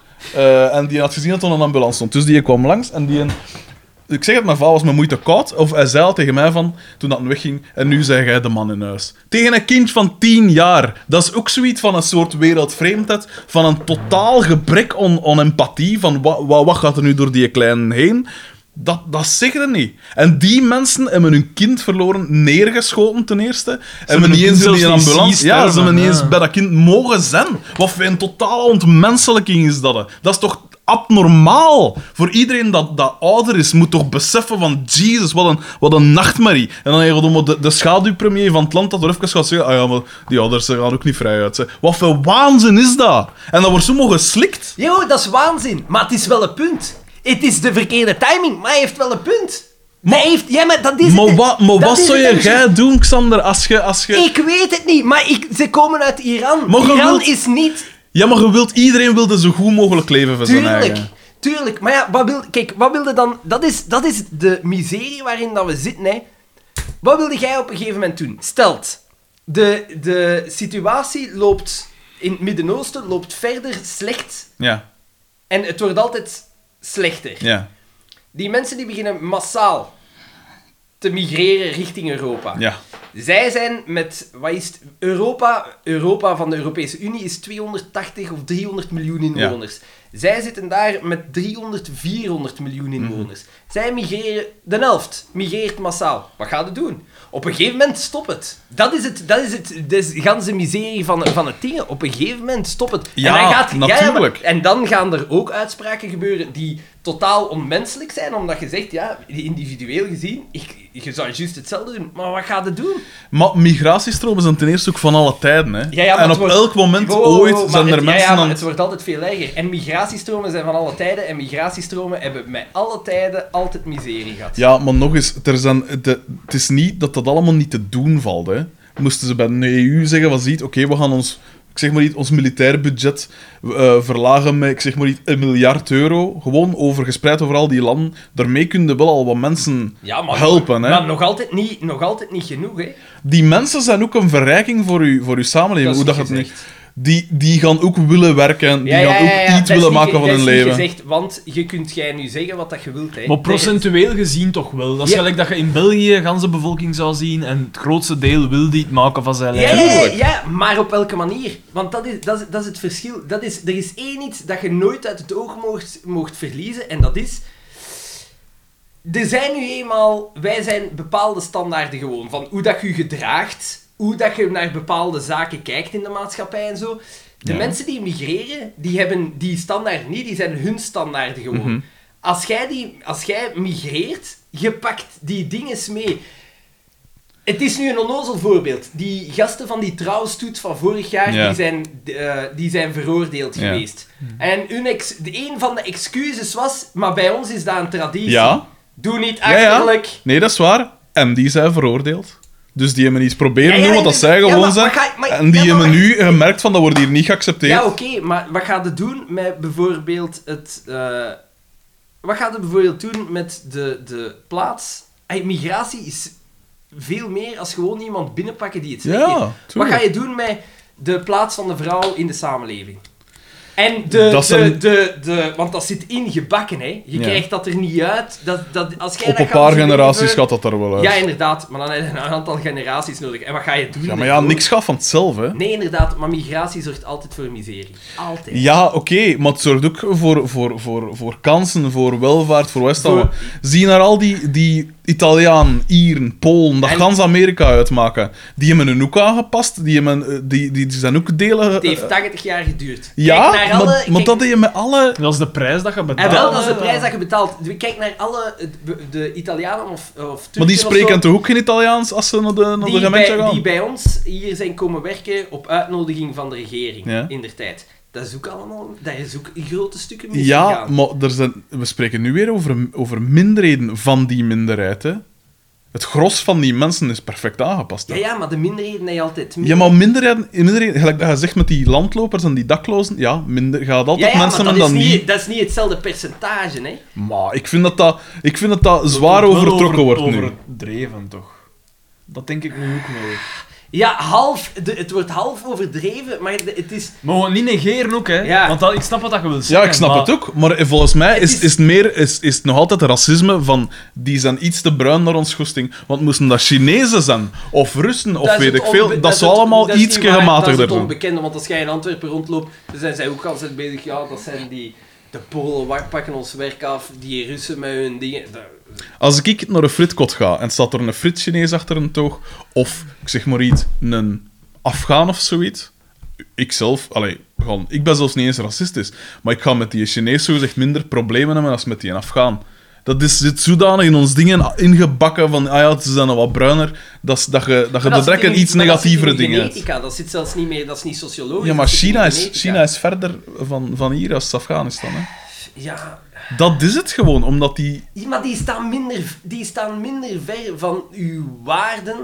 Speaker 2: en die had gezien dat er een ambulance stond. Dus die kwam langs en die... Ik zeg het, mijn vader was met moeite koud. Of hij zei al tegen mij van, toen dat wegging, en nu zeg jij de man in huis. Tegen een kind van tien jaar. Dat is ook zoiets van een soort wereldvreemdheid, van een totaal gebrek aan, aan empathie, van wat, wat, wat gaat er nu door die kleinen heen? Dat, dat zeggen ze niet. En die mensen hebben hun kind verloren, neergeschoten ten eerste. en
Speaker 3: hebben
Speaker 2: hebben niet
Speaker 3: hun
Speaker 2: eens in
Speaker 3: kind
Speaker 2: die
Speaker 3: zelfs niet
Speaker 2: ambulance...
Speaker 3: zien
Speaker 2: Ja, ze
Speaker 3: sterven,
Speaker 2: hebben niet eens
Speaker 3: ja.
Speaker 2: bij dat kind mogen zijn. Wat voor een totale ontmenselijking is dat? hè? Dat is toch abnormaal? Voor iedereen dat, dat ouder is, moet toch beseffen van... Jezus, wat een, wat een nachtmerrie. En dan heb je gewoon de, de schaduwpremier van het land dat er even gaat zeggen... Ah ja, maar die ouders ze gaan ook niet vrij uit. hè." Wat voor waanzin is dat? En dat wordt zo mogen geslikt.
Speaker 1: Jo, dat is waanzin. Maar het is wel een punt. Het is de verkeerde timing, maar hij heeft wel een punt. Maar heeft... Ja, maar dat is...
Speaker 2: Maar,
Speaker 1: het.
Speaker 2: wat- maar
Speaker 1: Dat
Speaker 2: wat
Speaker 1: is
Speaker 2: zou
Speaker 1: het.
Speaker 2: je jij doen, Xander, als je... Als je...
Speaker 1: Ik weet het niet, maar ik, ze komen uit Iran.
Speaker 2: Maar je
Speaker 1: Iran
Speaker 2: wilt-
Speaker 1: is niet...
Speaker 2: Ja, maar je wilt, iedereen wilde zo goed mogelijk leven van zijn
Speaker 1: Tuurlijk,
Speaker 2: eigen.
Speaker 1: tuurlijk. Maar ja, wat wil... Kijk, wat wilde dan... Dat is, dat is de miserie waarin dat we zitten, hè. Wat wilde jij op een gegeven moment doen? Stelt, de, de situatie loopt... In het Midden-Oosten loopt verder slecht.
Speaker 2: Ja,
Speaker 1: En het wordt altijd slechter.
Speaker 2: ja,
Speaker 1: Die mensen die beginnen massaal te migreren richting Europa.
Speaker 2: ja.
Speaker 1: Zij zijn met, wat is het, Europa, Europa van de Europese Unie is 280 of 300 miljoen inwoners. Zij zitten daar met 300, 400 miljoen inwoners. Zij migreren, de helft migreert massaal. Wat gaat het doen? Op een gegeven moment stop het. Dat is het, dat is het, dus ganse miserie van, van het ding. Op een gegeven moment stop het.
Speaker 2: Ja,
Speaker 1: dan maar-
Speaker 2: natuurlijk.
Speaker 1: en dan gaan er ook uitspraken gebeuren die totaal onmenselijk zijn, omdat je zegt, ja, individueel gezien, ik, je zou juist hetzelfde doen, maar wat gaat het doen?
Speaker 2: Maar migratiestromen zijn ten eerste ook van alle tijden. Hè.
Speaker 1: Ja, ja, maar
Speaker 2: en
Speaker 1: het
Speaker 2: op
Speaker 1: wordt-
Speaker 2: elk moment
Speaker 1: Wow, wow, wow,
Speaker 2: ooit
Speaker 1: maar
Speaker 2: zijn er
Speaker 1: het- ja,
Speaker 2: mensen
Speaker 1: ja, maar
Speaker 2: aan...
Speaker 1: Het wordt altijd veel erger. En migratiestromen zijn van alle tijden, en migratiestromen hebben met alle tijden altijd miserie gehad.
Speaker 2: Ja, maar nog eens, er zijn, de, het is niet dat dat allemaal niet te doen valt. Hè. Moesten ze bij de EU zeggen, wat ziet, oké, we gaan ons, ik zeg maar iets, ons militair budget eh, verlagen met, ik zeg maar iets, een miljard euro. Gewoon over, gespreid over al die landen. Daarmee kunnen wel al wat mensen
Speaker 1: Ja, maar-
Speaker 2: helpen. Hè.
Speaker 1: Maar nog altijd niet, nog altijd niet genoeg, hè.
Speaker 2: Die mensen zijn ook een verrijking voor uw, voor uw
Speaker 1: Dat
Speaker 2: samenleving.
Speaker 1: is
Speaker 2: hoe dat
Speaker 1: niet
Speaker 2: je het
Speaker 1: gezegd.
Speaker 2: niet- die, die gaan ook willen werken, die
Speaker 1: Ja, ja,
Speaker 2: gaan
Speaker 1: ja, ja,
Speaker 2: ook iets
Speaker 1: dat is
Speaker 2: willen
Speaker 1: niet
Speaker 2: maken
Speaker 1: ge-
Speaker 2: van
Speaker 1: dat
Speaker 2: hun
Speaker 1: is niet
Speaker 2: leven.
Speaker 1: gezegd, want je kunt jij nu zeggen wat dat je wilt, hè.
Speaker 3: Maar
Speaker 1: Er is-
Speaker 3: procentueel gezien toch wel. Dat is
Speaker 1: Ja.
Speaker 3: gelijk dat je in België gans de bevolking zou zien en het grootste deel wil die het maken van zijn
Speaker 1: Ja,
Speaker 3: leven.
Speaker 1: ja, ja, ja, maar op welke manier? Want dat is, dat is, dat is het verschil. Dat is, er is één iets dat je nooit uit het oog moogt, moogt verliezen, en dat is... Er zijn nu eenmaal... Wij zijn bepaalde standaarden gewoon, van hoe dat je je gedraagt, hoe dat je naar bepaalde zaken kijkt in de maatschappij en zo. De mensen die migreren, die hebben die standaarden niet, die zijn hun standaarden gewoon. Als jij, die, als jij migreert, je pakt die dingen mee. Het is nu een onnozel voorbeeld. Die gasten van die trouwstoet van vorig jaar,
Speaker 2: Ja.
Speaker 1: die, zijn, eh, die zijn veroordeeld
Speaker 2: Ja.
Speaker 1: geweest. En hun ex, de, een van de excuses was, maar bij ons is dat een traditie.
Speaker 2: Ja.
Speaker 1: Doe niet
Speaker 2: Ja, ja.
Speaker 1: achterlijk.
Speaker 2: Nee, dat is waar. En die zijn veroordeeld. Dus die hebben iets
Speaker 1: Ja,
Speaker 2: proberen
Speaker 1: ja,
Speaker 2: doen wat dat
Speaker 1: inderdaad.
Speaker 2: zij
Speaker 1: Ja,
Speaker 2: gewoon
Speaker 1: maar-
Speaker 2: zijn.
Speaker 1: maar ga- maar-
Speaker 2: en die
Speaker 1: ja, maar-
Speaker 2: hebben nu gemerkt van dat wordt hier niet geaccepteerd.
Speaker 1: Ja, oké, maar wat gaat het doen met bijvoorbeeld het... eh, wat gaat het bijvoorbeeld doen met de, de plaats... Ey, migratie is veel meer als gewoon iemand binnenpakken die het zegt.
Speaker 2: Ja,
Speaker 1: wat
Speaker 2: tuurlijk.
Speaker 1: ga je doen met de plaats van de vrouw in de samenleving? En de,
Speaker 2: Dat is
Speaker 1: de,
Speaker 2: een-
Speaker 1: de, de... Want dat zit ingebakken, hè. Je
Speaker 2: Ja.
Speaker 1: krijgt dat er niet uit. Dat, dat, als jij
Speaker 2: Op
Speaker 1: dat
Speaker 2: een
Speaker 1: gaat
Speaker 2: paar
Speaker 1: doen,
Speaker 2: generaties
Speaker 1: gebeuren-
Speaker 2: gaat dat er wel uit.
Speaker 1: Ja,
Speaker 2: Ja,
Speaker 1: inderdaad. Maar dan heb je een aantal generaties nodig. En wat ga je doen?
Speaker 2: maar ja,
Speaker 1: met-
Speaker 2: niks gaat van hetzelfde. hè.
Speaker 1: Nee, inderdaad, maar migratie zorgt altijd voor miserie. Altijd.
Speaker 2: Ja, oké, maar het zorgt ook voor, voor, voor, voor kansen, voor welvaart, voor West
Speaker 1: Voor-
Speaker 2: Zie je naar al die, die Italiaan, Ieren, Polen, dat
Speaker 1: En-
Speaker 2: gans Amerika uitmaken. Die hebben hun hoek aangepast, die, hebben, eh, die, die, die zijn ook delen...
Speaker 1: Het heeft 80 jaar geduurd.
Speaker 2: eh, ja,
Speaker 1: Kijk
Speaker 2: maar,
Speaker 1: naar alle...
Speaker 2: maar Ah.
Speaker 1: kijk-
Speaker 2: dat deed je met alle...
Speaker 3: Dat is de prijs dat je
Speaker 1: En
Speaker 3: betaalt.
Speaker 1: wel, dat is de prijs dat je betaalt. Kijk naar alle... de- De Italianen of, of Turken
Speaker 2: Maar die
Speaker 1: of
Speaker 2: spreken
Speaker 1: zo,
Speaker 2: toch ook geen Italiaans als ze naar de, naar de
Speaker 1: die,
Speaker 2: gemeente
Speaker 1: bij,
Speaker 2: gaan?
Speaker 1: die bij ons hier zijn komen werken op uitnodiging van de regering.
Speaker 2: Ja.
Speaker 1: In der tijd. Dat is ook allemaal... Daar is ook in grote stukken misgegaan.
Speaker 2: Ja, maar er zijn, we spreken nu weer over, over minderheden van die minderheid. Hè. Het gros van die mensen is perfect aangepast.
Speaker 1: Ja,
Speaker 2: Hè.
Speaker 1: ja, maar de minderheden heb je altijd...
Speaker 2: Ja, maar minderheden, minderheden, gelijk dat je zegt met die landlopers en die daklozen, ja, minder, gaat altijd
Speaker 1: maar
Speaker 2: mensen
Speaker 1: dat
Speaker 2: met
Speaker 1: is
Speaker 2: dat niet.
Speaker 1: Dat is niet hetzelfde percentage, hè.
Speaker 2: Maar ik vind dat dat, ik vind dat, dat zwaar overtrokken wordt nu.
Speaker 3: Overdreven toch? Dat denk ik nu ook wel.
Speaker 1: Ja, half... de- het wordt half overdreven, maar de- het is...
Speaker 3: Maar gewoon niet negeren ook, hè?
Speaker 1: Ja.
Speaker 3: Want dat, ik snap wat dat je wil
Speaker 2: Ja,
Speaker 3: zeggen.
Speaker 2: ik snap
Speaker 3: maar
Speaker 2: het ook, maar eh, volgens mij is,
Speaker 1: is-
Speaker 2: is, het meer, is, is het nog altijd racisme van die zijn iets te bruin naar ons goesting, want moesten dat Chinezen zijn, of Russen, of
Speaker 1: Dat is
Speaker 2: weet
Speaker 1: het
Speaker 2: ik veel,
Speaker 1: onbe-
Speaker 2: dat, zou
Speaker 1: het-
Speaker 2: allemaal
Speaker 1: dat is
Speaker 2: iets
Speaker 1: niet waar, Dat
Speaker 2: gematigder
Speaker 1: is het
Speaker 2: zijn.
Speaker 1: onbekende, want als jij in Antwerpen rondloopt, dan zijn zij ook altijd bezig. Ja, dat zijn die... De Polen wa- pakken ons werk af, die Russen met hun dingen... dat-
Speaker 2: Als ik naar een fritkot ga en staat er een frit Chinees achter een toog, of ik zeg maar iets, een Afghaan of zoiets. Ik zelf, allee, gewoon, ik ben zelfs niet eens racistisch, maar ik ga met die Chinees zogezegd minder problemen hebben als met die Afghaan. Dat is, zit zodanig in ons dingen ingebakken van, ah ja, ze zijn al wat bruiner, dat, is- dat je, dat je
Speaker 1: Maar
Speaker 2: de
Speaker 1: dat zit
Speaker 2: trekken
Speaker 1: in-
Speaker 2: iets
Speaker 1: maar dat zit in
Speaker 2: negatievere
Speaker 1: de
Speaker 2: dingen hebt.
Speaker 1: genetica, dat zit zelfs niet meer, dat is niet sociologisch.
Speaker 2: Ja, maar
Speaker 1: dat zit in
Speaker 2: China
Speaker 1: de
Speaker 2: is,
Speaker 1: genetica.
Speaker 2: China is verder van, van hier als Afghanistan. Hè.
Speaker 1: Ja,
Speaker 2: Dat is het gewoon, omdat die...
Speaker 1: Ja, maar die staan minder, die staan minder ver van uw waarden...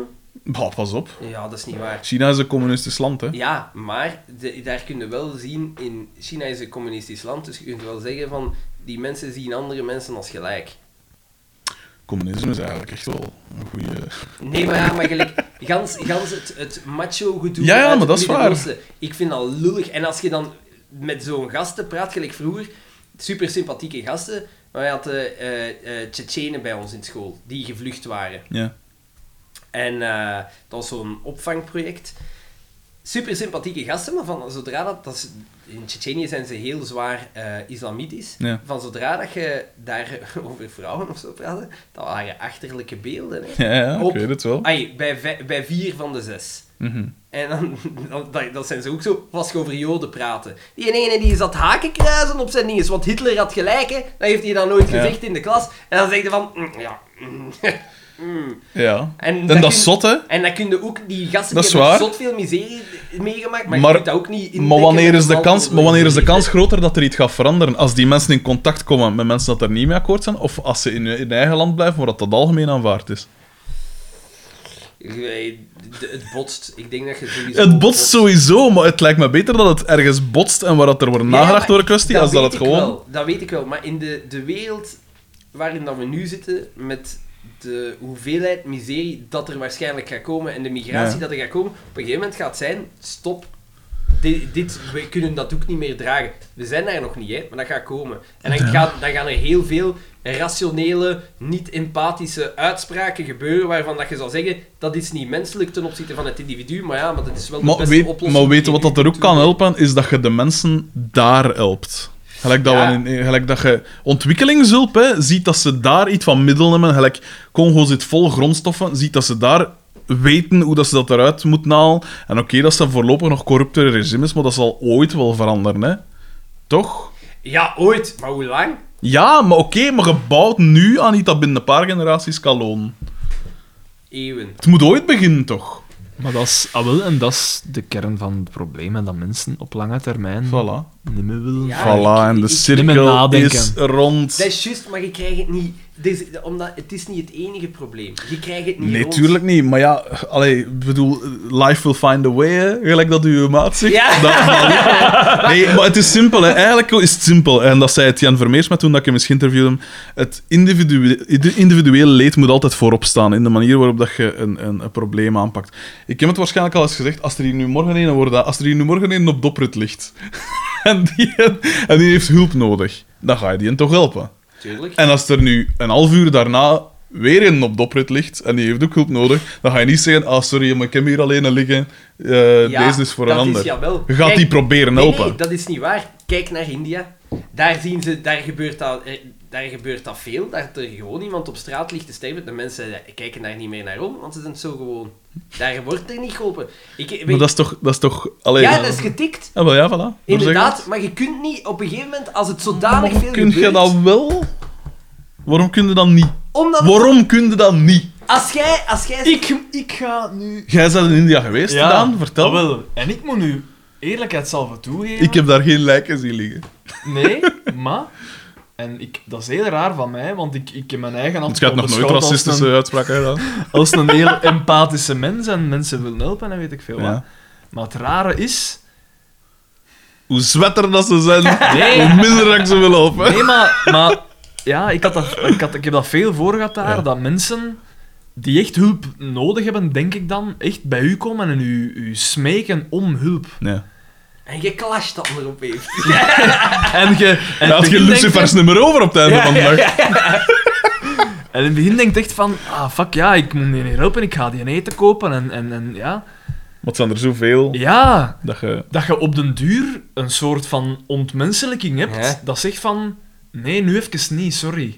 Speaker 2: Bah, pas op.
Speaker 1: Ja, dat is niet waar.
Speaker 2: China is een communistisch land, hè.
Speaker 1: Ja, maar de- daar kun je wel zien, in China is een communistisch land, dus je kunt wel zeggen van, die mensen zien andere mensen als gelijk.
Speaker 2: communisme is eigenlijk echt wel een goede.
Speaker 1: Nee, maar ja, maar gelijk, gans, gans het, het macho gedoe.
Speaker 2: Ja, ja,
Speaker 1: uit
Speaker 2: maar
Speaker 1: het
Speaker 2: dat is waar.
Speaker 1: Midden-Oosten, Ik vind dat lullig. En als je dan met zo'n gasten praat, gelijk vroeger, super sympathieke gasten, maar wij hadden eh eh Tsjetsjenen bij ons in school, die gevlucht waren.
Speaker 2: Ja.
Speaker 1: En eh, dat was zo'n opvangproject. Super sympathieke gasten, maar van zodra dat... dat is, in Tsjetsjenië zijn ze heel zwaar eh, islamitisch.
Speaker 2: Ja.
Speaker 1: Van zodra dat je daar [laughs] over vrouwen of zo praatte, dat waren achterlijke beelden. Hè.
Speaker 2: [laughs] Ja, ja, ik
Speaker 1: Op- Ah,
Speaker 2: weet het wel.
Speaker 1: Ai, bij, vij- bij vier van de zes.
Speaker 2: Mhm.
Speaker 1: En dan, [laughs] dan- dat, dat zijn ze ook zo, was je over Joden praten. Die ene die zat haken kruisen op zijn dinges, want Hitler had gelijk, hè. Dat heeft hij dan nooit
Speaker 2: Ja.
Speaker 1: gezegd in de klas. En dan zegt hij van, mm, ja, mm, mm.
Speaker 2: Ja.
Speaker 1: En,
Speaker 2: En dat
Speaker 1: kun-
Speaker 2: is zot, hè?
Speaker 1: En dan kun je ook, die gasten
Speaker 2: Dat
Speaker 1: die
Speaker 2: is
Speaker 1: hebben
Speaker 2: waar.
Speaker 1: zot veel miserie meegemaakt, maar,
Speaker 2: Maar-
Speaker 1: je kunt dat ook niet in
Speaker 2: Maar wanneer, is de kans, maar wanneer is de kans groter dat er iets gaat veranderen? Als die mensen in contact komen met mensen dat er niet mee akkoord zijn? Of als ze in hun in eigen land blijven, waar dat, dat algemeen aanvaard is?
Speaker 1: Het botst. Ik denk dat je sowieso...
Speaker 2: Het botst sowieso, maar het lijkt me beter dat het ergens botst en waar dat er wordt
Speaker 1: Ja, ja,
Speaker 2: nagedacht
Speaker 1: maar
Speaker 2: door een kwestie, als dat
Speaker 1: weet
Speaker 2: het
Speaker 1: ik
Speaker 2: gewoon...
Speaker 1: wel, dat weet ik wel, maar in de, de wereld waarin dat we nu zitten, met de hoeveelheid miserie dat er waarschijnlijk gaat komen en de migratie
Speaker 2: Ja.
Speaker 1: dat er gaat komen, op een gegeven moment gaat het zijn, stop. Dit, dit, we kunnen dat ook niet meer dragen. We zijn daar nog niet, hè, maar dat gaat komen. En dan, gaat, dan gaan er heel veel rationele, niet-empathische uitspraken gebeuren waarvan dat je zal zeggen, dat is niet menselijk ten opzichte van het individu, maar ja, maar dat is wel de
Speaker 2: Maar,
Speaker 1: beste
Speaker 2: weet,
Speaker 1: oplossing.
Speaker 2: maar weten
Speaker 1: die
Speaker 2: wat
Speaker 1: nu
Speaker 2: dat er ook
Speaker 1: toe-
Speaker 2: kan helpen, is dat je de mensen daar helpt. Gelijk dat,
Speaker 1: Ja.
Speaker 2: we in- in- gelijk dat je ontwikkelingshulp hè, ziet dat ze daar iets van middelen hebben. Gelijk Congo zit vol grondstoffen, ziet dat ze daar weten hoe dat ze dat eruit moeten halen. En oké, dat ze voorlopig nog corruptere regimes, maar dat zal ooit wel veranderen. Hè. Toch?
Speaker 1: Ja, ooit, maar hoe lang?
Speaker 2: Ja, maar oké, maar je bouwt nu aan iets dat binnen een paar generaties kan lonen.
Speaker 1: Eeuwen.
Speaker 2: Het moet ooit beginnen, toch?
Speaker 3: Maar dat is, ah wel, en dat is de kern van het probleem. En dat mensen op lange termijn
Speaker 2: Voilà.
Speaker 3: niet meer willen.
Speaker 1: Ja.
Speaker 2: voilà, en de
Speaker 3: Niet meer
Speaker 2: cirkel
Speaker 3: nadenken.
Speaker 2: is rond.
Speaker 1: Dat is juist, maar je krijgt het niet. Dus, omdat het is niet het enige probleem. Je krijgt het niet.
Speaker 2: Nee,
Speaker 1: rond.
Speaker 2: tuurlijk niet. Maar ja, allee, ik bedoel, life will find a way, hè. Gelijk dat uw maat zegt.
Speaker 1: Ja. [laughs]
Speaker 2: Dat- nee, maar het is simpel, hè. Eigenlijk is het simpel. En dat zei het Jan Vermeers maar toen dat ik hem eens geïnterviewde. Het individue- de individuele leed moet altijd voorop staan in de manier waarop dat je een, een, een probleem aanpakt. Ik heb het waarschijnlijk al eens gezegd, als er hier nu morgen een wordt, als er hier nu morgen een op doprit ligt, [laughs] en die, en die heeft hulp nodig, dan ga je die toch helpen.
Speaker 1: Tuurlijk.
Speaker 2: En als er nu een half uur daarna weer een op doprit ligt en die heeft ook hulp nodig, dan ga je niet zeggen: Ah, sorry, maar ik heb hier alleen een liggen. Eh,
Speaker 1: Ja,
Speaker 2: deze is voor een
Speaker 1: dat
Speaker 2: ander.
Speaker 1: Is, jawel.
Speaker 2: je gaat
Speaker 1: Kijk,
Speaker 2: die proberen
Speaker 1: nee,
Speaker 2: helpen.
Speaker 1: Nee, dat is niet waar. Kijk naar India. Daar zien ze, daar gebeurt dat, eh, daar gebeurt dat veel. Dat er gewoon iemand op straat ligt te sterven. De mensen eh, kijken daar niet meer naar om, want ze zijn het zo gewoon. Daar wordt er niet geholpen. Ik,
Speaker 2: maar dat is toch. Dat is toch alleen,
Speaker 1: ja, dat is getikt.
Speaker 2: Ah, wel, ja, voilà.
Speaker 1: Inderdaad, maar je kunt niet op een gegeven moment, als het zodanig
Speaker 2: Waarom
Speaker 1: veel
Speaker 2: kun je
Speaker 1: gebeurt...
Speaker 2: dat wel? Waarom kun je dat niet?
Speaker 1: Omdat het-
Speaker 2: Waarom kun je dat niet?
Speaker 1: als jij... Als jij
Speaker 3: Ik, ik ga nu...
Speaker 2: Jij bent in India geweest, Daan, vertel.
Speaker 3: ah wel. En ik moet nu eerlijkheidshalve toegeven...
Speaker 2: Ik heb daar geen lijken zien liggen.
Speaker 3: Nee, maar... En ik, dat is heel raar van mij, want ik, ik heb mijn eigen
Speaker 2: Want ik heb
Speaker 3: antwoord
Speaker 2: nog nooit
Speaker 3: beschouwd als
Speaker 2: racistische
Speaker 3: een,
Speaker 2: uitspraken gedaan.
Speaker 3: als een heel empathische mens en mensen willen helpen en weet ik veel wat.
Speaker 2: Ja.
Speaker 3: Maar het rare is...
Speaker 2: Hoe zwetter dat ze zijn,
Speaker 3: [laughs] Nee.
Speaker 2: hoe minder dat ik ze wil helpen.
Speaker 3: Nee, maar, maar ja, ik, had dat, ik, had, ik heb dat veel voor gehad daar,
Speaker 2: Ja.
Speaker 3: dat mensen die echt hulp nodig hebben, denk ik dan, echt bij u komen en u, u smeken om hulp.
Speaker 2: Nee.
Speaker 1: En je clasht dat maar opeens.
Speaker 3: En je... En
Speaker 2: En had je
Speaker 3: in het begin denkt
Speaker 2: Lucifers nummer over op het einde van de dag.
Speaker 3: je- En in het begin denkt echt van, ah, fuck, ja, ik moet die hier helpen, ik ga die een eten kopen en, en, en ja.
Speaker 2: Maar het zijn er zoveel
Speaker 3: Ja,
Speaker 2: dat je...
Speaker 3: dat je op den duur een soort van ontmenselijking hebt,
Speaker 1: Ja.
Speaker 3: dat zegt van, nee, nu even niet, sorry.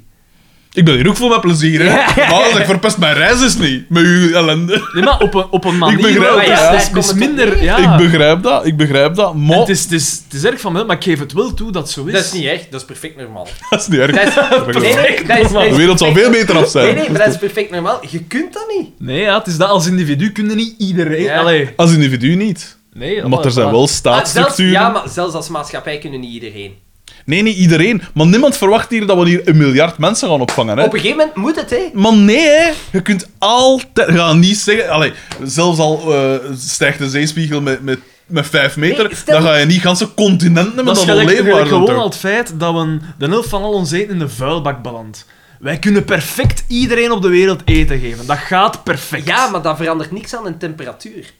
Speaker 2: Ik ben hier ook voor mijn plezier, hè. Maar ik verpest mijn reis is niet, met uw ellende.
Speaker 3: Nee, maar op een,
Speaker 1: [laughs]
Speaker 3: op een manier...
Speaker 2: begrijp
Speaker 3: waarop
Speaker 2: het,
Speaker 3: het
Speaker 1: ja.
Speaker 3: is- het is
Speaker 1: Daar komt het op
Speaker 3: minder...
Speaker 1: neer.
Speaker 3: Ja.
Speaker 2: Ik begrijp dat, ik begrijp dat, maar...
Speaker 3: En Het, is, het, is, het is erg van wel, maar ik geef het wel toe dat het zo
Speaker 1: [laughs]
Speaker 3: is.
Speaker 1: Dat is niet echt, dat is perfect normaal.
Speaker 2: [laughs] Dat is niet erg.
Speaker 1: [laughs] Dat is,
Speaker 2: Perfect
Speaker 1: nee,
Speaker 2: normaal.
Speaker 1: nee, dat is, dat is
Speaker 2: De wereld zou veel
Speaker 1: perfect-
Speaker 2: beter af zijn.
Speaker 1: Nee, nee, maar dat is perfect normaal. Je kunt dat niet.
Speaker 3: Nee, ja, het is dat als individu kunnen niet iedereen.
Speaker 1: Ja.
Speaker 3: Allee.
Speaker 2: Als individu niet.
Speaker 3: Nee,
Speaker 2: Want er zijn wel staatsstructuren.
Speaker 1: Ah, zelfs- ja, maar zelfs als maatschappij kunnen niet iedereen.
Speaker 2: Nee, niet iedereen. Maar niemand verwacht hier dat we hier een miljard mensen gaan opvangen, hè.
Speaker 1: Op een gegeven moment moet het, hè.
Speaker 2: Maar nee, hè. je kunt altijd... Ga niet zeggen... Allee, zelfs al eh, stijgt de zeespiegel met, met, met vijf meter,
Speaker 1: Nee, stel-
Speaker 2: dan ga je niet ganse continenten met
Speaker 3: Dat is
Speaker 2: dat
Speaker 3: gelijk,
Speaker 2: onleefbaar
Speaker 3: gelijk
Speaker 2: doen,
Speaker 3: gewoon
Speaker 2: toch?
Speaker 3: al het feit dat we de helft van al ons eten in de vuilbak belandt. Wij kunnen perfect iedereen op de wereld eten geven. Dat gaat perfect.
Speaker 1: Ja, maar dat verandert niks aan de temperatuur.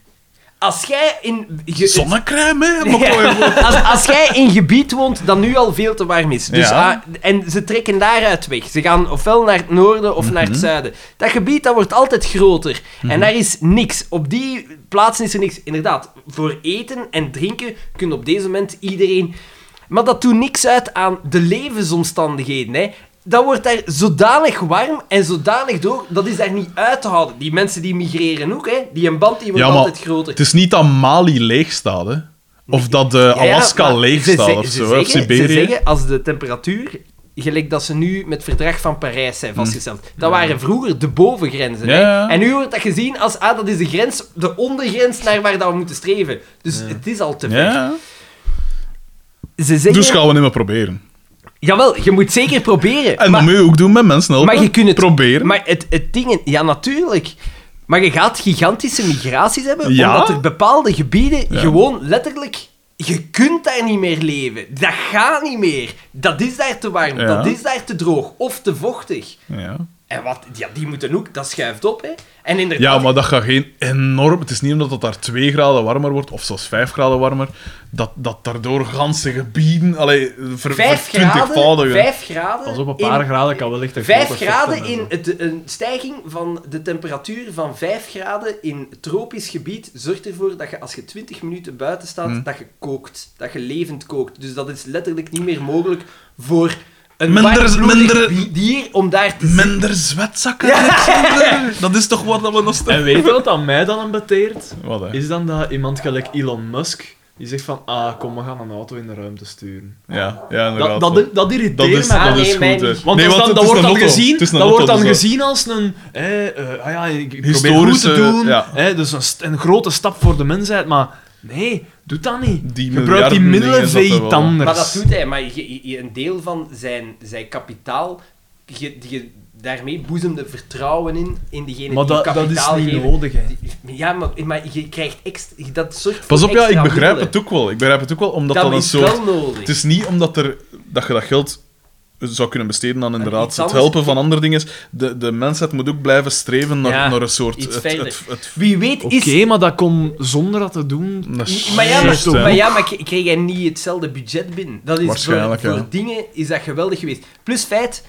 Speaker 1: als jij in... ge-
Speaker 2: Zonnecrème, hè?
Speaker 1: Ja.
Speaker 2: Maar kom je-
Speaker 1: Als, als jij in gebied woont dat nu al veel te warm is. Dus,
Speaker 2: Ja.
Speaker 1: ah, en ze trekken daaruit weg. Ze gaan ofwel naar het noorden of naar
Speaker 2: Mhm.
Speaker 1: het zuiden. Dat gebied dat wordt altijd groter. En daar is niks. Op die plaatsen is er niks. Inderdaad, voor eten en drinken kunnen op deze moment iedereen. Maar dat doet niks uit aan de levensomstandigheden. Hè. Dat wordt daar zodanig warm en zodanig door, dat is daar niet uit te houden. Die mensen die migreren ook, hè. die een band die wordt
Speaker 2: Ja, maar
Speaker 1: altijd groter.
Speaker 2: het is niet dat Mali leeg staat, hè? Of dat eh, Alaska
Speaker 1: maar
Speaker 2: leeg
Speaker 1: ze
Speaker 2: staat
Speaker 1: ze-
Speaker 2: of
Speaker 1: ze
Speaker 2: zo, hè, of
Speaker 1: zeggen- Ze
Speaker 2: Siberië.
Speaker 1: zeggen, als de temperatuur, gelijk dat ze nu met het verdrag van Parijs zijn vastgesteld, dat waren vroeger de bovengrenzen.
Speaker 2: Hm. Ja, ja.
Speaker 1: Hè? En nu wordt dat gezien als, ah, dat is de grens, de ondergrens naar waar dat we moeten streven. Dus het is al te ver.
Speaker 2: Ja.
Speaker 1: Ze zeggen,
Speaker 2: Dus gaan we niet meer proberen.
Speaker 1: jawel, je moet zeker proberen.
Speaker 2: En dat moet je ook doen met mensen helpen.
Speaker 1: Maar je kunt het-
Speaker 2: proberen.
Speaker 1: Maar het, het ding, ja natuurlijk. Maar je gaat gigantische migraties hebben,
Speaker 2: Ja?
Speaker 1: omdat er bepaalde gebieden
Speaker 2: Ja.
Speaker 1: gewoon letterlijk... Je kunt daar niet meer leven. Dat gaat niet meer. Dat is daar te warm,
Speaker 2: Ja.
Speaker 1: dat is daar te droog of te vochtig.
Speaker 2: Ja.
Speaker 1: En wat, ja, die moeten ook, dat schuift op, hè. En inderdaad,
Speaker 2: ja, maar dat gaat geen enorm... Het is niet omdat het daar 2 graden warmer wordt, of zelfs 5 graden warmer, dat, dat daardoor ganse gebieden... Allee, ver,
Speaker 1: vijf, graden,
Speaker 2: vertwintigvoudigen.
Speaker 1: vijf graden...
Speaker 3: Pas op, een paar
Speaker 1: in-
Speaker 3: graden kan wel echt een
Speaker 1: Vijf
Speaker 3: groot
Speaker 1: graden
Speaker 3: effect
Speaker 1: in
Speaker 3: hebben.
Speaker 1: het, een stijging van de temperatuur van 5 graden in tropisch gebied zorgt ervoor dat je als je 20 minuten buiten staat,
Speaker 2: Hmm.
Speaker 1: dat je kookt. Dat je levend kookt. Dus dat is letterlijk niet meer mogelijk voor een
Speaker 2: Minder-
Speaker 1: warmbloedig
Speaker 2: minder-
Speaker 1: bi- dier om daar te zitten.
Speaker 2: Minder zwetzakken,
Speaker 3: [laughs]
Speaker 2: Alexander. Dat is toch wat dat we nog steeds...
Speaker 3: En weet je wat aan mij dan aan beteert?
Speaker 2: Wat, hè?
Speaker 3: Is dan dat iemand gelijk Elon Musk, die zegt van, ah, kom, we gaan een auto in de ruimte sturen.
Speaker 2: Ja, ja, inderdaad.
Speaker 3: Dat, dat, dat irriteert
Speaker 2: Dat is,
Speaker 3: mij.
Speaker 1: Ah,
Speaker 2: dat
Speaker 1: nee,
Speaker 2: is
Speaker 1: mij
Speaker 2: goed, hè.
Speaker 1: niet.
Speaker 3: Want
Speaker 2: Nee,
Speaker 3: dat,
Speaker 2: want
Speaker 3: is dan,
Speaker 2: het
Speaker 3: dat
Speaker 2: is
Speaker 3: wordt
Speaker 2: een
Speaker 3: dan
Speaker 2: lotto.
Speaker 3: gezien,
Speaker 2: Het is een
Speaker 3: dat
Speaker 2: lotto,
Speaker 3: wordt dan
Speaker 2: dus dat-
Speaker 3: gezien als een... hè, eh, ah ja, ik probeer goed
Speaker 2: Historische,
Speaker 3: te doen.
Speaker 2: ja.
Speaker 3: hè, dus een, st- een grote stap voor de mensheid. Maar nee, doe dat niet.
Speaker 2: Die
Speaker 3: Gebruik die
Speaker 2: miljarden
Speaker 3: middelen
Speaker 2: dingen
Speaker 3: voor
Speaker 2: zetten we
Speaker 3: iets
Speaker 2: wel.
Speaker 3: anders.
Speaker 1: Maar dat doet hij. Maar je- je- een deel van zijn, zijn kapitaal, je, je- daarmee boezemde vertrouwen in, in diegene
Speaker 3: Maar
Speaker 1: die
Speaker 3: dat, dat
Speaker 1: kapitaal
Speaker 3: is niet
Speaker 1: geven.
Speaker 3: nodig, hè.
Speaker 1: Die- Ja, maar, maar je krijgt extra... Dat zorgt voor
Speaker 2: Pas op, ja,
Speaker 1: extra
Speaker 2: ik begrijp
Speaker 1: middelen.
Speaker 2: het ook wel. Ik begrijp het ook wel, omdat dat,
Speaker 1: Dat
Speaker 2: een
Speaker 1: is
Speaker 2: soort...
Speaker 1: wel nodig.
Speaker 2: Het is niet omdat er, dat je dat geld zou kunnen besteden aan inderdaad
Speaker 1: iets
Speaker 2: het
Speaker 1: anders.
Speaker 2: helpen van andere dingen. is. De, de mensheid moet ook blijven streven naar,
Speaker 1: Ja,
Speaker 2: naar een soort...
Speaker 1: iets
Speaker 2: het-
Speaker 1: verder.
Speaker 2: het- het-
Speaker 1: Wie weet
Speaker 3: Oké,
Speaker 1: is...
Speaker 3: maar dat komt zonder dat te doen.
Speaker 2: dat is
Speaker 1: Maar ja, maar,
Speaker 2: juist, hè.
Speaker 1: maar, ja, maar k- kreeg hij niet hetzelfde budget binnen? Dat is
Speaker 2: Waarschijnlijk,
Speaker 1: voor,
Speaker 2: ja.
Speaker 1: voor dingen is dat geweldig geweest. Plus feit,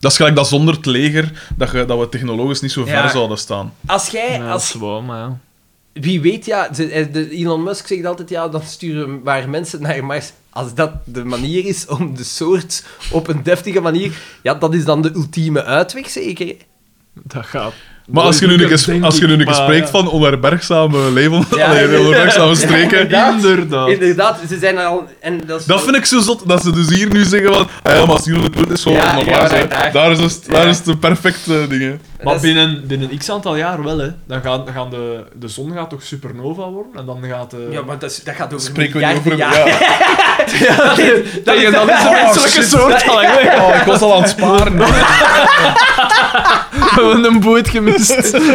Speaker 2: Dat is gelijk dat zonder het leger, dat, je, dat we technologisch niet zo
Speaker 1: Ja.
Speaker 2: ver zouden staan.
Speaker 1: als jij...
Speaker 3: Ja, dat
Speaker 1: als,
Speaker 3: is waar, maar ja.
Speaker 1: wie weet, ja, ze- eh, de- Elon Musk zegt altijd, ja, dan sturen waar mensen naar Mars. Als dat de manier is om de soort op een deftige manier... Ja, dat is dan de ultieme uitweg, zeker. hè?
Speaker 3: Dat gaat.
Speaker 2: Maar als je nu een
Speaker 3: moeilijker,
Speaker 2: keer,
Speaker 3: denk
Speaker 2: als je nu
Speaker 3: ik,
Speaker 2: een keer
Speaker 3: maar
Speaker 2: spreekt
Speaker 3: ja.
Speaker 2: van onherbergzame leven,
Speaker 1: Ja,
Speaker 2: [laughs] allee,
Speaker 1: ja, ja.
Speaker 2: onherbergzame streken...
Speaker 3: Inderdaad.
Speaker 1: Inderdaad, ze zijn al... En dat is
Speaker 2: Dat vind ik zo zot, dat ze dus hier nu zeggen van... Ah ja, maar als jullie het punt is, gewoon
Speaker 1: Ja,
Speaker 2: nog
Speaker 1: ja,
Speaker 2: waar zijn.
Speaker 1: daar.
Speaker 2: Daar is het, daar
Speaker 1: Ja.
Speaker 2: is de perfecte dingen.
Speaker 3: Maar
Speaker 1: dat is-
Speaker 3: binnen, binnen x aantal jaar wel, hè. Dan gaan, dan gaan de, de zon gaat toch supernova worden? En dan gaat eh, de...
Speaker 1: Ja, maar dat, is- dat gaat over
Speaker 2: Spreken we niet
Speaker 1: miljarden
Speaker 2: over...
Speaker 1: jaren.
Speaker 2: Ja.
Speaker 1: [laughs]
Speaker 3: dat is, dat [laughs] is een menselijke soort. al, hè.
Speaker 2: Oh, ik was al aan het sparen.
Speaker 8: We hebben een boot gemist.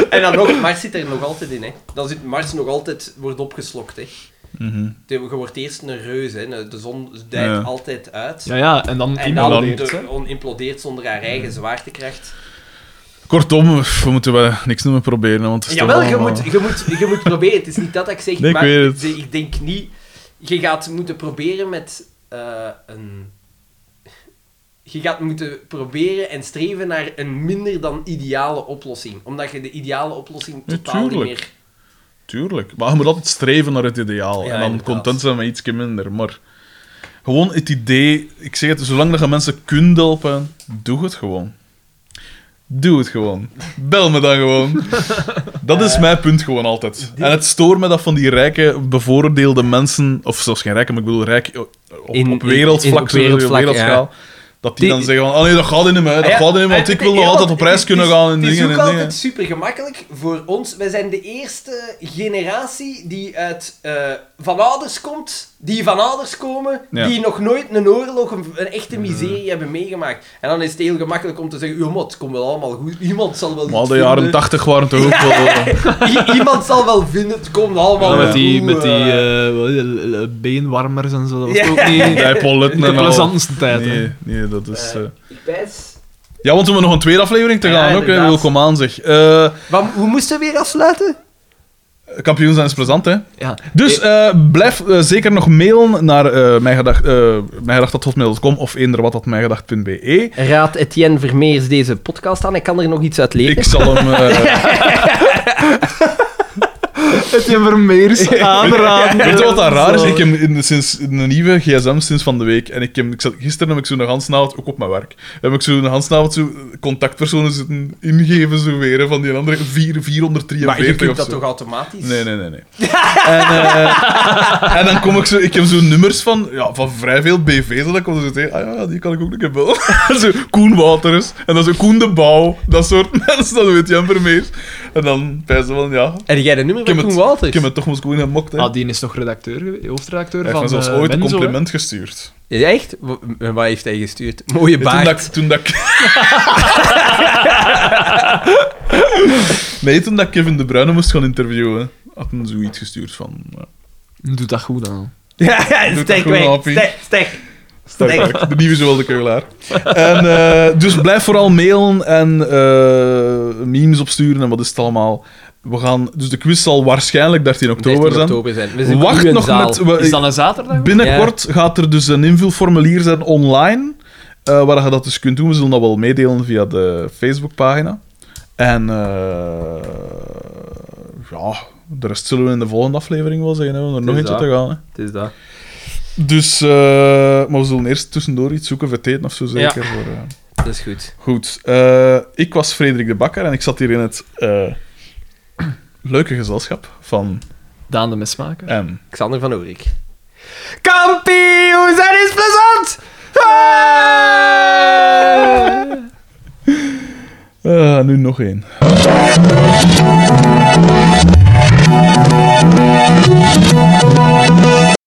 Speaker 1: En dan nog, Mars zit er nog altijd in, hè. Dan zit Mars nog altijd, wordt opgeslokt, hè. Je wordt eerst een reus, hè. De zon dijt
Speaker 2: Mhm. Ja.
Speaker 1: altijd uit.
Speaker 3: Ja, ja, en dan
Speaker 1: En dan
Speaker 3: implodeert
Speaker 1: de-
Speaker 3: ze.
Speaker 1: on- implodeert zonder haar eigen zwaartekracht.
Speaker 2: Kortom, we moeten wel niks meer proberen. Want het is
Speaker 1: Jawel,
Speaker 2: toch
Speaker 1: je
Speaker 2: allemaal-
Speaker 1: moet, je, moet, je moet proberen. Het is niet dat ik zeg,
Speaker 2: Nee, ik
Speaker 1: maar
Speaker 2: weet het.
Speaker 1: ik denk niet... Je gaat moeten proberen met eh, een... Je gaat moeten proberen en streven naar een minder dan ideale oplossing. Omdat je de ideale oplossing totaal niet
Speaker 2: Natuurlijk.
Speaker 1: meer...
Speaker 2: Tuurlijk. Maar je moet altijd streven naar het ideaal.
Speaker 1: Ja,
Speaker 2: en dan
Speaker 1: inderdaad.
Speaker 2: content zijn met ietsje minder. Maar gewoon het idee... Ik zeg het, zolang dat je mensen kunt helpen, doe het gewoon. Doe het gewoon. Bel me dan
Speaker 1: [laughs]
Speaker 2: gewoon. Dat
Speaker 1: Eh,
Speaker 2: is mijn punt gewoon altijd. En het stoort me dat van die rijke, bevooroordeelde mensen... Of zelfs geen rijke, maar ik bedoel rijk op,
Speaker 1: In-
Speaker 2: op
Speaker 1: in-
Speaker 2: wereldvlak,
Speaker 1: in- op
Speaker 2: zo,
Speaker 1: wereldvlak,
Speaker 2: wereldschaal. Dat die,
Speaker 1: Die-
Speaker 2: dan zeggen van, oh nee, dat gaat niet meer, dat
Speaker 1: Ah ja,
Speaker 2: gaat niet meer, want
Speaker 1: en
Speaker 2: ik
Speaker 1: het-
Speaker 2: wil nog
Speaker 1: ja,
Speaker 2: altijd
Speaker 1: want
Speaker 2: op reis
Speaker 1: het is-
Speaker 2: kunnen gaan en
Speaker 1: Het is
Speaker 2: dingen en
Speaker 1: ook
Speaker 2: dingen.
Speaker 1: altijd super gemakkelijk voor ons. Wij zijn de eerste generatie die uit eh, van ouders komt, die van ouders komen,
Speaker 2: Ja.
Speaker 1: die nog nooit een oorlog, een, een echte miserie hebben meegemaakt. En dan is het heel gemakkelijk om te zeggen, joh, mot, het komt wel allemaal goed. Iemand zal wel
Speaker 2: Maar
Speaker 1: iets
Speaker 2: de jaren
Speaker 1: vinden.
Speaker 2: tachtig waren
Speaker 1: [laughs]
Speaker 2: toch ook wel... eh,
Speaker 1: I- iemand zal wel vinden, het komt allemaal
Speaker 2: Ja,
Speaker 1: wel
Speaker 2: met
Speaker 1: goed, eh.
Speaker 3: eh, wat is het, eh, beenwarmers en zo, dat
Speaker 1: Ja.
Speaker 3: niet
Speaker 2: Bij Pauletten en al.
Speaker 3: tijd. hè.
Speaker 2: Nee, nee, dat is... eh.
Speaker 1: Ik wijs.
Speaker 2: Ja, want we hebben nog een tweede aflevering te
Speaker 1: Ja,
Speaker 2: gaan ook, eh, hè.
Speaker 1: inderdaad.
Speaker 2: Welkom aan, zeg. Eh,
Speaker 1: Wat- hoe moesten we weer afsluiten?
Speaker 2: Kampioen zijn is plezant, hè?
Speaker 4: Ja.
Speaker 2: Dus eh, blijf eh, zeker nog mailen naar eh mijngedacht- eh, mijngedacht.hotmail.com of eender wat dat mijngedacht.be.
Speaker 9: Raad Etienne Vermeers deze podcast aan. Hij kan er nog iets uit leren.
Speaker 2: Ik zal hem... eh,
Speaker 3: Het je [laughs] Vermeers aanraden.
Speaker 2: Weet je wat dat raar is? Ik heb in, sinds in een nieuwe gsm sinds van de week. En ik heb, ik zat, gisteren heb ik zo'n hansnavond, ook op mijn werk, heb ik zo'n hansnavond zo eh, contactpersonen zitten ingeven zo weer, hè, van die andere vier- 443
Speaker 1: Maar je kunt
Speaker 2: of
Speaker 1: dat
Speaker 2: zo.
Speaker 1: toch automatisch?
Speaker 2: Nee, nee, nee. [laughs] nee. en, eh, en dan kom ik zo... Ik heb zo nummers van, ja, van vrij veel BV's. En dan kom ik zo tegen, ah ja, die kan ik ook nog even bellen. [laughs] zo, Koen Waters. En dan zo Koen de Bouw. Dat soort [laughs] mensen, dat weet Jan Vermeers. En dan bij ze van, ja...
Speaker 1: En jij de nummer
Speaker 2: Ik heb,
Speaker 1: van
Speaker 2: het,
Speaker 1: Koen
Speaker 2: ik
Speaker 1: Walters?
Speaker 2: heb het toch moest gewoon gemokt, hè.
Speaker 3: Ah, die is toch redacteur, geweest, hoofdredacteur
Speaker 2: Hij
Speaker 3: van
Speaker 2: heeft me zelfs
Speaker 3: eh,
Speaker 2: ooit een
Speaker 3: Menzo, hè?
Speaker 2: compliment gestuurd.
Speaker 1: Ja, Echt? Wa- en Wat heeft hij gestuurd? Mooie
Speaker 2: Toen dat,
Speaker 1: baard.
Speaker 2: ik- toen dat ik... [laughs] nee, toen dat ik Kevin De Bruyne moest gaan interviewen, had hij zoiets gestuurd van... eh,
Speaker 3: Doet dat goed dan.
Speaker 1: [laughs] Ja, ja,
Speaker 2: dat
Speaker 1: sterk
Speaker 2: gewoon
Speaker 1: weg.
Speaker 2: happy.
Speaker 1: Sterk, sterk.
Speaker 2: Sterk. De nieuwe Joël de Keulaar. En, eh, dus blijf vooral mailen en eh, memes opsturen en wat is het allemaal. We gaan, dus de quiz zal waarschijnlijk 13 oktober
Speaker 1: 13
Speaker 2: zijn.
Speaker 1: oktober zijn. We zijn
Speaker 2: Wacht
Speaker 1: nu in
Speaker 2: nog
Speaker 1: zaal.
Speaker 2: met... we-
Speaker 4: Is dat een zaterdag?
Speaker 2: Binnenkort gaat er dus een invulformulier zijn online, eh, waar je dat dus kunt doen. We zullen dat wel meedelen via de Facebookpagina. En eh, ja, de rest zullen we in de volgende aflevering wel zeggen. Hè, om er nog
Speaker 1: is
Speaker 2: eentje
Speaker 1: dat.
Speaker 2: te gaan. Hè.
Speaker 1: Het is dat.
Speaker 2: Dus, eh, maar we zullen eerst tussendoor iets zoeken voor het eten of zo zeker. Voor, eh.
Speaker 1: Dat is goed.
Speaker 2: Goed, eh, ik was Frederik de Bakker en ik zat hier in het eh, [clears throat] leuke gezelschap van
Speaker 4: Daan de Mesmaker.
Speaker 2: M.
Speaker 1: Xander van Oorik. Kampioen zijn is plezant! Ah!
Speaker 2: Eh, nu nog één.